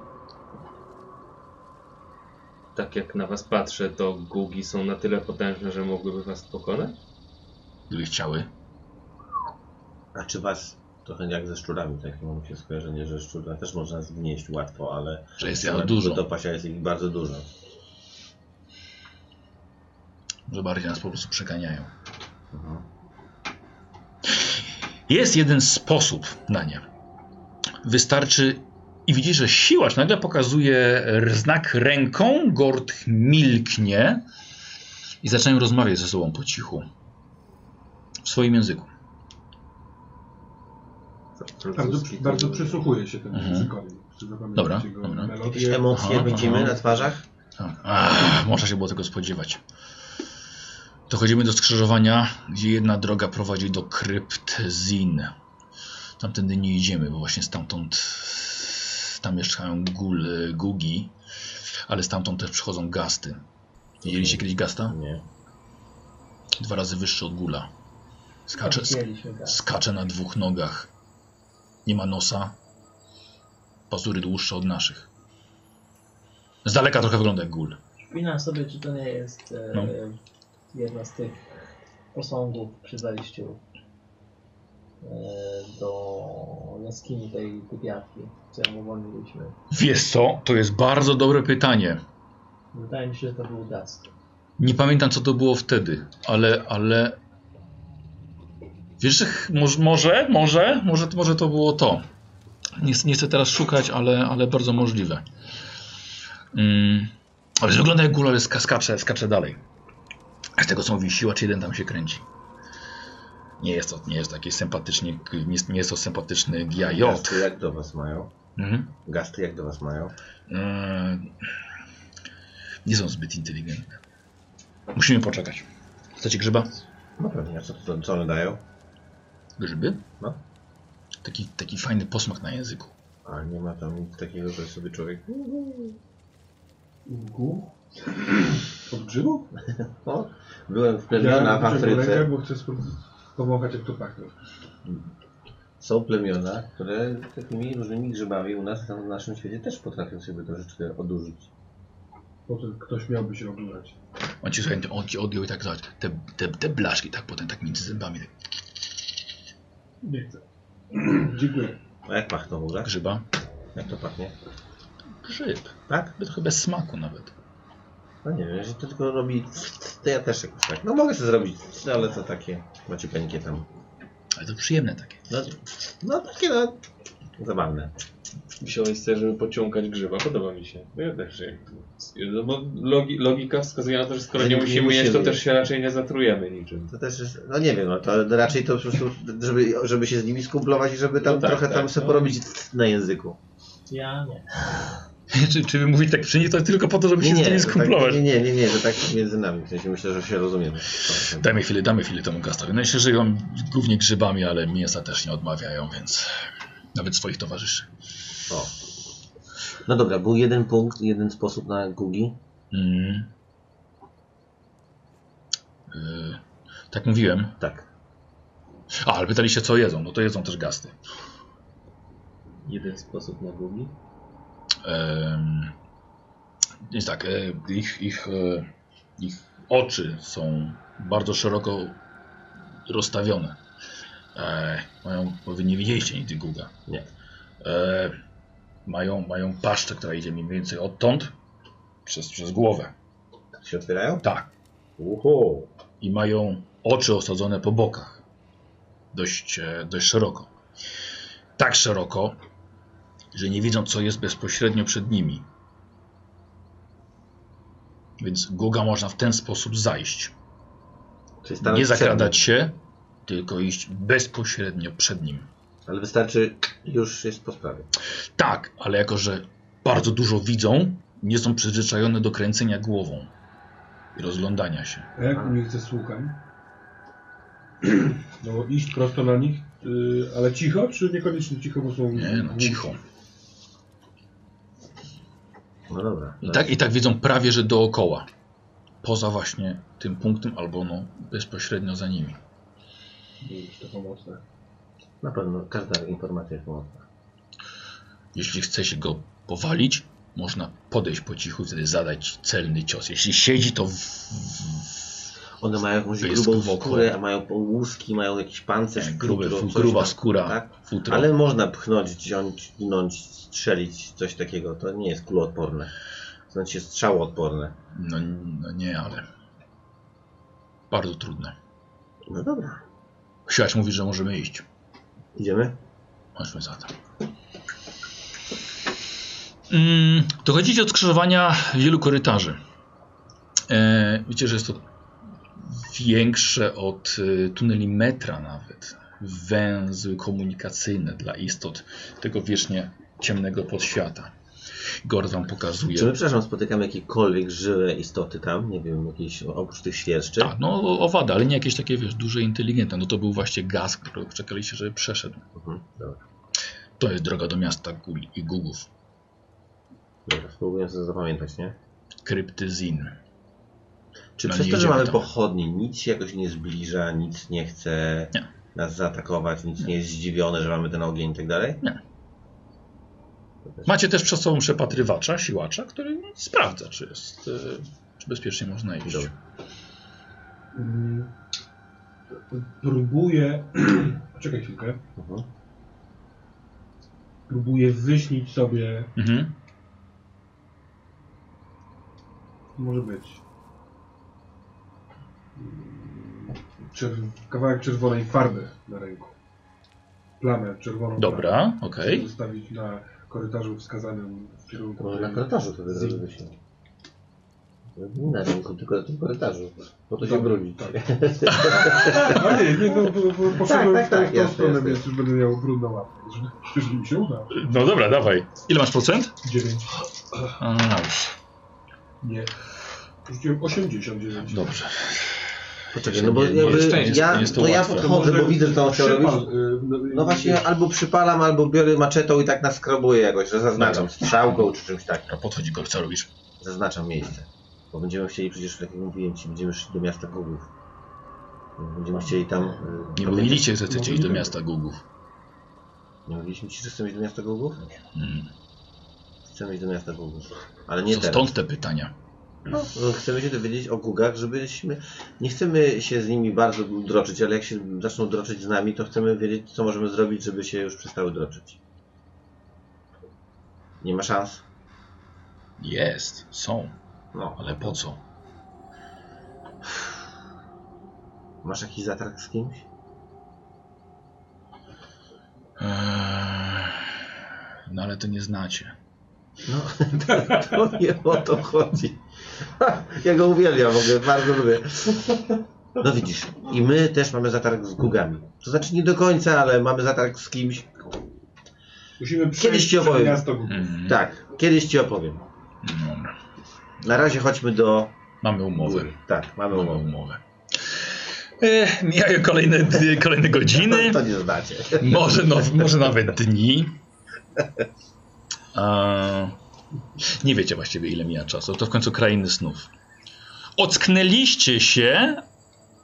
Speaker 7: tak jak na was patrzę, to gugi są na tyle potężne, że mogłyby was pokonać?
Speaker 2: gdyby chciały,
Speaker 1: A czy was... Trochę jak ze szczurami, tak mam się skojarzenie, że szczura też można zgnieść łatwo, ale...
Speaker 2: że jest
Speaker 1: ale
Speaker 2: ja No, dużo,
Speaker 1: Dopaść, a jest ich bardzo dużo.
Speaker 2: że bardziej nas po prostu przeganiają.
Speaker 1: Mhm.
Speaker 2: Jest jeden sposób na nie. Wystarczy i widzisz, że siłacz nagle pokazuje r- znak ręką, Gord milknie i zaczynają rozmawiać ze sobą po cichu. W swoim języku.
Speaker 3: Bardzo, bardzo przysłuchuję się temu
Speaker 2: Mhm.
Speaker 3: językowi. Chcę zapamiętać
Speaker 2: Dobra,
Speaker 3: jego
Speaker 2: dobra.
Speaker 1: Jakieś
Speaker 3: melodię.
Speaker 1: emocje
Speaker 2: Aha,
Speaker 1: widzimy
Speaker 2: aha.
Speaker 1: na twarzach?
Speaker 2: A, No, ach, można się było tego spodziewać. Dochodzimy do skrzyżowania, gdzie jedna droga prowadzi do krypt Zin. Tamtędy nie idziemy, bo właśnie stamtąd tam mieszkają gul, gugi, ale stamtąd też przychodzą gasty. Widzieliście kiedyś gasta?
Speaker 1: Nie.
Speaker 2: Dwa razy wyższy od gula. Skacze,
Speaker 5: Tak
Speaker 2: sk-
Speaker 5: Widzieliśmy go.
Speaker 2: skacze na dwóch nogach. Nie ma nosa. Pazury dłuższe od naszych. Z daleka trochę wygląda jak gul.
Speaker 5: Wspinam sobie, czy to nie jest e,
Speaker 2: No.
Speaker 5: jedna z tych posągów przy wejściu e, do jaskini tej typiarki, którą uwolniliśmy.
Speaker 2: Wiesz co? To jest bardzo dobre pytanie.
Speaker 5: Wydaje mi się, że to był gaz.
Speaker 2: Nie pamiętam, co to było wtedy, ale, ale... Wiesz, że ch- moż- może, może, może, może to było to. Nie, ch- nie chcę teraz szukać, ale, ale bardzo możliwe. Mm. Ale wygląda jak góra, ale ska- skacze, skacze dalej. A z tego co mówi siła, czy jeden tam się kręci. Nie jest to, nie jest taki sympatyczny, k- nie jest, nie jest to sympatyczny giajot.
Speaker 1: Gasty jak do was mają?
Speaker 2: Mhm.
Speaker 1: Gasty jak do was mają?
Speaker 2: Eee, Nie są zbyt inteligentne. Musimy poczekać. Chcecie grzyba?
Speaker 1: No pewnie, a co, co, co one dają?
Speaker 2: Grzyby?
Speaker 1: No.
Speaker 2: Taki, taki fajny posmak na języku.
Speaker 1: A nie ma tam nic takiego, że sobie człowiek...
Speaker 3: Gu? Od grzybów?
Speaker 1: O, byłem w plemiona w
Speaker 3: Ja rękę,
Speaker 1: Afryce.
Speaker 3: bo chcę spróbować powąchać jak to pachnie.
Speaker 1: Są plemiona, które takimi różnymi grzybami u nas tam w naszym świecie też potrafią sobie troszeczkę odurzyć.
Speaker 3: Po to ktoś miałby się oglądać.
Speaker 2: On ci, słuchaj, on ci odjął i tak zobacz, te, te, te blaszki tak potem tak między zębami. Tak.
Speaker 3: Nie chcę. Dziękuję.
Speaker 1: A jak pachną w ogóle?
Speaker 2: Grzyba?
Speaker 1: Jak to pachnie?
Speaker 2: Grzyb.
Speaker 1: Tak?
Speaker 2: By Trochę bez smaku nawet.
Speaker 1: No nie wiem, jeżeli to tylko robi... To ja też jakoś tak. No mogę sobie zrobić, ale to takie maciupeńkie tam.
Speaker 2: Ale to przyjemne takie.
Speaker 1: No, no takie no... Zabawne.
Speaker 7: Wziąłeś sobie, żeby pociągać grzyba, podoba mi się. No ja też jak- no bo logi, logika wskazuje na to, że skoro
Speaker 1: Że
Speaker 7: nie
Speaker 1: nie
Speaker 7: musimy jeść, to
Speaker 1: musimy
Speaker 7: też
Speaker 1: jeść.
Speaker 7: się raczej nie zatrujemy niczym.
Speaker 1: To też jest, no nie wiem, no to ale raczej to po prostu, żeby, żeby się z nimi skumplować i żeby tam
Speaker 7: No tak,
Speaker 1: trochę
Speaker 7: tak,
Speaker 1: tam sobie
Speaker 7: no.
Speaker 1: porobić na języku.
Speaker 5: Ja nie.
Speaker 2: [LAUGHS] czy, czy wy mówić tak przy nich, to tylko po to, żeby się z nimi
Speaker 1: to tak-
Speaker 2: skumplować.
Speaker 1: nie, nie, nie, nie, to tak między nami, w sensie myślę, że się rozumiemy.
Speaker 2: Dajmy chwilę, damy chwilę temu gastowi. No i się żyją głównie grzybami, ale mięsa też nie odmawiają, więc nawet swoich towarzyszy.
Speaker 1: O, No dobra, był jeden punkt, jeden sposób na gugi.
Speaker 2: Mm. Y, tak mówiłem.
Speaker 1: Tak.
Speaker 2: A, ale pytaliście co jedzą. No to jedzą też gasty.
Speaker 7: Jeden sposób na gugi.
Speaker 2: Em, Więc tak, e, ich, ich, e, ich oczy są bardzo szeroko rozstawione. E, Mają, wy nie widzieliście nigdy Guga.
Speaker 1: Nie.
Speaker 2: E, Mają, mają paszczę, która idzie mniej więcej odtąd przez, przez głowę.
Speaker 1: Tak się otwierają?
Speaker 2: Tak.
Speaker 1: Uho.
Speaker 2: I mają oczy osadzone po bokach. Dość, e, dość szeroko. Tak szeroko, że nie widzą, co jest bezpośrednio przed nimi. Więc Guga można w ten sposób zajść.
Speaker 1: Czyli stanąć
Speaker 2: Nie
Speaker 1: przed
Speaker 2: zakradać się, tylko iść bezpośrednio przed nim.
Speaker 1: nim. Ale wystarczy, już jest po sprawie.
Speaker 2: Tak, ale jako że bardzo dużo widzą, nie są przyzwyczajone do kręcenia głową i rozglądania się.
Speaker 3: A jak nie chcę słucham? No bo iść prosto na nich, y, ale cicho, czy niekoniecznie cicho, bo są... Mm.
Speaker 2: Nie, no cicho.
Speaker 1: No dobra.
Speaker 2: I tak, I tak widzą prawie, że dookoła. Poza właśnie tym punktem, albo no bezpośrednio za nimi.
Speaker 3: To pomocne.
Speaker 1: Na pewno każda informacja jest pomocna.
Speaker 2: Jeśli chce się go powalić, można podejść po cichu i wtedy zadać celny cios. Jeśli siedzi, to w,
Speaker 1: One mają jakąś
Speaker 2: To jest
Speaker 1: grubą
Speaker 2: wokół.
Speaker 1: skórę, a mają łuski, mają jakiś pancerz,
Speaker 2: w grube,
Speaker 1: futro, coś
Speaker 2: gruba
Speaker 1: tam,
Speaker 2: skóra,
Speaker 1: Tak?
Speaker 2: futro.
Speaker 1: Ale można pchnąć, wziąć, gnąć, strzelić, coś takiego. To nie jest kuloodporne. Znaczy strzałoodporne.
Speaker 2: No, no nie, ale bardzo trudne.
Speaker 1: No dobra.
Speaker 2: Siłaś mówi, że możemy iść.
Speaker 1: Idziemy?
Speaker 2: Chodźmy zatem. Mm, dochodzicie od skrzyżowania wielu korytarzy. E, wiecie, że jest to większe od e, tuneli metra nawet. Węzły komunikacyjne dla istot tego wiecznie ciemnego podświata. Gord wam pokazuje.
Speaker 1: Czy my, przepraszam, spotykamy jakiekolwiek żywe istoty tam? Nie wiem, jakieś oprócz tych świerszczy?
Speaker 2: Tak, no owada, ale nie jakieś takie, wiesz, duże, inteligentne. No to był właśnie gaz, którego czekaliście, żeby przeszedł.
Speaker 1: Mhm, dobra.
Speaker 2: To jest droga do miasta Gul i Gugów.
Speaker 1: dobra, spróbuję sobie zapamiętać, nie?
Speaker 2: Kryptyzin.
Speaker 1: Czy
Speaker 2: No,
Speaker 1: przez
Speaker 2: nie
Speaker 1: to, że
Speaker 2: idziemy
Speaker 1: mamy
Speaker 2: tam.
Speaker 1: pochodnie, nic się jakoś nie zbliża, nic nie chce
Speaker 2: Nie.
Speaker 1: nas zaatakować, nic nie jest zdziwione, że mamy ten ogień i tak dalej?
Speaker 2: Macie też przed sobą przepatrywacza, siłacza, który no, sprawdza, czy jest, e, czy bezpiecznie można iść.
Speaker 1: Dobra.
Speaker 3: Mm, Próbuję. [CLEARS THROAT] Czekaj chwilkę.
Speaker 1: Mhm.
Speaker 3: Próbuję wyśnić sobie.
Speaker 2: Mhm.
Speaker 3: Może być. mm, Czerw- kawałek czerwonej farby na ręku. Plamę czerwoną.
Speaker 2: Dobra,
Speaker 3: plamę. Chcę
Speaker 2: okej.
Speaker 3: Zostawić na korytarzu wskazanym w kierunku.
Speaker 1: Może na korytarzu to zrobię się. Nie na rynku, tylko na tym korytarzu. Bo to się
Speaker 3: Dobra,
Speaker 1: brudzi.
Speaker 3: tak.
Speaker 1: [LAUGHS]
Speaker 3: A nie, nie, no, bo, bo poszedłem
Speaker 1: tak,
Speaker 3: w tą,
Speaker 1: tak,
Speaker 3: w tą
Speaker 1: jasne,
Speaker 3: stronę,
Speaker 1: jasne.
Speaker 3: więc już będę miał brudną łapę. Jeżeli- Jeżeli mi się uda.
Speaker 2: No dobra, dawaj. Ile masz procent?
Speaker 3: Dziewięć.
Speaker 2: A, no już.
Speaker 3: Nie. Rzuciłem 89.
Speaker 2: Dobrze.
Speaker 1: Poczekaj, no bo
Speaker 2: Nie, nie jest
Speaker 1: jakby
Speaker 2: szczęście,
Speaker 1: ja,
Speaker 2: nie jest to
Speaker 1: to ja
Speaker 2: łatwe.
Speaker 1: podchodzę, bo widzę, że to on chciał robić.
Speaker 3: Przypal, y, no, y,
Speaker 1: No właśnie, albo przypalam, albo biorę maczetą i tak naskrobuję jakoś, że zaznaczam
Speaker 2: Dobra.
Speaker 1: strzałką czy czymś takim.
Speaker 2: A podchodzi go, co robisz?
Speaker 1: Zaznaczam miejsce. Bo będziemy chcieli przecież, tak jak mówiłem ci, będziemy szli do miasta Gugów. Będziemy chcieli tam... y,
Speaker 2: Nie
Speaker 1: pamiętać-
Speaker 2: mówiliście, że chcecie iść do miasta Gugów.
Speaker 1: Nie mówiliśmy ci, że chcemy iść do miasta Gugów?
Speaker 2: Mm.
Speaker 1: Chcemy iść do miasta Gugów. Ale nie
Speaker 2: Co
Speaker 1: teraz.
Speaker 2: stąd te pytania?
Speaker 1: No, chcemy się dowiedzieć o gugach, żebyśmy. Nie chcemy się z nimi bardzo droczyć, ale jak się zaczną droczyć z nami, to chcemy wiedzieć, co możemy zrobić, żeby się już przestały droczyć. Nie ma szans?
Speaker 2: Jest, są,
Speaker 1: No.
Speaker 2: ale po co?
Speaker 1: Masz jakiś zatarg z kimś? [LAUGHS]
Speaker 2: Eee, No ale to nie znacie.
Speaker 1: No, to nie o to chodzi. [LAUGHS] Ja go uwielbiam w ogóle, bardzo lubię. No widzisz, i my też mamy zatarg z gugami. To znaczy nie do końca, ale mamy zatarg z kimś.
Speaker 3: Musimy
Speaker 1: Kiedyś
Speaker 3: przejść
Speaker 1: ci
Speaker 3: przez
Speaker 1: opowiem.
Speaker 3: miasto Gugów.
Speaker 2: Mhm.
Speaker 1: Tak, kiedyś ci opowiem.
Speaker 2: Dobra.
Speaker 1: Na razie chodźmy do
Speaker 2: Mamy umowę.
Speaker 1: góry. Tak, mamy
Speaker 2: Mamy
Speaker 1: umowę.
Speaker 2: umowę. E, mijają kolejne, dni- kolejne godziny.
Speaker 1: To nie znacie.
Speaker 2: Może, no, może nawet dni. A, Nie wiecie właściwie ile mija czasu. To w końcu krainy snów. Ocknęliście się,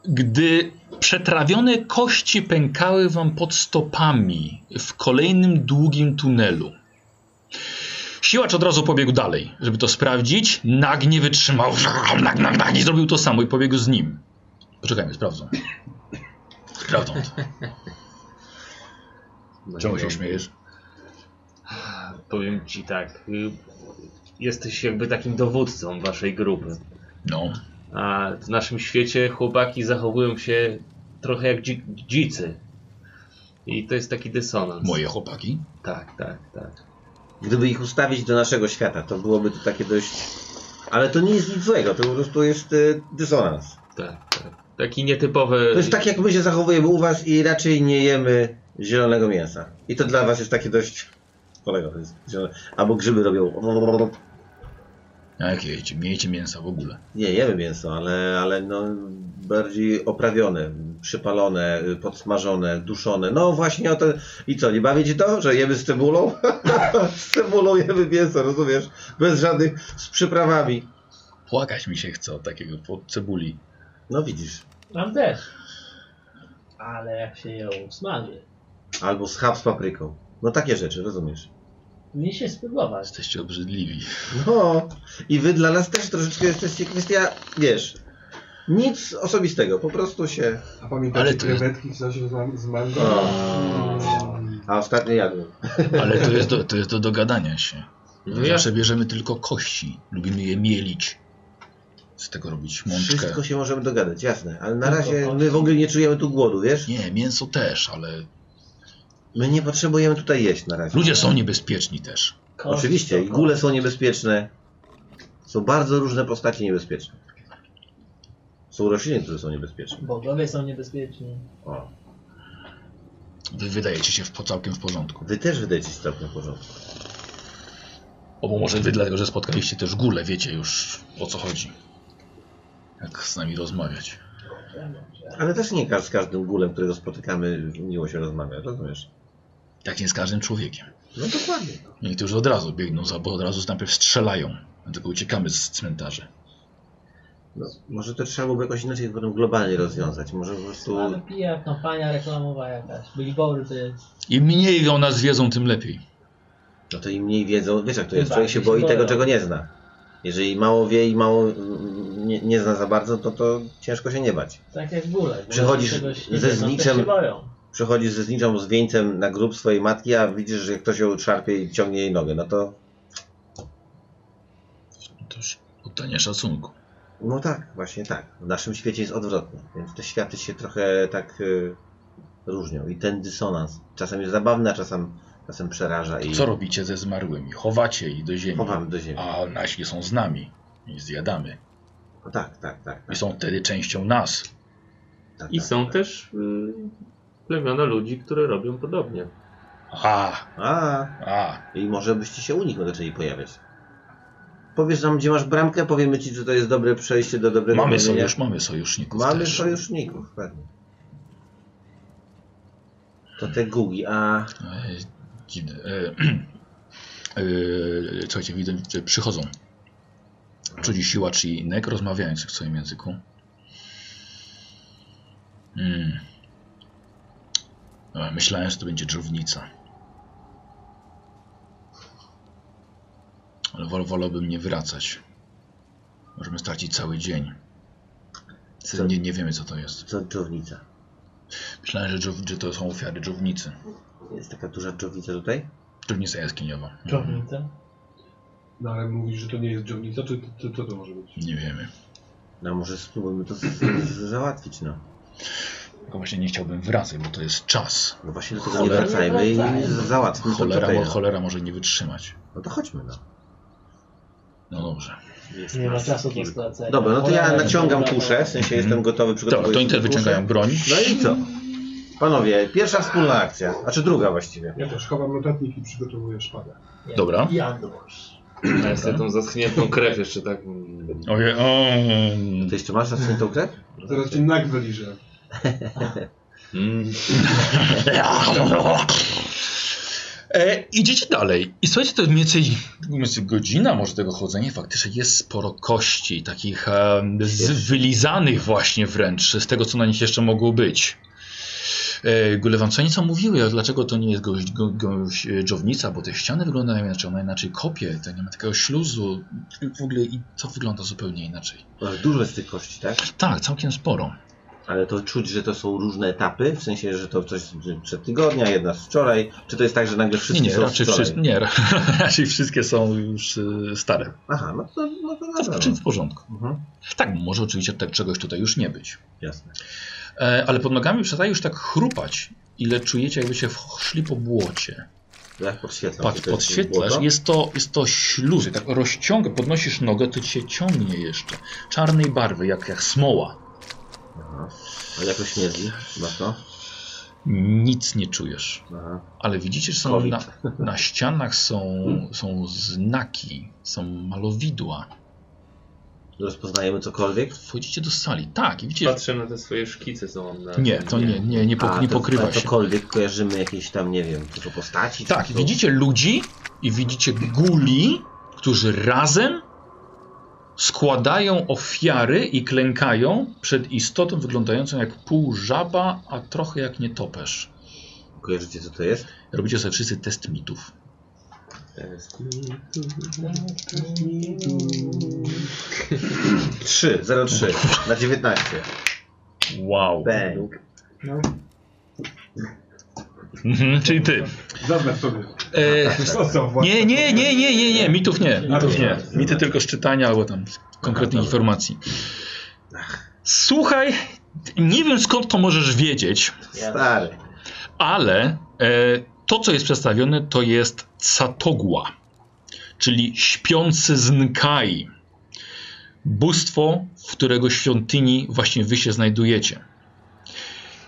Speaker 2: gdy przetrawione kości pękały wam pod stopami w kolejnym długim tunelu. Siłacz od razu pobiegł dalej, żeby to sprawdzić. Nag nie wytrzymał. Nag, nag, nag, i zrobił to samo i pobiegł z nim. Poczekajmy, sprawdzą. Sprawdzą to. Czemu się śmiejesz?
Speaker 7: Powiem ci tak. y, Jesteś jakby takim dowódcą waszej grupy.
Speaker 2: No.
Speaker 7: A w naszym świecie chłopaki zachowują się trochę jak dzi- dzicy. I to jest taki dysonans.
Speaker 2: Moje chłopaki?
Speaker 7: Tak, tak, tak.
Speaker 1: Gdyby ich ustawić do naszego świata, to byłoby to takie dość... Ale to nie jest nic złego, to po prostu jest y, dysonans.
Speaker 7: tak, tak. Taki nietypowy.
Speaker 1: To jest tak, jak my się zachowujemy u was i raczej nie jemy zielonego mięsa. I to dla was jest takie dość... Kolego, to jest zielone. Albo grzyby robią...
Speaker 2: Jakie jecie? Miejcie mięsa w ogóle.
Speaker 1: Nie, jemy mięso, ale, ale no, bardziej oprawione, przypalone, y, podsmażone, duszone. No właśnie o to. I co, nie bawić to, że jemy z cebulą? [LAUGHS] z cebulą jemy mięso, rozumiesz? Bez żadnych, z przyprawami.
Speaker 2: Płakać mi się chce od takiego po cebuli.
Speaker 1: No widzisz.
Speaker 5: Mam też. Ale jak się ją smaży,
Speaker 1: Albo schab z papryką. No takie rzeczy, rozumiesz?
Speaker 5: nie się spróbować.
Speaker 2: Jesteście obrzydliwi.
Speaker 1: No i wy dla nas też troszeczkę jesteście kwestia, wiesz, nic osobistego, po prostu się...
Speaker 3: A pamiętacie
Speaker 2: Ale to jest-
Speaker 3: krewetki w sosie z- z mango?
Speaker 2: No.
Speaker 1: A ostatnio jadłem.
Speaker 2: Ale to jest do, to jest do dogadania się.
Speaker 7: No ja
Speaker 2: Zawsze bierzemy tylko kości. Lubimy je mielić. Z tego robić mączkę.
Speaker 1: Wszystko się możemy dogadać, jasne, ale
Speaker 2: No
Speaker 1: na
Speaker 5: Tylko
Speaker 1: razie
Speaker 5: chodź.
Speaker 1: my w ogóle nie czujemy tu głodu, wiesz?
Speaker 2: Nie, mięso też, ale
Speaker 1: My nie potrzebujemy tutaj jeść na razie.
Speaker 2: ludzie są niebezpieczni też.
Speaker 5: Kość
Speaker 1: Oczywiście,
Speaker 5: to
Speaker 1: i
Speaker 5: kość.
Speaker 1: góle są niebezpieczne. Są bardzo różne postacie niebezpieczne. Są rośliny, które są niebezpieczne.
Speaker 5: Bogowie są niebezpieczni.
Speaker 1: O.
Speaker 2: Wy wydajecie się w, po całkiem w porządku.
Speaker 1: Wy też wydajecie się całkiem w porządku.
Speaker 2: Albo może wy dlatego, że spotkaliście też gulę, wiecie już o co chodzi. Jak z nami rozmawiać.
Speaker 1: Ale też nie każ- z każdym gulem, którego spotykamy, miło się rozmawia, rozumiesz?
Speaker 2: Tak nie z każdym człowiekiem.
Speaker 1: No dokładnie.
Speaker 2: Niektórzy od razu biegną, za- bo od razu najpierw strzelają. Dlatego uciekamy z cmentarzy.
Speaker 1: No, może to trzeba byłoby jakoś inaczej potem globalnie rozwiązać. Może po prostu...
Speaker 5: Ale pija kampania reklamowa jakaś, billboardy.
Speaker 2: Im mniej o nas wiedzą, tym lepiej.
Speaker 1: No to im mniej wiedzą, wiesz jak to jest,
Speaker 5: Chyba,
Speaker 1: człowiek się
Speaker 5: się
Speaker 1: boi
Speaker 5: boją.
Speaker 1: tego, czego nie zna. Jeżeli mało wie i mało mm, nie, nie zna za bardzo, to, to ciężko się nie bać.
Speaker 5: Tak jak góle.
Speaker 1: Przychodzisz ze zniczem-
Speaker 5: Się boją.
Speaker 1: Przechodzisz ze zniczą z wieńcem na grób swojej matki, a widzisz, że ktoś ją szarpie i ciągnie jej nogę, no to...
Speaker 2: To już oddanie szacunku.
Speaker 1: No tak, właśnie tak. W naszym świecie jest odwrotnie, więc te światy się trochę tak y, różnią. I ten dysonans czasem jest zabawny, a czasem, czasem przeraża i
Speaker 2: Co robicie ze zmarłymi? Chowacie ich do ziemi.
Speaker 1: chowamy do ziemi.
Speaker 2: A nasi są z nami. I zjadamy.
Speaker 1: No tak, tak, tak.
Speaker 2: I
Speaker 1: tak,
Speaker 2: są wtedy częścią nas.
Speaker 1: tak,
Speaker 7: I
Speaker 1: tak,
Speaker 7: są
Speaker 1: tak.
Speaker 7: też y, plemiona ludzi, które robią podobnie.
Speaker 2: A,
Speaker 1: A,
Speaker 2: a.
Speaker 1: i może byście się u nich zaczęli pojawiać. Powiesz nam, gdzie masz bramkę, powiemy ci, czy to jest dobre przejście do dobrego
Speaker 2: Mamy
Speaker 1: plemienia.
Speaker 2: sojusz, mamy sojuszników
Speaker 1: Mamy
Speaker 2: też.
Speaker 1: sojuszników, pewnie. To te gugi, a
Speaker 2: E, Dziwne. E, [CLEARS THROAT] e, słuchajcie, widzę, że przychodzą. Czudzi siłacz i nek rozmawiając w swoim języku. Mm. E, Myślałem, że to będzie drżownica. Ale wol, wolałbym nie wracać. Możemy stracić cały dzień.
Speaker 1: Co?
Speaker 2: Nie, nie wiemy co to jest.
Speaker 1: co dżownica?
Speaker 2: Myślałem, że, dżów, że to są ofiary dżownicy.
Speaker 1: Jest taka duża dżownica tutaj?
Speaker 2: Dżownica jaskiniowa. Mhm.
Speaker 5: Czownicem.
Speaker 3: No ale mówisz, że to nie jest dżownica, czy czy- co to może być?
Speaker 2: Nie wiemy.
Speaker 1: No może spróbujmy to z, z, załatwić, no.
Speaker 2: Tylko właśnie nie chciałbym wracać, bo to jest czas.
Speaker 1: No właśnie do tego nie
Speaker 2: Cholera.
Speaker 1: wracajmy i z- załatwmy to
Speaker 2: Cholera,
Speaker 1: tutaj.
Speaker 2: mo-
Speaker 1: No.
Speaker 2: cholera może nie wytrzymać.
Speaker 1: no to chodźmy, no.
Speaker 2: No dobrze.
Speaker 5: Nie ma czasu do
Speaker 1: Kilku.
Speaker 5: stracenia.
Speaker 1: Dobra, no to ja
Speaker 5: Cholera,
Speaker 1: naciągam
Speaker 5: dobra,
Speaker 1: kuszę, w sensie jestem gotowy,
Speaker 2: Dobra,
Speaker 1: przygotowuję
Speaker 2: Mhm. to
Speaker 1: się
Speaker 2: Inter
Speaker 1: do kuszy.
Speaker 2: wyciągają broń.
Speaker 1: No i co? Panowie, pierwsza wspólna akcja, znaczy druga właściwie.
Speaker 3: Ja też chowam notatnik i przygotowuję szpadę.
Speaker 5: dobra.
Speaker 2: Dobra.
Speaker 5: Janusz.
Speaker 7: A jest tą zaschniętą krew jeszcze tak. mm,
Speaker 2: Oje, o,
Speaker 1: Ty jeszcze masz zaschniętą krew?
Speaker 3: Zaraz cię nagle liżę.
Speaker 7: Mm.
Speaker 2: E, idziecie dalej. I słuchajcie, to mniej więcej mniej więcej godzina może tego chodzenia. Faktycznie jest sporo kości, takich e, z, wylizanych właśnie wręcz, z tego co na nich jeszcze mogło być. E, Gule wam co nieco mówiły, a dlaczego to nie jest goś, go, goździownica, bo te ściany wyglądają inaczej, ona inaczej kopie, to nie ma takiego śluzu, w ogóle i to wygląda zupełnie inaczej.
Speaker 1: Masz dużo z tych kości, tak?
Speaker 2: Tak, całkiem sporo.
Speaker 1: Ale to czuć, że to są różne etapy, w sensie, że to coś przed tygodnia, jedna z wczoraj. Czy to jest tak, że nagle
Speaker 2: Nie,
Speaker 1: wszystkie
Speaker 2: nie,
Speaker 1: są
Speaker 2: raczej,
Speaker 1: z wczoraj?
Speaker 2: wszyscy, nie [LAUGHS] raczej wszystkie są już e, stare.
Speaker 1: Aha, no to, no to na
Speaker 2: To
Speaker 1: pewno.
Speaker 2: znaczy w porządku.
Speaker 1: Mhm.
Speaker 2: Tak, może oczywiście tak czegoś tutaj już nie być.
Speaker 1: Jasne.
Speaker 2: E, ale pod nogami przestaje już tak chrupać, ile czujecie, jakby się szli po błocie.
Speaker 1: To Jak podświetlam? Czy
Speaker 2: Patrz,
Speaker 1: Tak, to jest
Speaker 2: podświetlasz,
Speaker 1: błoto?
Speaker 2: jest to, jest to śluzy, tak rozciąga, podnosisz nogę, to ci się ciągnie jeszcze. Czarnej barwy, jak, jak smoła.
Speaker 1: Aha. Ale jakoś śmierdzi, chyba to.
Speaker 2: Nic nie czujesz.
Speaker 1: Aha.
Speaker 2: Ale widzicie, że są
Speaker 1: Covid.
Speaker 2: na, na ścianach są, są znaki, są malowidła.
Speaker 1: Rozpoznajemy cokolwiek?
Speaker 2: Wchodzicie do sali. Tak, i widzicie,
Speaker 7: Patrzę na te swoje szkice, co mam na...
Speaker 2: Nie, to nie, nie, nie, pok-
Speaker 1: A,
Speaker 2: nie
Speaker 1: to-
Speaker 2: pokrywa
Speaker 1: to
Speaker 2: się.
Speaker 1: cokolwiek kojarzymy jakieś tam, nie wiem, tylko postaci? czy
Speaker 2: Tak,
Speaker 1: to-
Speaker 2: widzicie ludzi i widzicie guli, którzy razem składają ofiary i klękają przed istotą wyglądającą jak pół żaba, a trochę jak nietoperz.
Speaker 1: Kojarzycie co to jest?
Speaker 2: Robicie sobie wszyscy test mitów. Hmm.
Speaker 1: Trzy, zero
Speaker 2: [LAUGHS]
Speaker 1: trzy na 19.
Speaker 2: Wow.
Speaker 1: Bang.
Speaker 2: Mhm, [LAUGHS] czyli ty.
Speaker 3: Zaznacz sobie.
Speaker 2: E,
Speaker 3: Zostaw
Speaker 2: nie,
Speaker 3: właśnie.
Speaker 2: nie, nie, nie, nie, nie, mitów nie. Mitów nie.
Speaker 1: dobra.
Speaker 2: Mity tylko z czytania albo tam z konkretnych informacji. Słuchaj, nie wiem skąd to możesz wiedzieć,
Speaker 1: Stary.
Speaker 2: ale e, to, co jest przedstawione, to jest Satogła, czyli śpiący Znkai, bóstwo, w którego świątyni właśnie wy się znajdujecie.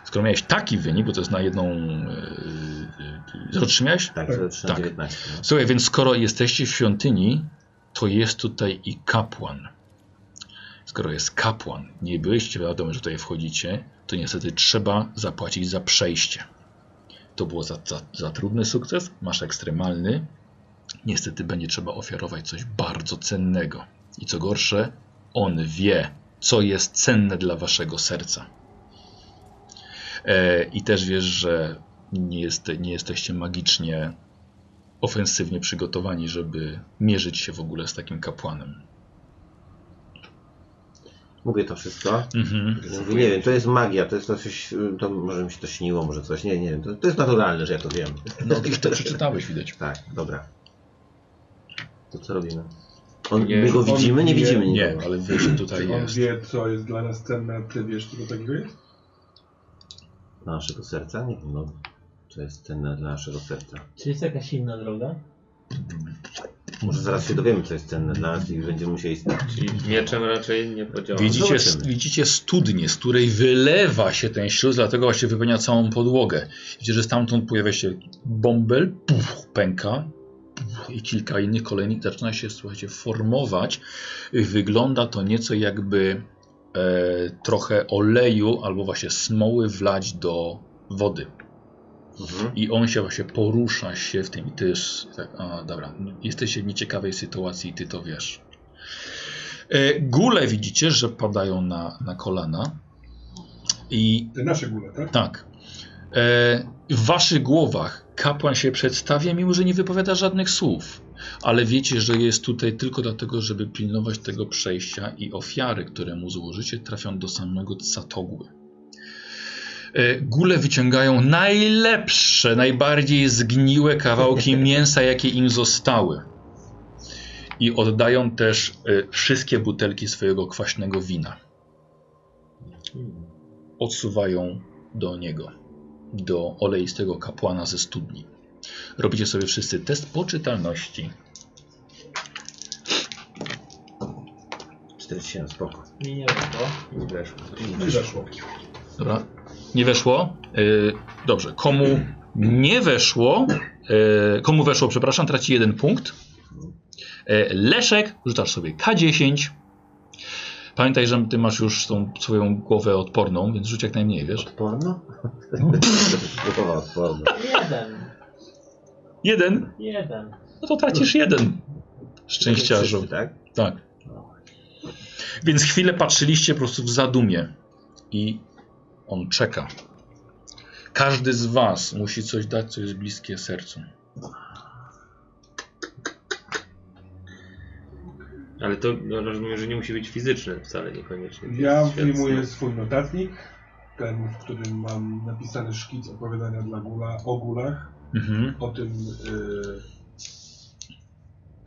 Speaker 2: Skoro miałeś taki wynik, bo to jest na jedną... E, e, otrzymałeś?
Speaker 1: Tak, zero trzy na
Speaker 2: Tak.
Speaker 1: 19. No.
Speaker 2: Słuchaj, więc skoro jesteście w świątyni, to jest tutaj i kapłan. Skoro jest kapłan, nie byliście wiadomo, że tutaj wchodzicie, to niestety trzeba zapłacić za przejście. To było za, za, za trudny sukces, masz ekstremalny. Niestety będzie trzeba ofiarować coś bardzo cennego. I co gorsze, on wie, co jest cenne dla waszego serca. E, I też wiesz, że nie, jeste- nie jesteście magicznie ofensywnie przygotowani, żeby mierzyć się w ogóle z takim kapłanem.
Speaker 1: Mówię to wszystko.
Speaker 2: Mhm.
Speaker 1: Mówię, nie wiem, to jest magia, to jest coś, y, to może mi się to śniło, może coś, nie, nie wiem, to, to jest naturalne, że ja to wiem.
Speaker 2: No już to przeczytałeś,
Speaker 1: [LAUGHS]
Speaker 2: widać.
Speaker 1: Tak, dobra. To co robimy? On,
Speaker 7: Nie,
Speaker 1: my go
Speaker 3: on
Speaker 1: widzimy? Nie
Speaker 3: nie-
Speaker 1: widzimy
Speaker 2: Nie,
Speaker 1: nikogo.
Speaker 2: ale wiesz, że tutaj
Speaker 3: Czy on
Speaker 2: jest.
Speaker 3: wie, co jest dla nas cenne, a ty wiesz, co do takiego jest?
Speaker 1: Dla naszego serca? Nie wiem, no. To jest ten dla naszego serca.
Speaker 5: Czy jest jakaś inna droga?
Speaker 1: Może zaraz się dowiemy, co jest cenne dla nas i będziemy musieli stać.
Speaker 7: Czyli mieczem raczej nie podziała.
Speaker 2: Widzicie,
Speaker 1: Zobaczymy.
Speaker 2: widzicie studnię, z której wylewa się ten śluz, dlatego właśnie wypełnia całą podłogę. Widzicie, że stamtąd pojawia się bąbel, puf, pęka puf, i kilka innych kolejnych zaczyna się, słuchajcie, formować. Wygląda to nieco jakby e, trochę oleju albo właśnie smoły wlać do wody.
Speaker 1: Mhm.
Speaker 2: I on się właśnie porusza się w tym i ty już, tak, a, dobra, jesteś w nieciekawej sytuacji i ty to wiesz. E, Góle widzicie, że padają na, na kolana i
Speaker 3: Te nasze góle, tak?
Speaker 2: tak, e, w waszych głowach kapłan się przedstawia, mimo że nie wypowiada żadnych słów, ale wiecie, że jest tutaj tylko dlatego, żeby pilnować tego przejścia i ofiary, które mu złożycie, trafią do samego Catogły. E, Góle wyciągają najlepsze, najbardziej zgniłe kawałki mięsa, jakie im zostały. I oddają też e, wszystkie butelki swojego kwaśnego wina. Odsuwają do niego, do oleistego kapłana ze studni. Robicie sobie wszyscy test poczytalności.
Speaker 1: 47, spoko.
Speaker 5: Mi nie wyszło.
Speaker 1: Nie weszło.
Speaker 3: I zaszło.
Speaker 2: Dobra. Nie weszło? Y, dobrze. Komu nie weszło, y, komu weszło, przepraszam, traci jeden punkt. Y, Leszek, rzucasz sobie K10. Pamiętaj, że ty masz już tą swoją głowę odporną, więc rzuć jak najmniej, wiesz?
Speaker 1: Odporno? Grupowa odporna.
Speaker 5: Jeden.
Speaker 2: Jeden?
Speaker 5: Jeden.
Speaker 2: No to tracisz jeden. Szczęściarzu.
Speaker 1: Wszyscy, tak?
Speaker 2: Tak. Więc chwilę patrzyliście po prostu w zadumie i on czeka. Każdy z was musi coś dać, co jest bliskie sercu.
Speaker 4: Ale to no, rozumiem, że nie musi być fizyczne wcale niekoniecznie. To
Speaker 3: Ja
Speaker 4: jest świat
Speaker 3: wyjmuję
Speaker 4: snu.
Speaker 3: swój notatnik, ten, w którym mam napisany szkic opowiadania dla gula, o gulach,
Speaker 2: Mhm.
Speaker 3: o tym, y,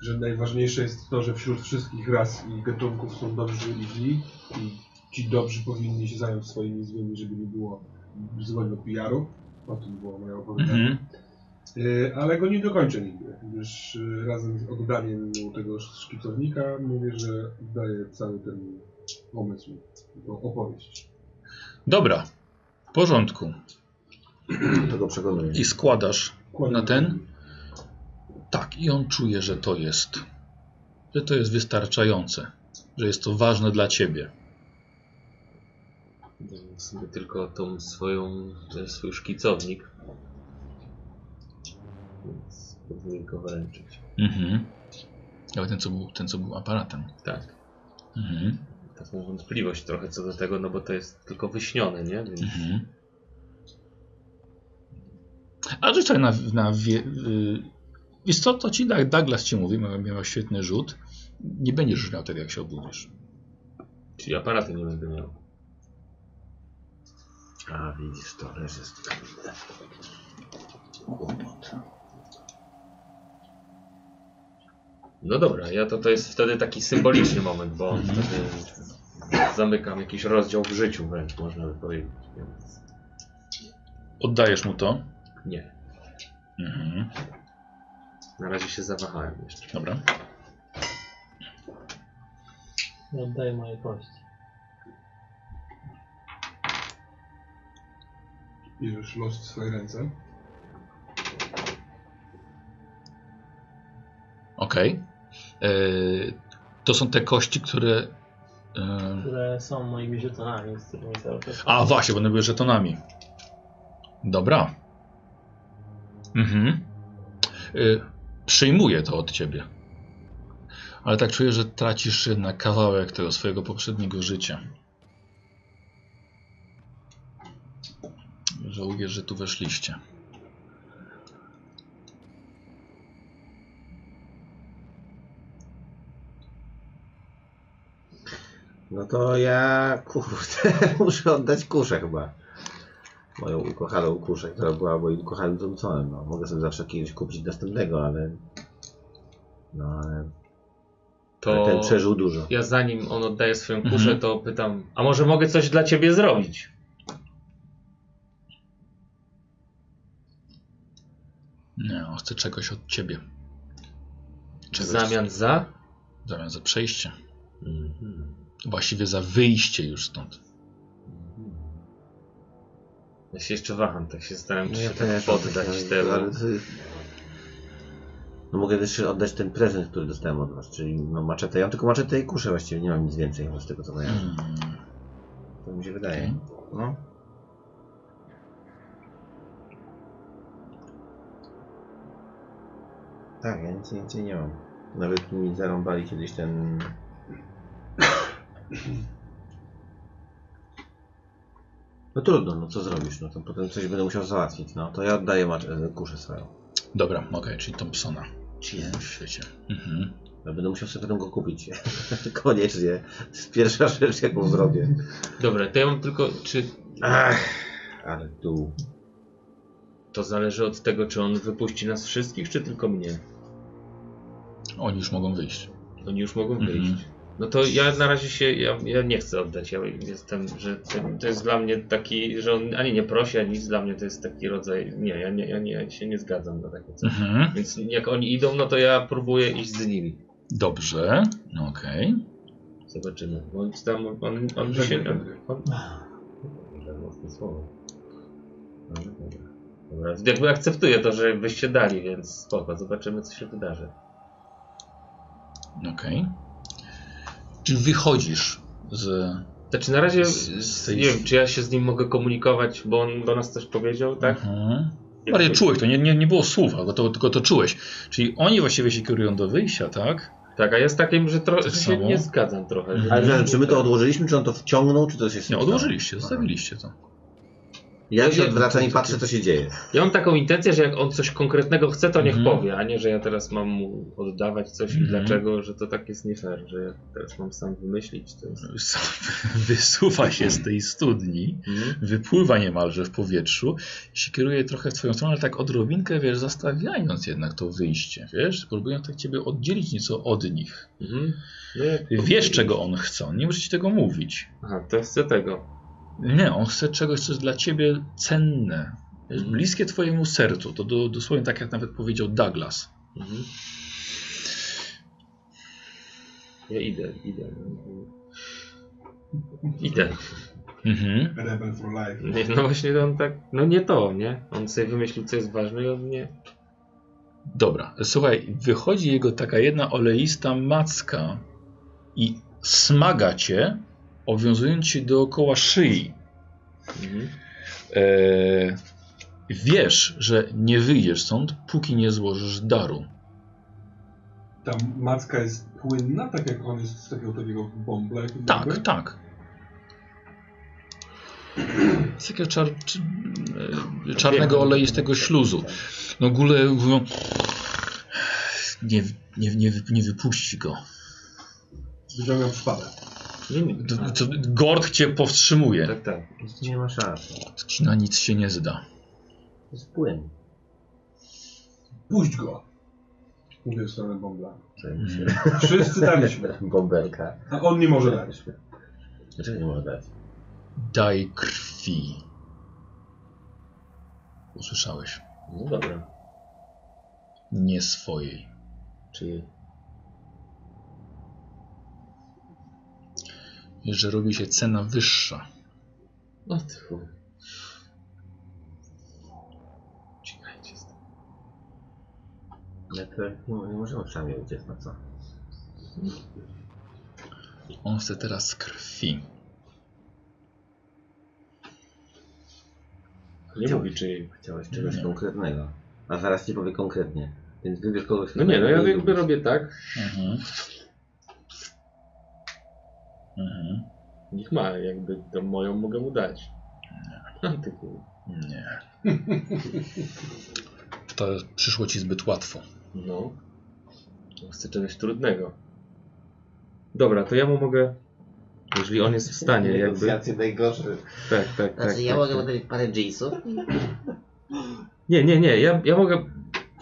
Speaker 3: że najważniejsze jest to, że wśród wszystkich ras i gatunków są dobrzy i źli i ci dobrzy powinni się zająć swoimi złymi, żeby nie było złego PR-u. O tym było moje opowiadanie.
Speaker 2: Mhm.
Speaker 3: Y, ale go nie dokończę nigdy, gdyż y, razem z oddaniem mu tego szkicownika mówię, że oddaję cały ten pomysł, tą opowieść.
Speaker 2: Dobra. W porządku.
Speaker 1: To go przekonuję.
Speaker 2: I składasz.
Speaker 3: Kładę
Speaker 2: Na ten? Tak, i on czuje, że to jest. Że to jest wystarczające. Że jest to ważne dla ciebie.
Speaker 4: Dam sobie tylko tą swoją, ten swój szkicownik. Więc powinien go wręczyć.
Speaker 2: Mhm. Ale ten, co był, ten, co był aparatem.
Speaker 4: Tak.
Speaker 2: Mhm.
Speaker 4: Taką wątpliwość trochę co do tego, no bo to jest tylko wyśnione, nie? Więc
Speaker 2: Mhm. A rzuć sobie na, na wie, y, Wiesz co, to ci Dag- Douglas ci mówi, miał, miał świetny rzut. Nie będziesz już miał tego, jak się obudzisz.
Speaker 4: Czyli aparaty nie będę miał.
Speaker 1: A widzisz, to też jest kłopot.
Speaker 4: No dobra, ja to, to jest wtedy taki symboliczny moment, bo
Speaker 1: Mhm.
Speaker 4: wtedy zamykam jakiś rozdział w życiu wręcz, można by powiedzieć. Więc
Speaker 2: Oddajesz mu to.
Speaker 4: nie,
Speaker 2: Mhm.
Speaker 4: na razie się zawahałem jeszcze.
Speaker 2: Dobra.
Speaker 5: I Oddaj moje kości.
Speaker 3: Bierzesz los w swoje ręce.
Speaker 2: Okej. Y, To są te kości, które. y,
Speaker 5: które są moimi żetonami, z którymi cały czas.
Speaker 2: A właśnie, będą były żetonami. Dobra. Mhm. Y, przyjmuję to od ciebie. Ale tak czuję, że tracisz jednak kawałek tego swojego poprzedniego życia. Żałuję, że tu weszliście.
Speaker 1: No to ja, kurde, [LAUGHS] muszę oddać kuszę chyba. Moją ukochaną kuszę, która była moim ukochanym Thompsonem. No, mogę sobie zawsze kiedyś kupić następnego, ale... No, ale
Speaker 4: To
Speaker 1: ten przeżył dużo.
Speaker 4: ja zanim on oddaje swoją kuszę,
Speaker 2: Mhm.
Speaker 4: to pytam, a może mogę coś dla ciebie zrobić?
Speaker 2: Nie, on chce czegoś od ciebie.
Speaker 4: W zamian za?
Speaker 2: w zamian za przejście.
Speaker 4: Mhm.
Speaker 2: Właściwie za wyjście już stąd.
Speaker 4: Ja się jeszcze waham, tak się starałem
Speaker 1: No
Speaker 4: czy
Speaker 1: ja
Speaker 4: się tak
Speaker 1: też
Speaker 4: poddać
Speaker 1: oddać,
Speaker 4: temu.
Speaker 1: ale to jest- No mogę też oddać ten prezent, który dostałem od was, czyli no maczetę. Ja mam tylko maczetę i kuszę właściwie, nie mam nic więcej chyba z tego co miałem.
Speaker 4: Hmm.
Speaker 2: Mm.
Speaker 1: To mi się wydaje. No. Tak, ja nic więcej nie mam. Nawet mi zarąbali kiedyś ten... No trudno, no co zrobisz, no to potem coś będę musiał załatwić, no to ja oddaję maczetę, kuszę swoją.
Speaker 2: Dobra, okej, czyli Thompsona.
Speaker 1: Jezu.
Speaker 2: w świecie. Mhm.
Speaker 1: Ja No, będę musiał sobie potem go kupić. [LAUGHS] Koniecznie. To jest pierwsza rzecz, jaką zrobię.
Speaker 4: Dobra, to ja mam tylko, czy
Speaker 1: Ach, ale tu.
Speaker 4: to zależy od tego, czy on wypuści nas wszystkich, czy tylko mnie?
Speaker 2: Oni już mogą wyjść.
Speaker 4: Oni już mogą
Speaker 2: Mhm.
Speaker 4: wyjść. No to ja na razie się, ja, ja nie chcę oddać, ja jestem, że to, to jest dla mnie taki, że on ani nie prosi, ani nic, dla mnie to jest taki rodzaj, nie, ja, nie, ja, nie, ja się nie zgadzam na takie coś.
Speaker 2: Mhm.
Speaker 4: Więc jak oni idą, no to ja próbuję iść z nimi.
Speaker 2: Dobrze, no okej.
Speaker 4: Zobaczymy. Bo tam on, on, on
Speaker 3: Żegnaj,
Speaker 4: się...
Speaker 3: Henryk.
Speaker 4: On... Może mocne słowo. No, dobra. Dobra. Jakby akceptuję to, że wyście dali, więc spoko, zobaczymy co się wydarzy.
Speaker 2: No Okej. Czyli wychodzisz z...
Speaker 4: Znaczy na razie
Speaker 2: Z- z tej-
Speaker 4: nie wiem, czy ja się z nim mogę komunikować, bo on do nas coś powiedział, tak?
Speaker 2: Mhm. Maria, czułeś to, nie, nie, nie było słów, ale to, tylko to czułeś. Czyli oni właściwie się kierują do wyjścia, tak?
Speaker 4: Tak, a jest takim, że, tro-
Speaker 2: Tak
Speaker 4: że się
Speaker 2: samo.
Speaker 4: nie zgadzam trochę. że-
Speaker 1: Ale że- czy my to odłożyliśmy, czy on to wciągnął, czy to się
Speaker 2: Nie,
Speaker 1: stało?
Speaker 2: odłożyliście, zostawiliście to. [LAUGHS]
Speaker 1: Ja
Speaker 4: Ja
Speaker 1: się
Speaker 4: nie
Speaker 1: odwracam i patrzę, co się dzieje.
Speaker 4: Ja mam taką intencję, że jak on coś konkretnego chce, to niech
Speaker 2: Mhm.
Speaker 4: powie, a nie, że ja teraz mam mu oddawać coś i
Speaker 2: Mhm.
Speaker 4: dlaczego, że to tak jest nie fair, że ja teraz mam sam wymyślić. To jest...
Speaker 2: Wysuwa się z tej studni, wypływa niemalże w powietrzu i się kieruje trochę w twoją stronę, ale tak odrobinkę, wiesz, zastawiając jednak to wyjście, wiesz? Próbują tak ciebie oddzielić nieco od nich.
Speaker 4: Mhm. No jak...
Speaker 2: Ty wiesz, czego on chce, on nie może ci tego mówić.
Speaker 4: Aha, to chce tego.
Speaker 2: Nie, on chce czegoś, co jest dla ciebie cenne, wiesz,
Speaker 4: Mhm.
Speaker 2: bliskie twojemu sercu. To do, dosłownie tak, jak nawet powiedział Douglas.
Speaker 4: Mhm. Ja idę, idę. Idę.
Speaker 2: Mhm.
Speaker 3: Rebel for life.
Speaker 4: Nie, No właśnie on tak, no nie to, nie? On sobie wymyślił, co jest ważne i on nie.
Speaker 2: Dobra, słuchaj, wychodzi jego taka jedna oleista macka i smaga cię, owiązując cię dookoła szyi.
Speaker 4: Mhm.
Speaker 2: Eee, wiesz, że nie wyjdziesz stąd, póki nie złożysz daru.
Speaker 3: Ta macka jest płynna, tak jak on jest z takiego takiego bąbla. jak
Speaker 2: Tak,
Speaker 3: mówię?
Speaker 2: tak. Z takiego czar, czy, e, czarnego oleistego śluzu. No ogóle mówią, nie, nie, nie, wy- nie wypuści go.
Speaker 3: Wyciągam szpadę.
Speaker 2: To, to Gord cię powstrzymuje.
Speaker 4: Tak, tak.
Speaker 1: Mhm. Nie ma szans.
Speaker 2: To ci na nic się nie zda.
Speaker 1: To jest płyn.
Speaker 3: Puść go! Mówię w stronę bąbla.
Speaker 1: Czekajcie.
Speaker 3: Wszyscy daliśmy,
Speaker 1: Bąbelka.
Speaker 3: a on nie może dać.
Speaker 1: Dlaczego nie może dać?
Speaker 2: Daj krwi. Usłyszałeś.
Speaker 4: No dobra.
Speaker 2: Nie swojej.
Speaker 4: Czyli
Speaker 2: Wiesz, że robi się cena wyższa.
Speaker 4: O ty chuj. Uciekajcie stąd.
Speaker 1: Jak to, nie, nie możemy sami uciec na co?
Speaker 2: On chce teraz krwi.
Speaker 4: Nie mówi czyjej.
Speaker 1: Chciałeś czegoś
Speaker 2: Nie.
Speaker 1: konkretnego. A zaraz ci powiem konkretnie. Więc wybierz kogoś.
Speaker 4: No nie, no
Speaker 1: którego
Speaker 4: ja jakby
Speaker 1: lubisz.
Speaker 4: robię tak,
Speaker 2: Mhm. Mhm.
Speaker 4: niech ma, jakby to moją mogę mu dać. O ty chuj.
Speaker 2: Nie. [LAUGHS] To przyszło ci zbyt łatwo.
Speaker 4: No. Ja Chcę czegoś trudnego. Dobra, to ja mu mogę, jeżeli on jest w stanie, jakby. Tak,
Speaker 1: [LAUGHS] Negocjacje najgorsze.
Speaker 4: tak, tak.
Speaker 1: Znaczy, ja
Speaker 4: tak,
Speaker 1: mogę
Speaker 4: tak.
Speaker 1: mu dać parę jeansów.
Speaker 4: Nie, nie, nie, ja, ja mogę.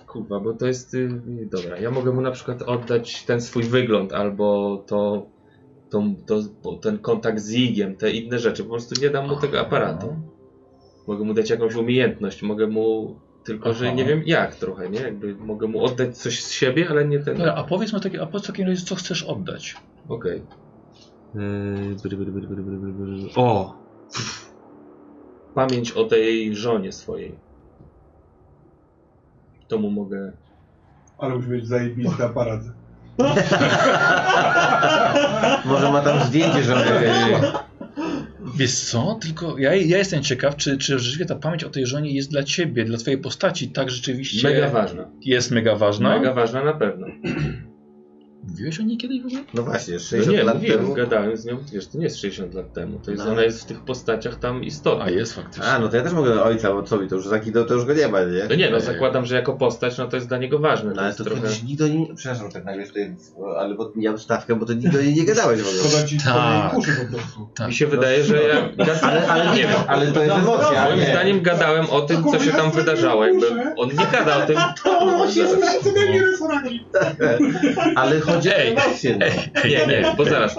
Speaker 4: Kurwa, bo to jest. Y, nie, dobra, ja mogę mu na przykład oddać ten swój wygląd albo to. Tą, to, bo ten kontakt z Igiem, te inne rzeczy. Po prostu nie dam mu tego aparatu. Mogę mu dać jakąś umiejętność, mogę mu. Tylko, że
Speaker 2: Aha.
Speaker 4: nie wiem jak trochę, nie? Jakby mogę mu oddać coś z siebie, ale nie ten.
Speaker 2: Dobra, a powiedz mi takie, a po co w takim razie co chcesz oddać?
Speaker 4: Okej. Yy, bry, bry, bry, bry, bry, bry, bry. O! Pamięć o tej żonie swojej. To mu mogę.
Speaker 3: Ale musi mieć zajebisty aparat.
Speaker 1: Może ma tam zdjęcie,
Speaker 4: No
Speaker 1: żeby.
Speaker 2: Wiesz co, tylko ja, ja jestem ciekaw, czy, czy rzeczywiście ta pamięć o tej żonie jest dla ciebie, dla twojej postaci tak rzeczywiście
Speaker 4: Mega ważna.
Speaker 2: jest mega ważna?
Speaker 4: Mega ważna na pewno.
Speaker 2: Mówiłeś o niej kiedyś w ogóle?
Speaker 1: No właśnie,
Speaker 4: No
Speaker 1: 60
Speaker 4: nie,
Speaker 1: lat
Speaker 4: mówiłem,
Speaker 1: temu.
Speaker 4: gadałem z nią, wiesz, to nie jest 60 lat temu, to jest,
Speaker 1: No.
Speaker 4: ona jest w tych postaciach tam istotna.
Speaker 2: A jest faktycznie.
Speaker 1: A, no to ja też mogę ojca, bo co mi to już za kido, to już go nie ma, nie?
Speaker 4: No nie, no zakładam, że jako postać, no to jest dla niego ważne,
Speaker 1: No
Speaker 4: to
Speaker 1: ale
Speaker 4: jest
Speaker 1: to
Speaker 4: trochę...
Speaker 1: kiedyś nikt o nim... Przepraszam, tak nagle tutaj, ale bo ja stawkę, bo to nikt o niej nie gadałeś w ogóle.
Speaker 3: Szkoda ci
Speaker 2: Tak.
Speaker 3: tak. uszy po prostu.
Speaker 2: tak.
Speaker 4: Mi się wydaje, że ja gadałem,
Speaker 1: No, Ale, ale,
Speaker 4: nie wiem, No,
Speaker 1: ale to jest emocja,
Speaker 4: moim
Speaker 1: ale nie.
Speaker 4: zdaniem gadałem o tym, co się tam wydarzało, jakby on nie gada o tym,
Speaker 3: To się znaczy na
Speaker 1: [LAUGHS] Ale chodzi o
Speaker 2: Ej,
Speaker 1: emocje, no.
Speaker 4: [LAUGHS] Nie, nie, bo zaraz.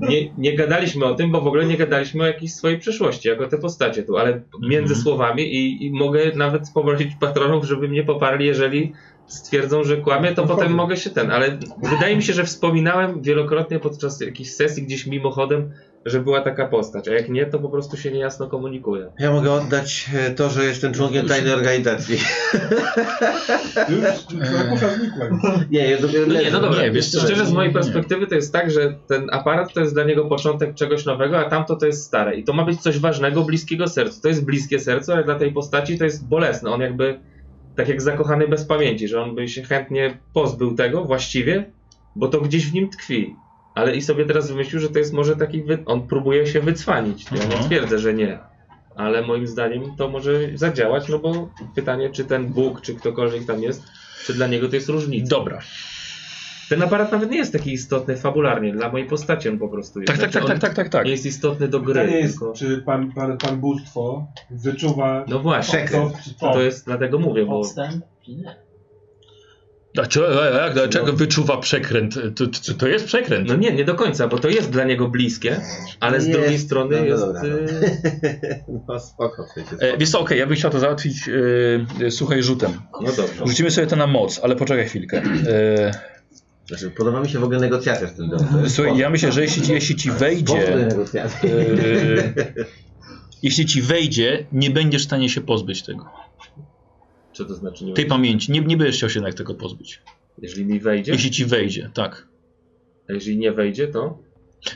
Speaker 4: Nie, nie gadaliśmy o tym, bo w ogóle nie gadaliśmy o jakiejś swojej przeszłości, jako te postacie tu, ale między
Speaker 2: Mhm.
Speaker 4: słowami i, i mogę nawet poprosić patronów, żeby mnie poparli, jeżeli stwierdzą, że kłamie, to potem mogę się ten, ale wydaje mi się, że wspominałem wielokrotnie podczas jakichś sesji gdzieś mimochodem że była taka postać, a jak nie, to po prostu się niejasno komunikuje.
Speaker 1: Ja mogę oddać e, to, że jestem członkiem tajnej organizacji. Eee.
Speaker 3: Już Krakusza znikła.
Speaker 1: [LAUGHS] Nie, ja dopiero
Speaker 4: No nie,
Speaker 1: leżę.
Speaker 4: no dobra,
Speaker 2: Nie, wiesz co,
Speaker 4: szczerze z mojej
Speaker 2: nie, nie.
Speaker 4: perspektywy to jest tak, że ten aparat to jest dla niego początek czegoś nowego, a tamto to jest stare. I to ma być coś ważnego, bliskiego sercu. To jest bliskie sercu, ale dla tej postaci to jest bolesne. On jakby, tak jak zakochany bez pamięci, że on by się chętnie pozbył tego właściwie, bo to gdzieś w nim tkwi. Ale i sobie teraz wymyślił, że to jest może taki, wy... on próbuje się wycwanić. Ja nie
Speaker 2: Mhm.
Speaker 4: twierdzę, że nie. Ale moim zdaniem to może zadziałać, no bo pytanie, czy ten Bóg, czy ktokolwiek tam jest, czy dla niego to jest różnica.
Speaker 2: Dobra.
Speaker 4: Ten aparat nawet nie jest taki istotny fabularnie, dla mojej postaci on po prostu jest.
Speaker 2: Tak, tak, tak,
Speaker 4: Znaczy,
Speaker 2: tak,
Speaker 4: on
Speaker 2: tak, tak, tak.
Speaker 4: Nie jest istotny do gry.
Speaker 3: Pytanie jest,
Speaker 4: tylko...
Speaker 3: czy pan, pan, pan bóstwo wyczuwa
Speaker 4: No właśnie,
Speaker 3: to,
Speaker 4: to jest, dlatego mówię, bo
Speaker 5: Podstęp? Czy nie?
Speaker 2: Dlaczego, jak, dlaczego wyczuwa przekręt? To, to, to jest przekręt.
Speaker 4: no nie, nie do końca, bo to jest dla niego bliskie, ale z
Speaker 1: Nie.
Speaker 4: drugiej strony
Speaker 1: No
Speaker 4: jest...
Speaker 1: dobra,
Speaker 4: y,
Speaker 1: [LAUGHS] No spoko, słuchajcie,
Speaker 2: E,
Speaker 1: spoko.
Speaker 2: wiesz co, okej, ja bym chciał to załatwić y, y, słuchaj rzutem.
Speaker 4: No dobrze.
Speaker 2: Rzucimy sobie to na moc, ale poczekaj chwilkę.
Speaker 1: Znaczy, podoba mi się w ogóle negocjacja z tym
Speaker 2: E,
Speaker 1: domem.
Speaker 2: słuchaj, ja myślę, że jeśli, ci- jeśli ci wejdzie...
Speaker 1: negocjacje.
Speaker 2: e, jeśli ci wejdzie, nie będziesz w stanie się pozbyć tego.
Speaker 4: Co to znaczy? Nie
Speaker 2: Tej
Speaker 4: wiem.
Speaker 2: pamięci. Nie, nie będziesz chciał się jednak tego pozbyć.
Speaker 4: Jeżeli mi wejdzie,
Speaker 2: Jeśli ci wejdzie, tak.
Speaker 4: a jeżeli nie wejdzie, to...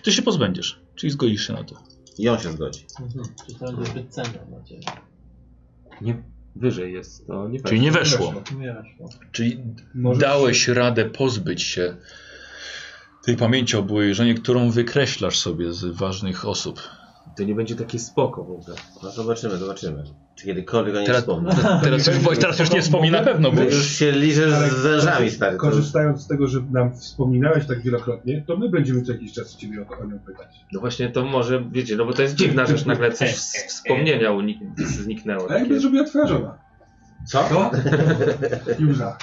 Speaker 2: Ty się pozbędziesz, czyli zgodzisz się na to.
Speaker 1: I on się zgodzi.
Speaker 5: Mhm. Czy to będzie zbyt cenne dla ciebie?
Speaker 4: Nie, wyżej jest, to nie
Speaker 2: Czyli nie weszło.
Speaker 5: Nie weszło.
Speaker 2: Czyli
Speaker 3: Możesz-
Speaker 2: dałeś radę pozbyć się tej pamięci o byłej żonie, którą wykreślasz sobie z ważnych osób.
Speaker 4: To nie będzie takie spoko w ogóle.
Speaker 1: No zobaczymy, zobaczymy. Czy kiedykolwiek o niej
Speaker 2: Teraz-
Speaker 1: wspomnę.
Speaker 2: Teraz już, bo teraz już nie wspomina na pewno, bo
Speaker 1: Ty już się liżesz z wężami, stary. To już...
Speaker 3: Korzystając z tego, że nam wspominałeś tak wielokrotnie, to my będziemy co jakiś czas ciebie o to panią pytać.
Speaker 4: No właśnie to może, wiecie, no bo to jest dziwna rzecz, nagle coś z [LAUGHS] wspomnienia unik- zniknęło.
Speaker 3: A jak by zrobiła twoja żona? Co? Józa.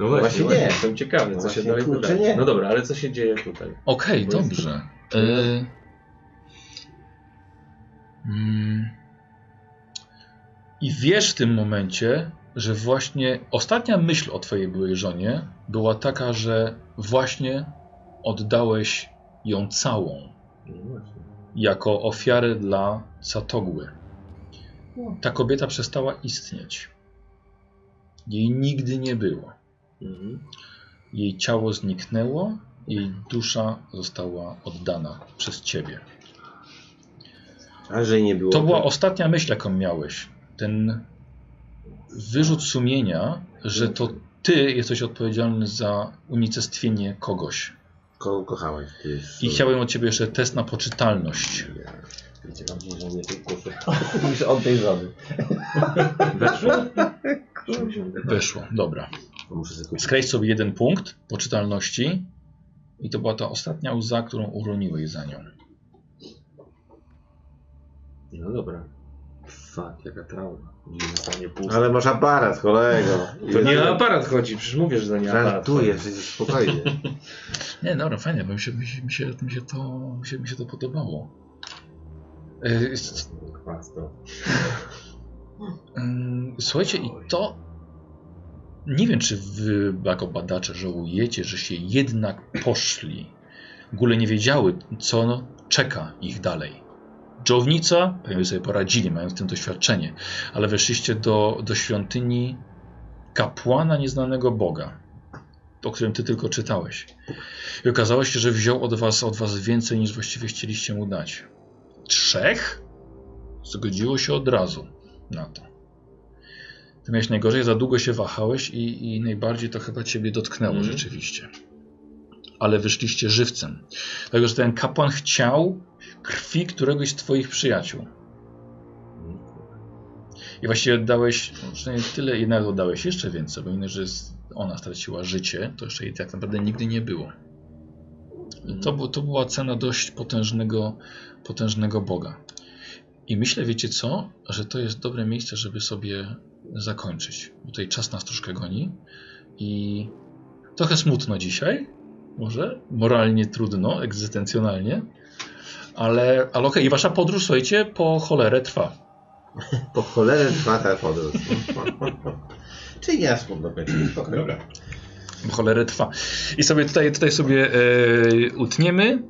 Speaker 4: No
Speaker 1: właśnie
Speaker 4: właśnie, właśnie
Speaker 1: nie.
Speaker 4: jestem ciekawy,
Speaker 1: No
Speaker 4: co się
Speaker 1: właśnie,
Speaker 4: dalej
Speaker 1: kurczę,
Speaker 4: wydarzy.
Speaker 1: nie.
Speaker 4: No dobra, ale co się dzieje tutaj?
Speaker 2: Okej,
Speaker 4: Bo jest-
Speaker 2: dobrze. Y... Mm. I wiesz w tym momencie, że właśnie ostatnia myśl o twojej byłej żonie była taka, że właśnie oddałeś ją całą
Speaker 4: No
Speaker 2: jako ofiarę dla Catogły.
Speaker 4: No.
Speaker 2: Ta kobieta przestała istnieć. Jej nigdy nie było.
Speaker 4: Mhm.
Speaker 2: Jej ciało zniknęło, jej dusza została oddana przez ciebie.
Speaker 1: A że jej nie było. tak.
Speaker 2: To była ostatnia myśl, jaką miałeś. Ten wyrzut sumienia, że to ty jesteś odpowiedzialny za unicestwienie kogoś.
Speaker 1: Ko kochałeś kiedyś.
Speaker 2: I chciałem od ciebie jeszcze test na poczytalność.
Speaker 1: Wiecie, wam może nie tej kuszy. [LAUGHS] Niż od tej żony.
Speaker 4: Weszło?
Speaker 2: Weszło, dobra.
Speaker 1: To muszę sobie kupić.
Speaker 2: Skręć sobie jeden punkt poczytalności. I to była ta ostatnia łza, którą uroniłeś za nią.
Speaker 4: No dobra. Fuck, jaka trauma. Nie zostanie pusta.
Speaker 1: Ale masz aparat, kolego.
Speaker 4: To nie o aparat chodzi, przecież mówię, że to nie aparat.
Speaker 1: Żartuję, przecież spokojnie.
Speaker 2: Nie, dobra, fajnie, bo mi się, mi się, mi się, mi się, to, mi się, mi się to podobało. Yy, s-
Speaker 4: Kwas to.
Speaker 2: Mm, Słuchajcie, i to. Nie wiem, czy wy jako badacze żałujecie, że się jednak poszli. W ogóle nie wiedziały, co czeka ich dalej. Dżownica, pewnie sobie poradzili, mając w tym doświadczenie, ale weszliście do, do świątyni kapłana nieznanego Boga, o którym ty tylko czytałeś. I okazało się, że wziął od was, od was więcej niż właściwie chcieliście mu dać. Trzech? Zgodziło się od razu na to. Ty miałeś najgorzej, za długo się wahałeś i, i najbardziej to chyba ciebie dotknęło
Speaker 4: Mhm.
Speaker 2: rzeczywiście. Ale wyszliście żywcem. Dlatego, że ten kapłan chciał krwi któregoś z twoich przyjaciół. I właściwie oddałeś, no, przynajmniej tyle, jednak oddałeś jeszcze więcej, bo inne, że z- ona straciła życie, to jeszcze jej tak naprawdę nigdy nie było. I to, bu- to była cena dość potężnego, potężnego Boga. I myślę, wiecie co, że to jest dobre miejsce, żeby sobie zakończyć. Bo Tutaj czas nas troszkę goni i trochę smutno dzisiaj, może, moralnie trudno, egzystencjonalnie, ale, ale okej, i wasza podróż, słuchajcie, po cholerę trwa.
Speaker 1: Po cholerę trwa ta podróż. [LAUGHS] Czyli nie aż do końca. Dobra.
Speaker 2: cholerę trwa. I sobie tutaj, tutaj sobie e, utniemy.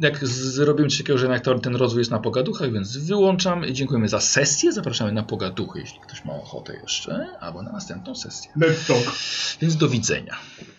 Speaker 2: jak z- zrobimy coś takiego, że jednak to- ten rozwój jest na pogaduchach, więc wyłączam. Dziękujemy za sesję. Zapraszamy na pogaduchy, jeśli ktoś ma ochotę jeszcze, albo na następną sesję.
Speaker 3: Let's talk.
Speaker 2: Więc do widzenia.